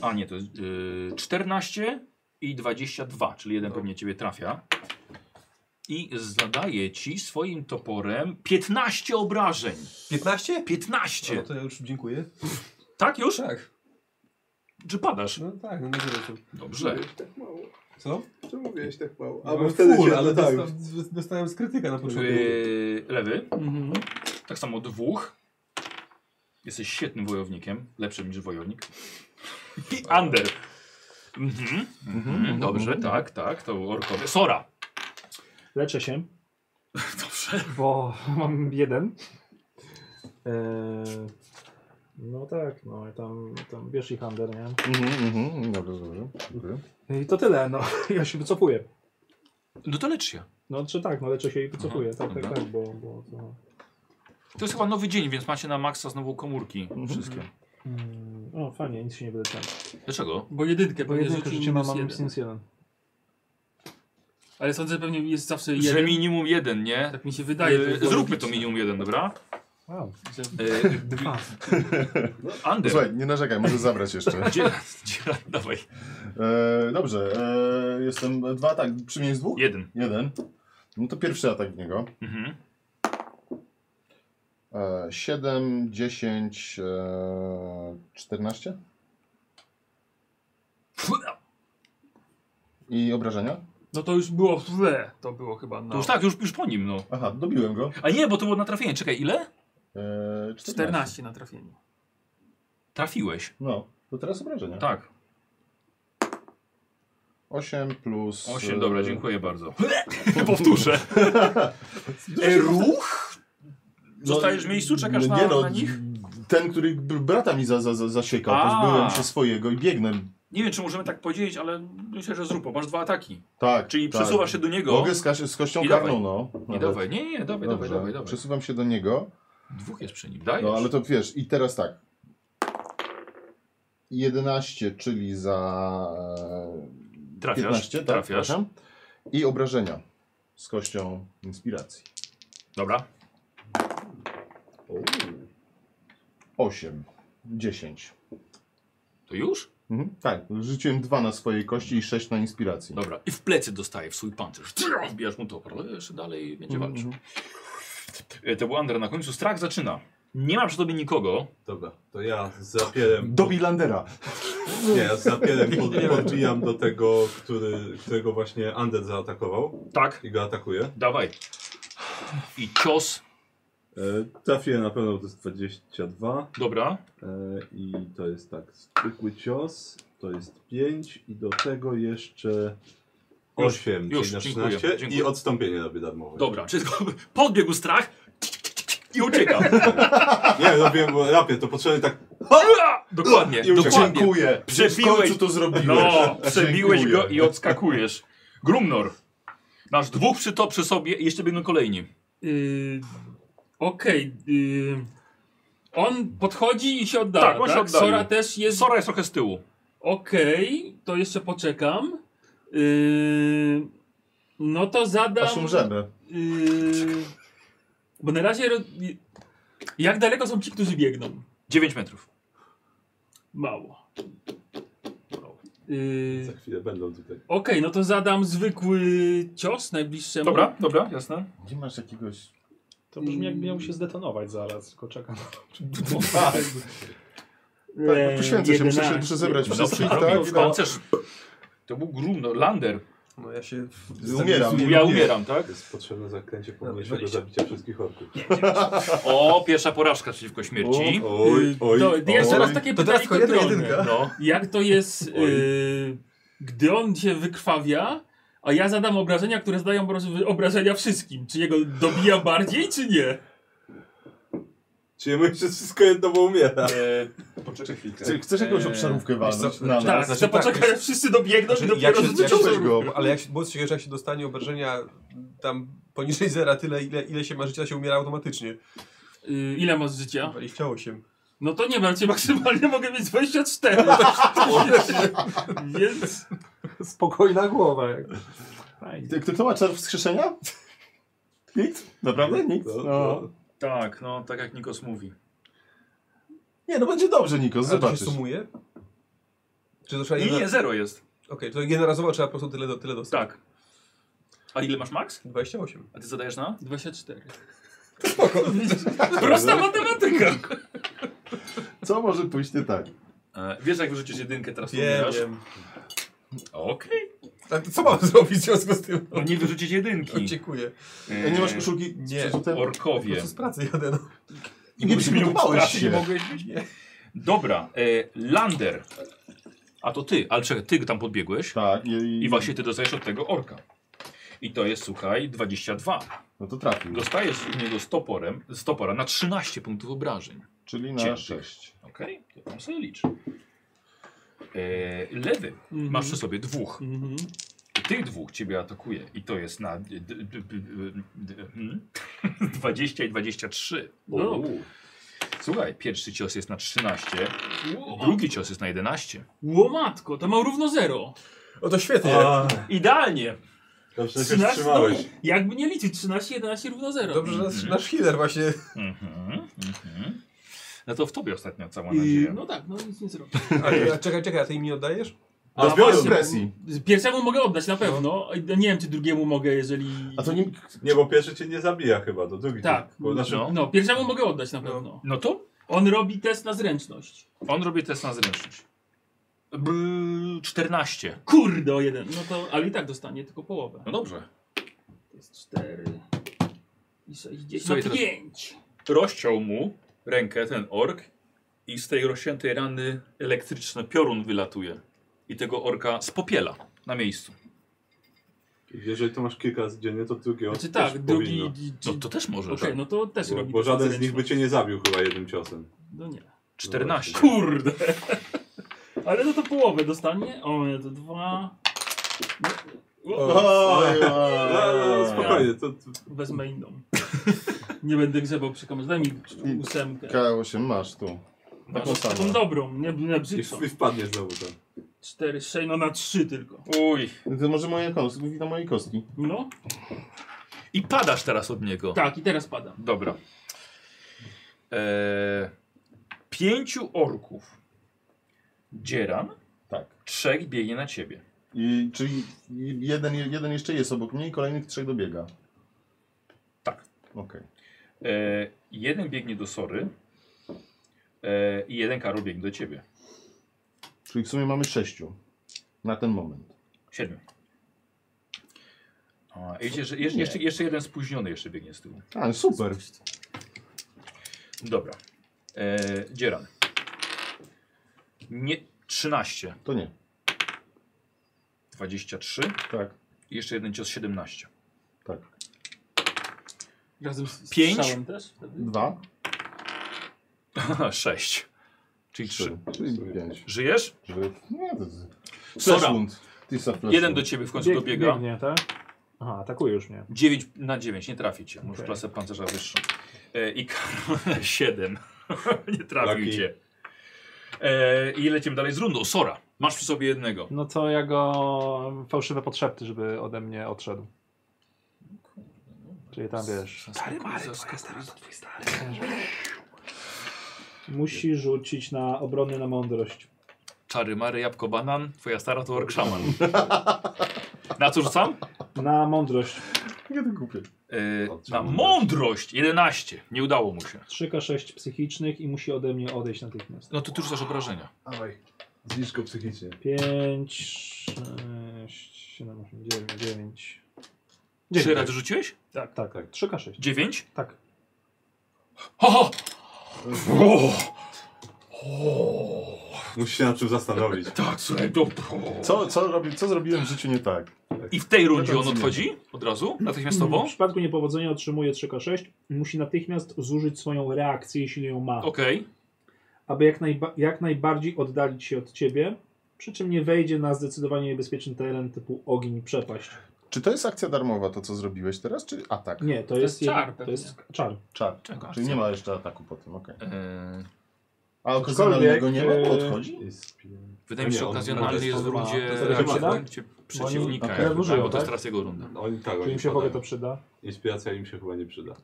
Speaker 1: A nie, to jest y, 14 i 22, czyli jeden pewnie ciebie trafia. I zadaje ci swoim toporem 15 obrażeń.
Speaker 6: 15?
Speaker 1: 15!
Speaker 6: No to ja już dziękuję.
Speaker 1: Tak już?
Speaker 6: Tak.
Speaker 1: Czy padasz?
Speaker 6: No tak, no nie wiem.
Speaker 1: Dobrze.
Speaker 9: tak mało.
Speaker 6: Co?
Speaker 9: Czemu miałeś tak mało?
Speaker 4: No,
Speaker 6: Ja
Speaker 9: A bo
Speaker 6: mam
Speaker 9: wtedy
Speaker 6: full,
Speaker 9: cię
Speaker 6: ale
Speaker 4: tak.
Speaker 9: dodają.
Speaker 6: dostałem, z- dostałem z krytyka na początku.
Speaker 1: Yy, lewy,
Speaker 7: Mhm.
Speaker 1: tak samo dwóch. Jesteś świetnym wojownikiem, lepszym niż wojownik. I under. Mhm. Mhm. Dobrze, tak, tak, to orkowie. Sora.
Speaker 2: Leczę się,
Speaker 1: Dobrze.
Speaker 2: bo mam jeden. Eee, no tak, no i tam, tam bierz ich handel, nie?
Speaker 3: Mhm, mhm, dobrze, dobrze. Dziękuję.
Speaker 2: I to tyle, no. Ja się wycofuję.
Speaker 1: No to lecz się.
Speaker 2: No czy tak, no leczę się i wycofuję,
Speaker 1: Aha,
Speaker 2: tak, tak,
Speaker 1: dobra.
Speaker 2: tak, bo, bo to...
Speaker 1: To jest chyba nowy dzień, więc macie na maksa znowu komórki wszystkie.
Speaker 2: Mm, o, fajnie, nic się nie będę leczył.
Speaker 1: Dlaczego?
Speaker 7: Bo jedynkę
Speaker 2: Bo
Speaker 7: pewnie
Speaker 2: jedynkę
Speaker 7: rzucił
Speaker 2: życie mam,
Speaker 7: minus
Speaker 2: mam
Speaker 7: jeden.
Speaker 2: minus jeden.
Speaker 7: Ale sądzę, że pewnie jest zawsze
Speaker 1: Że
Speaker 7: jeden.
Speaker 1: minimum jeden, nie?
Speaker 7: Tak mi się wydaje.
Speaker 1: Yy,
Speaker 7: że jest
Speaker 1: Zróbmy to
Speaker 7: logiczne.
Speaker 1: minimum jeden, dobra?
Speaker 2: Wow.
Speaker 7: Że-
Speaker 1: Yy,
Speaker 2: Dwa.
Speaker 1: No, Ander,
Speaker 3: Słuchaj, nie narzekaj, możesz zabrać jeszcze.
Speaker 1: gdzie, gdzie, dawaj.
Speaker 3: E, dobrze, e, jestem dwa, tak, przy mnie jest dwóch?
Speaker 1: Jeden.
Speaker 3: Jeden. No to pierwszy atak w niego.
Speaker 1: Mhm.
Speaker 3: E, 7, 10, e, 14 i obrażenia.
Speaker 7: No to już było złe, to było chyba na...
Speaker 1: To już tak, już, już po nim, no.
Speaker 3: Aha, dobiłem go.
Speaker 1: A nie, bo to było na trafienie. Czekaj, ile?
Speaker 3: E, 14.
Speaker 7: 14 na trafieniu.
Speaker 1: Trafiłeś.
Speaker 3: No, to teraz obrażenia.
Speaker 1: Tak.
Speaker 3: 8 plus...
Speaker 1: Osiem,
Speaker 3: e,
Speaker 1: dobra, dziękuję bardzo. Powtórzę. E, Ruch? Zostajesz w miejscu, czekasz
Speaker 3: no
Speaker 1: na,
Speaker 3: nie no,
Speaker 1: na nich?
Speaker 3: Ten, który br- brata mi za, za, za, zasiekał,
Speaker 1: A.
Speaker 3: pozbyłem się swojego i biegnę.
Speaker 1: Nie wiem, czy możemy tak podzielić, ale myślę, że zrób, bo masz dwa ataki.
Speaker 3: Tak,
Speaker 1: Czyli
Speaker 3: tak.
Speaker 1: przesuwasz się do niego.
Speaker 3: Mogę z, kaś- z kością
Speaker 1: I
Speaker 3: karną, no.
Speaker 1: Nie,
Speaker 3: nawet.
Speaker 1: dawaj, nie, nie, dawaj, dawaj,
Speaker 3: Dobrze,
Speaker 1: dawaj, dawaj.
Speaker 3: Przesuwam się do niego.
Speaker 1: Dwóch jest przy nim, dajesz.
Speaker 3: No ale to wiesz, i teraz tak. 11, czyli za e,
Speaker 1: Trafiasz,
Speaker 3: 15, tak?
Speaker 1: trafiasz.
Speaker 3: Przepraszam. I obrażenia z kością inspiracji.
Speaker 1: Dobra.
Speaker 3: 8, 10.
Speaker 1: To już?
Speaker 3: Mhm. Tak, rzuciłem 2 na swojej kości i 6 na inspiracji.
Speaker 1: Dobra. I w plecy dostaje w swój pancerz. Tyrach, Wbijasz mu to, ale jeszcze dalej będzie walczył. E, To był Ander na końcu. Strach zaczyna. Nie ma przy tobie nikogo.
Speaker 4: Dobra, to ja z zapielem.
Speaker 3: Dobij Landera.
Speaker 4: Nie, ja z zapielem pod, podbijam do tego, który, którego właśnie Ander zaatakował
Speaker 1: Tak.
Speaker 4: i go atakuje.
Speaker 1: Dawaj. I cios.
Speaker 4: E, trafię na pewno, to jest 22
Speaker 1: Dobra.
Speaker 4: e, i to jest tak, zwykły cios, to jest 5 i do tego jeszcze 8,
Speaker 1: Już,
Speaker 4: czyli na
Speaker 1: dziękuję,
Speaker 4: 13
Speaker 1: dziękuję.
Speaker 4: i odstąpienie robię darmowe.
Speaker 1: Dobra, czyli podbiegł strach i ucieka.
Speaker 4: Nie, robię bo rapie, to potrzebny tak
Speaker 1: Dokładnie,
Speaker 4: I ucieka.
Speaker 1: dokładnie.
Speaker 3: Dziękuję.
Speaker 1: Przebiłeś-
Speaker 3: W końcu to zrobiłeś.
Speaker 1: No, przebiłeś
Speaker 3: Dziękuję.
Speaker 1: go i odskakujesz. Grumnor. Masz dwóch przy, to, przy sobie i jeszcze będą kolejni.
Speaker 7: Yy, Okej. yy, on podchodzi i się oddala.
Speaker 1: Tak,
Speaker 7: Tak,
Speaker 1: on się oddalił.
Speaker 7: Sora też jest.
Speaker 1: Sora jest trochę z tyłu.
Speaker 7: Okej, to jeszcze poczekam. Yy, no to zadam.
Speaker 3: Aż umrzemy.
Speaker 7: Yy, bo na razie. ro- y, Jak daleko są ci, którzy biegną?
Speaker 1: 9 metrów.
Speaker 7: Mało. Yy,
Speaker 4: za
Speaker 7: Okej,
Speaker 4: chwilę będą tutaj.
Speaker 7: no to zadam zwykły cios najbliższemu.
Speaker 1: Dobra, dobra, jasne.
Speaker 3: Nie masz jakiegoś...
Speaker 2: To brzmi jak miał się zdetonować zaraz, tylko czekam.
Speaker 3: Tak, poświęcę się, muszę się
Speaker 7: 11.
Speaker 3: muszę zebrać
Speaker 1: No,
Speaker 3: wszystkich,
Speaker 1: to
Speaker 3: tak?
Speaker 1: robił pancerz. To był Grumnor, Lander.
Speaker 6: No ja się...
Speaker 3: Umieram.
Speaker 1: Ja umieram, tak?
Speaker 4: Jest potrzebne zaklęcie
Speaker 6: Dobra,
Speaker 4: pomniejszego
Speaker 6: dwadzieścia.
Speaker 4: zabicia wszystkich orków.
Speaker 1: O, pierwsza porażka przeciwko śmierci.
Speaker 7: Y,
Speaker 4: Oj, oj,
Speaker 7: to, jest
Speaker 4: oj.
Speaker 7: teraz takie
Speaker 6: To
Speaker 7: pytanie
Speaker 6: teraz tylko jedna
Speaker 7: kontrolne.
Speaker 6: jedynka.
Speaker 1: No.
Speaker 7: Jak to jest, y, gdy on się wykrwawia, a ja zadam obrażenia, które zadają obra- obrażenia wszystkim. Czy jego dobija bardziej, czy nie?
Speaker 4: Czyli my się wszystko jedno bo umiera.
Speaker 9: Poczekaj chwilkę.
Speaker 3: Chce- Chcesz jakąś
Speaker 6: Eee,
Speaker 3: obszarówkę
Speaker 6: wiesz co,
Speaker 3: walnąć? Na
Speaker 6: znaczy-
Speaker 7: Tak,
Speaker 3: nas?
Speaker 7: chcę
Speaker 6: znaczy tak,
Speaker 7: poczekać,
Speaker 6: jest-
Speaker 7: aż wszyscy dobiegną
Speaker 6: Znaczy,
Speaker 7: i
Speaker 6: jak
Speaker 7: dopiero
Speaker 6: się, jak
Speaker 7: rzucą.
Speaker 3: Weź
Speaker 6: się,
Speaker 3: go.
Speaker 6: ale jak się, bo że jak się dostanie obrażenia tam poniżej zera, tyle ile, ile się ma życia, się umiera automatycznie.
Speaker 7: Y, ile masz życia?
Speaker 6: 28.
Speaker 7: No to nie mam cię maksymalnie, mogę mieć 24. Więc
Speaker 2: Spokojna głowa. jak- Fajnie.
Speaker 3: Ty- Kto, kto ma czar wskrzeszenia? Nikt? Naprawdę? Nikt?
Speaker 4: No,
Speaker 3: No.
Speaker 1: Tak, no tak jak Nikos mówi.
Speaker 3: Nie, no będzie dobrze, Nikos,
Speaker 6: A to się
Speaker 3: zobaczysz.
Speaker 6: sumuje? Czy to trzeba
Speaker 1: Nie,
Speaker 6: jedna...
Speaker 1: nie, zero jest.
Speaker 6: Okej, to jednorazowo trzeba po prostu tyle, do- tyle dostać.
Speaker 1: Tak. A ile masz max?
Speaker 6: 28.
Speaker 1: A ty zadajesz na?
Speaker 7: 24.
Speaker 1: Prosta matematyka.
Speaker 3: Co może pójść nie tak?
Speaker 1: E, wiesz jak wyrzucisz jedynkę, teraz
Speaker 6: Wiem,
Speaker 1: umierasz?
Speaker 6: wiem.
Speaker 1: Okej.
Speaker 6: A to co mam zrobić w związku z tym?
Speaker 1: No nie wyrzucić jedynki. E,
Speaker 6: O, dziękuję.
Speaker 3: E, Nie masz koszulki?
Speaker 6: Nie.
Speaker 3: z przerzutem?
Speaker 6: Po
Speaker 1: Orkowie.
Speaker 6: prostu z pracy jadę. No.
Speaker 3: I nie przygotowałeś
Speaker 1: Nie
Speaker 3: się.
Speaker 1: mogłeś być? Dobra, e, Lander. A to ty, ale czekaj, ty tam podbiegłeś.
Speaker 3: Tak, i,
Speaker 1: I właśnie ty dostajesz od tego orka. I to jest, słuchaj, 22.
Speaker 3: No to trafił.
Speaker 1: Dostajesz z niego stoporem, stopora na 13 punktów obrażeń.
Speaker 3: Czyli na
Speaker 1: Ciętych.
Speaker 3: sześć.
Speaker 1: Okej, to tam sobie licz. E, lewy.
Speaker 7: Mhm.
Speaker 1: Masz przy sobie dwóch.
Speaker 7: Mhm.
Speaker 1: I tych dwóch ciebie atakuje. I to jest na d- d- d- d- d- hmm? 20 i 23.
Speaker 7: No.
Speaker 1: Uuu. Słuchaj, pierwszy cios jest na 13, drugi cios jest na 11.
Speaker 7: Mhm. Łomatko, to mam równo zero.
Speaker 6: O, to
Speaker 4: no.
Speaker 6: świetnie.
Speaker 7: Idealnie.
Speaker 4: Dobrze, że się
Speaker 7: 13, no,
Speaker 4: wstrzymałeś.
Speaker 7: jakby nie liczyć, 13, 11 równo zero.
Speaker 6: Dobrze, że nasz,
Speaker 1: Mhm.
Speaker 6: nasz healer właśnie...
Speaker 1: Mhm, mhm. No to w tobie ostatnia cała
Speaker 7: I,
Speaker 1: nadzieja.
Speaker 7: no tak, no nic nie zrobię.
Speaker 6: A, a, czekaj, czekaj, a ty im nie oddajesz?
Speaker 4: Do
Speaker 3: Bez
Speaker 4: zbioru.
Speaker 3: presji.
Speaker 7: Pierwszemu mogę oddać na pewno. a Nie wiem, czy drugiemu mogę, jeżeli.
Speaker 3: A to nie...
Speaker 4: Nie, bo pierwszy cię nie zabija chyba, do drugi.
Speaker 7: Tak.
Speaker 4: cię- Bo znaczy,
Speaker 1: No.
Speaker 7: No, pierwszemu mogę oddać na
Speaker 6: No.
Speaker 7: pewno.
Speaker 1: No to
Speaker 7: On robi test na zręczność.
Speaker 1: on robi test na zręczność. B 14.
Speaker 7: Kurde, o jeden. No to, ale i tak dostanie tylko połowę.
Speaker 1: No dobrze.
Speaker 7: To jest 4 i 60.
Speaker 1: Słuchaj,
Speaker 7: No
Speaker 1: teraz-
Speaker 7: 5.
Speaker 1: Rozciął mu rękę ten ork i z tej rozciętej rany elektryczny piorun wylatuje. I tego orka spopiela na miejscu.
Speaker 4: Jeżeli to masz kilka razy dziennie, to drugie
Speaker 7: Znaczy
Speaker 4: też
Speaker 7: tak, drugi.
Speaker 4: powinno.
Speaker 1: No to też może,
Speaker 7: Okej,
Speaker 1: tak.
Speaker 7: no to też
Speaker 4: Bo,
Speaker 7: robi
Speaker 4: bo
Speaker 7: test
Speaker 4: żaden z nich by
Speaker 7: zręczności.
Speaker 4: cię nie zabił chyba jednym ciosem.
Speaker 7: No nie.
Speaker 1: 14.
Speaker 7: Kurde. Ale no to połowę dostanie. O, nie, to dwa. No, o,
Speaker 3: Oj,
Speaker 4: No, no,
Speaker 3: oj.
Speaker 4: spokojnie, to, to
Speaker 7: Wezmę inną. Nie będę grzebał przy kamerze. Daj mi ósemkę.
Speaker 3: K8 masz tu. taką
Speaker 7: Masz Taką
Speaker 3: samą.
Speaker 7: dobrą, nie, nie
Speaker 4: i,
Speaker 7: brzydszą.
Speaker 4: i wpadnie znowu tam.
Speaker 7: 4, 6, no na 3 tylko.
Speaker 1: Uj.
Speaker 3: To może moje kostki, mówi na mojej kostki.
Speaker 7: No,
Speaker 1: I padasz teraz od niego.
Speaker 7: tak i teraz padam.
Speaker 1: Dobra. Eee, pięciu orków. Dzieran.
Speaker 3: Tak.
Speaker 1: Trzech biegnie na ciebie.
Speaker 3: I, czyli jeden, jeden jeszcze jest obok mnie i kolejnych trzech dobiega.
Speaker 1: Tak.
Speaker 3: Okej.
Speaker 1: Eee, jeden biegnie do Sory. Eee, I jeden Karol biegnie do ciebie.
Speaker 3: Czyli w sumie mamy sześciu. Na ten moment.
Speaker 1: Siedmiu. A, i widzicie, że jeszcze, jeszcze, jeszcze jeden spóźniony jeszcze biegnie z tyłu.
Speaker 3: A, super.
Speaker 1: Dobra. Eee, dzieran. Nie, 13,
Speaker 3: To nie.
Speaker 1: 23,
Speaker 3: Tak.
Speaker 1: I Jeszcze jeden cios 17.
Speaker 7: Razem z, z
Speaker 1: Pięć?
Speaker 7: strzałem też?
Speaker 3: Dwa,
Speaker 1: 6. Czyli 3.
Speaker 3: trzy, czyli pięć.
Speaker 1: Żyjesz?
Speaker 3: Żeby... Nie, to jest...
Speaker 1: Sora.
Speaker 3: Flashwound. Tisa flashwound.
Speaker 1: Jeden do ciebie w końcu
Speaker 2: Bieg-
Speaker 1: dobiega.
Speaker 2: Biegnie, tak? Aha, atakuje już mnie.
Speaker 1: 9 na 9, nie trafi cię. Masz
Speaker 2: Okej.
Speaker 1: klasę pancerza wyższą. E, I Karol 7. nie trafił
Speaker 4: Lucky.
Speaker 1: cię. E, I lecimy dalej z rundą. Sora, masz przy sobie jednego.
Speaker 2: No to ja go fałszywe potrzepty, żeby ode mnie odszedł. Czyli tam wiesz.
Speaker 1: Stary Mary, stary, to twój stary.
Speaker 2: Musi rzucić na obronę na mądrość.
Speaker 1: Czary Mary, jabłko, banan. Twoja stara to ork szaman. Na co rzucam?
Speaker 2: Na mądrość.
Speaker 3: Nie, to głupie.
Speaker 1: E,
Speaker 4: O,
Speaker 1: na
Speaker 4: czemu?
Speaker 1: mądrość 11. Nie udało mu się.
Speaker 2: 3K6 psychicznych i musi ode mnie odejść natychmiast.
Speaker 1: No to ty rzucasz obrażenia.
Speaker 4: Dawaj. Zniszcz go psychicznie.
Speaker 2: 5, 6, 7, 8, 9, 9.
Speaker 1: Trzy razy rzuciłeś?
Speaker 2: Tak, tak, tak. 3K6.
Speaker 1: 9?
Speaker 2: Tak.
Speaker 1: Ho, ho!
Speaker 4: Musisz się nad czym zastanowić.
Speaker 1: Tak, słuchaj, to...
Speaker 3: Co, co, robi, co zrobiłem w życiu nie tak?
Speaker 1: I w tej rundzie on odchodzi? Od razu? Natychmiastowo?
Speaker 2: W przypadku niepowodzenia otrzymuje 3K6 i musi natychmiast zużyć swoją reakcję, jeśli ją ma,
Speaker 1: Okej.
Speaker 2: aby jak, najba jak najbardziej oddalić się od ciebie, przy czym nie wejdzie na zdecydowanie niebezpieczny teren typu ogień i przepaść.
Speaker 3: Czy to jest akcja darmowa, to co zrobiłeś teraz, czy atak?
Speaker 2: Nie, to,
Speaker 7: To
Speaker 2: jest,
Speaker 7: jest
Speaker 2: jed-
Speaker 7: czar
Speaker 2: To jest czar.
Speaker 3: Czar.
Speaker 1: Czego?
Speaker 3: Czyli nie ma jeszcze ataku po tym, okej.
Speaker 1: Eee,
Speaker 3: A
Speaker 2: Aczkolwiek,
Speaker 3: okazjonalnego nie ma, bo
Speaker 2: e,
Speaker 3: odchodzi?
Speaker 1: Wydaje mi się, że
Speaker 4: Nie, on-
Speaker 2: to
Speaker 1: okazjonalny
Speaker 2: jest
Speaker 1: jest w
Speaker 2: to dwa.
Speaker 1: rundzie,
Speaker 2: To
Speaker 1: w
Speaker 2: jest to
Speaker 1: rundzie
Speaker 2: dwa?
Speaker 1: przeciwnika,
Speaker 2: Bo oni-
Speaker 1: jakby,
Speaker 2: użyją,
Speaker 1: tak, bo to
Speaker 2: tak?
Speaker 1: jest teraz jego runda.
Speaker 4: Oni tak,
Speaker 2: Czy
Speaker 4: oni
Speaker 2: im się w ogóle to
Speaker 4: padają.
Speaker 2: przyda?
Speaker 4: Inspiracja im się chyba nie przyda.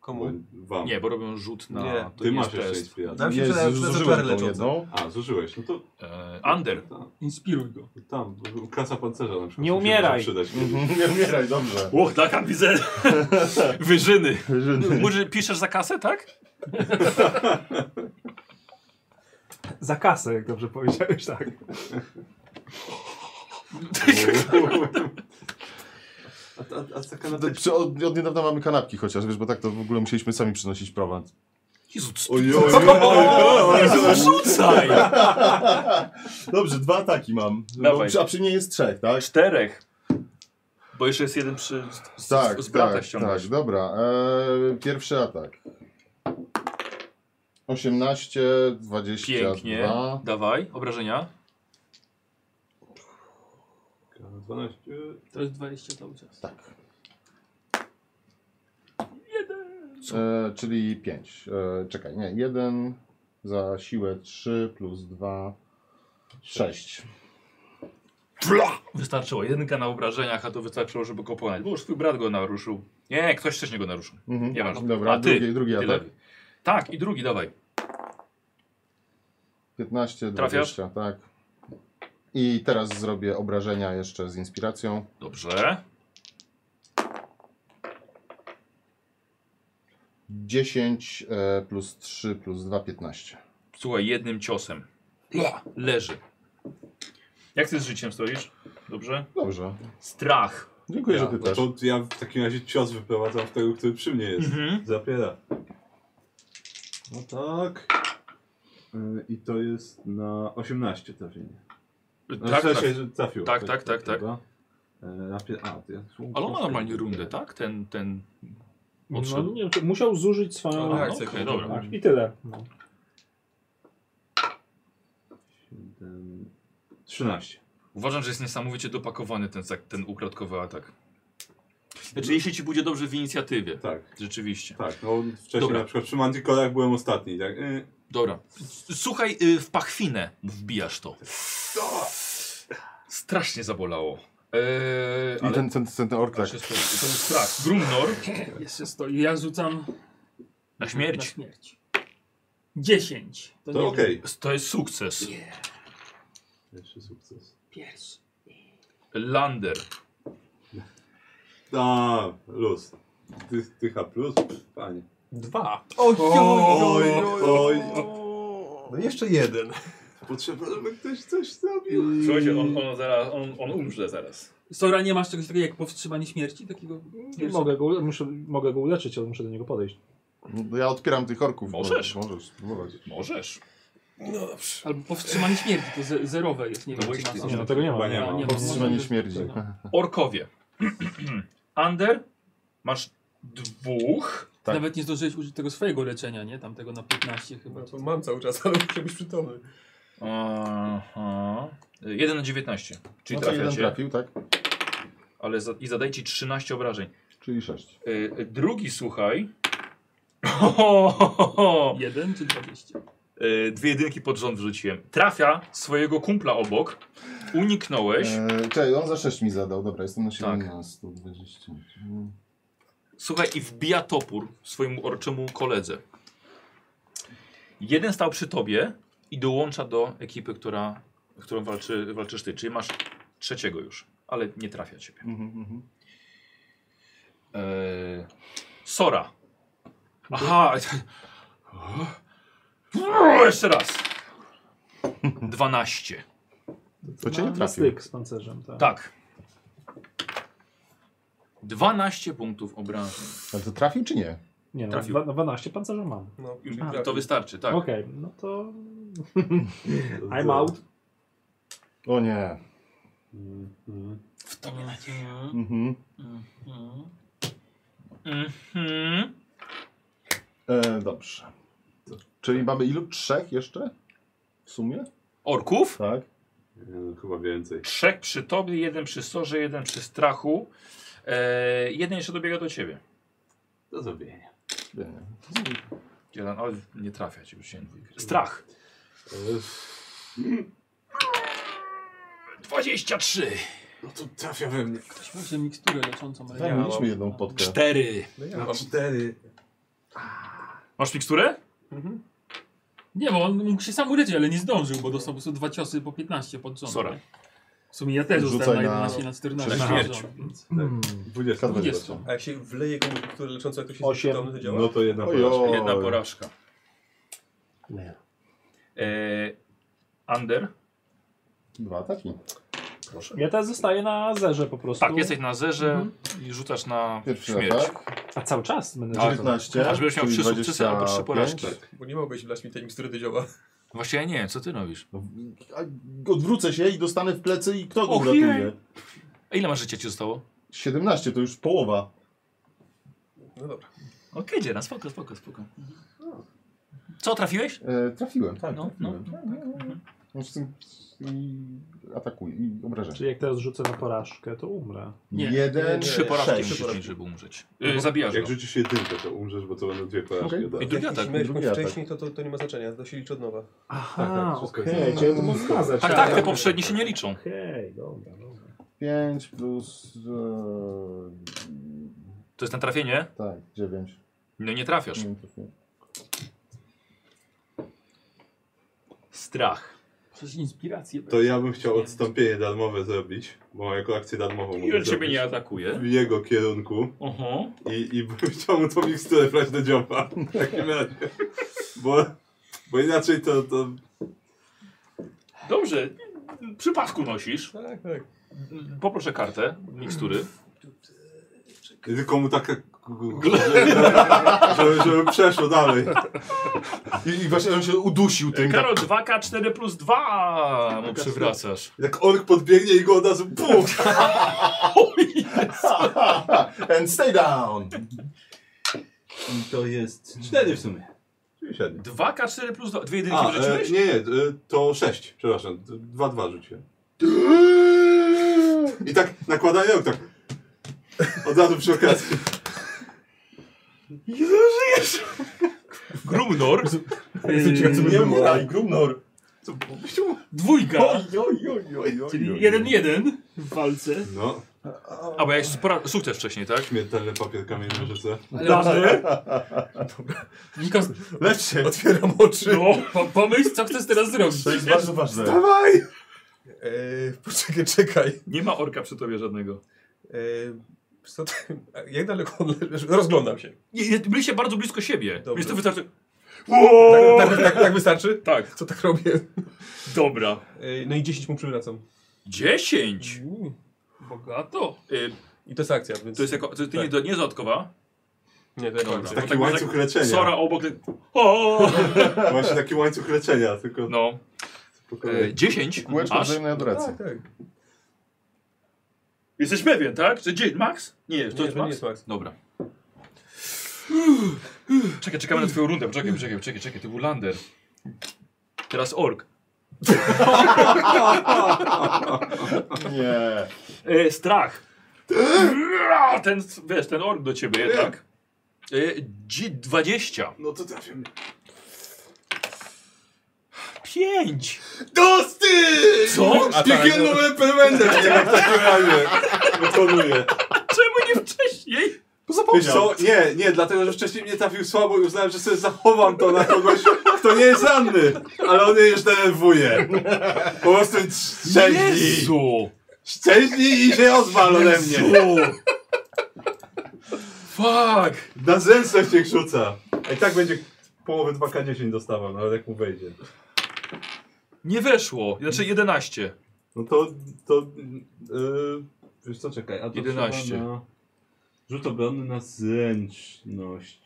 Speaker 6: Komu?
Speaker 4: Bo Wam.
Speaker 1: Nie, bo robią rzut na...
Speaker 6: Nie,
Speaker 1: to
Speaker 4: Ty
Speaker 1: nie
Speaker 4: masz
Speaker 1: jest
Speaker 4: jeszcze
Speaker 1: test.
Speaker 4: inspirację.
Speaker 6: Dam się
Speaker 3: Jest,
Speaker 6: przydać
Speaker 3: zużyłem tą
Speaker 6: leczące.
Speaker 3: jedną.
Speaker 4: A, zużyłeś. No to
Speaker 1: Eee, Under.
Speaker 4: tam,
Speaker 7: Inspiruj go.
Speaker 4: tam klasa pancerza na przykład.
Speaker 2: Nie
Speaker 4: mi się
Speaker 2: umieraj.
Speaker 4: może Przydać.
Speaker 3: Mhm, Nie umieraj, dobrze.
Speaker 1: Łoch, taka tak, widzę. Wyżyny. Może piszesz za kasę, tak?
Speaker 2: Za kasę, jak dobrze powiedziałeś, tak.
Speaker 4: A, a, a taka na
Speaker 3: To Przy, od, od niedawna mamy kanapki chociaż, wiesz, bo tak to w ogóle musieliśmy sami przynosić prowad.
Speaker 1: Jezu, co-
Speaker 3: Ojoj,
Speaker 1: Rzucaj!
Speaker 3: Dobrze, dwa ataki mam. Bo,
Speaker 1: Dawaj.
Speaker 3: przy- a przy mnie jest trzech, tak?
Speaker 1: Czterech. Bo jeszcze jest jeden przy... Z, z-
Speaker 3: Tak,
Speaker 1: z brata
Speaker 3: tak,
Speaker 1: ściągasz.
Speaker 3: tak, dobra. E, pierwszy atak. 18, 22.
Speaker 1: Pięknie. Dawaj, obrażenia.
Speaker 4: 12.
Speaker 7: To jest 20 cały czas.
Speaker 3: Tak. E, czyli 5. E, czekaj, nie. 1 za siłę 3 plus 2. 6.
Speaker 1: Wystarczyło jedynka na obrażeniach, a to wystarczyło, żeby go pokonać. Bo już twój brat go naruszył. Nie, ktoś wcześniej go naruszył.
Speaker 3: Mhm.
Speaker 1: Nie masz.
Speaker 3: Dobra,
Speaker 1: A ty?
Speaker 3: drugi, drugi
Speaker 1: Ty
Speaker 3: atak.
Speaker 1: lewy. Tak, i drugi, dawaj.
Speaker 3: 15,
Speaker 1: Trafiasz?
Speaker 3: 20, tak. I teraz zrobię obrażenia jeszcze z inspiracją.
Speaker 1: Dobrze.
Speaker 3: 10 e, plus 3 plus 2, 15.
Speaker 1: Słuchaj, jednym ciosem. Leży. Jak ty z życiem stoisz? Dobrze?
Speaker 3: Dobrze.
Speaker 1: Strach.
Speaker 3: Dziękuję,
Speaker 4: Ja,
Speaker 3: że ty
Speaker 4: no
Speaker 3: też.
Speaker 4: to ja w takim razie cios wyprowadzam w tego, który przy mnie jest.
Speaker 1: Mhm.
Speaker 4: Zapiera. No tak. Yy, I to jest na 18 trafienie. No,
Speaker 1: Tak,
Speaker 4: tak,
Speaker 1: tak.
Speaker 4: się że trafił.
Speaker 1: Tak, tak, tak, tak.
Speaker 4: Dobra. Yy, na pier- A, to ja...
Speaker 1: Ale on ma normalnie rundę, tak? Ten, ten...
Speaker 2: No,
Speaker 1: Odszedł.
Speaker 2: nie, musiał zużyć swoją
Speaker 1: A, no,
Speaker 6: reakcja,
Speaker 1: Okej,
Speaker 6: kurde.
Speaker 1: dobra.
Speaker 2: Tak, I tyle. No.
Speaker 4: 7, 13.
Speaker 1: Uważam, że jest niesamowicie dopakowany ten, zak- ten ukradkowy atak. Znaczy, jeśli ci będzie dobrze w inicjatywie.
Speaker 4: Tak,
Speaker 1: Rzeczywiście.
Speaker 4: tak. No wcześniej
Speaker 1: Dobra.
Speaker 4: na przykład przy Manticorach byłem ostatni, tak? Yy,
Speaker 1: Dobra. Słuchaj, y, w pachwinę wbijasz to. Strasznie zabolało. Eee,
Speaker 3: I
Speaker 1: ale...
Speaker 3: ten, ten, ten, ten ork
Speaker 1: ale
Speaker 3: tak.
Speaker 1: się sprawdzi. To jest strach. Grumnor
Speaker 7: Jeszcze stoi. Ja rzucam
Speaker 1: na
Speaker 7: na
Speaker 1: śmierć.
Speaker 7: śmierć. 10. nie
Speaker 4: To okej.
Speaker 1: To jest sukces.
Speaker 4: Pierwszy sukces.
Speaker 7: Pierwszy.
Speaker 1: Lander.
Speaker 4: A, luz. Ty, tycha plus? Panie.
Speaker 1: Dwa.
Speaker 6: Oj,
Speaker 4: Oj, oj.
Speaker 6: No jeszcze jeden.
Speaker 4: Potrzeba, żeby ktoś coś zrobił.
Speaker 1: Słuchajcie, on, on, zaraz, on, on umrze zaraz.
Speaker 7: Sora, nie masz czegoś takiego jak powstrzymanie śmierci? Takiego...
Speaker 2: Nie mogę, go, ule- muszę, mogę go uleczyć, ale muszę do niego podejść.
Speaker 3: No, Ja odpieram tych orków.
Speaker 1: Możesz.
Speaker 3: Możesz spróbować.
Speaker 1: Możesz.
Speaker 9: No dobrze.
Speaker 7: Albo powstrzymanie śmierci, to ze, zerowe jest, nie
Speaker 1: To
Speaker 7: wiem,
Speaker 1: był
Speaker 7: czy
Speaker 1: ich
Speaker 7: ma
Speaker 1: styl.
Speaker 2: Nie,
Speaker 7: sens.
Speaker 2: no tego nie ma.
Speaker 4: Chyba nie ma.
Speaker 7: nie ma. No,
Speaker 3: Powstrzymanie śmierdzi. Znaczy,
Speaker 1: Orkowie. Under, masz dwóch.
Speaker 3: Tak.
Speaker 7: Nawet nie zdążyłeś użyć tego swojego leczenia, nie? Tam tego na 15 chyba.
Speaker 6: No, to mam cały czas, ale muszę być przytomny.
Speaker 1: Aha. 1 na 19. Czyli
Speaker 3: No to jeden
Speaker 1: trafiacie,
Speaker 3: trafił, tak?
Speaker 1: ale za, i zadajcie 13 obrażeń.
Speaker 3: Czyli sześć.
Speaker 1: Y, y, drugi, słuchaj. Ho, ho, ho, ho.
Speaker 7: Jeden czy 20?
Speaker 1: Y, dwie jedynki pod rząd wrzuciłem. Trafia swojego kumpla obok. Uniknąłeś.
Speaker 3: E, czekaj, on za sześć mi zadał. Dobra, jestem na 17, 20. Mm.
Speaker 1: Słuchaj, i wbija topór swojemu orczemu koledze. Jeden stał przy tobie i dołącza do ekipy, która, którą walczy, walczysz ty. Czyli masz trzeciego już, ale nie trafia ciebie.
Speaker 3: Mhm, mhm.
Speaker 1: Eee, Sora. Aha. Jeszcze raz. 12.
Speaker 3: To cię
Speaker 2: Na-
Speaker 3: nie
Speaker 2: na
Speaker 3: trafił.
Speaker 2: styk z pancerzem, tak.
Speaker 1: Tak. 12 punktów obrażeń.
Speaker 3: Ale to trafił czy nie?
Speaker 2: Nie, no,
Speaker 1: Trafił.
Speaker 2: dwa- no 12 pancerza mam.
Speaker 6: No,
Speaker 1: Już
Speaker 6: czyli trafił.
Speaker 1: to wystarczy, tak.
Speaker 2: Okej, no to... I'm out.
Speaker 3: O nie.
Speaker 4: Mhm,
Speaker 9: W
Speaker 7: No.
Speaker 9: tobie nadzieja.
Speaker 3: Mhm.
Speaker 1: Mhm.
Speaker 3: E, dobrze. Czyli mamy ilu? Trzech jeszcze? W sumie?
Speaker 1: Orków?
Speaker 3: Tak.
Speaker 4: Nie, no, Chyba więcej.
Speaker 1: Trzech przy tobie, jeden przy sorze, jeden przy strachu. E, jeden jeszcze dobiega do ciebie.
Speaker 4: Do zrobienia.
Speaker 3: Nie, nie.
Speaker 1: Jeden, ale nie trafia ci już się dwójkę. Strach.
Speaker 4: E,
Speaker 1: 23.
Speaker 4: No to trafia we mnie.
Speaker 7: Ktoś może miksturę leczącą. ale
Speaker 3: Tak,
Speaker 7: nie ma.
Speaker 3: mieliśmy jedną podkę.
Speaker 1: 4.
Speaker 6: No ja
Speaker 4: Ja
Speaker 6: mam.
Speaker 4: mam cztery.
Speaker 1: Masz miksturę?
Speaker 7: Nie, bo on mógł się sam uleczyć, ale nie zdążył, bo dostał po prostu dwa ciosy po 15 pod rząd.
Speaker 1: Sorry.
Speaker 7: nie? W sumie ja też
Speaker 3: Rzucaj
Speaker 7: zostałem na
Speaker 3: na-
Speaker 7: 11 na 14.
Speaker 1: na
Speaker 7: pod
Speaker 1: śmierć.
Speaker 7: rząd, więc
Speaker 4: Dwudziestka.
Speaker 7: 20.
Speaker 6: A jak się wleje komuś, który leczący, jak to się jest
Speaker 2: Osiem.
Speaker 6: przytomny, to działa?
Speaker 4: No to jedna
Speaker 3: Oj,
Speaker 4: porażka.
Speaker 3: oj.
Speaker 1: Jedna porażka.
Speaker 2: Nie.
Speaker 1: E, under.
Speaker 3: Dwa ataki.
Speaker 2: Ja teraz zostaję na zerze po prostu.
Speaker 1: Tak, jesteś na zerze i rzucasz na
Speaker 3: Pierwszy
Speaker 1: śmierć.
Speaker 3: atak.
Speaker 2: A cały czas będę...
Speaker 1: Tak.
Speaker 3: 19.
Speaker 1: Aż będziesz miał
Speaker 3: czyli
Speaker 1: trzy sukcesy albo trzy
Speaker 3: 25.
Speaker 1: porażki.
Speaker 6: Bo nie mogłeś wlać mi tej mikstury, to działa.
Speaker 1: Właśnie ja nie wiem, co ty robisz?
Speaker 3: No, a Odwrócę się i dostanę w plecy i kto go
Speaker 1: Och,
Speaker 3: uratuje?
Speaker 1: jej. A ile masz życia ci zostało?
Speaker 3: 17 to już połowa.
Speaker 6: No dobra.
Speaker 1: Okej, okay, dziera, spoko, spoko, spoko. Co, trafiłeś?
Speaker 3: E, trafiłem, tak.
Speaker 1: No,
Speaker 3: trafiłem. No, z tym- I atakuję, i obrażę.
Speaker 2: Czyli jak teraz rzucę na porażkę, to umrę.
Speaker 7: Nie.
Speaker 3: Jeden,
Speaker 1: Trzy porażki
Speaker 3: sześć.
Speaker 1: musisz mieć, żeby umrzeć. E, zabijasz go.
Speaker 4: Jak rzucisz jedynkę, to umrzesz, bo to będą dwie porażki. tak.
Speaker 3: Okej.
Speaker 4: od razu.
Speaker 1: I drugi
Speaker 6: Jak
Speaker 1: atak.
Speaker 6: jeśli miałeś
Speaker 3: drugi
Speaker 6: kogoś
Speaker 3: atak.
Speaker 6: wcześniej, to, to, to nie ma znaczenia, to się liczy od nowa.
Speaker 4: Tak,
Speaker 2: Aha,
Speaker 4: tak, wszystko jest
Speaker 2: okej.
Speaker 4: na-
Speaker 2: Chciałem mu wskazać.
Speaker 1: A tak, te poprzednie się nie liczą.
Speaker 2: Okej, dobra, dobra.
Speaker 3: Pięć plus... E,
Speaker 1: To jest na trafienie?
Speaker 3: tak, dziewięć.
Speaker 1: No nie trafiasz.
Speaker 3: Nie wiem, co to-
Speaker 1: Strach.
Speaker 7: Przecież inspirację.
Speaker 4: To ja bym chciał odstąpienie darmowe zrobić, bo jako akcję darmową
Speaker 1: I on ciebie
Speaker 4: zrobić
Speaker 1: nie atakuje.
Speaker 4: w jego kierunku
Speaker 1: Oho.
Speaker 4: i, i bym chciał mu tą miksturę brać do dzioba. W takim razie. Bo, bo inaczej to, to
Speaker 1: Dobrze. Przy pasku nosisz.
Speaker 6: Tak, tak.
Speaker 1: Poproszę kartę mikstury.
Speaker 4: tylko mu tak... Żeby, żeby przeszło dalej.
Speaker 3: I, I właśnie on się udusił tym.
Speaker 1: Karol 2K4 plus No 2 mu przywracasz.
Speaker 4: Jak ork podbiegnie i go od razu puf!
Speaker 3: And stay down!
Speaker 8: I to jest cztery w sumie.
Speaker 4: Czyli siedem.
Speaker 1: 2K4 plus 2. Dwie jedynki
Speaker 4: A, e,
Speaker 1: wrzuciłeś?
Speaker 4: nie, nie, e, to sześć, przepraszam, dwa, dwa rzuciłem. I tak nakładają, tak. Od razu przy okazji.
Speaker 1: Grumnor.
Speaker 3: Mm, Nie umieraj, Grumnor!
Speaker 7: Eee, Dwójka,
Speaker 3: Oj, oj, oj, oj,
Speaker 7: czyli
Speaker 3: oj.
Speaker 7: 1-1 w walce.
Speaker 4: No,
Speaker 1: A bo ja jeszcze pora- sukces wcześniej, tak?
Speaker 4: śmiertelne papier kamienny rzucę.
Speaker 7: Ale Nikos,
Speaker 3: Lecz się!
Speaker 6: Otwieram oczy.
Speaker 7: no, po, pomyśl, co chcesz teraz zrobić.
Speaker 3: To jest bardzo ważne.
Speaker 6: Dawaj! Eee, poczekaj, czekaj.
Speaker 1: Nie ma orka przy tobie żadnego.
Speaker 6: Eee, co ty, a jak daleko on leży? Rozglądam się.
Speaker 1: Nie, nie, Byliście bardzo blisko siebie.
Speaker 6: Dobrze.
Speaker 1: Więc to wystarczy.
Speaker 6: Tak, tak, tak, tak wystarczy?
Speaker 1: Tak,
Speaker 6: Co tak robię?
Speaker 1: dobra.
Speaker 6: Eee, no i 10 mu przywracam.
Speaker 1: 10.
Speaker 7: Uuu, Bogato.
Speaker 1: Y,
Speaker 6: I to jest akcja, więc...
Speaker 1: To jest jako. To, to nie,
Speaker 6: Tak.
Speaker 1: to nie dodatkowa.
Speaker 6: Nie, to
Speaker 1: Dobra.
Speaker 6: jest
Speaker 1: Bo
Speaker 4: Taki
Speaker 1: tak-
Speaker 4: łańcuch leczenia.
Speaker 1: Sora obok. O!
Speaker 4: Właśnie taki łańcuch leczenia, tylko
Speaker 1: No,
Speaker 4: po kolei.
Speaker 1: e, 10.
Speaker 3: Kółeczko
Speaker 1: Aż.
Speaker 3: wzajemnej adoracji.
Speaker 6: Tak, tak.
Speaker 1: Jesteś pewien, tak? Czy gdzie? Max? Nie, to
Speaker 6: Nie,
Speaker 1: jest
Speaker 6: to nie
Speaker 1: Max.
Speaker 6: jest Max.
Speaker 1: Dobra. Czekaj, czekamy na twoją rundę. Czekaj, czekaj, czekaj, czekaj, to był Lander. Teraz Ork.
Speaker 3: Nie.
Speaker 1: E, strach. Ten, wiesz, ten ork do ciebie, tak? E, dzi- 20.
Speaker 4: No to trafię.
Speaker 1: 5.
Speaker 3: Dosty!
Speaker 1: Co?
Speaker 3: Piekielną będę!
Speaker 4: Wykonuję. Wykonuję.
Speaker 1: Czemu nie wcześniej?
Speaker 4: Wiesz co? Nie, nie, dlatego że wcześniej mnie trafił słabo i uznałem, że sobie zachowam to na kogoś, kto nie jest ranny. Ale on mnie już denerwuje. Po prostu szczęśli.
Speaker 1: Jezu!
Speaker 4: Szczęśli i się odwal ode mnie.
Speaker 1: Fuck!
Speaker 4: Na zęsach się krzuca. A i tak będzie połowę 2K10 dostawał, nawet jak mu wejdzie.
Speaker 1: Nie weszło. Znaczy 11.
Speaker 4: No to, to, yy, wiesz co, czekaj, a to
Speaker 1: 11.
Speaker 4: trzeba na... Rzut obronny na zręczność.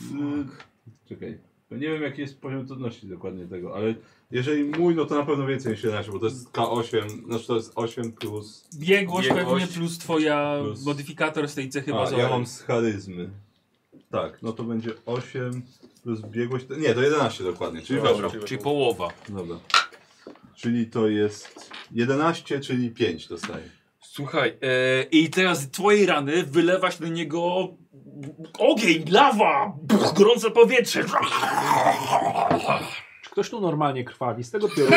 Speaker 4: Yy, czekaj, no nie wiem jaki jest poziom trudności dokładnie tego, ale jeżeli mój, no to na pewno więcej niż 11, bo to jest K8, znaczy to jest 8 plus...
Speaker 7: Biegłość,
Speaker 1: Biegłość.
Speaker 7: pewnie plus twoja
Speaker 4: Plus-
Speaker 7: modyfikator z tej cechy
Speaker 4: A,
Speaker 7: bazowej.
Speaker 4: ja mam z charyzmy. Tak, no to będzie 8 plus biegłość, to- nie, to 11 dokładnie, czyli
Speaker 1: Dobra,
Speaker 4: weszło.
Speaker 1: czyli połowa.
Speaker 4: Dobra. Czyli to jest 11, czyli 5 dostaję.
Speaker 1: Słuchaj, e, i teraz z twojej rany wylewać na niego ogień, lawa, brr, gorące powietrze.
Speaker 2: Czy ktoś tu normalnie krwawi z tego piorunu?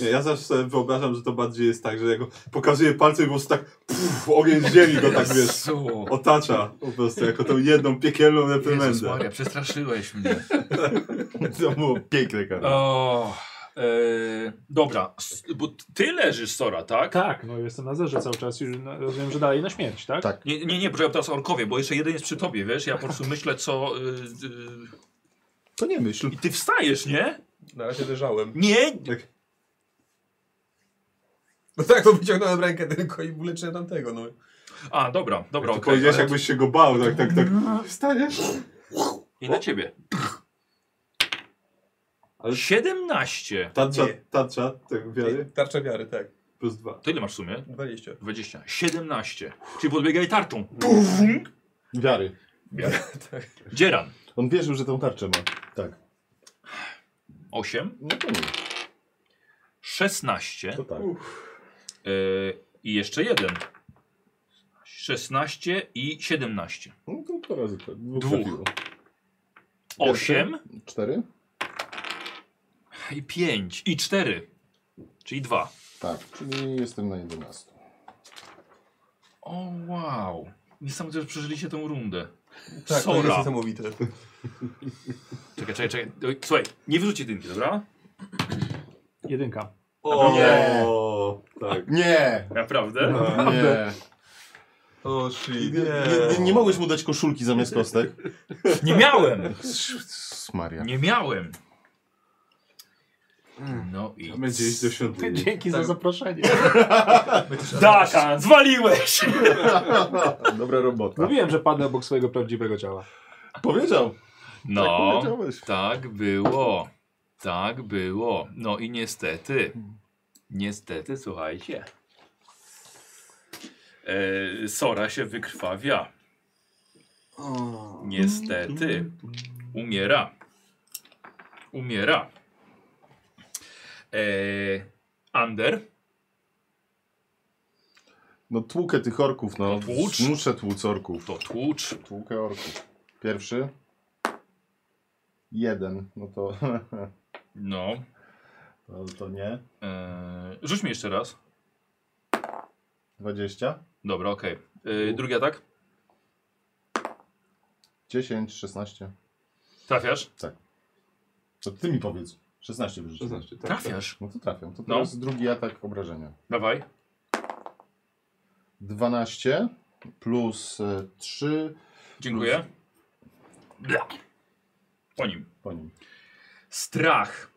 Speaker 4: Nie, ja zawsze sobie wyobrażam, że to bardziej jest tak, że ja go pokazuję palcem i po prostu tak pff, ogień z ziemi go tak wiesz,
Speaker 1: Jezu.
Speaker 4: otacza po prostu jako tą jedną piekielną
Speaker 1: Jezus
Speaker 4: reprymendę.
Speaker 1: Maria, przestraszyłeś mnie.
Speaker 3: To było piękne, Karol.
Speaker 1: O, e, dobra, s- bo ty leżysz, Sora, tak?
Speaker 2: tak, no jestem na zerze cały czas i no, rozumiem, że dalej na śmierć, tak?
Speaker 3: Tak.
Speaker 1: Nie, nie, nie, bo ja teraz orkowie, bo jeszcze jeden jest przy tobie, wiesz? Ja po prostu myślę, co... Y,
Speaker 3: To nie myśl.
Speaker 1: y, I ty wstajesz, nie?
Speaker 6: Na razie leżałem.
Speaker 1: Nie!
Speaker 4: Tak,
Speaker 6: No tak, to wyciągnąłem rękę tylko i uleczę tamtego, no.
Speaker 1: A, dobra, dobra,
Speaker 4: To
Speaker 1: okej.
Speaker 4: powiedziałeś
Speaker 1: ale-
Speaker 4: jakbyś się go bał, tak, tak, tak.
Speaker 1: No.
Speaker 4: Wstajesz?
Speaker 1: I na ciebie.
Speaker 4: Ale-
Speaker 1: 17.
Speaker 4: Tarcza,
Speaker 6: Nie.
Speaker 4: tarcza, tak wiary,
Speaker 6: Tarcza wiary, tak.
Speaker 4: plus dwa.
Speaker 1: To ile masz w sumie?
Speaker 6: 20.
Speaker 1: 20. 17. Czyli podbiegaj tarczą.
Speaker 3: Wiary.
Speaker 1: Dzieran.
Speaker 3: On wierzył, że tą tarczę ma. Tak.
Speaker 1: 8.
Speaker 3: No to nie,
Speaker 1: 16.
Speaker 3: to tak.
Speaker 1: Y, I jeszcze jeden. 16 i 17.
Speaker 3: No to dwa razy tak. Dwóch.
Speaker 1: Dwóch.
Speaker 3: trafiło.
Speaker 1: 8
Speaker 3: Cztery?
Speaker 1: i 5 i 4. Czyli 2.
Speaker 3: Tak, czyli jestem na 11.
Speaker 1: O wow. Niesamowite, że przeżyliście tą rundę.
Speaker 6: Tak, to jest
Speaker 1: Sora.
Speaker 6: niesamowite.
Speaker 1: Czekaj, czekaj, czekaj. Oj, Słuchaj, nie wyrzuć jedynki, dobra?
Speaker 2: Jedynka.
Speaker 4: O, tak.
Speaker 3: Nie!
Speaker 6: No.
Speaker 1: Naprawdę?
Speaker 3: Nie.
Speaker 6: O, shit.
Speaker 3: Nie, nie, nie mogłeś mu dać koszulki zamiast kostek?
Speaker 1: Nie miałem!
Speaker 3: Maria.
Speaker 1: Nie miałem! No i...
Speaker 4: Będzie iść do świątyni.
Speaker 2: Dzięki
Speaker 7: Tak.
Speaker 2: za zaproszenie.
Speaker 1: Daka, zwaliłeś!
Speaker 3: Dobra robota.
Speaker 2: Mówiłem, że padnę obok swojego prawdziwego ciała.
Speaker 3: Powiedział. Tak
Speaker 1: No,
Speaker 3: powiedziałeś.
Speaker 1: tak było. Tak było. No i niestety. Niestety, słuchajcie. E, Sora się wykrwawia. Niestety. Umiera. Umiera. E, Ander.
Speaker 3: No tłukę tych orków, no.
Speaker 1: No tłucz.
Speaker 3: Muszę tłuc orków.
Speaker 1: To tłucz.
Speaker 3: Tłukę orków. Pierwszy. Jeden. No to...
Speaker 1: No.
Speaker 3: to, to nie.
Speaker 1: E, rzuć mi jeszcze raz.
Speaker 3: 20.
Speaker 1: Dobra, okej. E, Drugi atak.
Speaker 3: 10, 16.
Speaker 1: Trafiasz?
Speaker 3: To ty mi powiedz. 16 wyrzuciłem.
Speaker 4: 16, tak.
Speaker 1: Trafiasz.
Speaker 3: No to trafiam. To teraz drugi atak obrażenia.
Speaker 1: Dawaj.
Speaker 3: 12 plus e, 3
Speaker 1: Dziękuję. Bla. Po nim.
Speaker 3: po nim.
Speaker 1: Strach.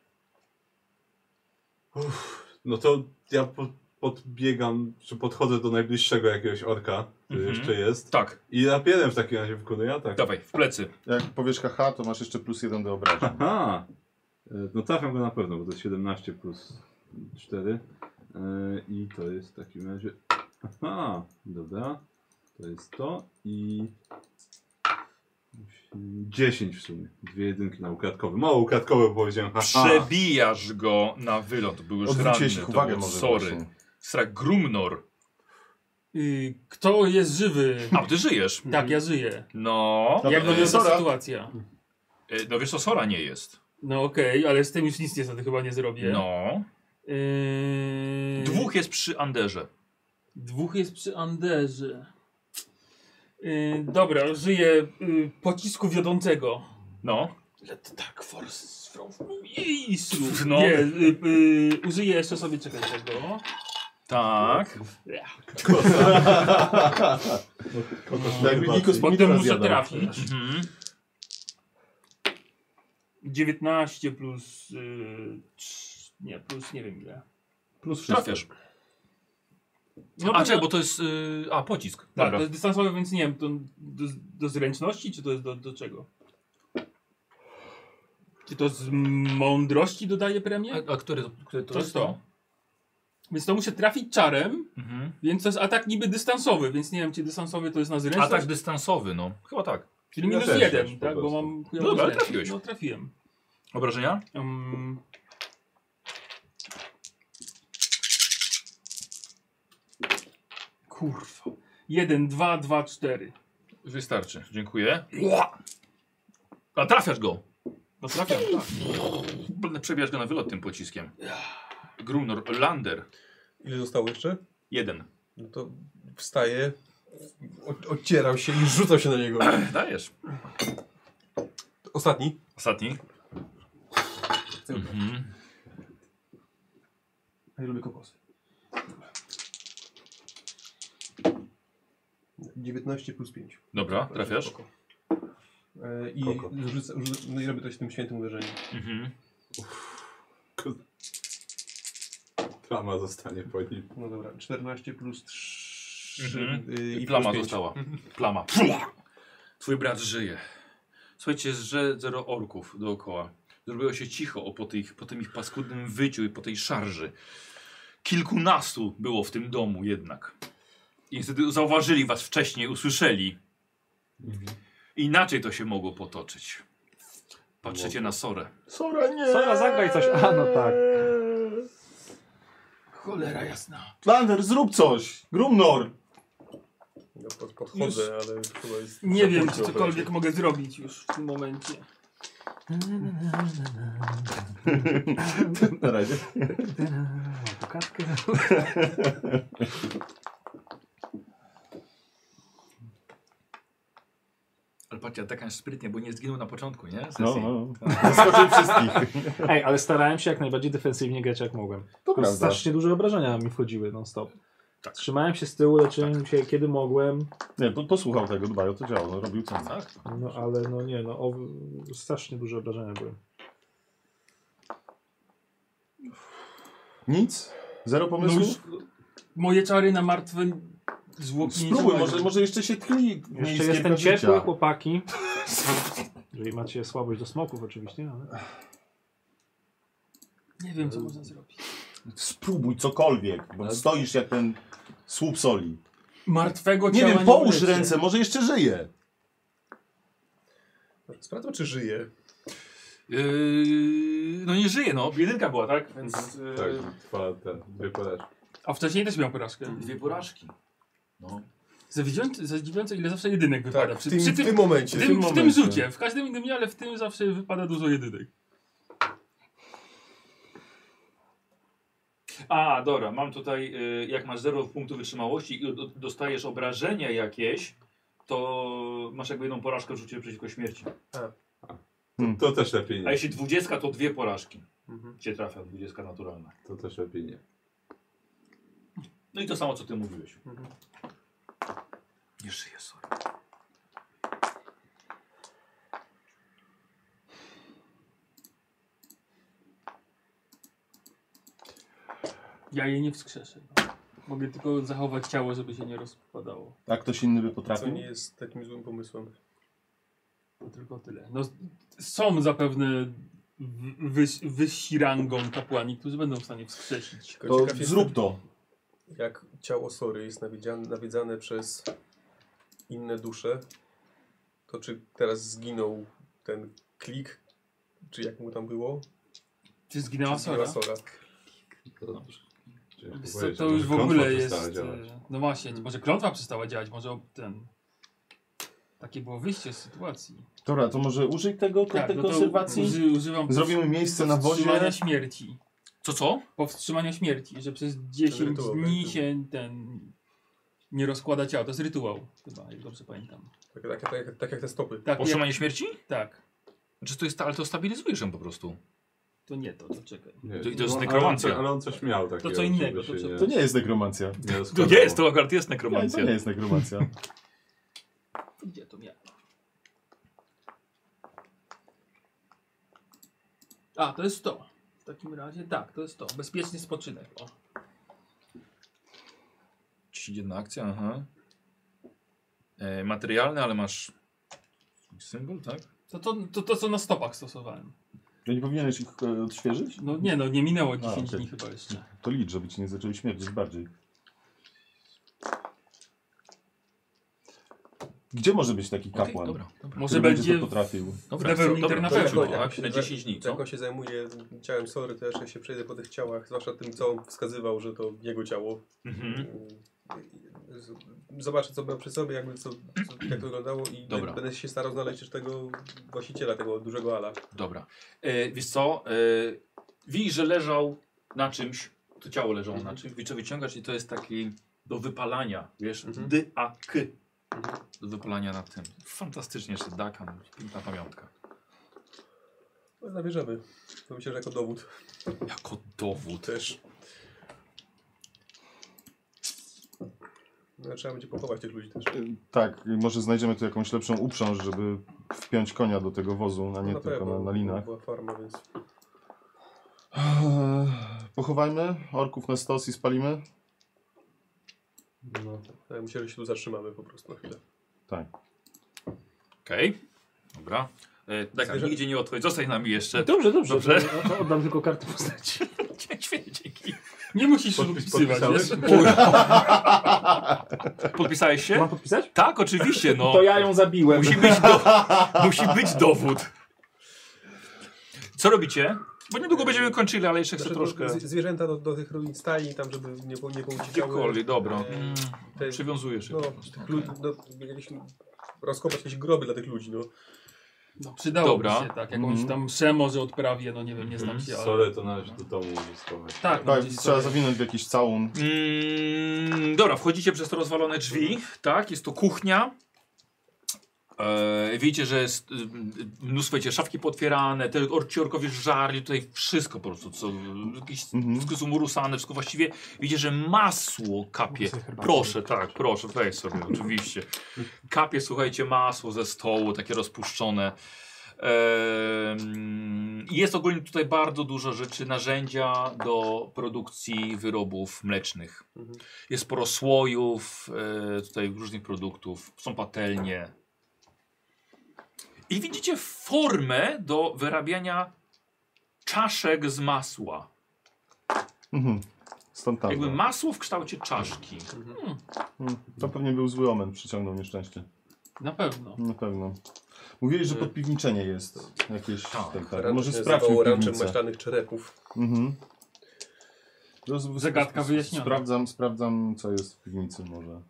Speaker 4: No tak. to ja po, podbiegam, czy podchodzę do najbliższego jakiegoś orka, który
Speaker 1: Mhm.
Speaker 4: jeszcze jest.
Speaker 1: Tak,
Speaker 4: I napierem w takim razie wykonuję atak.
Speaker 1: dawaj, w plecy.
Speaker 3: Jak powiesz haha, to masz jeszcze plus jeden do obrażeń.
Speaker 4: Aha! E, No trafiam go na pewno, bo to jest 17 plus 4. E, I to jest w takim razie... Aha! Dobra. To jest to i... 10 w sumie. Dwie jedynki na ukradkowy. Mało ukradkowy bo powiedziałem. Haha.
Speaker 1: Przebijasz go na wylot, był już ranny.
Speaker 3: Odwróciłeś ich
Speaker 1: to
Speaker 3: uwagę
Speaker 1: był-
Speaker 3: może
Speaker 1: Sorry.
Speaker 3: właśnie.
Speaker 1: Srak Grumnor.
Speaker 7: Y, Kto jest żywy?
Speaker 1: A, ty żyjesz.
Speaker 7: Tak, ja żyję.
Speaker 1: No.
Speaker 3: Dobra,
Speaker 7: Jak wygląda
Speaker 3: Sora.
Speaker 7: ta sytuacja?
Speaker 1: E, No wiesz co, Sora nie jest.
Speaker 7: No okej, ale z tym już nic niestety chyba nie zrobię.
Speaker 1: No.
Speaker 7: Y,
Speaker 1: Dwóch jest przy Anderze.
Speaker 7: Dwóch jest przy Anderze. Y, dobra, żyję y, pocisku wiodącego.
Speaker 1: No.
Speaker 7: Let Dark Force from Isu.
Speaker 1: No.
Speaker 7: Nie, y, y, użyję jeszcze sobie czekaj tego.
Speaker 1: Tak.
Speaker 2: Tak,
Speaker 3: Jakby Nikos
Speaker 7: Bo
Speaker 3: pomidora
Speaker 7: to muszę
Speaker 3: zjadał.
Speaker 7: trafić.
Speaker 1: Mhm.
Speaker 7: 19 plus. y, trz- nie, plus nie wiem ile. Tak,
Speaker 3: Plus wszystko.
Speaker 1: Trafiasz.
Speaker 7: No
Speaker 1: A czekaj, bo to jest... y, A, pocisk.
Speaker 7: Tak,
Speaker 1: Dobra.
Speaker 7: to jest dystansowy, więc nie wiem, to do, do zręczności, czy to jest do, do czego? Czy to z mądrości dodaje premię?
Speaker 1: A, a który, który to,
Speaker 7: To
Speaker 1: jest
Speaker 7: jest to. Więc to muszę trafić czarem,
Speaker 1: Mhm.
Speaker 7: więc to jest atak niby dystansowy, więc nie wiem, czy dystansowy to jest na zręczność,
Speaker 1: Atak dystansowy, no. Chyba tak.
Speaker 7: czyli
Speaker 4: Ja
Speaker 7: minus
Speaker 4: też też
Speaker 7: jeden,
Speaker 4: po
Speaker 7: tak, bo
Speaker 4: prostu.
Speaker 7: mam...
Speaker 1: No dobra, ale
Speaker 7: zręczność.
Speaker 1: trafiłeś.
Speaker 7: No trafiłem.
Speaker 1: Obrażenia?
Speaker 7: Um, kurwa. 1, 2, 2, 4.
Speaker 1: Wystarczy, dziękuję. A trafiasz go!
Speaker 7: No trafiam, tak.
Speaker 1: Przebijasz go na wylot tym pociskiem. Grunor, Lander,
Speaker 6: Ile zostało jeszcze?
Speaker 1: jeden.
Speaker 6: No to wstaję, o- odcierał się i rzucał się na niego.
Speaker 1: Dajesz.
Speaker 6: Ostatni.
Speaker 1: Ostatni. Mhm.
Speaker 8: Ja lubię kokosy.
Speaker 6: 19 plus 5.
Speaker 1: Dobra, trafiasz.
Speaker 6: E, I
Speaker 4: Koko.
Speaker 6: rzucę, rzucę, no i robię to z tym świętym uderzeniem.
Speaker 1: Mhm.
Speaker 4: Plama zostanie po nim.
Speaker 6: No dobra, 14 plus 3
Speaker 1: Mhm.
Speaker 6: i
Speaker 1: Plama
Speaker 6: plus pięć.
Speaker 1: została. Plama. Twój brat żyje. Słuchajcie, że zero orków dookoła. Zrobiło się cicho o po, tych, po tym ich paskudnym wyciu i po tej szarży. Kilkunastu było w tym domu jednak. I niestety zauważyli was wcześniej, usłyszeli. Mhm. Inaczej to się mogło potoczyć. Patrzycie na Sorę.
Speaker 3: Sora nie!
Speaker 2: Sora, zagraj coś. A, no tak.
Speaker 7: Cholera jasna.
Speaker 3: Lander, zrób coś! Grumnor!
Speaker 6: Ja pod, podchodzę, ale chyba jest...
Speaker 7: Nie wiem, czy
Speaker 6: zapomniał
Speaker 7: cokolwiek mogę zrobić już w tym momencie.
Speaker 3: Na razie.
Speaker 2: Pokatkę.
Speaker 1: Ale patrzcie, tak aż sprytnie, bo nie zginął na początku, nie? Sesji.
Speaker 3: No, no. Zaskoczył wszystkich.
Speaker 2: Ej, ale starałem się jak najbardziej defensywnie grać jak mogłem.
Speaker 3: To
Speaker 2: Tylko
Speaker 3: prawda. Tak.
Speaker 2: Strasznie duże obrażenia mi wchodziły non stop. Trzymałem się z tyłu, leczyłem się kiedy mogłem,
Speaker 3: Nie, po- posłuchał tego, dbaj o to działo, no, robił co mógł.
Speaker 1: Tak?
Speaker 2: no ale no nie, no o, strasznie duże obrażenia były.
Speaker 3: Nic? Zero pomysłów?
Speaker 7: Moje czary na martwe zwłoki nie
Speaker 3: Spróbuj,
Speaker 7: działają.
Speaker 3: może, może jeszcze się tkli
Speaker 2: Jeszcze jestem ciepły, chłopaki. Jeżeli macie słabość do smoków oczywiście, no, ale...
Speaker 7: Nie wiem, co można zrobić.
Speaker 3: Spróbuj cokolwiek,
Speaker 2: Tak.
Speaker 3: bo stoisz jak ten słup soli.
Speaker 7: Martwego
Speaker 3: Nie
Speaker 7: ciała
Speaker 3: wiem, połóż
Speaker 7: uleczę.
Speaker 3: ręce, może jeszcze żyje.
Speaker 6: Sprawdzam, czy żyje.
Speaker 1: Yy, no nie żyje, no. Jedynka była, tak? Więc
Speaker 7: E,
Speaker 1: yy,
Speaker 4: Tak, trwa ten, dwie porażki.
Speaker 7: A wcześniej też miał porażkę.
Speaker 1: dwie porażki. No.
Speaker 7: Zadziwiające, zadziwiające ile zawsze jedynek wypada.
Speaker 6: Tak, w
Speaker 7: Przy-
Speaker 6: tym,
Speaker 7: przy
Speaker 6: w tym momencie.
Speaker 7: W tym, w tym rzucie, w każdym innym nie, ale w tym zawsze wypada dużo jedynek.
Speaker 1: A, dobra, mam tutaj, y, jak masz 0 punktu wytrzymałości i do- dostajesz obrażenia jakieś, to masz jakby jedną porażkę w rzucie przeciwko śmierci.
Speaker 4: To też lepiej
Speaker 1: A
Speaker 4: nie.
Speaker 1: jeśli 20, to dwie porażki
Speaker 6: Mhm.
Speaker 1: cię trafia, 20 naturalna.
Speaker 4: To też lepiej nie.
Speaker 1: No i to samo, co ty mówiłeś.
Speaker 6: Mhm.
Speaker 1: Nie żyje, sorry.
Speaker 7: Ja jej nie wskrzeszę. Mogę tylko zachować ciało, żeby się nie rozpadało.
Speaker 3: A Tak ktoś inny by
Speaker 6: Co
Speaker 3: potrafił?
Speaker 6: nie jest takim złym pomysłem.
Speaker 7: To tylko tyle. No, są zapewne w- wys, wyżsi rangą kapłani, którzy będą w stanie wskrzesić.
Speaker 6: Tylko
Speaker 3: To
Speaker 6: ciekaw jestem,
Speaker 3: zrób to.
Speaker 6: Jak ciało Sory jest nawiedzane, nawiedzane przez inne dusze, to czy teraz zginął ten klik, czy jak mu tam było?
Speaker 7: Czy
Speaker 1: No,
Speaker 7: zginęła
Speaker 6: czy zginęła
Speaker 7: Sora?
Speaker 6: Sora?
Speaker 4: To,
Speaker 7: Wiesz co, to już w ogóle jest. e, No właśnie, może klątwa przestała działać, może ob- ten. Takie było wyjście z sytuacji.
Speaker 3: Dobra, to może użyj tego tak,
Speaker 7: no to
Speaker 3: konserwacji.
Speaker 7: uży- używam
Speaker 3: Zrobimy miejsce na wozie.
Speaker 7: powstrzymania śmierci.
Speaker 1: Co, co?
Speaker 7: Powstrzymania śmierci, że przez 10
Speaker 6: rytuał
Speaker 7: dni
Speaker 6: będzie.
Speaker 7: się ten nie rozkłada ciała. To jest rytuał, chyba, jak dobrze pamiętam.
Speaker 6: Tak, tak, tak, tak, tak jak te stopy.
Speaker 7: Tak, jak,
Speaker 1: Powstrzymanie śmierci?
Speaker 7: tak.
Speaker 1: Czy to jest, ale to stabilizujesz ją po prostu.
Speaker 7: To nie to, to czekaj.
Speaker 1: To- to jest nekromancja.
Speaker 4: No, Ale, on- ale on coś miał takiego.
Speaker 7: co innego,
Speaker 4: żeby
Speaker 7: to
Speaker 4: się
Speaker 7: co-
Speaker 3: To nie jest nekromancja.
Speaker 4: nie
Speaker 1: To
Speaker 4: rozkładało.
Speaker 1: nie jest, to akurat jest
Speaker 3: Nie, to
Speaker 1: nekromancja.
Speaker 3: nie jest nekromancja.
Speaker 7: Gdzie to miałem? A, to jest to. W takim razie tak, to jest to. Bezpieczny spoczynek. O.
Speaker 1: Jedna akcja, aha. E, materialne, ale masz symbol, tak?
Speaker 7: To, to, to, to co na stopach stosowałem.
Speaker 3: Ja nie powinieneś ich e, odświeżyć?
Speaker 7: No nie no, nie minęło 10
Speaker 3: okej.
Speaker 7: dni chyba jeszcze.
Speaker 3: To licz, żeby ci nie zaczęły śmierdzieć bardziej. Gdzie może być taki
Speaker 1: Okej,
Speaker 3: kapłan?
Speaker 1: dobra, dobra.
Speaker 7: Może
Speaker 3: który
Speaker 7: będzie
Speaker 3: to potrafił.
Speaker 1: Dobra,
Speaker 7: Level
Speaker 1: co-
Speaker 7: meter
Speaker 1: dobra,
Speaker 7: na
Speaker 1: to
Speaker 7: pewno.
Speaker 1: rzuciło,
Speaker 6: Jak
Speaker 1: tak?
Speaker 6: się
Speaker 1: Na
Speaker 6: za-
Speaker 1: 10 dni, co?
Speaker 6: Jak on się zajmuje ciałem Sory, to raczej się przejdę po tych ciałach, zwłaszcza tym, co on wskazywał, że to jego ciało.
Speaker 1: Mhm.
Speaker 6: Z- Zobaczę, co mam przy sobie, jakby co, co, jak to wyglądało i
Speaker 1: Dobra.
Speaker 6: będę się starał znaleźć też tego właściciela, tego dużego ala.
Speaker 1: Dobra. E, wiesz co? E, widzisz, że leżał na czymś, to ciało leżało na czymś, wiesz co wyciągasz i to jest taki do wypalania, wiesz,
Speaker 6: Mhm.
Speaker 1: D, A, K. Do wypalania na tym. Fantastycznie jeszcze Dakan, piękna pamiątka.
Speaker 6: No, Zabierzemy. To myślę, że jako dowód
Speaker 1: Jako dowód.
Speaker 6: też. No, trzeba będzie pochować tych ludzi też.
Speaker 3: E, Tak, i może znajdziemy tu jakąś lepszą uprząż, żeby wpiąć konia do tego wozu, a nie
Speaker 6: No,
Speaker 3: tylko na, na linach.
Speaker 6: Była farma, więc
Speaker 3: Eee, Pochowajmy orków na stos i spalimy?
Speaker 6: no, tak, myślę, że się tu zatrzymamy po prostu na chwilę.
Speaker 3: Tak.
Speaker 1: Okej. Dobra. E, Dakan,
Speaker 6: Zwierzę-
Speaker 1: nigdzie nie odchodź, zostań z nami jeszcze.
Speaker 2: Dobrze, dobrze. no
Speaker 1: Dobrze.
Speaker 2: To- to Oddam tylko kartę postaci.
Speaker 1: Świetnie, dzięki.
Speaker 7: Nie musisz
Speaker 4: Podpis-
Speaker 7: podpisywać,
Speaker 4: podpisałeś?
Speaker 7: wiesz?
Speaker 1: Podpisałeś się?
Speaker 2: Mam podpisać?
Speaker 1: Tak, oczywiście, no.
Speaker 2: To ja ją zabiłem.
Speaker 1: Musi być, do... Musi być dowód. Co robicie? Bo niedługo będziemy kończyli, ale jeszcze chcę
Speaker 6: Znaczy,
Speaker 1: troszkę...
Speaker 6: z- Zwierzęta do, do tych ruin stali, tam, żeby nie, po- nie pouciekały.
Speaker 1: Gdziekolwiek, dobra.
Speaker 6: E,
Speaker 1: Mm,
Speaker 6: te-
Speaker 1: Przywiązujesz się
Speaker 6: No,
Speaker 1: po prostu. tak.
Speaker 6: tych lud- no, jakieś, rozkopać jakieś groby dla tych ludzi, no.
Speaker 7: No, przydałoby
Speaker 1: Dobra.
Speaker 7: się tak, jakąś
Speaker 3: Mhm.
Speaker 7: tam mszę może odprawię, no nie wiem, nie znam
Speaker 1: Mhm.
Speaker 7: się, ale...
Speaker 4: Sorry, to należy do domu uzyskować.
Speaker 7: Tak, no,
Speaker 3: Tak,
Speaker 7: gdzieś
Speaker 3: trzeba
Speaker 7: sobie-
Speaker 3: zawinąć w jakiś całun.
Speaker 1: Mm, dobra, wchodzicie przez te rozwalone drzwi, tak, jest to kuchnia. E, widzicie, że jest y, y, mnóstwo wiecie, szafki potwierane, te or- ci orkowie żarli, tutaj wszystko po prostu, co, jakieś,
Speaker 3: Mhm.
Speaker 1: wszystko jest umurusane, wszystko właściwie, widzicie, że masło kapie, proszę, tak, proszę, weź sobie, oczywiście, kapie, słuchajcie, masło ze stołu, takie rozpuszczone, Em, Jest ogólnie tutaj bardzo dużo rzeczy, narzędzia do produkcji wyrobów mlecznych.
Speaker 6: Mhm.
Speaker 1: Jest sporo słojów, e, tutaj różnych produktów, są patelnie. I widzicie formę do wyrabiania czaszek z masła.
Speaker 3: Mhm. Stąd tam.
Speaker 1: Jakby masło w kształcie czaszki.
Speaker 3: Mm, To pewnie był zły omen, przyciągnął nieszczęście.
Speaker 7: Na pewno.
Speaker 3: Na pewno. Mówili, że
Speaker 6: Mm.
Speaker 3: podpiwniczenie jest jakieś. Tak, tak,
Speaker 6: Ranczem
Speaker 3: Może
Speaker 6: się
Speaker 3: sprawdźmy
Speaker 6: nazywało ranczem
Speaker 3: piwnicę.
Speaker 6: maślanych czerepów.
Speaker 3: Mhm. Roz-
Speaker 7: Zagadka
Speaker 3: sp-
Speaker 7: wyjaśniona.
Speaker 3: Sprawdzam, sprawdzam, co jest w piwnicy może.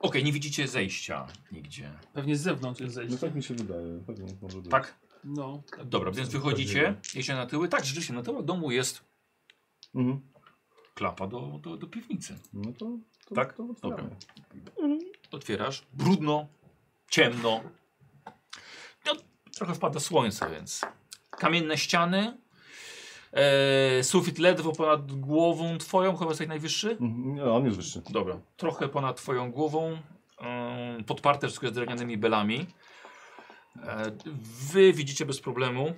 Speaker 1: Okej, nie widzicie zejścia nigdzie.
Speaker 7: Pewnie z zewnątrz jest
Speaker 3: No
Speaker 7: zejście.
Speaker 3: tak mi się wydaje. Pewnie może być.
Speaker 1: Tak?
Speaker 7: No, tak.
Speaker 1: Dobra, więc wychodzicie, jedziecie na tyły. Tak, rzeczywiście, na tyłach domu jest
Speaker 3: Mhm.
Speaker 1: klapa do, do, do piwnicy.
Speaker 3: No to, to
Speaker 1: Tak?
Speaker 3: To
Speaker 1: Dobra.
Speaker 3: otwieramy.
Speaker 1: Otwierasz. Brudno, ciemno. No, trochę wpada słońce, więc. Kamienne ściany. E, sufit ledwo ponad głową twoją, chyba jest tak najwyższy.
Speaker 3: Mhm. Nie, on jest wyższy.
Speaker 1: Dobra. Trochę ponad twoją głową. Ym, podparte wszystko jest drewnianymi belami. E, wy widzicie bez problemu.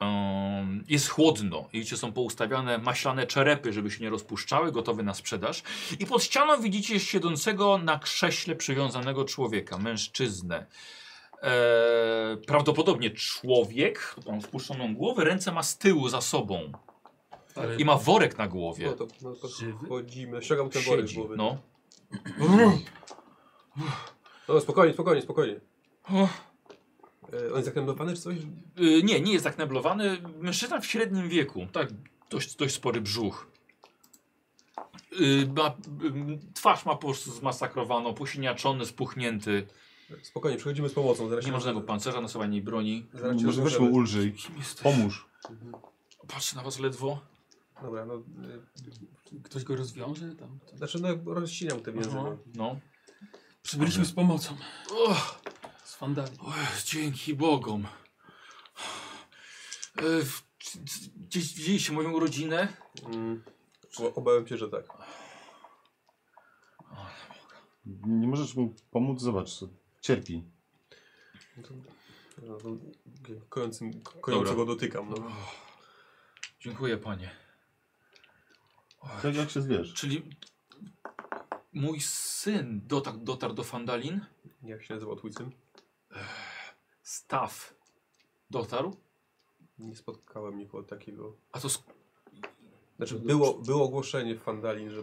Speaker 1: Em, Jest chłodno, i widzicie, są poustawiane maślane czerepy, żeby się nie rozpuszczały, gotowe na sprzedaż. I pod ścianą widzicie siedzącego na krześle przywiązanego człowieka, mężczyznę. Eee, prawdopodobnie człowiek, on spuszczoną głowę, ręce ma z tyłu za sobą
Speaker 7: Ale...
Speaker 1: i ma worek na głowie.
Speaker 6: No to, no to
Speaker 7: Żywy?
Speaker 6: chodzimy. Ściągam ten worek z
Speaker 1: Siedzi,
Speaker 6: głowy. No.
Speaker 1: no.
Speaker 6: No, spokojnie, spokojnie, spokojnie.
Speaker 1: O.
Speaker 6: E, on jest zaknęblowany czy coś?
Speaker 1: Y, nie, nie jest tak neblowany. Mężczyzna w średnim wieku, tak, dość, dość spory brzuch. Y, ma, ym, twarz ma po prostu zmasakrowaną, posiniaczony, spuchnięty.
Speaker 6: Spokojnie, przychodzimy z pomocą. Zaraz
Speaker 1: Nie ma
Speaker 6: się-
Speaker 1: żadnego pancerza na sobie ani broni.
Speaker 6: Zaraz
Speaker 3: No,
Speaker 6: się
Speaker 3: Może weź mu
Speaker 6: rozwiążemy.
Speaker 3: ulżyj. Pomóż.
Speaker 1: Patrzę na was ledwo.
Speaker 6: Dobra, no... e,
Speaker 7: Ktoś go rozwiąże tam. to-
Speaker 6: Znaczy, no rozcinam te więzy.
Speaker 7: Aha.
Speaker 3: Mhm.
Speaker 6: No.
Speaker 1: No.
Speaker 7: Przybyliśmy z pomocą.
Speaker 1: Och,
Speaker 7: Z fandami.
Speaker 1: o, dzięki Bogom. E, w- c- c- Gdzieś widzieliście moją rodzinę?
Speaker 6: Mm. O- Obawiam się, że tak.
Speaker 3: Nie możesz mu pomóc? Zobacz, co- cierpi.
Speaker 6: No, to kojącym, kojąco go dotykam. No.
Speaker 1: Dziękuję panie.
Speaker 3: Tak jak się zwierz.
Speaker 1: Czyli mój syn dotarł, dotarł do Fandalin?
Speaker 6: Jak się nazywa twój syn?
Speaker 1: Staw dotarł?
Speaker 6: Nie spotkałem nikogo takiego.
Speaker 1: A to sk-
Speaker 3: No
Speaker 6: Znaczy, było, było ogłoszenie w Fandalin, że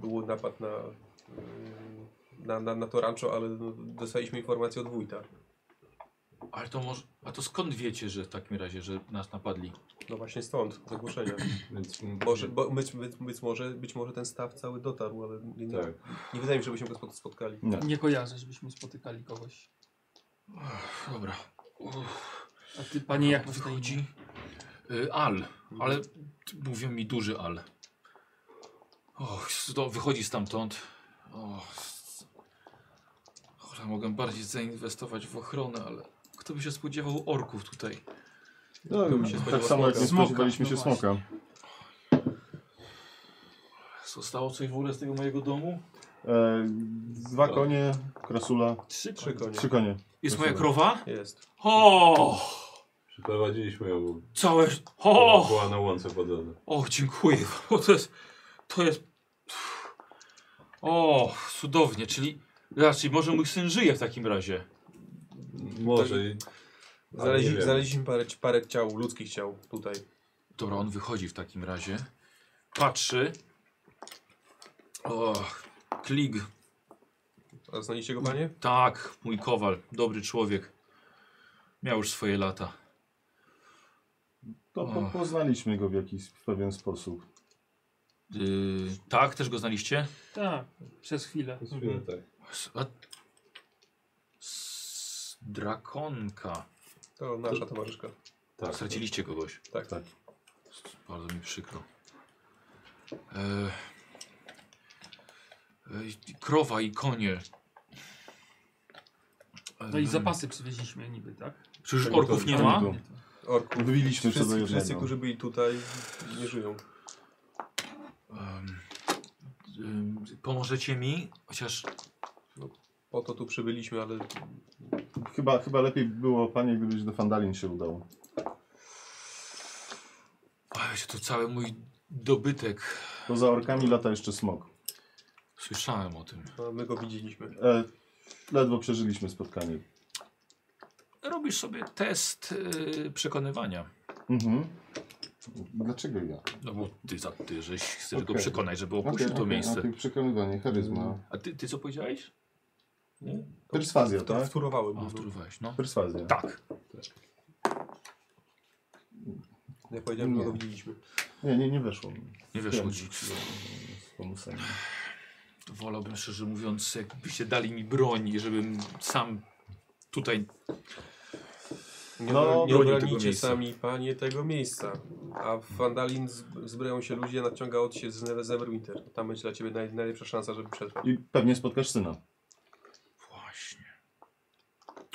Speaker 6: był napad na, y, na, na, na to rancho, ale no, dostaliśmy informację od wójta.
Speaker 1: ale to może, a to skąd wiecie, że w takim razie, że nas napadli?
Speaker 6: No właśnie stąd, z ogłoszenia.
Speaker 4: Więc
Speaker 6: Może, bo, być, być, być, może, być może ten staw cały dotarł, ale nie, nie,
Speaker 4: Tak.
Speaker 6: nie wydaje mi się, żebyśmy go spot- spotkali.
Speaker 3: Nie.
Speaker 7: Nie kojarzę, żebyśmy spotykali kogoś.
Speaker 1: Uff, Dobra. Uff,
Speaker 7: A ty, panie, jak masz na imię?
Speaker 1: wychodzi? Y, al, ale t- mówią mi duży Al. Och, s- to wychodzi stamtąd. Och, s- Cholera, mogę bardziej zainwestować w ochronę, ale kto by się spodziewał orków tutaj?
Speaker 3: No,
Speaker 6: bym się
Speaker 3: tak
Speaker 6: spodziewał
Speaker 3: samo jak nie
Speaker 7: smoka.
Speaker 3: spodziewaliśmy
Speaker 7: No
Speaker 3: się
Speaker 7: właśnie.
Speaker 3: smoka.
Speaker 1: Zostało coś w ogóle z tego mojego domu?
Speaker 3: E, dwa konie, krasula,
Speaker 7: Trzy
Speaker 6: Trzy konie.
Speaker 3: trzy konie.
Speaker 1: Jest
Speaker 3: Proszę
Speaker 1: moja krowa?
Speaker 6: Jest.
Speaker 1: O!
Speaker 4: Przeprowadziliśmy ją.
Speaker 1: Całe.
Speaker 4: O!
Speaker 1: O!
Speaker 4: Była na łące wodowej.
Speaker 1: O, dziękuję. O, to jest. To jest. O, cudownie, czyli. Raczej, może mój syn żyje w takim razie.
Speaker 4: Może i... Ale nie
Speaker 6: Znaleźli,
Speaker 4: wiem.
Speaker 6: znaleźliśmy parę, parę ciał, ludzkich ciał tutaj.
Speaker 1: Dobra, on wychodzi w takim razie. Patrzy. O, klig.
Speaker 6: A znaliście go, panie?
Speaker 1: Tak, mój kowal, dobry człowiek. Miał już swoje lata.
Speaker 3: To po,
Speaker 1: Och.
Speaker 3: poznaliśmy go w jakiś w pewien sposób.
Speaker 1: Yy, tak, też go znaliście?
Speaker 7: Tak, przez chwilę.
Speaker 4: Przez chwilę tak.
Speaker 1: S- A... S- Drakonka.
Speaker 6: To nasza towarzyszka.
Speaker 4: tak.
Speaker 1: Straciliście kogoś.
Speaker 6: Tak.
Speaker 3: Tak.
Speaker 1: Bardzo mi przykro. E... E, Krowa i konie.
Speaker 7: No i zapasy przywieźliśmy niby, tak?
Speaker 1: Przecież
Speaker 3: Tego
Speaker 1: orków
Speaker 3: to-
Speaker 1: nie
Speaker 3: to
Speaker 1: ma?
Speaker 3: nie było.
Speaker 6: Orku.
Speaker 3: Wybiliśmy co do
Speaker 6: Wszyscy, wszyscy,
Speaker 3: jednego.
Speaker 6: którzy byli tutaj, nie żyją.
Speaker 1: Em, em, Pomożecie mi? Chociaż
Speaker 6: Po to tu przybyliśmy, ale
Speaker 3: Chyba, chyba lepiej było, panie, gdybyś do Fandalin się udało.
Speaker 1: ale się tu cały mój dobytek.
Speaker 3: Poza orkami lata jeszcze smok.
Speaker 1: Słyszałem o tym.
Speaker 6: no, my go widzieliśmy.
Speaker 3: E, ledwo przeżyliśmy spotkanie.
Speaker 1: Robisz sobie test e, przekonywania.
Speaker 3: Mhm. Dlaczego ja?
Speaker 1: No bo ty, za- ty żeś chcesz go
Speaker 3: Okej.
Speaker 1: przekonać, żeby opuścił
Speaker 3: Okej,
Speaker 1: to
Speaker 3: okej,
Speaker 1: miejsce.
Speaker 3: okej, No. przekonywanie, charyzma.
Speaker 1: A ty, ty co powiedziałeś?
Speaker 3: Perswazja,
Speaker 6: To
Speaker 3: tak?
Speaker 6: wtórowałem.
Speaker 1: A,
Speaker 6: mu,
Speaker 1: wtórowałeś, no.
Speaker 3: Perswazja.
Speaker 1: Tak.
Speaker 6: No. Ja powiedziałem, że
Speaker 3: Nie.
Speaker 6: go widzieliśmy.
Speaker 3: Nie, nie, nie weszło. mi.
Speaker 1: Nie weszło
Speaker 3: Wiem,
Speaker 1: ci.
Speaker 3: że- Z bonusami.
Speaker 1: Wolałbym szczerze mówiąc, jakbyście dali mi broń, żebym sam tutaj.
Speaker 6: Nie,
Speaker 3: No,
Speaker 6: no, nie
Speaker 1: bronił tego
Speaker 6: bronicie
Speaker 1: miejsca.
Speaker 6: sami, panie, tego miejsca. A w Fandalin z- zbroją się ludzie, nadciąga od się z Ne- z Neverwinter. Tam będzie dla ciebie naj, najlepsza szansa, żeby przetrwać.
Speaker 3: I pewnie spotkasz syna.
Speaker 1: Właśnie.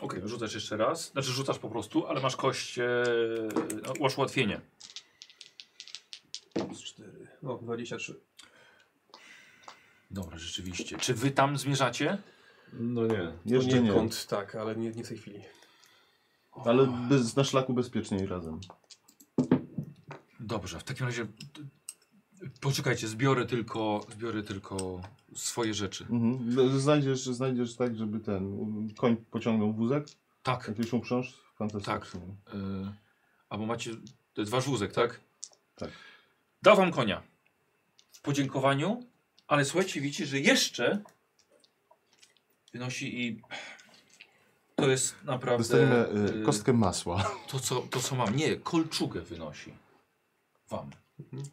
Speaker 1: Okej, rzucasz jeszcze raz. Znaczy rzucasz po prostu, ale masz kość. E, no, masz ułatwienie.
Speaker 6: Plus 4. No, 23.
Speaker 1: Dobra, rzeczywiście. Czy wy tam zmierzacie?
Speaker 4: No nie.
Speaker 3: Jeszcze nie.
Speaker 6: Poniekąd tak, ale nie, nie w tej chwili.
Speaker 3: Ale bez, na szlaku bezpieczniej razem.
Speaker 1: Dobrze, w takim razie d- poczekajcie, zbiorę tylko, zbiorę tylko swoje rzeczy.
Speaker 3: Mhm. D- Znajdziesz, znajdziesz tak, żeby ten um, koń pociągnął wózek,
Speaker 1: Tak,
Speaker 3: jak już uprząż, fantastycznie.
Speaker 1: y, albo macie, to jest wasz wózek, tak?
Speaker 3: Tak.
Speaker 1: Dał wam konia w podziękowaniu, ale słuchajcie, widzicie, że jeszcze wynosi i to jest naprawdę...
Speaker 3: Dostaniemy y,
Speaker 1: y,
Speaker 3: kostkę masła.
Speaker 1: To co, to co mam, nie, kolczugę wynosi wam.
Speaker 3: Mhm.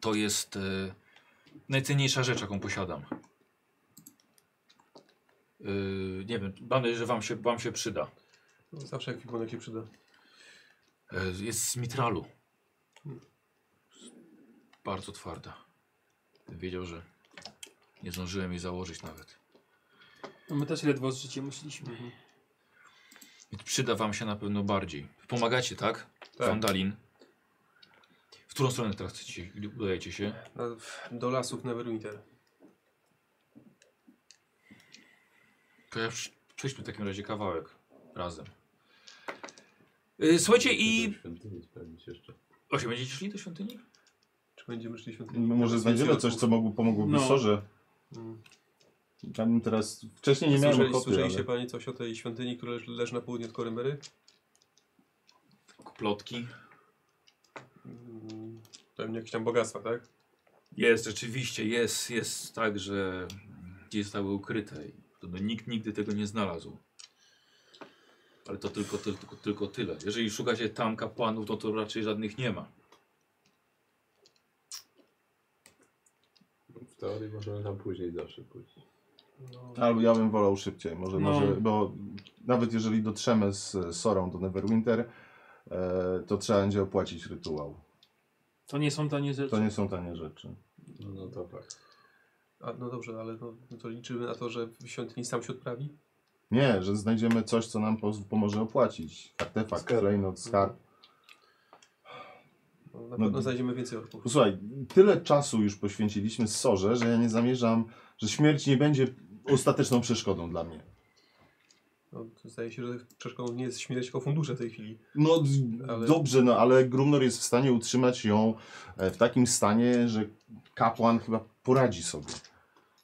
Speaker 1: To jest e, najcenniejsza rzecz, jaką posiadam. Y, nie wiem, mam nadzieję, że wam się, wam się przyda.
Speaker 6: Zawsze jakiś bunek się przyda.
Speaker 1: E, jest z mitralu. Bardzo twarda. Gdybym Wiedział, że nie zdążyłem jej założyć nawet.
Speaker 7: No my też ledwo z życiem musieliśmy.
Speaker 3: Mhm.
Speaker 1: Więc przyda wam się na pewno bardziej. Pomagacie, tak? tak. Wandalin. W którą stronę teraz chcecie, udajecie się?
Speaker 6: Na- w- No, Do lasów Neverwinter.
Speaker 1: To ja prz- przejdźmy w takim razie kawałek razem. Yy, słuchajcie i...
Speaker 4: Świątyni sprawdzić jeszcze.
Speaker 1: Właśnie, będziecie szli do świątyni?
Speaker 6: Czy będziemy szli świątynią?
Speaker 3: Może
Speaker 6: tak
Speaker 3: znajdziemy coś, co mogło, pomogłoby no. Sorze.
Speaker 6: Mm.
Speaker 3: Ja bym teraz wcześniej nie miałem
Speaker 6: Słyszeli,
Speaker 3: ochoty,
Speaker 6: słyszeliście
Speaker 3: ale...
Speaker 6: Pani coś o tej świątyni, która leży, leży na południu od Korymbery?
Speaker 1: Plotki.
Speaker 6: Mm, Pewnie jakieś tam bogactwa, tak?
Speaker 1: Jest, rzeczywiście, jest, jest tak, że gdzieś zostały ukryte i podobno nikt nigdy tego nie znalazł. Ale to tylko, tylko, tylko tyle. Jeżeli szukacie tam kapłanów, no to raczej żadnych nie ma.
Speaker 4: W teorii możemy tam później zawsze pójść.
Speaker 3: Albo ja bym wolał szybciej, może,
Speaker 7: No.
Speaker 3: może, bo nawet jeżeli dotrzemy z Sorą do Neverwinter, e, to trzeba będzie opłacić rytuał.
Speaker 7: To nie są tanie rzeczy.
Speaker 3: To nie są tanie rzeczy.
Speaker 4: No to tak.
Speaker 6: A, no dobrze, ale no, to liczymy na to, że w świątyni sam się odprawi?
Speaker 3: Nie, że znajdziemy coś, co nam poz- pomoże opłacić. Artefakt,
Speaker 4: Skarb.
Speaker 3: klejnot, skarb.
Speaker 6: No, na
Speaker 3: No.
Speaker 6: pewno znajdziemy więcej orków.
Speaker 3: Posłuchaj, tyle czasu już poświęciliśmy Sorze, że ja nie zamierzam, że śmierć nie będzie ostateczną przeszkodą dla mnie.
Speaker 6: No, to zdaje się, że przeszkodą nie jest śmierć, tylko fundusze w tej chwili.
Speaker 3: No d-
Speaker 6: Ale-
Speaker 3: dobrze, no ale Grumnor jest w stanie utrzymać ją e, w takim stanie, że kapłan chyba poradzi sobie.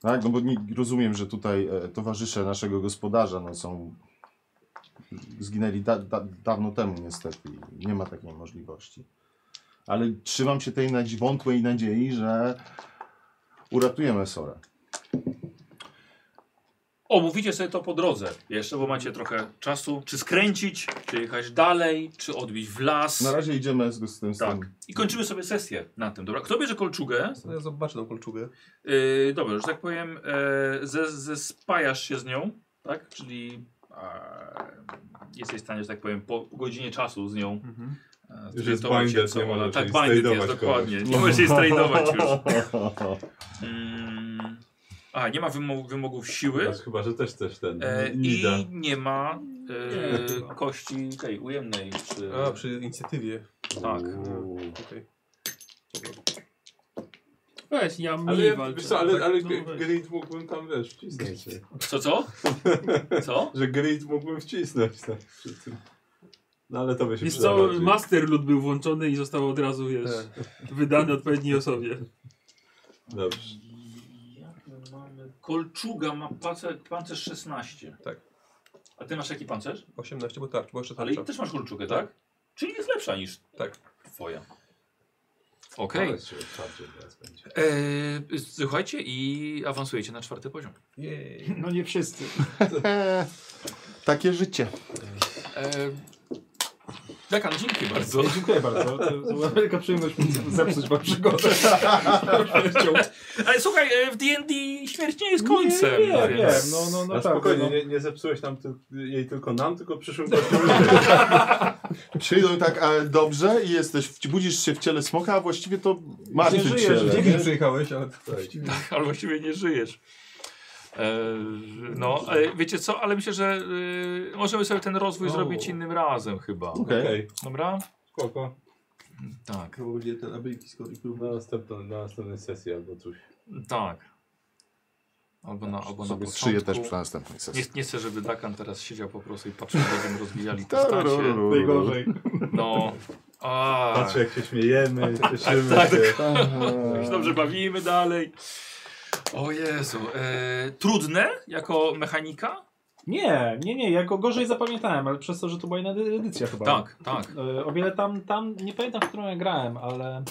Speaker 3: Tak? No bo nie, rozumiem, że tutaj e, towarzysze naszego gospodarza no, są zginęli da, da, dawno temu niestety i nie ma takiej możliwości. Ale trzymam się tej nadzi- wątłej nadziei, że uratujemy Sorę.
Speaker 1: O, mówicie sobie to po drodze. Jeszcze, bo macie trochę czasu. Czy skręcić, czy jechać dalej, czy odbić w las.
Speaker 3: Na razie idziemy z, z tym
Speaker 1: Tak.
Speaker 3: samym.
Speaker 1: I kończymy sobie sesję na tym, dobra? Kto bierze kolczugę?
Speaker 6: No, ja zobaczę tą kolczugę.
Speaker 1: Yy, dobra, że tak powiem, yy, ze, zespajasz się z nią, tak? Czyli e, jesteś w stanie, że tak powiem, po godzinie czasu z nią. e,
Speaker 4: Już jest
Speaker 1: zorientować się,
Speaker 4: binded,
Speaker 1: co
Speaker 4: nie
Speaker 1: ona-
Speaker 4: możesz
Speaker 1: Tak,
Speaker 4: jej
Speaker 1: binded jest,
Speaker 4: strajdować
Speaker 1: dokładnie. Nie możesz jej strajdować już. Mm. A, nie ma wymo- wymogów siły.
Speaker 4: Teraz chyba, że też też ten
Speaker 1: E, I
Speaker 4: Nida.
Speaker 1: nie ma e, kości tej ujemnej. Czy...
Speaker 6: A, przy inicjatywie.
Speaker 1: Tak.
Speaker 4: Uuu.
Speaker 6: Okej.
Speaker 7: Weź, ja mniej
Speaker 4: Ale, ja,
Speaker 7: walczę.
Speaker 4: wiesz co, ale, ale
Speaker 7: No,
Speaker 4: G-
Speaker 7: weź.
Speaker 4: Grid mógłbym tam, wiesz, wcisnąć. nie?
Speaker 1: Co, co? Co?
Speaker 4: Że Grid mógłbym wcisnąć tak przy tym. No ale to by się
Speaker 7: Wiesz
Speaker 4: przydało
Speaker 7: co,
Speaker 4: bardziej.
Speaker 7: master lud był włączony i został od razu, wiesz,
Speaker 3: Tak.
Speaker 7: wydany odpowiedniej osobie.
Speaker 4: Dobrze.
Speaker 1: Kolczuga ma pancer, pancerz 16.
Speaker 6: Tak.
Speaker 1: A ty masz jaki pancerz?
Speaker 6: 18, bo tarcz, bo jeszcze
Speaker 1: Ale i
Speaker 6: tarcza.
Speaker 1: też masz kolczugę, tak? Czyli jest lepsza niż
Speaker 6: Tak.
Speaker 1: twoja. Okej.
Speaker 4: Ale się otwarcie teraz będzie.
Speaker 1: Eee, słuchajcie i awansujecie na czwarty poziom.
Speaker 6: Jej.
Speaker 2: No nie wszyscy.
Speaker 3: E, Takie życie.
Speaker 1: Eee, Dekan, dzięki bardzo.
Speaker 2: Dziękuję bardzo. To była wielka przyjemność móc zepsuć wam przygodę.
Speaker 1: Ale słuchaj, e, w D&D śmierć nie jest końcem.
Speaker 2: Nie, nie, wiem,
Speaker 1: więc-
Speaker 2: no, no,
Speaker 4: No,
Speaker 2: naprawdę,
Speaker 4: spokojnie,
Speaker 2: no.
Speaker 4: nie, nie zepsułeś tam ty, jej tylko nam, tylko przyszłym gościom.
Speaker 3: Przyjdą i tak ale dobrze i jesteś, w, budzisz się w ciele smoka, a właściwie to martwy
Speaker 2: żyjesz,
Speaker 3: ciele.
Speaker 2: nie-
Speaker 6: Dzięki, że przyjechałeś, ale...
Speaker 1: Tak, ale właściwie nie żyjesz. E, no, ale wiecie co, ale myślę, że e, możemy sobie ten rozwój zrobić innym razem chyba.
Speaker 3: Okej.
Speaker 4: Okej,
Speaker 1: Dobra?
Speaker 4: spoko.
Speaker 1: Tak,
Speaker 8: Chyba będzie ten ability score i próba.
Speaker 4: Na, następną, na następnej sesji albo coś.
Speaker 1: tak. Albo na, albo No, na
Speaker 3: Sobie
Speaker 1: początku.
Speaker 3: szyję też przy następnej
Speaker 1: Nie,
Speaker 3: sesji.
Speaker 1: nie chcę, żeby Dakan teraz siedział po prostu i patrzył, jak będziemy rozwijali postacie.
Speaker 3: Tararuru.
Speaker 2: Najgorzej.
Speaker 1: No, A,
Speaker 3: Znaczy-
Speaker 4: Patrzę jak się śmiejemy, cieszymy
Speaker 1: Tak.
Speaker 4: się.
Speaker 1: tak się dobrze bawimy dalej. O Jezu. E, trudne jako mechanika?
Speaker 2: Nie, nie, nie, ja go gorzej zapamiętałem, ale przez to, że to była inna edy- edycja chyba.
Speaker 1: Tak, tak.
Speaker 2: E, O wiele tam, tam, nie pamiętam, w którą ja grałem, ale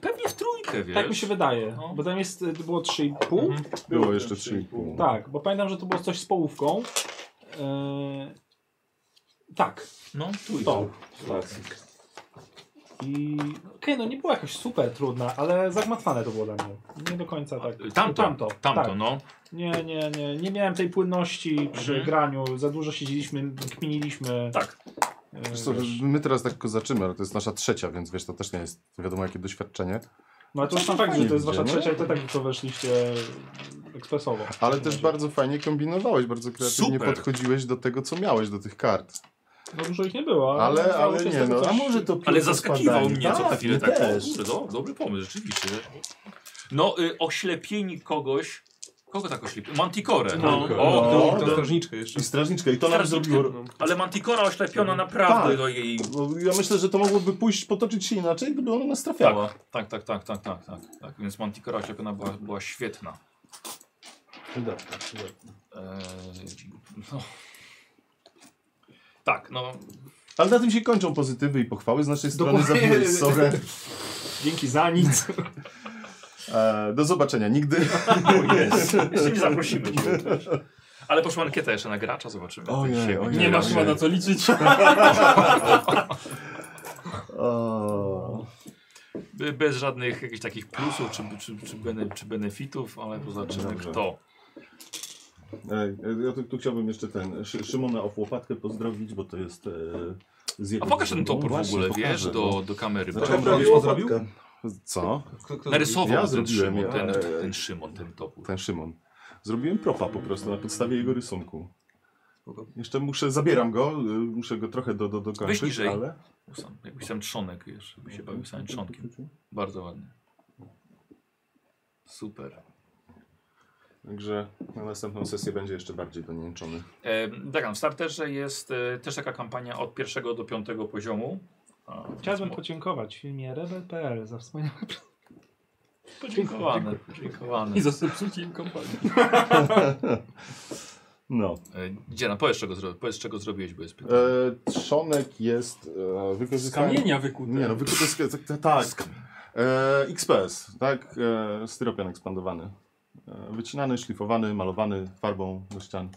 Speaker 1: Pewnie w trójkę, wiesz.
Speaker 2: tak mi się wydaje,
Speaker 1: No.
Speaker 2: bo tam jest, to było 3,5.
Speaker 1: Mhm.
Speaker 3: Było jeszcze 3,5.
Speaker 2: Tak, bo pamiętam, że to było coś z połówką. E, tak,
Speaker 1: No, trójka.
Speaker 2: to. I okej, no nie była jakaś super trudna, ale zagmatwane to było dla mnie. Nie do końca tak.
Speaker 1: Tamto,
Speaker 2: tamto,
Speaker 1: tamto,
Speaker 2: tak.
Speaker 1: no.
Speaker 2: Nie, nie, nie. Nie miałem tej płynności przy
Speaker 1: Mhm.
Speaker 2: graniu. Za dużo siedzieliśmy, kminiliśmy.
Speaker 1: Tak.
Speaker 2: e,
Speaker 3: Wiesz co, my teraz tak kozaczymy, ale to jest nasza trzecia, więc wiesz, to też nie jest wiadomo jakie doświadczenie.
Speaker 2: No ale to już sam fakt, że to jest wasza
Speaker 3: Fajnie
Speaker 2: trzecia i to tak to weszliście ekspresowo.
Speaker 3: Ale też bardzo fajnie kombinowałeś, bardzo kreatywnie
Speaker 1: Super.
Speaker 3: podchodziłeś do tego, co miałeś, do tych kart.
Speaker 2: No dużo ich nie było,
Speaker 3: Ale,
Speaker 2: udało
Speaker 3: ale
Speaker 2: się z
Speaker 3: nie
Speaker 2: tego
Speaker 3: no,
Speaker 2: coś-
Speaker 3: a może to
Speaker 1: Ale
Speaker 3: piłka
Speaker 1: zaskakiwał
Speaker 3: spadanie.
Speaker 1: mnie co
Speaker 3: Tak,
Speaker 1: chwilę.
Speaker 3: mnie
Speaker 1: Tak,
Speaker 3: też.
Speaker 1: o, kurde, do, dobry pomysł, rzeczywiście. No, y, oślepieni kogoś. Kogo tak oślepieni? Manticore.
Speaker 6: No.
Speaker 1: O,
Speaker 3: No.
Speaker 1: kurde.
Speaker 6: Tą strażniczkę jeszcze.
Speaker 3: I strażniczka, i to nam
Speaker 1: Strażniczka.
Speaker 3: zrobiło...
Speaker 1: Ale Manticora oślepiona naprawdę
Speaker 3: Tak.
Speaker 1: do jej.
Speaker 3: No, ja myślę, że to mogłoby pójść, potoczyć się inaczej, gdyby ona nas trafiała.
Speaker 1: Tak, tak, tak, tak, tak, tak, tak, tak. Więc Manticora oślepiona była, była świetna.
Speaker 3: Tak,
Speaker 4: Przydatne, przydatne.
Speaker 1: Eee, no. Tak, no.
Speaker 3: Ale na tym się kończą pozytywy i pochwały z naszej strony.
Speaker 2: Dokładnie.
Speaker 3: Zabiję sorę.
Speaker 2: Dzięki za nic.
Speaker 3: E, do zobaczenia. Nigdy.
Speaker 1: Jeszcze nie zaprosimy. cię. Ale poszła ankieta jeszcze na gracza, zobaczymy. jak to
Speaker 3: Ojej,
Speaker 1: się-
Speaker 3: ojej.
Speaker 7: Nie masz chyba na co liczyć.
Speaker 3: O.
Speaker 1: Be- Bez żadnych jakichś takich plusów czy, czy, czy, bene, czy benefitów, ale to zobaczymy
Speaker 3: Dobrze.
Speaker 1: kto.
Speaker 3: Ej, ja tu, tu chciałbym jeszcze ten Szy, Szymona o łopatkę pozdrowić, bo to jest. E, z jego
Speaker 1: A pokaż ten
Speaker 3: drużyną.
Speaker 1: topór w
Speaker 3: No Właśnie,
Speaker 1: ogóle,
Speaker 3: pokażę, no.
Speaker 1: wiesz, do, do kamery.
Speaker 3: Zacząłem
Speaker 1: Bo-
Speaker 3: robić-
Speaker 4: Robił
Speaker 6: zrobił?
Speaker 4: łopatkę.
Speaker 3: Co?
Speaker 6: Kto, kto
Speaker 1: Narysował
Speaker 3: Ja
Speaker 1: ten,
Speaker 3: zrobiłem,
Speaker 1: Szymon, ten,
Speaker 3: ale-
Speaker 1: ten Szymon, ten topór.
Speaker 3: Ten Szymon. Zrobiłem propa po prostu na podstawie jego rysunku.
Speaker 6: Spoko.
Speaker 3: Jeszcze muszę, zabieram go, y, muszę go trochę do, do, dokończyć,
Speaker 1: niżej.
Speaker 3: ale...
Speaker 1: Sam, jakbyś tam trzonek, wiesz, jakby się bawił samym trzonkiem. Bardzo ładnie. Super.
Speaker 3: Także na następną sesję będzie jeszcze bardziej donięczony.
Speaker 1: E, Dagan, w starterze jest e, też taka kampania od pierwszego do piątego poziomu. A,
Speaker 2: Chciałbym
Speaker 1: więc mo-
Speaker 2: podziękować filmie Rebel.pl za wspaniałe...
Speaker 1: podziękowane. podziękowane.
Speaker 7: I za zepsucie im kampanii.
Speaker 3: No.
Speaker 1: E, Dziena, powiedz czego, zro- powiedz czego zrobiłeś, bo jest pytanie.
Speaker 3: E, trzonek jest e,
Speaker 7: Z
Speaker 3: wykorzystany...
Speaker 7: kamienia wykute.
Speaker 3: Nie no, wykute z... Tak, tak, tak. E, XPS, tak? E, styropian ekspandowany. E, wycinany, szlifowany, malowany farbą do ścian.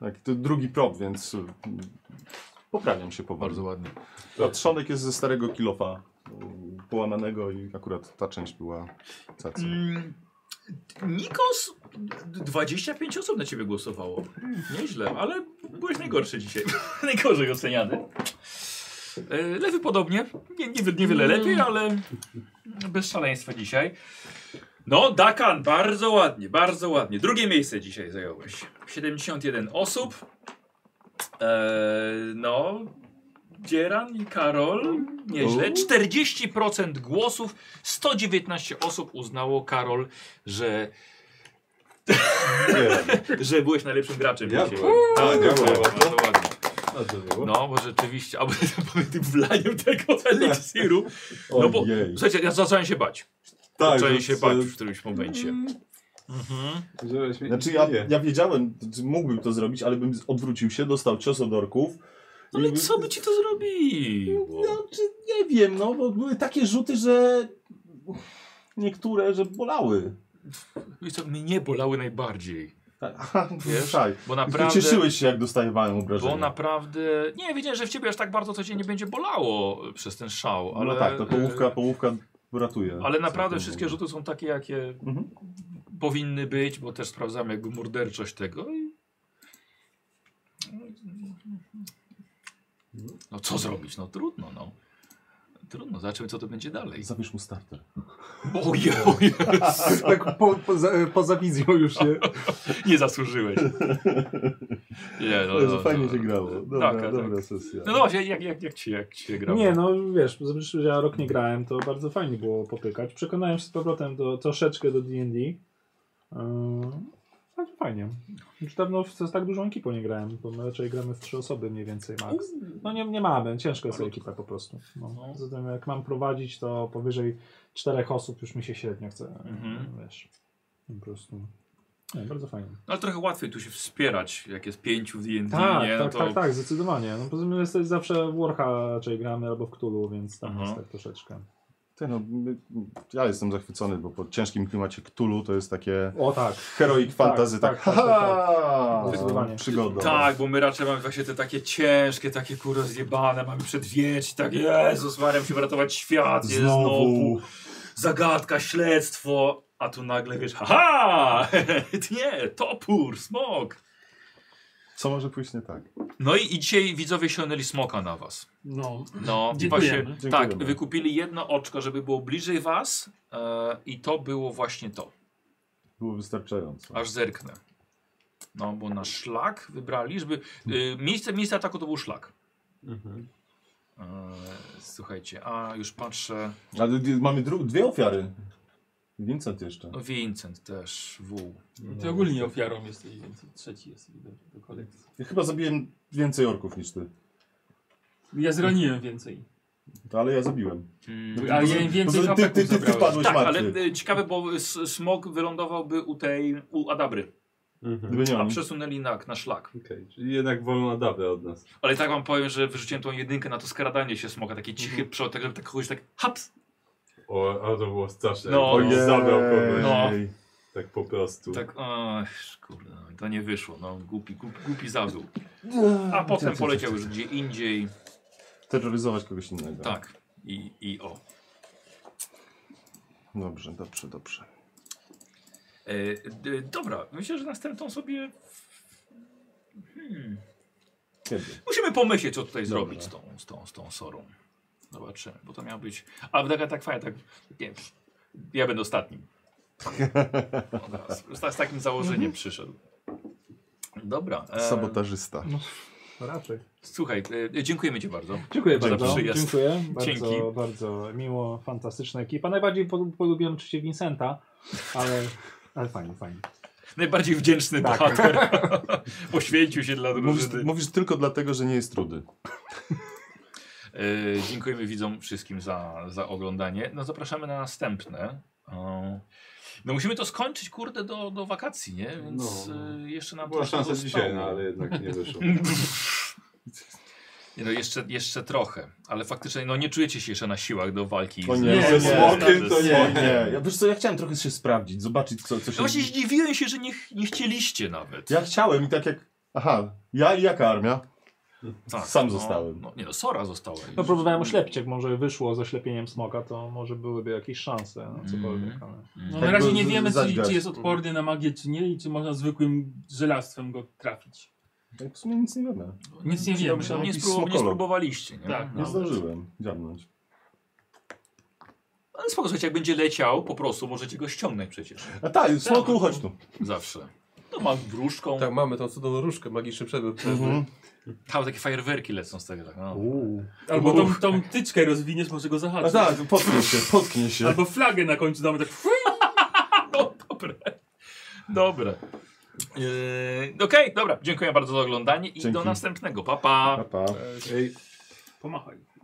Speaker 3: Tak, to drugi prop, więc y, poprawiam się powoli.
Speaker 1: Bardzo ładnie.
Speaker 3: A trzonek jest ze starego kilofa y, połamanego i akurat ta część była cacy.
Speaker 1: Mm, Nikos, 25 osób na ciebie głosowało. Nieźle, ale byłeś najgorszy dzisiaj. Najgorzej oceniany. E, Lewy podobnie. Nie, nie, niewiele lepiej, ale bez szaleństwa dzisiaj. No, Dakan, bardzo ładnie, bardzo ładnie. Drugie miejsce dzisiaj zająłeś. 71 osób. E, no, Dzieran i Karol, nieźle. 40% głosów, 119 osób uznało, Karol, że,
Speaker 4: Nie,
Speaker 1: że byłeś najlepszym graczem
Speaker 4: Ja
Speaker 1: dzisiaj.
Speaker 4: byłem.
Speaker 1: Tak,
Speaker 4: Ja
Speaker 1: ja byłem.
Speaker 4: byłem.
Speaker 1: Bardzo ładnie.
Speaker 4: dobrze było.
Speaker 1: No, bo rzeczywiście, albo tym wlaniem tego eliksiru. No bo,
Speaker 3: Ojej.
Speaker 1: słuchajcie, ja zacząłem się bać.
Speaker 4: Tak,
Speaker 1: zacząłem
Speaker 4: że-
Speaker 1: się bać w którymś momencie.
Speaker 4: że śmie-
Speaker 3: Znaczy ja,
Speaker 4: nie.
Speaker 3: ja wiedziałem, że mógłbym to zrobić, ale bym z- odwrócił się, dostał cios od orków.
Speaker 1: Ale
Speaker 3: I-
Speaker 1: co by ci to zrobiło?
Speaker 3: No, czy nie wiem, no, bo były takie rzuty, że niektóre, że bolały.
Speaker 1: I co mnie bolały najbardziej.
Speaker 3: Aha,
Speaker 1: Wiesz,
Speaker 3: szaj.
Speaker 1: bo naprawdę...
Speaker 3: Cieszyłeś się, jak dostawałem obrażenia.
Speaker 1: Bo naprawdę... Nie, wiedziałem, że w ciebie aż tak bardzo to cię nie będzie bolało przez ten szał, ale...
Speaker 3: No tak, to połówka, połówka ratuje.
Speaker 1: Ale naprawdę
Speaker 3: Całkiem
Speaker 1: wszystkie
Speaker 3: dobrze.
Speaker 1: rzuty są takie, jakie
Speaker 3: Mhm.
Speaker 1: powinny być, bo też sprawdzam jakby morderczość tego i... No co zrobić? No trudno, no. Trudno, zobaczymy co to będzie dalej.
Speaker 3: Zabierz mu starter.
Speaker 1: Ojej, ojej,
Speaker 8: Tak po, poza, poza wizją już, nie?
Speaker 1: nie zasłużyłeś. Nie, no,
Speaker 3: Jezu,
Speaker 1: no,
Speaker 3: fajnie
Speaker 1: no.
Speaker 3: się grało. Dobra,
Speaker 1: Tak, tak.
Speaker 3: dobra sesja.
Speaker 1: No właśnie, jak, jak, jak, ci, jak ci się grało?
Speaker 2: Nie, no wiesz, zobacz, że ja rok nie grałem, to bardzo fajnie było popykać. Przekonałem się z powrotem do, troszeczkę do D&D. Yy, Bardzo fajnie. Już dawno w z tak dużą ekipą nie grałem, bo my raczej gramy w trzy osoby mniej więcej max. No nie, nie mamy, ciężko jest ekipa po prostu. No. Zatem jak mam prowadzić, to powyżej czterech osób już mi się średnio chce, yy,
Speaker 1: Mhm.
Speaker 2: wiesz, po prostu. Nie, bardzo fajnie.
Speaker 1: Ale trochę łatwiej tu się wspierać, jak jest pięciu w D&D,
Speaker 2: Tak,
Speaker 1: nie? No
Speaker 2: tak,
Speaker 1: to...
Speaker 2: tak, tak, zdecydowanie. No, poza tym jesteś zawsze w Warha raczej gramy albo w Cthulhu, więc tam
Speaker 1: Mhm.
Speaker 2: jest tak troszeczkę.
Speaker 3: Ty, no, my- ja jestem zachwycony, bo po ciężkim klimacie Cthulhu to jest takie
Speaker 2: O tak.
Speaker 3: heroik fantazy,
Speaker 2: tak,
Speaker 3: tak,
Speaker 2: tak,
Speaker 3: haha,
Speaker 2: tak. Zdecydowanie.
Speaker 3: przygoda.
Speaker 1: Tak, bo my raczej mamy właśnie te takie ciężkie, takie kurwa zjebane, mamy przedwieć, tak Jezus Maria, musimy ratować świat, jest znowu.
Speaker 3: Znowu.
Speaker 1: zagadka, śledztwo, a tu nagle wiesz, haha, nie, topór, smok.
Speaker 3: Co może pójść nie tak?
Speaker 1: No i, i dzisiaj widzowie sięgnęli smoka na was.
Speaker 7: No,
Speaker 1: No, i
Speaker 7: Dziękujemy.
Speaker 1: właśnie, tak,
Speaker 3: Dziękujemy.
Speaker 1: wykupili jedno oczko, żeby było bliżej was e, i to było właśnie to.
Speaker 3: Było wystarczająco.
Speaker 1: Aż zerknę. No, bo na szlak wybrali, żeby. Y, miejsce, miejsce ataku to był szlak. E, słuchajcie, a już patrzę.
Speaker 3: Ale d- mamy dru- dwie ofiary. Vincent jeszcze.
Speaker 1: No, Vincent też, W.
Speaker 3: No.
Speaker 7: ty ogólnie ofiarą jesteś, więc trzeci jest do, do kolekcji.
Speaker 3: Ja chyba zabiłem więcej orków niż ty.
Speaker 7: Ja zraniłem więcej.
Speaker 3: To, Ale ja zabiłem.
Speaker 1: Mm,
Speaker 7: Ale ja im więcej
Speaker 3: ty, ty, ty, ty
Speaker 7: zabrałem.
Speaker 3: wpadłeś
Speaker 1: tak, ale
Speaker 3: martwy.
Speaker 1: y, ciekawe, bo s- smog wylądowałby u tej. u Adabry,
Speaker 4: Mhm.
Speaker 3: Gdyby nie
Speaker 1: a
Speaker 3: on.
Speaker 1: przesunęli na, na szlak.
Speaker 4: Okej, czyli jednak wolą Adabę od nas.
Speaker 1: Ale tak wam powiem, że wyrzuciłem tą jedynkę na to skradanie się smoka, takie cichy przód, tak żeby tak kogoś tak. Haps!
Speaker 4: O, ale to było straszne.
Speaker 1: No.
Speaker 4: No,
Speaker 1: Ojej.
Speaker 4: zabrał kogoś.
Speaker 1: No.
Speaker 4: Tak po prostu.
Speaker 1: Tak, oj, kurde, to nie wyszło, no głupi, głupi, głupi zabił.
Speaker 3: No,
Speaker 1: A potem poleciał już gdzie indziej.
Speaker 3: Terroryzować kogoś innego.
Speaker 1: Tak. I, i o.
Speaker 3: Dobrze, dobrze, dobrze.
Speaker 1: E, d, dobra, myślę, że następną sobie. Hmm.
Speaker 3: Kiedy?
Speaker 1: Musimy pomyśleć, co tutaj
Speaker 3: Dobra.
Speaker 1: zrobić z tą, z tą, z tą sorą. Zobaczymy, bo to miało być. A taka tak fajnie, tak. Nie, pff, ja będę ostatnim. Od razu. Z, z takim założeniem przyszedł. Dobra. e,
Speaker 3: Sabotażysta.
Speaker 2: No raczej.
Speaker 1: Słuchaj, e, dziękujemy Ci bardzo.
Speaker 2: Dziękuję
Speaker 1: Za
Speaker 2: bardzo.
Speaker 1: przyjazd.
Speaker 2: Dziękuję.
Speaker 1: Dzięki.
Speaker 2: Bardzo, bardzo miło, fantastyczna ekipa. Najbardziej po- polubiłem oczywiście Vincenta, ale, ale fajnie, fajnie.
Speaker 1: Najbardziej wdzięczny
Speaker 2: Tak.
Speaker 1: bohater. Poświęcił się dla
Speaker 3: Mówisz,
Speaker 1: drużyny.
Speaker 3: mówisz tylko dlatego, że nie jest trudy.
Speaker 1: E, dziękujemy widzom wszystkim za, za oglądanie. No zapraszamy na następne. E, No musimy to skończyć, kurde, do, do wakacji, nie? Więc
Speaker 4: No.
Speaker 1: e, jeszcze nam
Speaker 4: Była
Speaker 1: troszkę
Speaker 4: szansa
Speaker 1: zostało.
Speaker 4: dzisiaj, no, ale jednak nie wyszło.
Speaker 1: Nie, no jeszcze, jeszcze trochę, ale faktycznie no nie czujecie się jeszcze na siłach do walki.
Speaker 3: O
Speaker 1: z-
Speaker 3: nie,
Speaker 1: z-
Speaker 3: o nie.
Speaker 1: z-
Speaker 4: Smokiem to
Speaker 1: z-
Speaker 4: nie.
Speaker 3: O nie, ja, wiesz co, ja chciałem trochę się sprawdzić, zobaczyć co, co
Speaker 1: No
Speaker 3: się...
Speaker 1: Właśnie zdziwiłem się, że nie, ch- nie chcieliście nawet.
Speaker 3: Ja chciałem i tak jak... Aha, ja i jaka armia? sam zostałem.
Speaker 1: Tak, No, nie no, Sora została.
Speaker 2: No próbowałem oślepcić, jak może wyszło z oślepieniem smoka, to może byłyby jakieś szanse na cokolwiek,
Speaker 1: Mhm.
Speaker 2: ale...
Speaker 1: Mm.
Speaker 7: No,
Speaker 3: Tak
Speaker 7: na razie
Speaker 3: go
Speaker 7: nie
Speaker 3: z-
Speaker 7: wiemy, czy,
Speaker 3: zadźgać.
Speaker 7: czy jest odporny na magię, czy nie i czy można zwykłym żelastwem go trafić.
Speaker 3: Tak w sumie nic nie wiemy.
Speaker 7: Nic nie wiemy.
Speaker 1: No,
Speaker 7: No.
Speaker 1: nie,
Speaker 3: jakiś
Speaker 1: sprób nie
Speaker 3: smokolog.
Speaker 1: spróbowaliście, nie? No.
Speaker 7: Tak,
Speaker 3: Nie
Speaker 1: Nawet.
Speaker 3: zdążyłem dziabnąć.
Speaker 1: Ale spoko, słuchajcie, jak będzie leciał, po prostu możecie go ściągnąć przecież.
Speaker 3: A tak, smoku, chodź tu.
Speaker 1: Zawsze. To ma No, wróżką.
Speaker 6: Tak, mamy tą cudowną różkę, magiczny przedmiot. Mhm.
Speaker 1: Tam takie fajerwerki lecą z tego. Tak, no.
Speaker 2: Uuu.
Speaker 7: Albo tą, tą tyczkę rozwiniesz, może go
Speaker 3: A
Speaker 7: zahaczyć.
Speaker 3: tak, potknie się, potknie się.
Speaker 7: Albo flagę na końcu damy tak.
Speaker 1: no dobre. Dobre. Yy, Okej, dobra. Dziękuję bardzo za oglądanie i do
Speaker 3: Dzięki.
Speaker 1: następnego. Pa, pa.
Speaker 3: Pa, pa.
Speaker 4: Ej,
Speaker 7: Pomachaj.